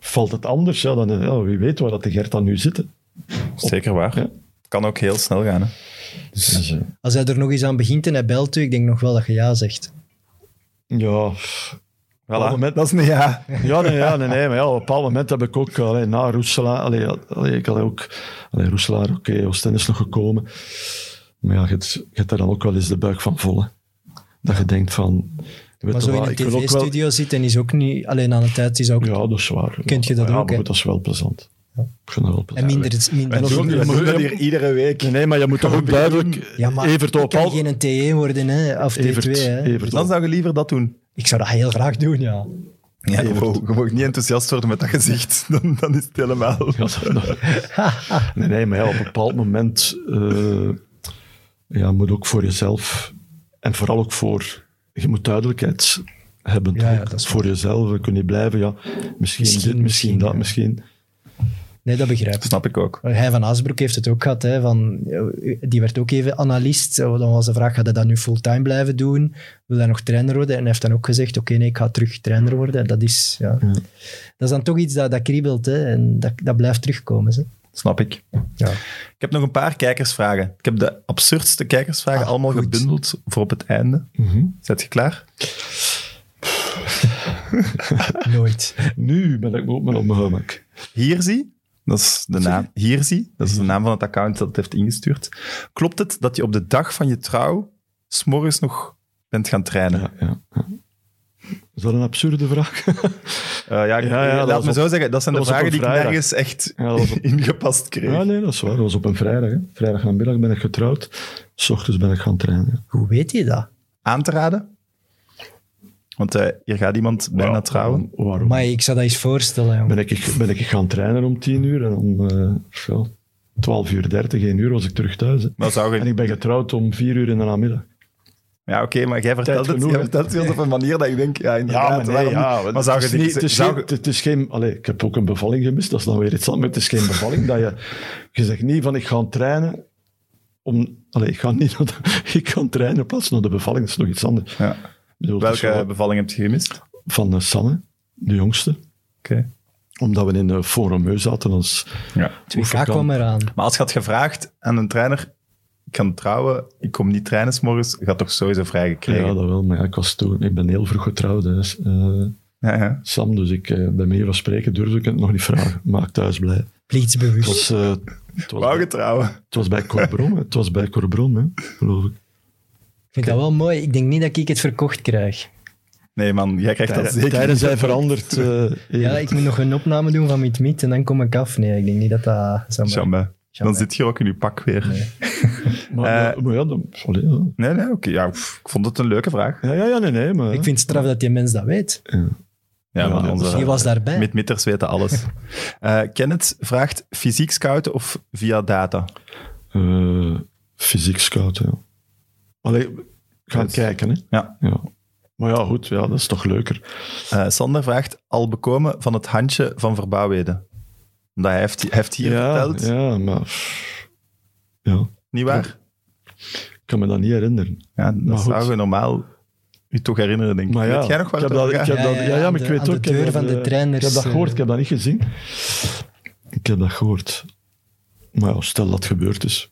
[SPEAKER 4] valt het anders, ja, dan, ja, wie weet waar dat de Gert dan nu zit. hè.
[SPEAKER 1] Zeker waar.
[SPEAKER 4] Dus Ja.
[SPEAKER 1] Het kan ook heel snel gaan. Hè.
[SPEAKER 4] Dus, eh,
[SPEAKER 2] Als hij er nog eens aan begint en hij belt u, ik denk nog wel dat je ja zegt.
[SPEAKER 4] ja,
[SPEAKER 1] Voilà.
[SPEAKER 4] moment-
[SPEAKER 1] Dat is niet ja.
[SPEAKER 4] Ja, nee, ja, nee, nee, maar ja, op een bepaald moment heb ik ook, allee, na Roeselaar, allee, allee, ik had ook, allee, Roeselaar, oké, Oostende is nog gekomen. Maar ja, je hebt- je hebt daar dan ook wel eens de buik van vol, hè. Dat je denkt van, weet
[SPEAKER 2] Maar
[SPEAKER 4] je
[SPEAKER 2] zo in
[SPEAKER 4] wat,
[SPEAKER 2] een
[SPEAKER 4] ik wil ook wel...
[SPEAKER 2] tv-studio zitten is ook niet... Alleen aan de tijd is ook...
[SPEAKER 4] Ja, dat is waar.
[SPEAKER 2] Kent je dat
[SPEAKER 4] ja,
[SPEAKER 2] ook,
[SPEAKER 4] maar
[SPEAKER 2] hè?
[SPEAKER 4] goed, dat is wel plezant. Ik vind dat wel
[SPEAKER 2] en
[SPEAKER 4] plezant.
[SPEAKER 2] minder... het is minder
[SPEAKER 4] En dat is ook-
[SPEAKER 1] We
[SPEAKER 4] Ja, maar-
[SPEAKER 1] doen dat hier iedere week.
[SPEAKER 4] Nee, nee, maar je moet toch ook duidelijk...
[SPEAKER 2] ja, maar
[SPEAKER 4] eh, Evert,
[SPEAKER 2] ik
[SPEAKER 4] op
[SPEAKER 2] kan
[SPEAKER 4] al...
[SPEAKER 2] geen TE worden, hè. Of T2,
[SPEAKER 4] Evert,
[SPEAKER 2] hè.
[SPEAKER 4] Evert,
[SPEAKER 1] Dan zou je liever dat doen.
[SPEAKER 2] Ik zou dat heel graag doen, ja.
[SPEAKER 1] Ja, je mag- je mag niet enthousiast worden met dat gezicht. Dan, dan is het helemaal...
[SPEAKER 4] Ja, dat- dat- nee, nee, maar ja, op een bepaald moment eh, ja, moet ook voor jezelf en vooral ook voor. Je moet duidelijkheid hebben.
[SPEAKER 2] Ja, ja,
[SPEAKER 4] ook.
[SPEAKER 2] dat is waar.
[SPEAKER 4] voor jezelf eh, kun je blijven. Ja, misschien, dit, misschien,
[SPEAKER 2] misschien,
[SPEAKER 4] dat,
[SPEAKER 2] ja.
[SPEAKER 4] misschien.
[SPEAKER 2] Nee, dat begrijp ik.
[SPEAKER 1] Snap ik ook.
[SPEAKER 2] Hij van Asbroek heeft het ook gehad. Hè, van, eh, die werd ook even analist. Dan was de vraag, gaat hij dat nu fulltime blijven doen? Wil hij nog trainer worden? En hij heeft dan ook gezegd, oké, nee, ik ga terug trainer worden. Dat is, ja.
[SPEAKER 4] Ja.
[SPEAKER 2] dat is dan toch iets dat, dat kriebelt. Hè, en dat, dat blijft terugkomen. Hè.
[SPEAKER 1] Snap ik.
[SPEAKER 2] Ja.
[SPEAKER 1] Ik heb nog een paar kijkersvragen. Ik heb de absurdste kijkersvragen
[SPEAKER 2] Ah,
[SPEAKER 1] allemaal
[SPEAKER 2] goed.
[SPEAKER 1] gebundeld voor op het einde.
[SPEAKER 2] Mhm.
[SPEAKER 1] Zet je klaar?
[SPEAKER 2] Nooit.
[SPEAKER 4] Nu ben ik ook maar op mijn gemak.
[SPEAKER 1] Hierzie, dat is de naam, Hierzie, dat is de naam van het account dat het heeft ingestuurd. Klopt het dat je op de dag van je trouw s'morgens nog bent gaan trainen?
[SPEAKER 4] Ja, ja, ja. Is dat een absurde vraag?
[SPEAKER 1] Eh, ja, ik-
[SPEAKER 4] Ja, ja, dat
[SPEAKER 1] laat
[SPEAKER 4] was
[SPEAKER 1] me
[SPEAKER 4] op-
[SPEAKER 1] zo zeggen, dat zijn de
[SPEAKER 4] dat was op
[SPEAKER 1] vragen
[SPEAKER 4] een
[SPEAKER 1] die ik
[SPEAKER 4] vrijdag.
[SPEAKER 1] nergens echt
[SPEAKER 4] Ja, dat was op-
[SPEAKER 1] ingepast kreeg.
[SPEAKER 4] ja, nee, dat is waar. Dat was op een vrijdag. Hè. Vrijdag namiddag ben ik getrouwd. S ochtends ben ik gaan trainen. ja.
[SPEAKER 2] Hoe weet je dat?
[SPEAKER 1] Aan te raden? Want eh, hier gaat iemand bijna
[SPEAKER 4] Waarom-
[SPEAKER 1] trouwen.
[SPEAKER 4] Waarom?
[SPEAKER 2] Maar ik zou dat eens voorstellen, jongen.
[SPEAKER 4] ben ik, ben ik gaan trainen om 10 uur en om eh, ja, 12 uur 30, 1 uur was ik terug thuis. hè.
[SPEAKER 1] Maar zou
[SPEAKER 4] En
[SPEAKER 1] je...
[SPEAKER 4] ik ben getrouwd om 4 uur in de namiddag.
[SPEAKER 1] Ja, oké, maar jij vertelt het,
[SPEAKER 4] genoeg,
[SPEAKER 1] jij
[SPEAKER 4] hè?
[SPEAKER 1] vertelt het op een manier dat ik denk, ja, inderdaad. waarom niet? maar zou je
[SPEAKER 4] het is,
[SPEAKER 1] denken,
[SPEAKER 4] niet, het is
[SPEAKER 1] zou
[SPEAKER 4] geen,
[SPEAKER 1] je-
[SPEAKER 4] het is geen allee, ik heb ook een bevalling gemist, dat is dan weer iets anders. maar Het is geen bevalling dat je, je zegt niet van ik ga trainen om, allee, ik ga niet naar de- ik ga trainen in plaats van naar de bevalling, dat is nog iets anders.
[SPEAKER 1] Ja.
[SPEAKER 4] Ik bedoel, het is
[SPEAKER 1] Welke
[SPEAKER 4] gewoon
[SPEAKER 1] bevalling heb je gemist? Oké.
[SPEAKER 4] van eh, Sanne, de jongste, omdat we in de Forum Heu zaten als
[SPEAKER 1] Ja.
[SPEAKER 2] Ik ga kom eraan.
[SPEAKER 1] Maar als je had gevraagd aan een trainer, ik kan trouwen, ik kom niet trainen 's morgens, je had toch sowieso vrijgekregen?
[SPEAKER 4] Ja, dat wel, maar ja, ik was toen, ik ben heel vroeg getrouwd, hè, s- eh,
[SPEAKER 1] Ja, ja.
[SPEAKER 4] Sam, dus ik, eh, bij mij van spreken durfde ik het nog niet vragen, maar ik thuis blij. Het
[SPEAKER 2] Plichtsbewust.
[SPEAKER 4] was, eh, het was,
[SPEAKER 1] Wou
[SPEAKER 4] bij,
[SPEAKER 1] je trouwen?
[SPEAKER 4] het was bij Corbron, hè. het was bij Corbron, hè, geloof ik.
[SPEAKER 2] Ik vind dat wel mooi. Ik denk niet dat ik het verkocht krijg.
[SPEAKER 1] Nee man, jij krijgt dat zeker
[SPEAKER 4] Tijden
[SPEAKER 1] niet.
[SPEAKER 4] zijn veranderd. eh,
[SPEAKER 2] Ja, ik moet nog een opname doen van Meet Meet en dan kom ik af. Nee, ik denk niet dat dat... zou maar-
[SPEAKER 1] Jambe. Dan
[SPEAKER 2] Jambe.
[SPEAKER 1] zit je ook in je pak weer. Nee,
[SPEAKER 4] maar,
[SPEAKER 1] eh,
[SPEAKER 4] maar ja, dan, allee, ja.
[SPEAKER 1] nee, oké. Ja, pff, ik vond het een leuke vraag.
[SPEAKER 4] ja, ja, ja, nee, nee, maar...
[SPEAKER 2] Ik vind het straf dat die mens dat weet.
[SPEAKER 1] Ja,
[SPEAKER 4] Ja,
[SPEAKER 1] maar
[SPEAKER 4] dat
[SPEAKER 1] onze
[SPEAKER 2] Die was daarbij.
[SPEAKER 1] midmitters weten alles. Eh Kenneth vraagt, fysiek scouten of via data?
[SPEAKER 4] eh, fysiek scouten, ja. Allee, gaan
[SPEAKER 1] Dat is-
[SPEAKER 4] kijken, hè.
[SPEAKER 1] Ja.
[SPEAKER 4] ja. Maar ja, goed, ja, dat is toch leuker.
[SPEAKER 1] Eh, Sander vraagt, al bekomen van het handje van Verbouwheden. Omdat hij heeft, hij heeft hier
[SPEAKER 4] ja,
[SPEAKER 1] verteld.
[SPEAKER 4] ja, maar... pff, Ja,
[SPEAKER 1] Niet waar?
[SPEAKER 4] ik kan me dat niet herinneren.
[SPEAKER 1] Ja, dat
[SPEAKER 4] Maar goed.
[SPEAKER 1] zouden we normaal u toch herinneren, denk ik.
[SPEAKER 4] Maar ja,
[SPEAKER 1] Weet jij nog wat
[SPEAKER 4] ik heb dat, ik heb
[SPEAKER 2] Ja,
[SPEAKER 4] dat,
[SPEAKER 2] ja,
[SPEAKER 4] ja,
[SPEAKER 2] ja,
[SPEAKER 4] ja,
[SPEAKER 2] aan
[SPEAKER 4] maar
[SPEAKER 2] de-
[SPEAKER 4] ik weet
[SPEAKER 2] aan
[SPEAKER 4] ook...
[SPEAKER 2] de
[SPEAKER 4] ik heb
[SPEAKER 2] deur
[SPEAKER 4] dat,
[SPEAKER 2] van de
[SPEAKER 4] eh,
[SPEAKER 2] trainers,
[SPEAKER 4] Ik heb dat gehoord,
[SPEAKER 2] eh.
[SPEAKER 4] ik heb dat niet gezien. Ik heb dat gehoord. Maar ja, stel dat het gebeurd is.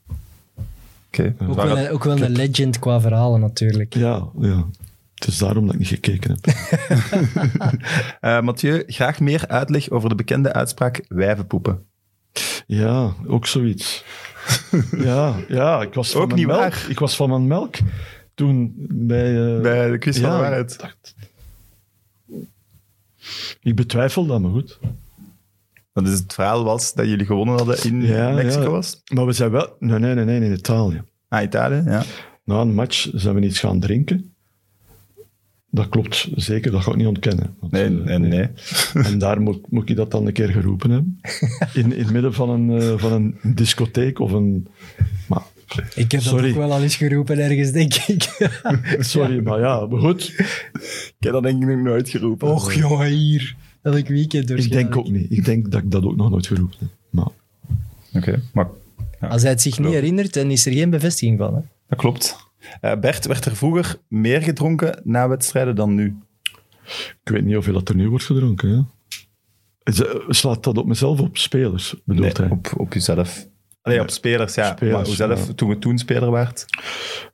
[SPEAKER 2] Ook wel, een, ook wel een legend qua verhalen natuurlijk.
[SPEAKER 4] Ja, ja. Het is daarom dat ik niet gekeken heb.
[SPEAKER 1] Eh, Mathieu, graag meer uitleg over de bekende uitspraak wijvenpoepen.
[SPEAKER 4] Ja, ook zoiets. ja, ja, ik was van
[SPEAKER 1] Ook
[SPEAKER 4] mijn
[SPEAKER 1] niet
[SPEAKER 4] melk.
[SPEAKER 1] waar.
[SPEAKER 4] Ik was van mijn melk toen bij... eh,
[SPEAKER 1] Bij de quiz van de
[SPEAKER 4] ja,
[SPEAKER 1] waarheid.
[SPEAKER 4] Ik, dacht- ik betwijfel dat, maar goed.
[SPEAKER 1] Dat is dus het verhaal was dat jullie gewonnen hadden in
[SPEAKER 4] Ja,
[SPEAKER 1] Mexico
[SPEAKER 4] ja.
[SPEAKER 1] was.
[SPEAKER 4] Maar we zijn wel... Nee, nee, nee, nee, in Italië.
[SPEAKER 1] Ah, Italië, ja.
[SPEAKER 4] Na een match zijn we iets gaan drinken. Dat klopt zeker, dat ga ik niet ontkennen. Want,
[SPEAKER 1] Nee,
[SPEAKER 4] eh,
[SPEAKER 1] nee, nee.
[SPEAKER 4] En daar moet, moet ik dat dan een keer geroepen hebben. In, in het midden van een, eh, van een discotheek of een... Maar,
[SPEAKER 2] Ik heb
[SPEAKER 4] Sorry.
[SPEAKER 2] dat ook wel al eens geroepen ergens, denk ik.
[SPEAKER 4] sorry, maar ja, maar goed.
[SPEAKER 1] Ik heb dat denk ik nog nooit geroepen.
[SPEAKER 2] Och jongen, hier. Elk weekend
[SPEAKER 4] Ik
[SPEAKER 2] waarschijnlijk.
[SPEAKER 4] denk ook niet. Ik denk dat ik dat ook nog nooit geroepen heb. Maar
[SPEAKER 1] Oké, maar
[SPEAKER 2] Als hij het zich niet herinnert, dan is er geen bevestiging van. Hè?
[SPEAKER 1] dat klopt. Eh, Bert, werd er vroeger meer gedronken na wedstrijden dan nu?
[SPEAKER 4] ik weet niet hoeveel dat er nu wordt gedronken. Ja. Is, eh, Slaat dat op mezelf op spelers, bedoelt
[SPEAKER 1] Nee,
[SPEAKER 4] hij?
[SPEAKER 1] op, op jezelf. Nee, op spelers, ja.
[SPEAKER 4] Spelers,
[SPEAKER 1] maar zelf,
[SPEAKER 4] ja.
[SPEAKER 1] toen je toen speler waart.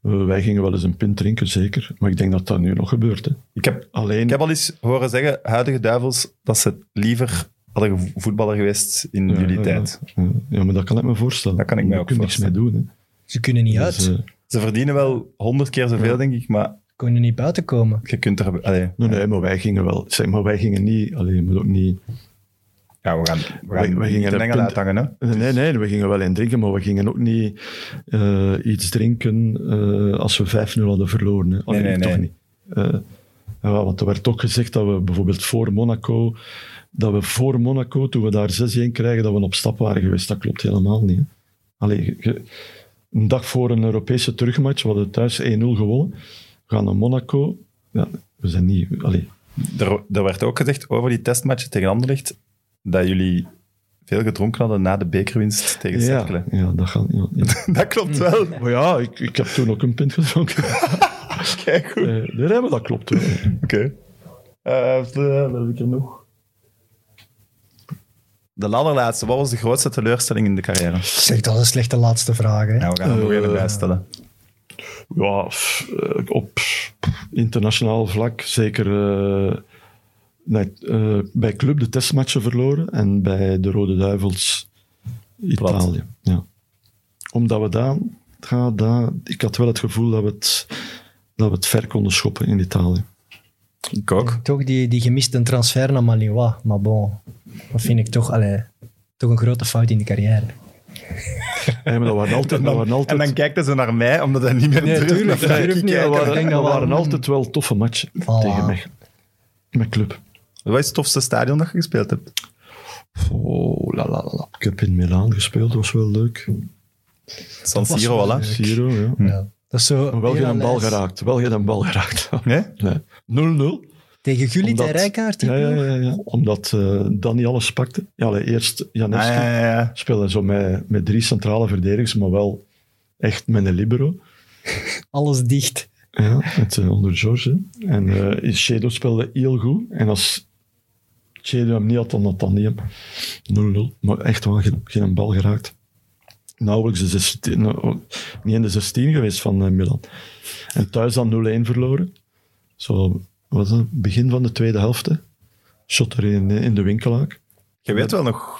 [SPEAKER 4] Eh, wij gingen wel eens een pint drinken, zeker. Maar ik denk dat dat nu nog gebeurt. Hè.
[SPEAKER 1] Ik heb,
[SPEAKER 4] Alleen,
[SPEAKER 1] ik heb al eens horen zeggen, huidige duivels, dat ze liever hadden gevo- voetballer geweest in
[SPEAKER 4] eh, Ja,
[SPEAKER 1] jullie
[SPEAKER 4] ja,
[SPEAKER 1] tijd.
[SPEAKER 4] ja. Ja, maar dat kan ik me voorstellen.
[SPEAKER 1] Dat kan ik mij
[SPEAKER 4] Daar
[SPEAKER 1] ook
[SPEAKER 4] kun je niks mee doen. Hè.
[SPEAKER 2] Ze kunnen niet uit.
[SPEAKER 4] Dus,
[SPEAKER 2] Ze
[SPEAKER 4] eh,
[SPEAKER 1] Ze verdienen wel honderd keer zoveel, denk ik, maar
[SPEAKER 2] kunnen niet buiten komen.
[SPEAKER 1] je kunt er... Allee,
[SPEAKER 4] nee, nee, maar wij gingen wel. Zeg, maar wij gingen niet... Alleen, je moet ook niet...
[SPEAKER 1] ja, we gaan, we
[SPEAKER 4] Wij-
[SPEAKER 1] gaan
[SPEAKER 4] wij gingen
[SPEAKER 1] niet de
[SPEAKER 4] er
[SPEAKER 1] mengel
[SPEAKER 4] punt-
[SPEAKER 1] uithangen, hè.
[SPEAKER 4] Nee, nee, we gingen wel in drinken, maar we gingen ook niet eh, iets drinken eh, als we 5-0 hadden verloren. Hè. Allee,
[SPEAKER 1] Nee, nee,
[SPEAKER 4] toch
[SPEAKER 1] nee.
[SPEAKER 4] niet. Eh, ja, want er werd ook gezegd dat we bijvoorbeeld voor Monaco, dat we voor Monaco, toen we daar 6-1 krijgen, dat we op stap waren geweest. Dat klopt helemaal niet. Hè. Allee, je- je- een dag voor een Europese terugmatch, we hadden thuis 1-0 gewonnen. We gaan naar Monaco. Ja, we zijn niet... Allee,
[SPEAKER 1] Er, er werd ook gezegd over die testmatch tegen Anderlecht dat jullie veel gedronken hadden na de bekerwinst tegen
[SPEAKER 4] ja,
[SPEAKER 1] Cerkelen.
[SPEAKER 4] ja, dat gaat... Ja, ja.
[SPEAKER 1] Dat klopt wel.
[SPEAKER 4] Maar ja, ik, ik heb toen ook een pint gedronken.
[SPEAKER 1] Kijk goed.
[SPEAKER 4] Eh, nee, nee, maar dat klopt wel.
[SPEAKER 1] Oké. Eh, eh, wat heb ik er nog? De allerlaatste. Wat was de grootste teleurstelling in de carrière?
[SPEAKER 2] Zeg, dat is een slechte laatste vraag. Hè?
[SPEAKER 1] Ja, we gaan hem nog
[SPEAKER 4] Eh,
[SPEAKER 1] even bijstellen.
[SPEAKER 4] Ja, pff, eh, op pff, internationaal vlak zeker eh, nee, eh, bij club de testmatchen verloren en bij de Rode Duivels Italië. Ja. Omdat we daar, ja, daar, ik had wel het gevoel dat we het, dat we het ver konden schoppen in Italië.
[SPEAKER 1] Ik ook.
[SPEAKER 2] Toch die, die gemiste transfer naar Malinois. Maar bon, dat vind ik toch, allee, toch een grote fout in de carrière.
[SPEAKER 4] Nee, maar dat waren altijd...
[SPEAKER 1] En
[SPEAKER 4] dat
[SPEAKER 1] dan,
[SPEAKER 4] waren altijd
[SPEAKER 1] en dan kijkt hij zo naar mij, omdat hij niet meer
[SPEAKER 2] Nee,
[SPEAKER 1] durft.
[SPEAKER 2] tuurlijk,
[SPEAKER 1] Dan ga ik
[SPEAKER 2] tuurlijk niet.
[SPEAKER 1] kijken.
[SPEAKER 4] dat waren,
[SPEAKER 2] ik denk dat
[SPEAKER 4] dat
[SPEAKER 2] we-
[SPEAKER 4] waren altijd wel toffe matchen tegen mij. Mijn club.
[SPEAKER 1] Wat is het tofste stadion dat je gespeeld hebt?
[SPEAKER 4] Oh, la, la, la, la. Ik heb in Milaan gespeeld, dat was wel leuk.
[SPEAKER 1] San Siro,
[SPEAKER 4] voilà.
[SPEAKER 1] voilà.
[SPEAKER 4] Siro, ja.
[SPEAKER 2] Ja. Dat is zo
[SPEAKER 4] Maar wel
[SPEAKER 2] heel
[SPEAKER 4] geen bal
[SPEAKER 2] lijst.
[SPEAKER 4] geraakt. Wel geen bal geraakt.
[SPEAKER 1] Nee?
[SPEAKER 4] Nee. 0-0.
[SPEAKER 2] Tegen Gullit en
[SPEAKER 4] Omdat-
[SPEAKER 2] Rijkaard. die
[SPEAKER 4] Ja, ja,
[SPEAKER 2] ploeg.
[SPEAKER 4] ja, ja. Omdat eh dan niet alles pakte. Ja, allee, eerst
[SPEAKER 1] Ah,
[SPEAKER 4] Janeski
[SPEAKER 1] ja, ja, ja.
[SPEAKER 4] speelde zo met, met drie centrale verdedigers, maar wel echt met een libero.
[SPEAKER 2] Alles dicht.
[SPEAKER 4] Ja, met, eh, onder George. hè. En eh Shadow speelde heel goed. En als Shadow hem niet had, dan had dat niet hem. 0-0. Maar echt wel geen, geen bal geraakt. Nauwelijks de 16, nou, niet in de 16 geweest van eh, Milan. En thuis dan 0-1 verloren. Zo was het begin van de tweede helft. hè. Shot er in, eh, in de winkelaak.
[SPEAKER 1] Je weet wel nog.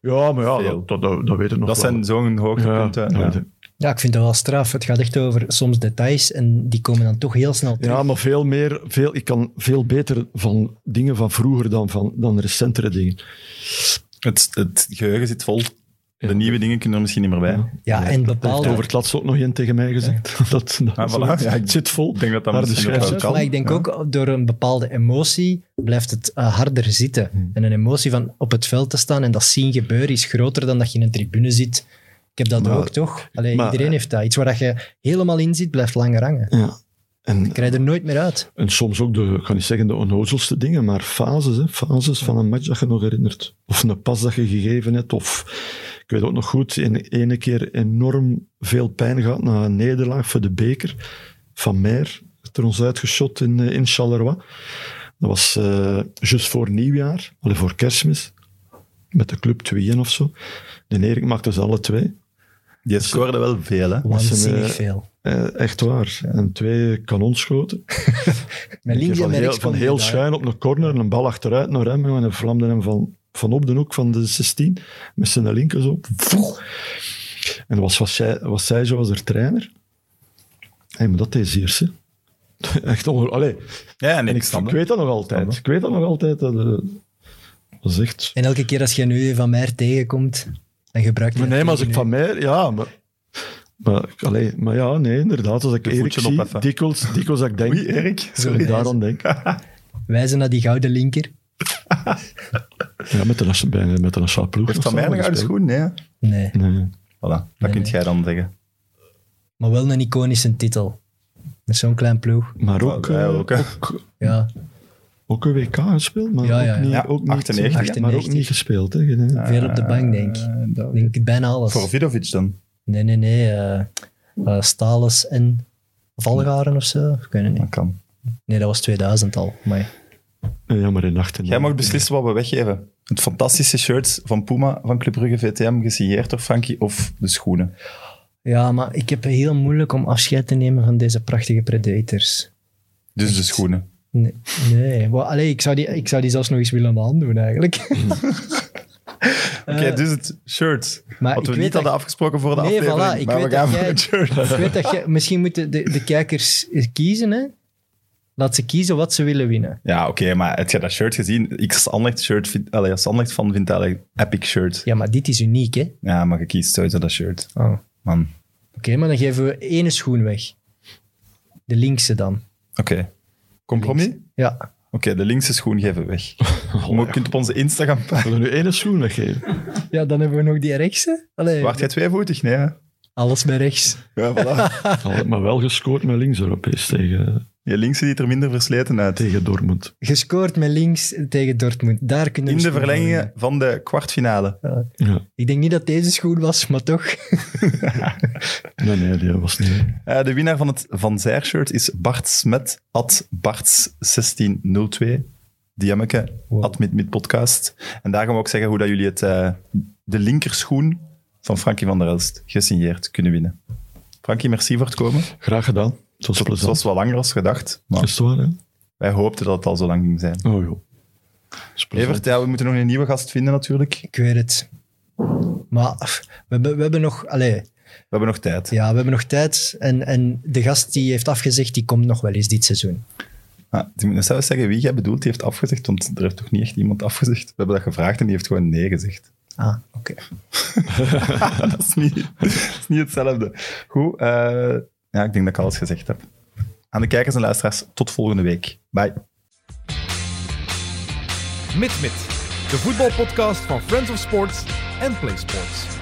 [SPEAKER 4] Ja, maar ja,
[SPEAKER 1] Veel.
[SPEAKER 4] dat, dat, dat, weet ik nog
[SPEAKER 1] Dat
[SPEAKER 4] wel.
[SPEAKER 1] zijn zo'n hoogtepunten.
[SPEAKER 4] ja,
[SPEAKER 1] Ja.
[SPEAKER 4] ja.
[SPEAKER 2] Ja, ik vind dat wel straf. Het gaat echt over soms details en die komen dan toch heel snel terug.
[SPEAKER 4] Ja, maar veel meer, veel, ik kan veel beter van dingen van vroeger dan van dan recentere dingen.
[SPEAKER 1] Het, het geheugen zit vol. De nieuwe dingen kunnen er misschien niet meer bij.
[SPEAKER 4] Ja.
[SPEAKER 2] Ja, en
[SPEAKER 4] Heeft
[SPEAKER 2] bepaalde...
[SPEAKER 4] over het laatst ook nog één tegen mij gezegd. Dat, dat
[SPEAKER 1] Ah, voilà.
[SPEAKER 4] zo-
[SPEAKER 1] Ja, ik
[SPEAKER 4] het zit vol.
[SPEAKER 1] Ik denk dat dat
[SPEAKER 4] Maar de
[SPEAKER 1] misschien ook wel
[SPEAKER 4] schrijfster-
[SPEAKER 1] kan.
[SPEAKER 2] Maar ik denk ook eh, door een bepaalde emotie blijft het eh, harder zitten.
[SPEAKER 4] Hmm.
[SPEAKER 2] En een emotie van op het veld te staan en dat zien gebeuren is groter dan dat je in een tribune zit. Ik heb dat
[SPEAKER 4] Maar-
[SPEAKER 2] ook, toch? Allee,
[SPEAKER 4] maar-
[SPEAKER 2] iedereen heeft dat. Iets waar dat je helemaal in zit, blijft langer hangen.
[SPEAKER 4] Ja. En,
[SPEAKER 2] Ik krijg er nooit meer uit.
[SPEAKER 4] en soms ook de, ik ga niet zeggen de onnozelste dingen, maar fases. Hè, fases van een match dat je nog herinnert. Of een pas dat je gegeven hebt. Of, ik weet ook nog goed, in ene keer enorm veel pijn gehad na een nederlaag voor de beker. Van Meer werd er ons uitgeschot in, eh, in Charleroi. Dat was eh juist voor nieuwjaar, allee, voor kerstmis. Met de club 2-1 of zo. De Erik maakte ze alle twee.
[SPEAKER 1] Je scoorde wel veel, hè?
[SPEAKER 4] Was een,
[SPEAKER 2] Waanzinnig
[SPEAKER 4] eh,
[SPEAKER 2] veel.
[SPEAKER 4] Eh, echt waar. En twee kanonschoten.
[SPEAKER 2] Met links en
[SPEAKER 4] van
[SPEAKER 2] met
[SPEAKER 4] heel,
[SPEAKER 2] rechts
[SPEAKER 4] van
[SPEAKER 2] kon
[SPEAKER 4] heel
[SPEAKER 2] je daar-
[SPEAKER 4] schuin op een corner, een bal achteruit naar hem en hij vlamde hem van, van op de hoek van de 16 met zijn linker zo. Voeg. En was, was, zij, was zij zo als haar trainer. Hé, maar dat is eerst, hè. Echt onge- Allee,
[SPEAKER 1] Ja, nee,
[SPEAKER 4] en
[SPEAKER 1] ik
[SPEAKER 4] ik,
[SPEAKER 1] snap
[SPEAKER 4] ik
[SPEAKER 1] het.
[SPEAKER 4] weet dat nog altijd. Ik weet dat nog altijd. Dat, eh, dat is echt...
[SPEAKER 2] En elke keer als je nu Van Meer tegenkomt, dan gebruik je
[SPEAKER 4] Maar
[SPEAKER 2] dat
[SPEAKER 4] nee, maar als ik
[SPEAKER 2] tegen
[SPEAKER 4] van mij... Ja, maar... Maar, ik- allee, maar ja, nee, inderdaad. Als ik
[SPEAKER 1] Je
[SPEAKER 4] Erik
[SPEAKER 1] voetje
[SPEAKER 4] zie,
[SPEAKER 1] opheffen.
[SPEAKER 4] dikwijls, dikwijls dat ik denk...
[SPEAKER 1] Oei, Erik.
[SPEAKER 2] Zo.
[SPEAKER 4] Sorry, daaraan denk
[SPEAKER 2] nu. Wijzen naar die gouden linker.
[SPEAKER 4] Ja, met een, bijna, met een schaal ploeg.
[SPEAKER 1] Heeft Van Meer een gouden schoen? Nee. hè?
[SPEAKER 2] Nee,
[SPEAKER 4] Nee.
[SPEAKER 1] Voilà, dat
[SPEAKER 2] Nee,
[SPEAKER 1] kunt
[SPEAKER 2] nee.
[SPEAKER 1] jij dan zeggen.
[SPEAKER 2] maar wel een iconische titel. Met zo'n klein ploeg.
[SPEAKER 4] Maar ook,
[SPEAKER 1] Ja,
[SPEAKER 4] eh,
[SPEAKER 1] ook, hè.
[SPEAKER 4] ook,
[SPEAKER 2] Ja,
[SPEAKER 4] ook een WK gespeeld, maar
[SPEAKER 2] Ja, ja,
[SPEAKER 4] ook
[SPEAKER 2] ja.
[SPEAKER 4] niet,
[SPEAKER 1] Ja,
[SPEAKER 4] ook niet,
[SPEAKER 1] 98,
[SPEAKER 2] hè.
[SPEAKER 4] maar ook niet gespeeld. Hè. Nee.
[SPEAKER 2] veel op de bank, denk ik.
[SPEAKER 1] Eh, dat-
[SPEAKER 2] Ik Denk ik bijna alles.
[SPEAKER 1] Voor Vidovic dan.
[SPEAKER 2] Nee, nee, nee. eh eh, Stalus en Valgaren of zo. Ik weet het niet.
[SPEAKER 1] Dat kan.
[SPEAKER 2] Nee, dat was 2000 al. Maar
[SPEAKER 4] Eh, Ja, maar in 98.
[SPEAKER 1] Jij mag beslissen wat we weggeven. Het fantastische shirt van Puma, van Club Brugge VTM, gesigneerd door Frankie, of de schoenen.
[SPEAKER 2] ja, maar ik heb heel moeilijk om afscheid te nemen van deze prachtige predators.
[SPEAKER 1] Dus de schoenen.
[SPEAKER 2] Nee, nee. Wel, allee, ik, zou die, ik zou die zelfs nog eens willen aandoen eigenlijk.
[SPEAKER 1] Oké, dus het shirt.
[SPEAKER 2] Eh, maar
[SPEAKER 1] Wat
[SPEAKER 2] ik
[SPEAKER 1] we
[SPEAKER 2] weet
[SPEAKER 1] niet hadden
[SPEAKER 2] dat-
[SPEAKER 1] afgesproken voor de
[SPEAKER 2] Nee,
[SPEAKER 1] aflevering,
[SPEAKER 2] voilà, ik
[SPEAKER 1] maar we
[SPEAKER 2] weet
[SPEAKER 1] gaan voor
[SPEAKER 2] dat jij-
[SPEAKER 1] het shirt.
[SPEAKER 2] ik weet dat je, misschien moeten de, de kijkers kiezen, hè. Laat ze kiezen wat ze willen winnen.
[SPEAKER 1] Ja, oké, maar heb je dat shirt gezien? Ik als Anderlecht shirt vind, allee, als Anderlecht fan vind dat een epic shirt.
[SPEAKER 2] Ja, maar dit is uniek, hè.
[SPEAKER 1] Ja, maar je kiest sowieso dat shirt.
[SPEAKER 2] Oh. Oké,
[SPEAKER 1] Man,
[SPEAKER 2] maar dan geven we ene schoen weg. De linkse dan.
[SPEAKER 1] oké. Compromis? Oké,
[SPEAKER 2] Ja.
[SPEAKER 1] de linkse schoen geven we weg. Je kunt op onze Instagram...
[SPEAKER 4] Wil je nu één schoen weggeven?
[SPEAKER 2] Ja, dan hebben we nog die rechtse. Allee,
[SPEAKER 1] Waart jij tweevoetig? Nee, hè?
[SPEAKER 2] alles bij rechts.
[SPEAKER 1] Ja, voilà.
[SPEAKER 4] Had maar wel gescoord met links-Europees tegen,
[SPEAKER 1] Je linkse ziet er minder versleten uit.
[SPEAKER 4] tegen Dortmund.
[SPEAKER 2] Gescoord met links tegen Dortmund. Daar kunnen
[SPEAKER 1] In
[SPEAKER 2] we
[SPEAKER 1] de
[SPEAKER 2] misschien van
[SPEAKER 1] verlengingen
[SPEAKER 2] winnen.
[SPEAKER 1] van de kwartfinale.
[SPEAKER 4] Ja.
[SPEAKER 2] Ik denk niet dat deze schoen was, maar toch.
[SPEAKER 4] Nee, nee, die was niet.
[SPEAKER 1] Eh, de winnaar van het Van Zijr shirt is Bart Smet, at Barts1602. Diammeke,
[SPEAKER 2] Wow.
[SPEAKER 1] eh, at midmidpodcast. En daar gaan we ook zeggen hoe dat jullie het, eh, de linkerschoen van Frankie van der Elst gesigneerd kunnen winnen. Frankie, merci voor het komen.
[SPEAKER 4] Graag gedaan. Het was
[SPEAKER 1] Het
[SPEAKER 4] plezant.
[SPEAKER 1] was wel langer als gedacht, maar
[SPEAKER 4] Is het waar, hè?
[SPEAKER 1] wij hoopten dat het al zo lang ging zijn.
[SPEAKER 4] Oh, joh. Is plezant.
[SPEAKER 1] Evert, ja, we moeten nog een nieuwe gast vinden natuurlijk.
[SPEAKER 2] Ik weet het. Maar pff, we hebben, we hebben nog... Allee,
[SPEAKER 1] We hebben nog tijd.
[SPEAKER 2] ja, we hebben nog tijd. En, en de gast die heeft afgezegd, die komt nog wel eens dit seizoen.
[SPEAKER 1] Ah, ik moet nog zelfs zeggen wie jij bedoelt, die heeft afgezegd, want er heeft toch niet echt iemand afgezegd. We hebben dat gevraagd en die heeft gewoon nee gezegd.
[SPEAKER 2] Ah, oké.
[SPEAKER 1] dat, is niet, dat is niet hetzelfde. Goed, eh, ja, ik denk dat ik alles gezegd heb. Aan de kijkers en luisteraars, tot volgende week. Bye.
[SPEAKER 3] MidMid, de voetbalpodcast van Friends of Sports en Play Sports.